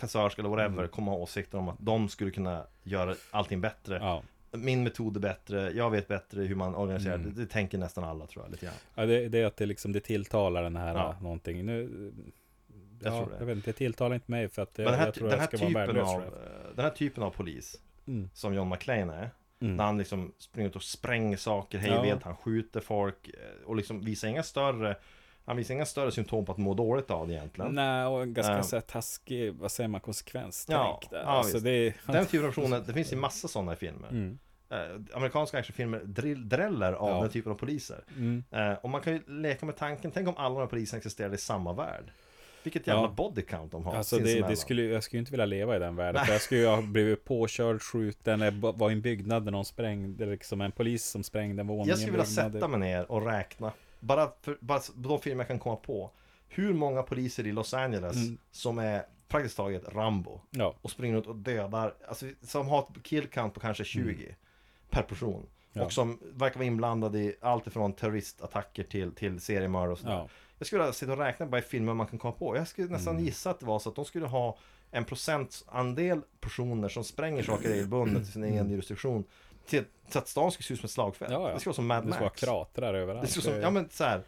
Speaker 2: kassörska eller whatever kommer ha åsikter om att de skulle kunna göra allting bättre.
Speaker 3: Ja.
Speaker 2: Min metod är bättre, jag vet bättre hur man organiserar.
Speaker 3: Mm.
Speaker 2: Det, det tänker nästan alla tror jag. Lite grann.
Speaker 3: Ja, det, det är att det, liksom, det tilltalar den här eh,
Speaker 2: Ja.
Speaker 3: någonting. Nu, ja,
Speaker 2: Jag
Speaker 3: jag,
Speaker 2: tror det.
Speaker 3: vet inte, det tilltalar inte mig för att
Speaker 2: Men
Speaker 3: jag,
Speaker 2: den här,
Speaker 3: jag tror
Speaker 2: den
Speaker 3: att
Speaker 2: här
Speaker 3: jag ska vara en
Speaker 2: typen
Speaker 3: värdelös
Speaker 2: av,
Speaker 3: chef.
Speaker 2: eh, den här typen av polis
Speaker 3: Mm.
Speaker 2: som John McClane är
Speaker 3: Mm.
Speaker 2: När han liksom springer ut och spränger saker hej
Speaker 3: Ja.
Speaker 2: vilt, han skjuter folk eh, och liksom visar inga större Han visar inga större symptom på att må dåligt av det egentligen
Speaker 3: Nej, och en ganska
Speaker 2: Ja.
Speaker 3: så här taskig, vad säger man, konsekvenstänk
Speaker 2: Ehm. Ja,
Speaker 3: där.
Speaker 2: ja,
Speaker 3: alltså,
Speaker 2: visst.
Speaker 3: det är,
Speaker 2: Den typen av personer, det finns ju massa sådana i filmer
Speaker 3: Mm.
Speaker 2: eh, Amerikanska actionfilmer drill, dräller av
Speaker 3: Ja.
Speaker 2: den typen av poliser
Speaker 3: Mm.
Speaker 2: eh, Och man kan ju leka med tanken, tänk om alla de här poliserna existerade i samma värld Vilket jävla
Speaker 3: Ja.
Speaker 2: body count de har
Speaker 3: Alltså det,
Speaker 2: sinsemellan.
Speaker 3: det skulle, jag skulle ju inte vilja leva i den världen. För jag skulle ju ha blivit påkörd, skjuten, jag ba- var i en byggnad när någon sprängde, liksom en polis som sprängde en våning.
Speaker 2: Jag skulle
Speaker 3: i en
Speaker 2: vilja
Speaker 3: byggnad.
Speaker 2: sätta mig ner och räkna Bara, för, bara s- de filmer jag kan komma på Hur många poliser i Los Angeles som är praktiskt taget Rambo
Speaker 3: Ja.
Speaker 2: Och springer runt och dödar Alltså som har ett kill count på kanske 20 Per person
Speaker 3: Ja.
Speaker 2: Och som verkar vara inblandad i allt ifrån terroristattacker till, till seriemördare och sådär
Speaker 3: Ja.
Speaker 2: Jag skulle vilja sitta och räkna bara i filmer man kan komma på Jag skulle nästan
Speaker 3: Mm.
Speaker 2: gissa att det var så att de skulle ha En procentandel personer som spränger saker regelbundet i sin egen jurisdiktion till, till att stan skulle se ut som ett slagfält
Speaker 3: Mm. Ja, ja.
Speaker 2: Det skulle vara som Mad
Speaker 3: Det skulle vara
Speaker 2: Max
Speaker 3: kratrar överallt.
Speaker 2: det skulle, som, ja men så här,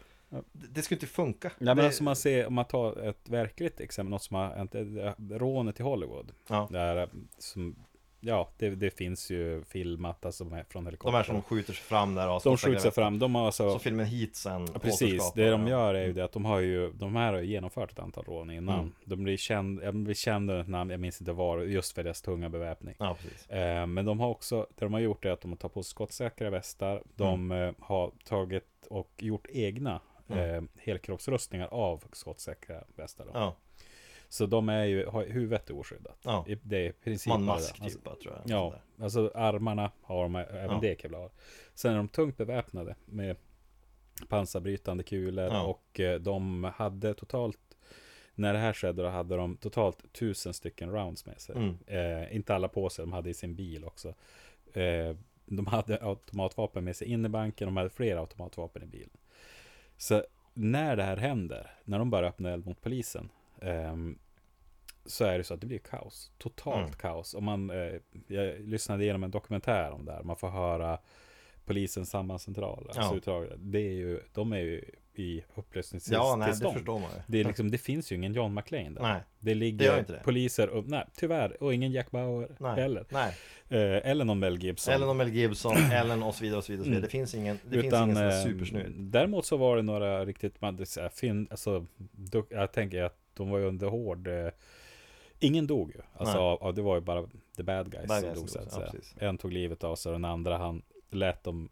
Speaker 2: det, det skulle inte funka.
Speaker 3: Nej men
Speaker 2: det,
Speaker 3: alltså man ser, om man tar ett verkligt exempel, något som har hänt, eh, rånet i Hollywood.
Speaker 2: Ja.
Speaker 3: Där, eh, som, ja, det, det finns ju filmat alltså med- från helikoptern.
Speaker 2: de här som skjuter sig fram där och
Speaker 3: de skjuter sig fram, de har alltså...
Speaker 2: Så filmen hit sen
Speaker 3: Ja, Precis,
Speaker 2: återskapar Mm.
Speaker 3: det de gör är ju det att de har ju, de här har ju genomfört ett antal rån innan. De blir kända, jag blir känd under ett namn, jag minns inte var, just för deras tunga beväpning.
Speaker 2: Ja, precis.
Speaker 3: Eh, men de har också, det de har gjort är att de har tagit på sig skottsäkra västar, de
Speaker 2: Mm.
Speaker 3: eh, har tagit och gjort egna eh, helkroppsrustningar av skottsäkra västar. då.
Speaker 2: Ja,
Speaker 3: Så de är ju, har, huvudet är oskyddat.
Speaker 2: Ja.
Speaker 3: I- Det är i princip
Speaker 2: man
Speaker 3: bara det.
Speaker 2: mask typ
Speaker 3: Alltså-
Speaker 2: bara, tror jag.
Speaker 3: Ja,
Speaker 2: Sådär.
Speaker 3: alltså armarna har de, även
Speaker 2: Ja.
Speaker 3: det kevlar. Sen är de tungt beväpnade med pansarbrytande kulor
Speaker 2: Ja.
Speaker 3: och eh, de hade totalt, när det här skedde då hade de totalt tusen stycken rounds med sig.
Speaker 2: Mm.
Speaker 3: Eh, inte alla på sig, de hade i sin bil också. Eh, de hade automatvapen med sig in i banken, de hade flera automatvapen i bilen. Så när det här händer, när de bara öppnar eld mot polisen, ehm, så är det så att det blir kaos. Totalt
Speaker 2: Mm.
Speaker 3: kaos. Om man, eh, jag lyssnade igenom en dokumentär om det här. Man får höra polisen sambandscentral, alltså
Speaker 2: Ja.
Speaker 3: utdrag, det är ju, de är ju i upplösningstillstånd.
Speaker 2: Ja, nej, det förstår man ju.
Speaker 3: Det, är liksom, det finns ju ingen John McClane där.
Speaker 2: Nej,
Speaker 3: det
Speaker 2: det
Speaker 3: ligger
Speaker 2: gör inte det.
Speaker 3: poliser och, nej, tyvärr, och ingen Jack Bauer
Speaker 2: nej,
Speaker 3: heller.
Speaker 2: nej.
Speaker 3: Eh, eller någon Mel Gibson. Mm.
Speaker 2: Ellen och Mel Gibson, Ellen och så vidare och så vidare. och så vidare. Det finns ingen, det finns ingen som är
Speaker 3: eh,
Speaker 2: supersnygg.
Speaker 3: Däremot så var det några riktigt, man, det, är så här, fin, alltså, du, jag tänker att de var ju under hård, eh, ingen dog ju. Alltså,
Speaker 2: Nej.
Speaker 3: av, av, det var ju bara the bad guys
Speaker 2: Bad
Speaker 3: som
Speaker 2: guys
Speaker 3: dog. Så
Speaker 2: dog,
Speaker 3: att
Speaker 2: ja,
Speaker 3: säga.
Speaker 2: precis.
Speaker 3: en tog livet av sig och den andra han lät dem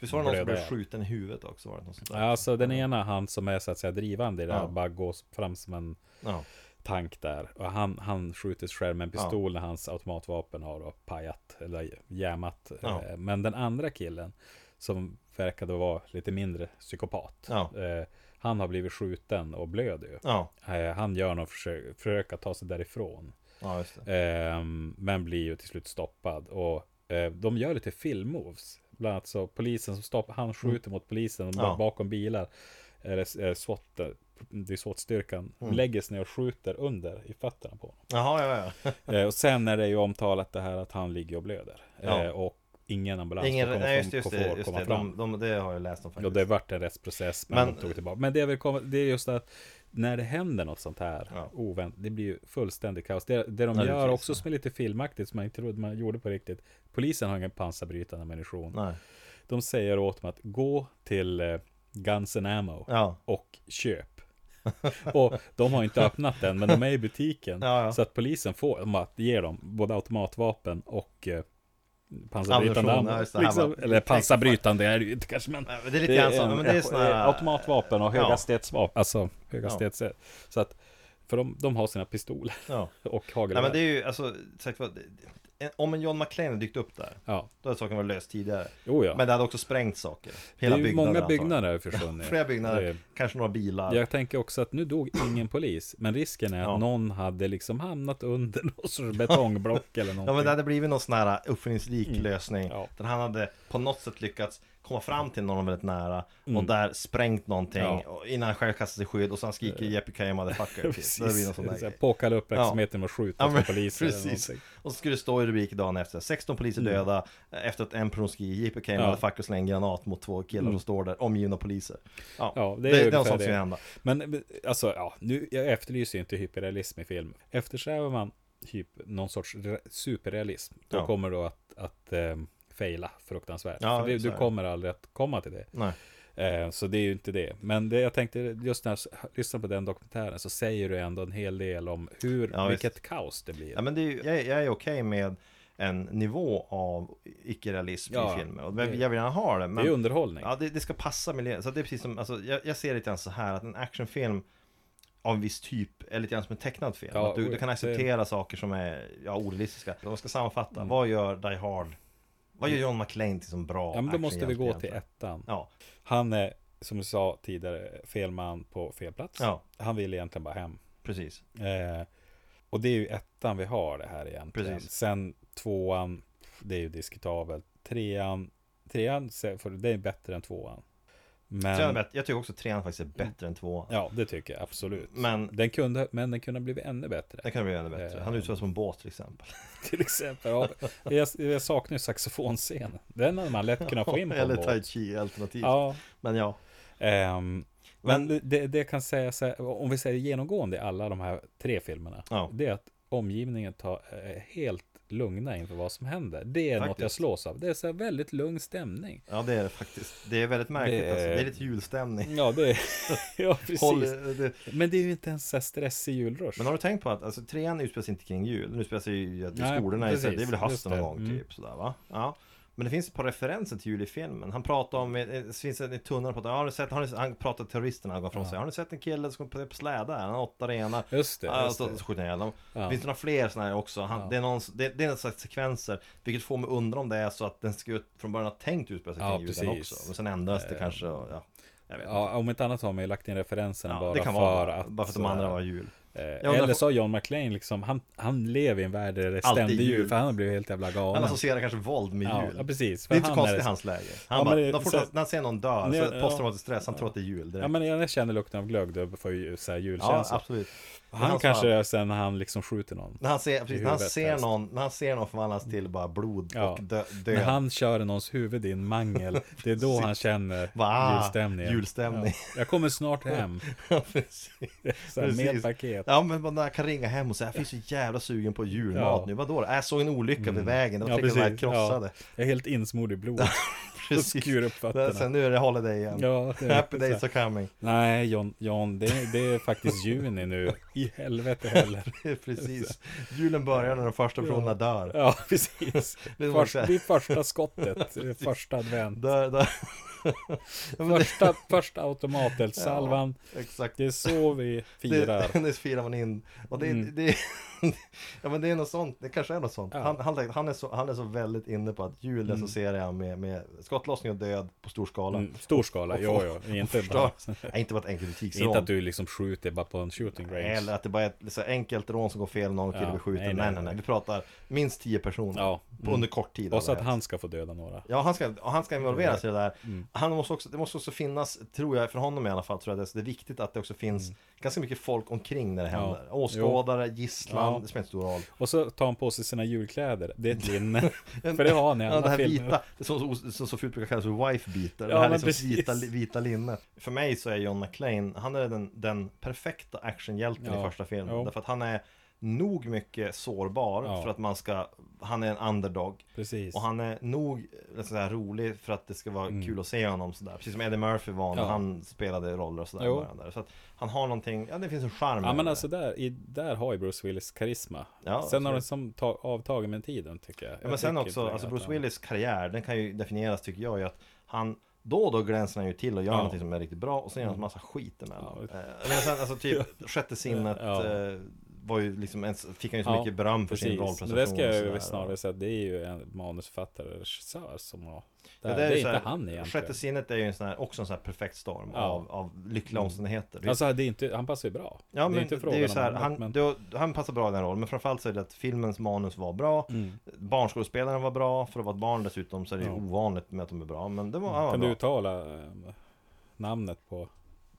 Speaker 2: Visst var det någon som blev
Speaker 3: bröder.
Speaker 2: skjuten i huvudet också? Var det något sånt där?
Speaker 3: Alltså den ena han som är så att säga drivande i det här
Speaker 2: Ja.
Speaker 3: bara går fram som en
Speaker 2: Ja,
Speaker 3: tank där. Och han, han skjuter sig själv med en pistol när hans automatvapen har då pajat eller jämat.
Speaker 2: Ja.
Speaker 3: Eh, Men den andra killen som verkade vara lite mindre psykopat.
Speaker 2: Ja.
Speaker 3: eh, Han har blivit skjuten och blöder ju.
Speaker 2: ja,
Speaker 3: Eh, Han gör något försök, försök att ta sig därifrån.
Speaker 2: ja just det.
Speaker 3: Ehm, men blir ju till slut stoppad. Och eh, de gör lite filmmoves. Bland annat så polisen som stoppar, han skjuter mot polisen och
Speaker 2: Mm. Ja.
Speaker 3: bakom bilar. Eller eh, SWAT, eh, det är SWAT-styrkan,
Speaker 2: Mm.
Speaker 3: lägger sig ner och skjuter under i fötterna på honom.
Speaker 2: Jaha, ja, ja.
Speaker 3: Eh, och sen är det ju omtalat det här att han ligger och blöder.
Speaker 2: Ja.
Speaker 3: Eh, och ingen ambulans
Speaker 2: Ingen,
Speaker 3: får komma
Speaker 2: nej, just,
Speaker 3: fram-
Speaker 2: just
Speaker 3: får
Speaker 2: det, just
Speaker 3: komma
Speaker 2: det.
Speaker 3: fram.
Speaker 2: De, de, det har jag läst om
Speaker 3: Ja,
Speaker 2: faktiskt.
Speaker 3: det vart en rättsprocess, men,
Speaker 2: Men-
Speaker 3: de tog tillbaka. Men det jag vill komma, det är just att när det händer något sånt här
Speaker 2: Ja.
Speaker 3: oväntat, det blir ju fullständigt kaos. Det, det de
Speaker 2: Ja, det
Speaker 3: gör
Speaker 2: finns
Speaker 3: också
Speaker 2: det.
Speaker 3: som är lite filmaktigt, som man inte trodde man gjorde på riktigt. Polisen har ingen pansarbrytande ammunition.
Speaker 2: Nej,
Speaker 3: De säger åt dem att gå till eh, Guns and Ammo
Speaker 2: ja.
Speaker 3: och köp. och de har inte öppnat den, men de är i butiken.
Speaker 2: Ja, ja.
Speaker 3: Så att polisen får, de bara ger dem både automatvapen och eh, pansarbrytande
Speaker 2: Ammunition,
Speaker 3: ammo.
Speaker 2: ja, just det, här
Speaker 3: liksom,
Speaker 2: var-
Speaker 3: eller pansarbrytande är det ju inte kanske, men
Speaker 2: Nej, men Det är lite grann som,
Speaker 3: en-
Speaker 2: men det är
Speaker 3: en-
Speaker 2: såna här...
Speaker 3: Automatvapen och
Speaker 2: Ja.
Speaker 3: höghastighetsvapen. Alltså höghastighetsvapen. Så att, för de, de har sina pistoler
Speaker 2: Ja.
Speaker 3: och
Speaker 2: Nej, men
Speaker 3: hagelgevär.
Speaker 2: det är ju, alltså, sagt vad, om en John McClane hade dykt upp där,
Speaker 3: Ja,
Speaker 2: då hade saken varit löst tidigare.
Speaker 3: jo ja.
Speaker 2: Men det hade också sprängt saker.
Speaker 3: det är
Speaker 2: Hela
Speaker 3: ju
Speaker 2: byggnader
Speaker 3: många
Speaker 2: antagligen.
Speaker 3: byggnader har försvunnit.
Speaker 2: Flera byggnader,
Speaker 3: Det är-
Speaker 2: kanske några bilar.
Speaker 3: Jag tänker också att nu dog ingen polis, men risken är att
Speaker 2: Ja.
Speaker 3: någon hade liksom hamnat under något sorts betongblock eller
Speaker 2: Ja
Speaker 3: någonting. Mm.
Speaker 2: men det hade blivit någon sån här äh, uppfinningsrik lösning
Speaker 3: Ja.
Speaker 2: Där han hade på något sätt lyckats komma fram till någon väldigt nära Och där sprängt någonting
Speaker 3: Mm. Ja. Eh.
Speaker 2: och innan han själv kastade sig i skydd och sen skriker Jeppe Kaye motherfucker typ.
Speaker 3: Precis.
Speaker 2: Det blir någon sån där
Speaker 3: Så här,
Speaker 2: grej.
Speaker 3: Påkalla uppmärksamheten med att
Speaker 2: Ja,
Speaker 3: skjuta
Speaker 2: men,
Speaker 3: på poliser eller
Speaker 2: precis.
Speaker 3: någonting. Mm.
Speaker 2: Och så skulle det stå i rubrik dagen efter 16 poliser döda eh, Efter att en person skriker Jeppe Kaye
Speaker 3: Ja. Mm.
Speaker 2: motherfucker slänger en granat mot två killar som står där omgivna av poliser Ja,
Speaker 3: Ja,
Speaker 2: det,
Speaker 3: det
Speaker 2: det
Speaker 3: är
Speaker 2: är något
Speaker 3: ungefär
Speaker 2: sånt som
Speaker 3: det.
Speaker 2: hända
Speaker 3: Men men, alltså, ja, nu, jag efterlyser ju inte hyperrealism i film. Eftersträvar man hyp, någon sorts re- superrealism, då
Speaker 2: Ja.
Speaker 3: kommer du att, att eh, faila fruktansvärt.
Speaker 2: Ja,
Speaker 3: För det,
Speaker 2: så
Speaker 3: du
Speaker 2: är det.
Speaker 3: kommer aldrig att komma till det.
Speaker 2: Nej,
Speaker 3: Eh, så det är ju inte det. Men det jag tänkte, just när jag lyssnar på den dokumentären så säger du ändå en hel del om hur,
Speaker 2: Ja,
Speaker 3: vilket kaos det blir.
Speaker 2: ja, men det är, ju- jag, är- jag är okej med en nivå av icke-realism
Speaker 3: Ja,
Speaker 2: i filmer och
Speaker 3: det-
Speaker 2: jag vill gärna ha det men
Speaker 3: det är underhållning.
Speaker 2: Ja, det, det ska passa miljön. Så att det är precis som, alltså, jag, jag ser lite grann så här att en actionfilm av en viss typ är lite grann som en tecknad film.
Speaker 3: Ja,
Speaker 2: att du,
Speaker 3: oj,
Speaker 2: du kan
Speaker 3: det-
Speaker 2: acceptera saker som är ja, orealistiska. Om man ska sammanfatta,
Speaker 3: Mm.
Speaker 2: vad gör Die Hard? Vad gör John McClane till som bra
Speaker 3: Ja, men då måste vi
Speaker 2: actionhjälte
Speaker 3: gå till
Speaker 2: egentligen?
Speaker 3: ettan.
Speaker 2: Ja,
Speaker 3: Han är, som du sa tidigare, fel man på fel plats.
Speaker 2: Ja.
Speaker 3: Han vill egentligen bara hem.
Speaker 2: precis.
Speaker 3: Eh, och det är ju ettan vi har det här egentligen.
Speaker 2: Precis.
Speaker 3: Sen tvåan, det är ju diskutabelt. Trean, trean se- för det är bättre än tvåan. Men,
Speaker 2: Trean är bättre. Jag tycker också trean faktiskt är bättre än tvåan.
Speaker 3: Ehm. Ja, det tycker jag absolut.
Speaker 2: Men
Speaker 3: Den kunde, men den kunde ha blivit ännu bättre.
Speaker 2: den kan bli ännu
Speaker 3: Ehm.
Speaker 2: bättre. Han utspelar som en båt till exempel.
Speaker 3: Till exempel, ja, jag, jag saknar ju saxofonscenen. Den hade man lätt kunnat få in på en
Speaker 2: Eller
Speaker 3: båt.
Speaker 2: tai chi alternativt.
Speaker 3: Ja,
Speaker 2: Men ja,
Speaker 3: Ehm,
Speaker 2: Men-
Speaker 3: men det, det kan säga så här, om vi säger genomgående i alla de här tre filmerna,
Speaker 2: Ja.
Speaker 3: det är att omgivningen tar, är helt lugna inför vad som händer. Det är något
Speaker 2: Faktiskt.
Speaker 3: jag slås av. Det är så här väldigt lugn stämning.
Speaker 2: ja det är det faktiskt. Det är väldigt märkligt
Speaker 3: Det är-
Speaker 2: alltså. Det är lite julstämning.
Speaker 3: Ja, det är, ja precis.
Speaker 2: Håll, det,
Speaker 3: Men det är ju inte ens så här stressig julrush.
Speaker 2: Men har du tänkt på att alltså, trean utspelar sig inte kring jul, den utspelar sig ju i
Speaker 3: Nej,
Speaker 2: skolorna
Speaker 3: precis.
Speaker 2: istället, det är väl hösten
Speaker 3: Just
Speaker 2: någon
Speaker 3: det.
Speaker 2: gång
Speaker 3: Mm.
Speaker 2: typ sådär va? Ja. Men det finns ett par referenser till jul i filmen. Han pratar om, eh, det finns en i tunneln, pratar, har ni sett, har ni, han pratar till terroristerna, han går fram och säger Har ni sett en kille som kommer på släde här? Han har åtta renar.
Speaker 3: Just det,
Speaker 2: Ja,
Speaker 3: just
Speaker 2: så-
Speaker 3: det.
Speaker 2: Så skjuter han ihjäl dem.
Speaker 3: Ja.
Speaker 2: Finns det några fler sådana här också? Han, det, är någon, det, det är en slags sekvenser, vilket får mig undra om det är så att den ska ju från början ha tänkt utspela sig
Speaker 3: Ja,
Speaker 2: kring julen
Speaker 3: precis. Eh,
Speaker 2: också. Men sen ändras det kanske, och, ja. Jag vet inte.
Speaker 3: Ja, om inte annat har man ju lagt in referensen
Speaker 2: Ja,
Speaker 3: bara
Speaker 2: det kan
Speaker 3: för
Speaker 2: vara
Speaker 3: att...
Speaker 2: bara för att de andra var jul.
Speaker 3: Eh,
Speaker 2: undrar-
Speaker 3: eller så har John McClane liksom, han, han lever i en värld där det är
Speaker 2: Alltid
Speaker 3: ständig jul,
Speaker 2: jul. alltså,
Speaker 3: för han har blivit helt jävla
Speaker 2: Han
Speaker 3: galen.
Speaker 2: associerar kanske våld med
Speaker 3: Ja,
Speaker 2: jul.
Speaker 3: ja, precis. För
Speaker 2: Det är inte så
Speaker 3: han är
Speaker 2: konstigt i
Speaker 3: det-
Speaker 2: hans läge. Han
Speaker 3: Ja,
Speaker 2: bara,
Speaker 3: men det-
Speaker 2: de får,
Speaker 3: så-
Speaker 2: när han ser någon dö,
Speaker 3: Nej,
Speaker 2: så
Speaker 3: ja.
Speaker 2: posttraumatisk stress, han tror att det är jul direkt.
Speaker 3: Ja men när jag känner lukten av glögg då får jag ju så här
Speaker 2: Ja,
Speaker 3: julkänsla.
Speaker 2: absolut. Men
Speaker 3: Han
Speaker 2: hans
Speaker 3: kanske
Speaker 2: fall-
Speaker 3: är sen när han liksom skjuter någon.
Speaker 2: När han ser, precis, när han
Speaker 3: huvudet
Speaker 2: ser
Speaker 3: helst.
Speaker 2: någon, när han ser någon förvandlas till bara blod
Speaker 3: Ja.
Speaker 2: och dö,
Speaker 3: När
Speaker 2: död.
Speaker 3: han kör i någons huvud i en mangel, det är då han känner
Speaker 2: Va?
Speaker 3: julstämningen.
Speaker 2: Julstämning.
Speaker 3: Ja. Jag kommer snart hem,
Speaker 2: Ja, precis.
Speaker 3: så här, med
Speaker 2: Precis.
Speaker 3: paket.
Speaker 2: Ja men man där kan ringa hem och säga Jag är så jävla sugen på julmat
Speaker 3: Ja. Mm.
Speaker 2: nu, vadå då? Jag såg en olycka vid vägen, det var
Speaker 3: Ja,
Speaker 2: tre
Speaker 3: precis.
Speaker 2: ja, krossade
Speaker 3: Ja, jag är helt insmord i blod.
Speaker 2: Precis.
Speaker 3: skur upp fötterna.
Speaker 2: Sen nu är det holiday igen
Speaker 3: Ja, det är
Speaker 2: Happy
Speaker 3: så här.
Speaker 2: days are coming
Speaker 3: Nej, John, John det, det är faktiskt juni nu. I helvete heller.
Speaker 2: Precis Julen börjar när de första personerna dör
Speaker 3: Ja, precis.
Speaker 2: Det är
Speaker 3: Först,
Speaker 2: så här.
Speaker 3: det är första skottet, det är första advent.
Speaker 2: Dör, dör ja, men det,
Speaker 3: Första, första automatälsalvan.
Speaker 2: Exakt
Speaker 3: Det är så vi
Speaker 2: det,
Speaker 3: firar. Mm.
Speaker 2: det firar man in Och det, det Ja men det är något sånt, det kanske är något sånt
Speaker 3: Ja.
Speaker 2: han, han, han, är så, han är så väldigt inne på att jul associerar jag med, med skottlossning och död på stor skala
Speaker 3: Mm, stor skala,
Speaker 2: Och-
Speaker 3: jo,
Speaker 2: och-
Speaker 3: jo.
Speaker 2: och
Speaker 3: Inte, bara,
Speaker 2: förstör- Nej, inte bara ett enkelt butiksrån
Speaker 3: inte att du liksom skjuter bara på en shooting range.
Speaker 2: Eller att det bara är ett så här enkelt rån som går fel, någon kille
Speaker 3: Ja,
Speaker 2: blir skjuten.
Speaker 3: nej,
Speaker 2: Nej
Speaker 3: nej,
Speaker 2: nej, nej,
Speaker 3: nej.
Speaker 2: Vi pratar minst tio personer
Speaker 3: Ja. Mm.
Speaker 2: på under kort tid.
Speaker 3: Och så att
Speaker 2: allra
Speaker 3: han
Speaker 2: helst.
Speaker 3: ska få döda några.
Speaker 2: Ja, han ska, och han ska involveras i det där.
Speaker 3: Mm.
Speaker 2: Han måste också, det måste också finnas, tror jag, för honom i alla fall, tror jag det är, så det är viktigt att det också finns ganska mycket folk omkring när det
Speaker 3: Mm. Ja.
Speaker 2: händer. Åskådare, gisslan,
Speaker 3: Ja.
Speaker 2: det spelar inte stor roll.
Speaker 3: Och så tar han på sig sina julkläder. Det är ett linne. För det har han i
Speaker 2: Ja, det
Speaker 3: alla
Speaker 2: här
Speaker 3: filmer.
Speaker 2: vita, det som, som, som så fult brukar kallas för wife-beater.
Speaker 3: Ja,
Speaker 2: det här
Speaker 3: men
Speaker 2: liksom
Speaker 3: precis.
Speaker 2: vita, vita linnet. För mig så är John McClane, han är den, den perfekta actionhjälten
Speaker 3: Ja.
Speaker 2: i första filmen.
Speaker 3: Jo.
Speaker 2: Därför att han är nog mycket sårbar
Speaker 3: Ja.
Speaker 2: för att man ska, han är en underdog.
Speaker 3: Precis. Mm.
Speaker 2: Och han är nog eh, sådär rolig för att det ska vara kul att se honom sådär. Precis som Eddie Murphy var när
Speaker 3: Ja.
Speaker 2: han spelade roller och sådär. i
Speaker 3: Jo.
Speaker 2: början Där. Så att han har någonting, ja det finns en charm
Speaker 3: Ja
Speaker 2: i
Speaker 3: men
Speaker 2: det.
Speaker 3: alltså där, i, där har ju Bruce Willis karisma.
Speaker 2: Ja,
Speaker 3: sen har
Speaker 2: absolut.
Speaker 3: det som ta, avtagit med tiden tycker jag.
Speaker 2: Ja,
Speaker 3: jag
Speaker 2: men sen
Speaker 3: tycker inte
Speaker 2: också,
Speaker 3: längre
Speaker 2: alltså
Speaker 3: att
Speaker 2: Bruce
Speaker 3: han-
Speaker 2: Willis karriär, den kan ju definieras tycker jag ju att han då och då glänser han ju till och gör
Speaker 3: Ja. Mm.
Speaker 2: någonting som är riktigt bra och sen gör han en massa skit emellan.
Speaker 3: Ja.
Speaker 2: Eh, Men sen, alltså typ Sjätte sinnet
Speaker 3: Ja.
Speaker 2: eh, var ju liksom, en, fick han ju så
Speaker 3: Ja,
Speaker 2: mycket beröm för sin
Speaker 3: Precis,
Speaker 2: rollprestation.
Speaker 3: men det ska
Speaker 2: och
Speaker 3: jag
Speaker 2: sådär.
Speaker 3: ju snarare säga att det är ju en manusförfattare och regissör som har
Speaker 2: Ja,
Speaker 3: det, här. det är,
Speaker 2: ju
Speaker 3: inte
Speaker 2: så här,
Speaker 3: han egentligen.
Speaker 2: Sjätte sinnet är ju en sån här, också en sån här perfekt storm
Speaker 3: Ja. Mm.
Speaker 2: av, av lyckliga omständigheter. Det är-
Speaker 3: Alltså det är inte, han passar ju bra.
Speaker 2: Ja men
Speaker 3: är
Speaker 2: det
Speaker 3: inte
Speaker 2: är,
Speaker 3: frågan
Speaker 2: ju
Speaker 3: om
Speaker 2: så här,
Speaker 3: annat,
Speaker 2: han,
Speaker 3: men-
Speaker 2: det var- han passar bra i den rollen Men framförallt så är det att filmens manus var bra Barnskådespelaren var bra För att vara ett barn dessutom så är det ju
Speaker 3: Mm. Ja. Mm.
Speaker 2: ovanligt med att de är bra Men det var, han var
Speaker 3: Kan
Speaker 2: bra.
Speaker 3: du uttala eh, namnet på,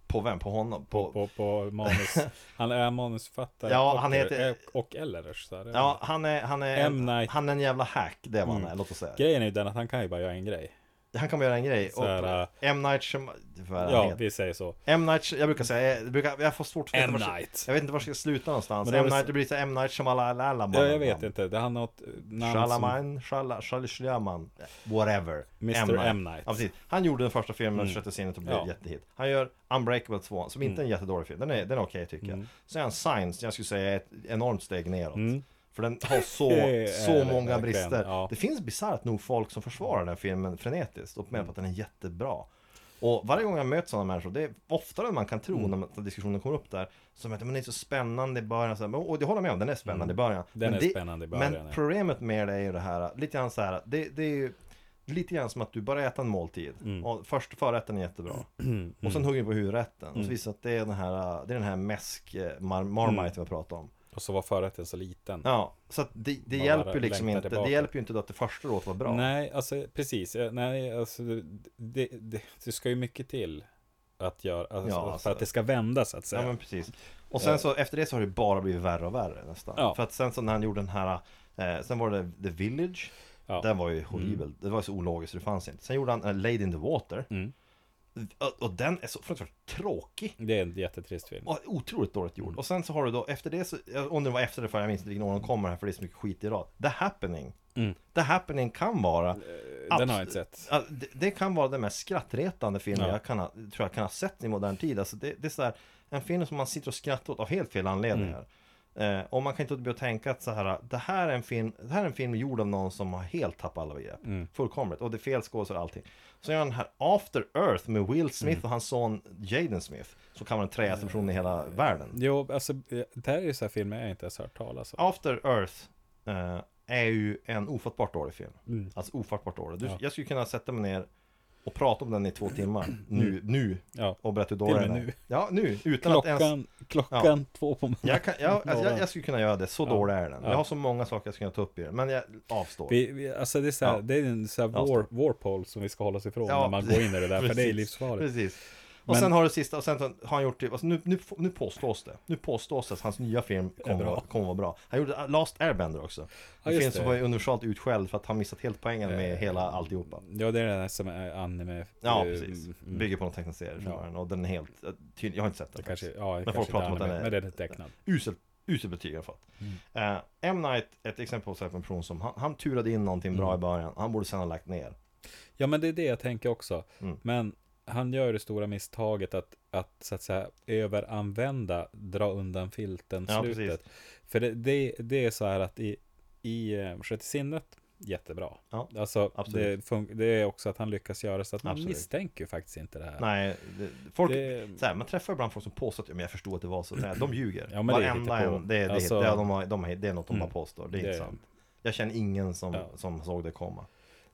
Speaker 2: På vem? På honom?
Speaker 3: på,
Speaker 2: På,
Speaker 3: på, manus? Han är manusförfattare
Speaker 2: Ja,
Speaker 3: och,
Speaker 2: han heter-
Speaker 3: och, och eller regissör.
Speaker 2: Ja, han är, han är,
Speaker 3: M. Night. Mm.
Speaker 2: han är en jävla hack, det är vad han är, låt oss säga
Speaker 3: Grejen är ju den att han kan ju bara göra en grej.
Speaker 2: Han kommer göra en grej
Speaker 3: Så här, äh,
Speaker 2: och M. Night Shyam- vad är det han
Speaker 3: Ja,
Speaker 2: heter?
Speaker 3: vi säger så.
Speaker 2: M. Night, Shy- jag brukar säga, jag, brukar, jag får svårt för
Speaker 3: M.
Speaker 2: vart-
Speaker 3: Night.
Speaker 2: Jag vet inte var jag ska sluta någonstans
Speaker 3: Men det är
Speaker 2: M.
Speaker 3: väl så-
Speaker 2: Night, det blir så här M. Night Shyamalan
Speaker 3: Ja, jag vet inte, det, han har ett namn som...
Speaker 2: Shalaman, Shala- Shal- Shyamalan, whatever
Speaker 3: Mr. M. Night. Mm.
Speaker 2: Ja, precis. Han gjorde den första filmen, Sjätte sinnet och blev
Speaker 3: Ja. Mm.
Speaker 2: jättehit Han gör Unbreakable 2, som inte är en jättedålig film Den är, den är okej tycker jag Sen är han Signs, jag skulle säga är ett enormt steg neråt För den har så,
Speaker 3: Mm. Det är
Speaker 2: så
Speaker 3: det
Speaker 2: många
Speaker 3: verkligen,
Speaker 2: brister
Speaker 3: ja.
Speaker 2: Det finns bisarrt nog folk som försvarar den här filmen frenetiskt och menar på att den är jättebra och varje gång jag möter sådana människor, det är oftare än man kan
Speaker 3: Mm.
Speaker 2: tro när man- när diskussionen kommer upp där Som att men det är så spännande i början, så här, men- och det håller jag med om, den är spännande i början
Speaker 3: Mm. Den
Speaker 2: men
Speaker 3: är spännande i början,
Speaker 2: Men
Speaker 3: ja.
Speaker 2: problemet med det är ju det här, lite grann så här, det, det är ju Lite grann som att du bara äter en måltid
Speaker 3: Mm.
Speaker 2: och först förrätten är jättebra Och sen hugger du på huvudrätten
Speaker 3: Mm.
Speaker 2: och så visar det sig att det är den här, det är den här mäsk eh, mar- marmite
Speaker 3: Mm.
Speaker 2: vi pratar om
Speaker 3: Och så var förrätten så liten.
Speaker 2: Ja, så att det, det
Speaker 3: Bara
Speaker 2: hjälper ju liksom
Speaker 3: längtar
Speaker 2: inte,
Speaker 3: tillbaka.
Speaker 2: det hjälper ju inte då att det första året var bra
Speaker 3: Nej, alltså precis. Eh, Nej, alltså det, det, det ska ju mycket till att göra, alltså,
Speaker 2: Ja,
Speaker 3: för
Speaker 2: alltså.
Speaker 3: att det ska vända så att säga.
Speaker 2: Ja men precis Och sen så efter det så har det bara blivit värre och värre nästan
Speaker 3: Eh. Ja.
Speaker 2: För att sen så när han gjorde den här eh, Sen var det The Village
Speaker 3: Ja. Mm.
Speaker 2: Den var ju horribel Det var så ologiskt så det fanns inte Sen gjorde han eh, Lady in the Water
Speaker 3: Mm.
Speaker 2: och, och den är så fruktansvärt tråkig
Speaker 3: Det är en jättetrist film.
Speaker 2: och otroligt dåligt
Speaker 3: Mm.
Speaker 2: gjord. Och sen så har du då efter det, så, jag- om det var efter det för jag minns inte vilken år de kommer här för det är så mycket skit i rad. The Happening.
Speaker 3: Mm.
Speaker 2: The Happening kan vara...
Speaker 3: Eh. Den har
Speaker 2: abs-
Speaker 3: jag inte sett.
Speaker 2: Ja, det, det kan vara den mest skrattretande filmen
Speaker 3: Ja.
Speaker 2: jag kan ha, tror jag kan ha sett i modern tid. Alltså det, det är så här, en film som man sitter och skrattar åt av helt fel anledningar. Eh, och man kan inte låta bli att tänka att så här, det här är en film, det här är en film gjord av någon som har helt tappat alla begrepp. Fullkomligt. Och det är fel skådespelare och allting. Så gör han den här After Earth med Will Smith och hans son Jaden Smith. Som kan vara den träigaste personen i hela världen.
Speaker 3: Jo, alltså eh, det här är ju så här filmer jag inte ens hört talas om.
Speaker 2: After Earth eh, är ju en ofattbart dålig film.
Speaker 3: Mm,
Speaker 2: Alltså ofattbart dålig. Du, Jag skulle kunna sätta mig ner och prata om den i två timmar. Nu, nu.
Speaker 3: Ja.
Speaker 2: Och berätta hur
Speaker 3: Till
Speaker 2: dålig
Speaker 3: och med
Speaker 2: den är.
Speaker 3: nu.
Speaker 2: Ja, nu. Utan att ens...
Speaker 3: Klockan, klockan två på morgonen.
Speaker 2: Jag, kan, jag, alltså, jag,
Speaker 3: Några.
Speaker 2: jag skulle kunna göra det, så dålig är den. Jag har så många saker jag skulle kunna ta upp i den, men jag avstår.
Speaker 3: Vi, vi, alltså det är, så här,
Speaker 2: Ja.
Speaker 3: det är en så här
Speaker 2: Ja,
Speaker 3: war, warpole som vi ska hålla oss ifrån när man går in i det där, för det är livsfarligt.
Speaker 2: Precis. Och
Speaker 3: Men-
Speaker 2: sen har det sista, och sen har han gjort typ, alltså nu, nu, nu påstås det, nu påstås det att hans nya film kommer
Speaker 3: bra.
Speaker 2: vara- kommer vara bra. Han gjorde Last Airbender också.
Speaker 3: Ja,
Speaker 2: det
Speaker 3: just
Speaker 2: finns
Speaker 3: det.
Speaker 2: som var universalt utskälld för att han missat helt poängen med hela alltihopa.
Speaker 3: Ja, det är det där som är anime.
Speaker 2: Ja,
Speaker 3: eh,
Speaker 2: precis.
Speaker 3: mm,
Speaker 2: Bygger på någon tecknad serie från
Speaker 3: Ja.
Speaker 2: början och den är helt, tydlig, jag har inte sett den
Speaker 3: Kanske,
Speaker 2: faktiskt.
Speaker 3: ja,
Speaker 2: Men
Speaker 3: kanske
Speaker 2: folk
Speaker 3: inte
Speaker 2: pratar om att
Speaker 3: anime,
Speaker 2: den är-
Speaker 3: Men den är tecknad.
Speaker 2: Usel, usel betyg har jag fått.
Speaker 3: Mm.
Speaker 2: Eh, M. Night är ett exempel på så här en person som, han, han turade in någonting bra i
Speaker 3: Mm.
Speaker 2: början, han borde sen ha lagt ner.
Speaker 3: Ja, men det är det jag tänker också.
Speaker 2: Mm.
Speaker 3: Men han gör det stora misstaget att, att så att säga överanvända, dra undan filten
Speaker 2: Ja,
Speaker 3: slutet. För det, det, det är så här att i, i eh, Sjätte sinnet, jättebra.
Speaker 2: Ja,
Speaker 3: Alltså, det,
Speaker 2: absolut.
Speaker 3: fun- det är också att han lyckas göra så att man
Speaker 2: Absolut.
Speaker 3: misstänker ju faktiskt inte det här.
Speaker 2: Nej, det, folk,
Speaker 3: Det-
Speaker 2: så här, man träffar ibland folk som påstår att "Ja, men jag förstod att det var så. Nej, de ljuger.
Speaker 3: Ja, men det är
Speaker 2: Varenda
Speaker 3: hittepå.
Speaker 2: en, det, är- det,
Speaker 3: Alltså-
Speaker 2: alltså, det, är- de har, de har, det är något de
Speaker 3: Mm.
Speaker 2: bara påstår, det är
Speaker 3: Det-
Speaker 2: inte sant. Jag känner ingen som,
Speaker 3: Ja.
Speaker 2: som såg det komma.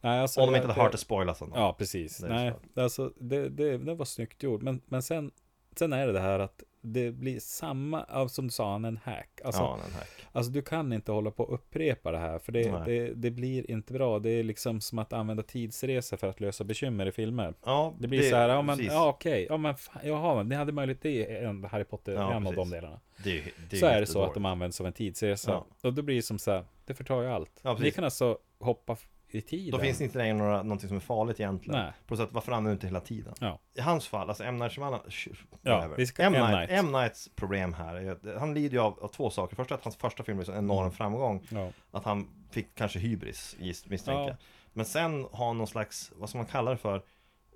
Speaker 3: Nej, alltså,
Speaker 2: Om de
Speaker 3: jag-
Speaker 2: inte hade hört det spoilas av någon.
Speaker 3: Ja, precis.
Speaker 2: Det är
Speaker 3: Nej,
Speaker 2: klart.
Speaker 3: alltså, det, det, det var snyggt gjort. Men, men sen, sen är det det här att det blir samma, ja, som du sa, han är en hack. Alltså,
Speaker 2: ja, den här.
Speaker 3: alltså du kan inte hålla på och upprepa det här, för det,
Speaker 2: Nej.
Speaker 3: det, det blir inte bra. Det är liksom som att använda tidsresor för att lösa bekymmer i filmer.
Speaker 2: Ja,
Speaker 3: Det blir så här, ja men,
Speaker 2: precis.
Speaker 3: ja okej, ja men fan, jaha, men ni hade möjlighet, det är en Harry Potter,
Speaker 2: Ja,
Speaker 3: en av de
Speaker 2: precis.
Speaker 3: delarna.
Speaker 2: Det, är- det
Speaker 3: så är det
Speaker 2: jättedåligt.
Speaker 3: så att de används som en tidsresa.
Speaker 2: Ja.
Speaker 3: Och då blir det som så här, det förtar ju allt.
Speaker 2: Ja, precis.
Speaker 3: Ni kan alltså hoppa f- i tiden.
Speaker 2: Då finns det inte längre några, någonting som är farligt egentligen.
Speaker 3: Nej.
Speaker 2: Plus att varför använder du inte hela tiden?
Speaker 3: Ja.
Speaker 2: I hans fall, alltså M. Night Shyamalan, sh-
Speaker 3: Ja,
Speaker 2: whatever.
Speaker 3: vi ska-
Speaker 2: M.
Speaker 3: M.
Speaker 2: Night,
Speaker 3: Night.
Speaker 2: M. Nights problem här, är att han lider ju av, av två saker. Först att hans första film är en sån
Speaker 3: Mm.
Speaker 2: enorm framgång.
Speaker 3: Ja.
Speaker 2: Att han fick kanske hybris, gis- misstänker
Speaker 3: Ja.
Speaker 2: jag. Men sen har han någon slags, vad som man kallar det för,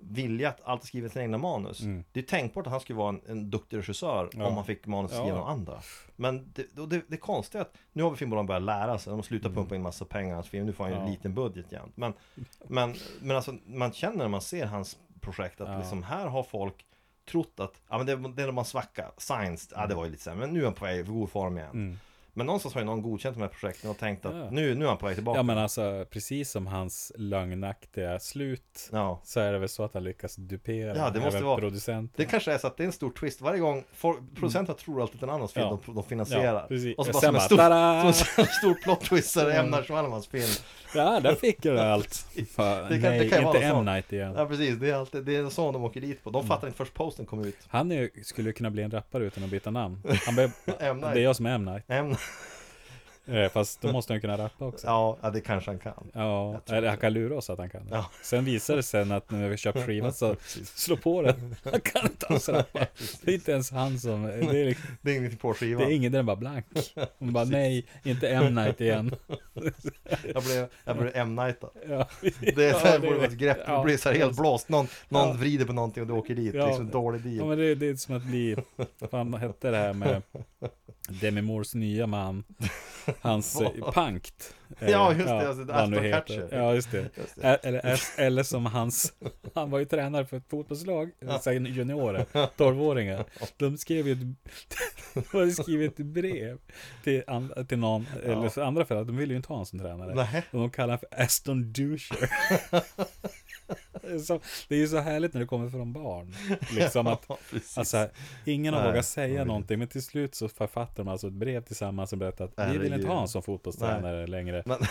Speaker 2: vilja att alltid skriva sina egna manus. Det är tänkbart att han skulle vara en, en duktig regissör
Speaker 3: Mm. Ja.
Speaker 2: om han fick manus
Speaker 3: Ja.
Speaker 2: genom andra. Men det, och det, det konstiga är att nu har vi filmbolagen börjat lära sig, de slutar pumpa in massa pengar i hans film, nu får han ju en
Speaker 3: Mm. Ja.
Speaker 2: liten budget jämt. Men, men, men alltså, man känner när man ser hans projekt att
Speaker 3: Ja.
Speaker 2: liksom, här har folk trott att, ja men det, det är när man svacka, science, ja det var ju lite sämre, men nu är han på väg i god form igen.
Speaker 3: Mm.
Speaker 2: Men någonstans har ju någon godkänt de här projekten och tänkt att
Speaker 3: Ja.
Speaker 2: nu, nu är han på väg tillbaka.
Speaker 3: Ja men alltså precis som hans lögnaktiga slut
Speaker 2: Ja.
Speaker 3: så är det väl så att han lyckas dupera
Speaker 2: Ja, det måste
Speaker 3: även
Speaker 2: vara-
Speaker 3: producenten.
Speaker 2: Det kanske är så att det är en stor twist varje gång folk, Producenterna tror alltid att en annans film
Speaker 3: Mm. Ja.
Speaker 2: de, de finansierar
Speaker 3: Ja, precis.
Speaker 2: Och så
Speaker 3: Och
Speaker 2: bara som
Speaker 3: sen
Speaker 2: en
Speaker 3: bara,
Speaker 2: stor,
Speaker 3: tada! Mm.
Speaker 2: som en stor plot twist så är det M. Night Shyamalanas film
Speaker 3: Ja, där fick du allt. Fan,
Speaker 2: Det kan- det
Speaker 3: nej,
Speaker 2: kan ju
Speaker 3: inte
Speaker 2: vara så.
Speaker 3: M. Night igen.
Speaker 2: Ja precis, det är, alltid, det är så de åker dit på De
Speaker 3: Mm.
Speaker 2: fattar inte först posten kom ut
Speaker 3: Han är, ju- skulle ju kunna bli en rappare utan att byta namn. Han blev,
Speaker 2: M. Night.
Speaker 3: det är jag som är M. Night.
Speaker 2: M.
Speaker 3: Eh, Fast då måste han ju kunna rappa också.
Speaker 2: Ja, ja, det kanske han kan
Speaker 3: Ja,
Speaker 2: Jag tror
Speaker 3: eller
Speaker 2: det.
Speaker 3: han kan lura oss att han kan det.
Speaker 2: Ja.
Speaker 3: Sen visar det sen att när vi köpt skivan så slå på den. Han kan inte alls rappa. Det är inte ens han som, det är, liksom,
Speaker 2: Det är ingenting på
Speaker 3: det
Speaker 2: skivan
Speaker 3: är ingen, den är bara blank. Hon bara nej, inte M. Night igen.
Speaker 2: Jag blev, jag blev M. Night då.
Speaker 3: Ja,
Speaker 2: Det är så här, borde vara ett grepp,
Speaker 3: Ja.
Speaker 2: det blir så här helt blåst Någon, någon
Speaker 3: Ja.
Speaker 2: vrider på någonting och du åker dit,
Speaker 3: Ja.
Speaker 2: liksom dålig deal
Speaker 3: Ja, men det, det är som att bli, vad fan hette det här med Demi Moores nya man, hans eh, Punkt. Eh,
Speaker 2: Ja, just det, alltså,
Speaker 3: vad han nu
Speaker 2: Ashton
Speaker 3: heter.
Speaker 2: Kutcher.
Speaker 3: Ja, just det.
Speaker 2: Just det.
Speaker 3: Ä- Eller, ä- eller som hans, han var ju tränare för ett fotbollslag, sen juniorer, 12-åringar. De skrev ju ett, de hade skrivit ett brev till, an, till någon, eller för andra föräldrar, de ville ju inte ha honom som tränare.
Speaker 2: Nej.
Speaker 3: Och de kallar honom för Aston Duscher. Det är så- det är ju så härligt när det kommer från barn. Liksom att
Speaker 2: Ja, precis.
Speaker 3: Alltså, ingen har
Speaker 2: Nej,
Speaker 3: vågat
Speaker 2: man
Speaker 3: säga
Speaker 2: vill
Speaker 3: någonting, men till slut så författar de alltså ett brev tillsammans och berättar att vi vill inte
Speaker 2: Herregud.
Speaker 3: ha honom som fotbollstränare längre.
Speaker 2: Men
Speaker 3: Mm.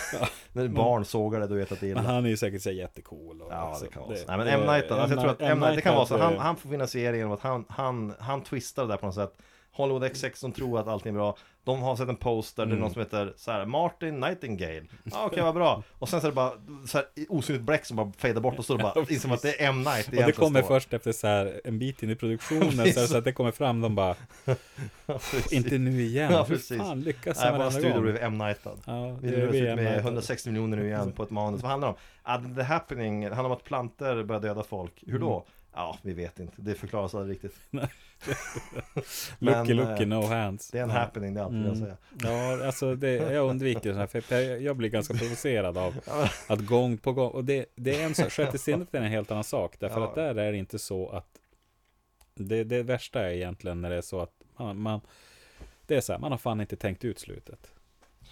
Speaker 2: när barn sågar det, då vet jag att det är
Speaker 3: Men
Speaker 2: illa
Speaker 3: han är ju säkert så här jättecool. Och
Speaker 2: Ja,
Speaker 3: alltså,
Speaker 2: det kan vara så. Nej, men M.
Speaker 3: det-
Speaker 2: Night, då, alltså, jag tror att
Speaker 3: M.
Speaker 2: M. Night, det kan vara så. Han,
Speaker 3: hade-
Speaker 2: han får finansiera genom att han, han, han twistar det där på något sätt. Hollywood X6 som tror att allting är bra. De har sett en poster,
Speaker 3: Mm.
Speaker 2: det är någon som heter så här, Martin Nightingale. Ja, ah, okej, vad bra. Och sen så är det bara så här, osynligt bläck som bara fejdar bort och så är det bara, inser man att det är M. Night det
Speaker 3: och det
Speaker 2: egentligen
Speaker 3: kommer
Speaker 2: står.
Speaker 3: först efter så här en bit in i produktionen, så, här,
Speaker 2: Precis.
Speaker 3: så att det kommer fram, de bara
Speaker 2: Precis.
Speaker 3: Inte nu igen,
Speaker 2: Ja,
Speaker 3: hur
Speaker 2: precis.
Speaker 3: fan lyckas
Speaker 2: Nej,
Speaker 3: han
Speaker 2: våra
Speaker 3: varenda
Speaker 2: studio
Speaker 3: gång?
Speaker 2: blev M. Nightad.
Speaker 3: Ja,
Speaker 2: Vi
Speaker 3: det
Speaker 2: luras
Speaker 3: blir
Speaker 2: ut
Speaker 3: M.
Speaker 2: med
Speaker 3: Night.
Speaker 2: 160 miljoner nu igen på ett manus. Vad handlar det om? Ah, the happening, det handlar om att planter börjar döda folk. Hur då? Ja, vi vet inte. Det förklaras aldrig riktigt.
Speaker 3: Lucky,
Speaker 2: Men, eh,
Speaker 3: lucky, no hands.
Speaker 2: Det är en
Speaker 3: Ja.
Speaker 2: happening, det är alltid jag säger.
Speaker 3: Ja, alltså det, jag undviker sådana här, för jag, jag blir ganska provocerad av att gång på gång, och det, det är en sak, sjätte sinnet är en helt annan sak, därför
Speaker 2: Ja.
Speaker 3: att där är det inte så att, det, det värsta är egentligen när det är så att man, man det är så här, man har fan inte tänkt ut slutet.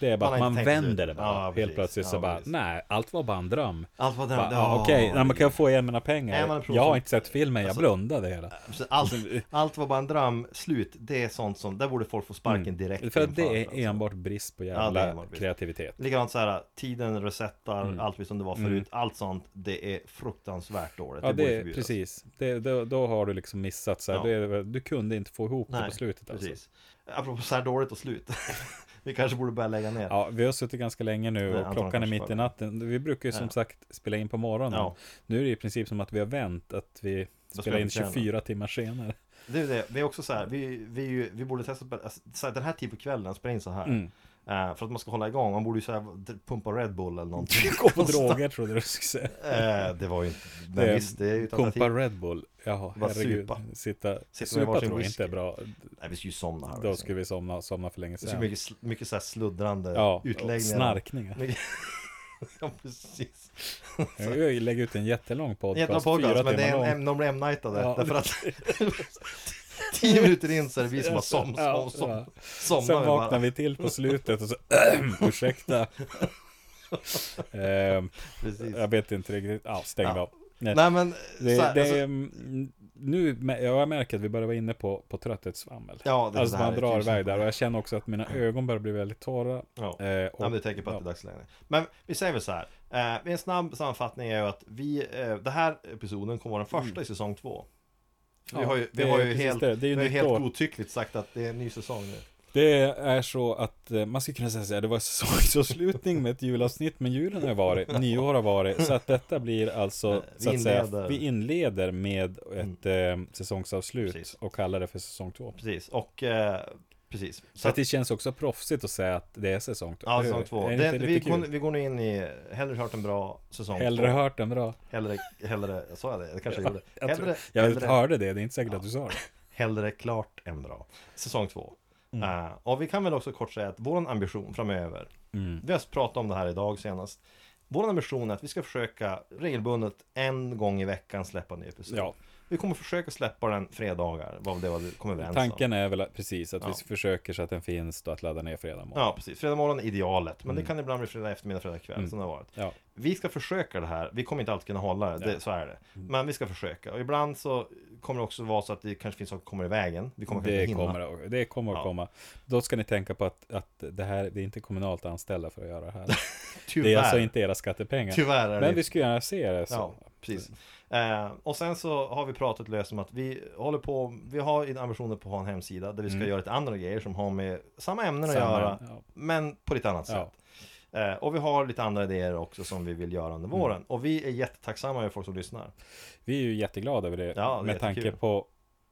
Speaker 3: Det är bara
Speaker 2: Man
Speaker 3: att
Speaker 2: har
Speaker 3: man
Speaker 2: inte tänkt
Speaker 3: vänder
Speaker 2: ut.
Speaker 3: det bara.
Speaker 2: Ja,
Speaker 3: Helt
Speaker 2: precis.
Speaker 3: plötsligt så
Speaker 2: Ja,
Speaker 3: bara,
Speaker 2: precis.
Speaker 3: nej, allt var bara en dröm.
Speaker 2: Allt var den...
Speaker 3: Bara, Ja, okej, nej, man kan få igen mina pengar.
Speaker 2: Nej, man är
Speaker 3: jag har
Speaker 2: proffs.
Speaker 3: inte sett filmen, jag
Speaker 2: Alltså-
Speaker 3: blundade hela.
Speaker 2: allt,
Speaker 3: Alltså,
Speaker 2: allt var bara en dröm, slut. Det är sånt som, där borde folk få sparken direkt.
Speaker 3: Mm. För att
Speaker 2: inför,
Speaker 3: det
Speaker 2: alltså.
Speaker 3: är enbart brist på
Speaker 2: Ja, det är
Speaker 3: jävla
Speaker 2: enbart brist.
Speaker 3: kreativitet.
Speaker 2: Likadant så här, tiden resetar,
Speaker 3: Mm.
Speaker 2: allt som det var förut, allt sånt, det är fruktansvärt dåligt.
Speaker 3: Ja,
Speaker 2: borde
Speaker 3: det,
Speaker 2: förbjudas.
Speaker 3: precis. Det, då, då har du liksom missat så här.
Speaker 2: Ja.
Speaker 3: Det är väl- du kunde inte få ihop det
Speaker 2: Nej,
Speaker 3: på slutet. Alltså.
Speaker 2: precis. Apropå så här dåligt och slut. vi kanske borde börja lägga ner.
Speaker 3: Ja, vi har suttit ganska länge nu
Speaker 2: Nej,
Speaker 3: och
Speaker 2: antagligen
Speaker 3: klockan är
Speaker 2: kanske
Speaker 3: mitt i
Speaker 2: bara-
Speaker 3: natten. Vi brukar ju som
Speaker 2: Ja.
Speaker 3: sagt spela in på morgonen.
Speaker 2: Ja.
Speaker 3: Nu är det i princip som att vi har vänt, att vi spelar
Speaker 2: spelar
Speaker 3: in
Speaker 2: vi senare.
Speaker 3: 24 timmar senare.
Speaker 2: Det är det, vi är också så här, vi, vi, är ju- vi borde testa att spela- alltså, så här, den här tiden på kvällen, spela in så här.
Speaker 3: Mm.
Speaker 2: Eh, för att man ska hålla igång, man borde ju så här, d- pumpa Red Bull eller någonting.
Speaker 3: Gå på droger trodde jag du skulle säga.
Speaker 2: Eh, det var ju inte, men
Speaker 3: Det är-
Speaker 2: visst, det är ju ett
Speaker 3: Pumpa
Speaker 2: alternativ.
Speaker 3: Red Bull. Jaha,
Speaker 2: Bara
Speaker 3: herregud.
Speaker 2: supa.
Speaker 3: Sitta,
Speaker 2: med
Speaker 3: supa
Speaker 2: varsin
Speaker 3: tror jag
Speaker 2: whisky.
Speaker 3: inte är bra.
Speaker 2: Nej, vi ska ju somna här.
Speaker 3: Då
Speaker 2: liksom.
Speaker 3: skulle vi somna, somna för länge
Speaker 2: Det är så
Speaker 3: sedan.
Speaker 2: mycket, sl- mycket så här sluddrande
Speaker 3: Ja, och
Speaker 2: utläggningar.
Speaker 3: snarkningar.
Speaker 2: Mycket- ja, precis.
Speaker 3: Jag lägger ut en jättelång podcast.
Speaker 2: Jättebra
Speaker 3: fyra
Speaker 2: podcast, men det
Speaker 3: timmar
Speaker 2: är
Speaker 3: lång.
Speaker 2: en, de blir M-nightade.
Speaker 3: Ja.
Speaker 2: Därför att tio minuter in så är det vi som har som, som, som,
Speaker 3: Ja.
Speaker 2: somnar.
Speaker 3: Sen
Speaker 2: vi
Speaker 3: vaknar
Speaker 2: bara.
Speaker 3: vi till på slutet och så ursäkta. Ehm,
Speaker 2: Precis.
Speaker 3: jag vet inte riktigt. Ja, stäng
Speaker 2: Ja.
Speaker 3: av. Nej,
Speaker 2: Nej men,
Speaker 3: det,
Speaker 2: så här,
Speaker 3: det,
Speaker 2: alltså,
Speaker 3: mm, nu, mä- jag märker att vi börjar vara inne på, på trötthetssvammel.
Speaker 2: Ja, det är
Speaker 3: alltså
Speaker 2: så här typ
Speaker 3: man
Speaker 2: är
Speaker 3: drar
Speaker 2: tusen
Speaker 3: iväg där
Speaker 2: procent.
Speaker 3: och jag känner också att mina ögon börjar bli väldigt torra.
Speaker 2: ja.
Speaker 3: Eh, och,
Speaker 2: Ja, men du tänker på att det är dags för läggning. Men vi säger väl så här. Eh, en snabb sammanfattning är ju att vi, eh, den här episoden kommer vara den första i säsong två. Vi
Speaker 3: Ja,
Speaker 2: har ju, vi
Speaker 3: det
Speaker 2: har
Speaker 3: är
Speaker 2: ju
Speaker 3: precis
Speaker 2: helt,
Speaker 3: det. Mm. Det är ju
Speaker 2: vi har ju
Speaker 3: nytt
Speaker 2: helt
Speaker 3: år.
Speaker 2: godtyckligt sagt att det är en ny säsong nu.
Speaker 3: Det är så att eh, man skulle kunna säga att det var säsongsavslutning med ett julavsnitt, men julen har varit, nyår har varit, så att detta blir alltså,
Speaker 2: Vi
Speaker 3: så att säga,
Speaker 2: inleder. Mm.
Speaker 3: vi inleder med ett eh, säsongsavslut
Speaker 2: Precis.
Speaker 3: och kallar det för säsong två.
Speaker 2: Precis, och eh, precis.
Speaker 3: Så att det känns också proffsigt att säga att det är säsong två.
Speaker 2: Ja, säsong två.
Speaker 3: Är det,
Speaker 2: Det,
Speaker 3: inte
Speaker 2: vi,
Speaker 3: lite
Speaker 2: går,
Speaker 3: kul?
Speaker 2: vi går nu in i Hellre hört en bra säsong
Speaker 3: Hellre
Speaker 2: två.
Speaker 3: hört än bra.
Speaker 2: Hellre, hellre, sa jag det? Det kanske jag gjorde.
Speaker 3: Jag, tror-
Speaker 2: Hellre,
Speaker 3: jag
Speaker 2: hellre,
Speaker 3: hörde det, det är inte säkert att du sa det.
Speaker 2: hellre klart än bra. Säsong två.
Speaker 3: Mm.
Speaker 2: Eh, och vi kan väl också kort säga att vår ambition framöver,
Speaker 3: Mm.
Speaker 2: vi har pratat om det här idag senast, vår ambition är att vi ska försöka regelbundet en gång i veckan släppa en ny episod.
Speaker 3: Ja.
Speaker 2: Vi kommer försöka släppa den fredagar, vad det var vi kom överens om.
Speaker 3: Tanken är väl att, precis att
Speaker 2: Ja.
Speaker 3: vi försöker så att den finns då att ladda ner fredag morgon.
Speaker 2: Ja, precis. Fredag morgon är idealet, men
Speaker 3: Mm.
Speaker 2: det kan ibland bli fredag eftermiddag, fredag kväll, som det har varit.
Speaker 3: Ja.
Speaker 2: Vi ska försöka det här, vi kommer inte alltid kunna hålla det, det så är det.
Speaker 3: Mm.
Speaker 2: Men vi ska försöka. Och ibland så kommer det också vara så att det kanske finns saker som kommer i vägen. Vi kommer kanske
Speaker 3: Det
Speaker 2: inte hinna.
Speaker 3: kommer, att- det kommer att
Speaker 2: Ja.
Speaker 3: komma. Då ska ni tänka på att, att det här, det är inte kommunalt anställda för att göra det här.
Speaker 2: Tyvärr.
Speaker 3: Det är alltså inte era skattepengar.
Speaker 2: Tyvärr är
Speaker 3: Men
Speaker 2: det
Speaker 3: vi skulle gärna se det. Så.
Speaker 2: Ja, precis. Eh, och sen så har vi pratat löst om att vi håller på, vi har ambitioner på att ha en hemsida där vi ska göra lite andra grejer som har med samma ämnen
Speaker 3: Mm. Samma,
Speaker 2: att göra,
Speaker 3: ja.
Speaker 2: men på lite annat
Speaker 3: Ja.
Speaker 2: sätt. Eh, och vi har lite andra idéer också som vi vill göra
Speaker 3: Mm.
Speaker 2: under våren. Och vi är jättetacksamma över folk som lyssnar.
Speaker 3: Vi är ju jätteglada över det.
Speaker 2: Ja, det är
Speaker 3: med tanke
Speaker 2: jättekul.
Speaker 3: på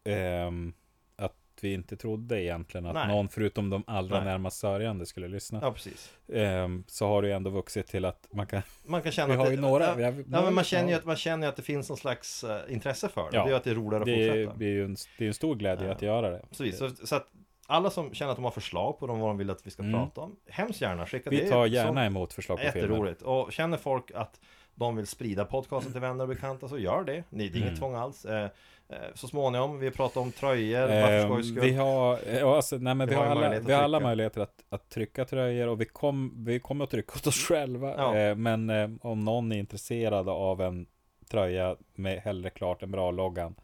Speaker 3: ehm, att vi inte trodde egentligen att
Speaker 2: Nej.
Speaker 3: någon förutom de allra
Speaker 2: Nej.
Speaker 3: närmast sörjande skulle lyssna.
Speaker 2: Ja, precis.
Speaker 3: Ehm, så har det ju ändå vuxit till att man kan...
Speaker 2: Man kan känna
Speaker 3: Vi har
Speaker 2: att
Speaker 3: ju
Speaker 2: det,
Speaker 3: några,
Speaker 2: Ja,
Speaker 3: vi har-
Speaker 2: ja,
Speaker 3: några
Speaker 2: men man känner ju
Speaker 3: lyssnare.
Speaker 2: att, man känner ju att det finns någon slags eh, intresse för det.
Speaker 3: Ja.
Speaker 2: Det gör att det är roligare att
Speaker 3: Det
Speaker 2: fortsätta.
Speaker 3: blir ju en, det är en stor glädje
Speaker 2: Ja.
Speaker 3: att göra det.
Speaker 2: Precis. Så, så att alla som känner att de har förslag på de, vad de vill att vi ska prata om, hemskt gärna skicka det.
Speaker 3: Mm. Vi tar
Speaker 2: Sånt-
Speaker 3: gärna emot förslag på filmer.
Speaker 2: Jätteroligt. Och känner folk att de vill sprida podcasten till vänner och bekanta så gör det. Ni, det är
Speaker 3: Mm.
Speaker 2: inget tvång alls. Eh, eh, så småningom, vi pratar om tröjor, varför skojs
Speaker 3: Ehm,
Speaker 2: skull.
Speaker 3: vi har, ja, alltså, nej, men vi
Speaker 2: Vi
Speaker 3: har
Speaker 2: har ju
Speaker 3: alla,
Speaker 2: möjlighet att
Speaker 3: vi har alla
Speaker 2: trycka.
Speaker 3: möjligheter att, att trycka tröjor och vi, kom, vi kommer att trycka åt oss själva.
Speaker 2: Ja.
Speaker 3: Eh, men eh, om någon är intresserad av en tröja med hellre klart än bra-loggan.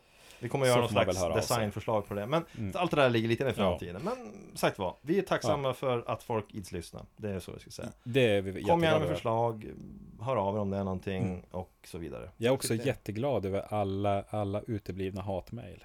Speaker 2: Vi kommer
Speaker 3: så
Speaker 2: göra någon
Speaker 3: får man väl
Speaker 2: slags
Speaker 3: höra av sig. Mm.
Speaker 2: designförslag på det. Men allt det där ligger lite i framtiden. Men sagt vad, vi är tacksamma för att folk ids lyssna. Det är så jag ska säga.
Speaker 3: Det är vi
Speaker 2: Kom
Speaker 3: jätteglada
Speaker 2: gärna med
Speaker 3: över.
Speaker 2: förslag, hör av er om det är någonting och så vidare.
Speaker 3: Jag är också
Speaker 2: Tycker-
Speaker 3: jätteglad över alla, alla uteblivna hatmejl.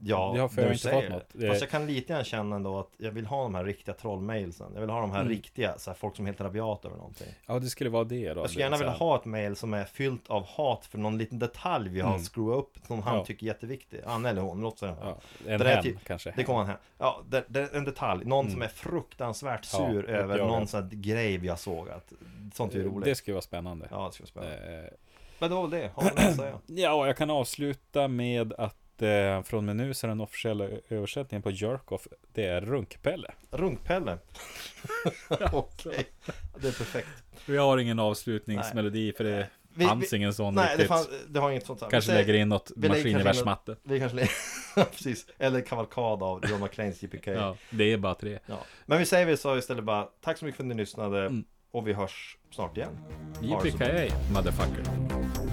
Speaker 2: Ja,
Speaker 3: Ja, för jag har
Speaker 2: du
Speaker 3: inte
Speaker 2: säger
Speaker 3: fått något. Eh,
Speaker 2: det.
Speaker 3: Det-
Speaker 2: Fast jag kan lite grann känna ändå att jag vill ha de här riktiga trollmailsen. Jag vill ha de
Speaker 3: Mm.
Speaker 2: här riktiga, så här, folk som är helt rabiata över någonting.
Speaker 3: Ja, det skulle vara det då. liksom.
Speaker 2: Jag skulle gärna
Speaker 3: det vill
Speaker 2: vilja
Speaker 3: säga.
Speaker 2: ha ett mail som är fyllt av hat för någon liten detalj vi har skruvat upp som han
Speaker 3: Mm. Ja.
Speaker 2: tycker är jätteviktig. Han eller hon, låt säga.
Speaker 3: Ja, en
Speaker 2: Det där är
Speaker 3: hen
Speaker 2: typ-
Speaker 3: kanske.
Speaker 2: Det kommer han hem. Ja, det, det är en detalj. Någon som är fruktansvärt
Speaker 3: Mm. Ja,
Speaker 2: sur
Speaker 3: det gör
Speaker 2: över
Speaker 3: jag.
Speaker 2: någon sån här grej vi har sågat. Sånt är ju roligt.
Speaker 3: Eh, Det skulle vara spännande.
Speaker 2: Ja, det ska vara spännande.
Speaker 3: Eh,
Speaker 2: Men det var väl det. Har vi något att säga?
Speaker 3: Ja, och jag kan avsluta med att eh, från och med nu så är den officiella ö- översättningen på Jerkoff, det är Runkpelle.
Speaker 2: Runkpelle. Okej, det är perfekt.
Speaker 3: Vi har ingen avslutningsmelodi för det
Speaker 2: Vi-
Speaker 3: fanns
Speaker 2: vi-
Speaker 3: ingen sån
Speaker 2: Nej, det,
Speaker 3: riktigt.
Speaker 2: fanns, det har inget sånt här. Vi
Speaker 3: Kanske
Speaker 2: säger-
Speaker 3: lägger in något
Speaker 2: vi lägger kanske in
Speaker 3: maskingevärsmatte.
Speaker 2: något- Vi kanske lägger... Precis, eller kavalkad av John McClanes JPK.
Speaker 3: Ja, det är bara tre.
Speaker 2: Ja. Men vi säger väl så istället bara, tack så mycket för att ni lyssnade och vi hörs snart igen. Ha det så bra.
Speaker 3: JPKA, motherfucker.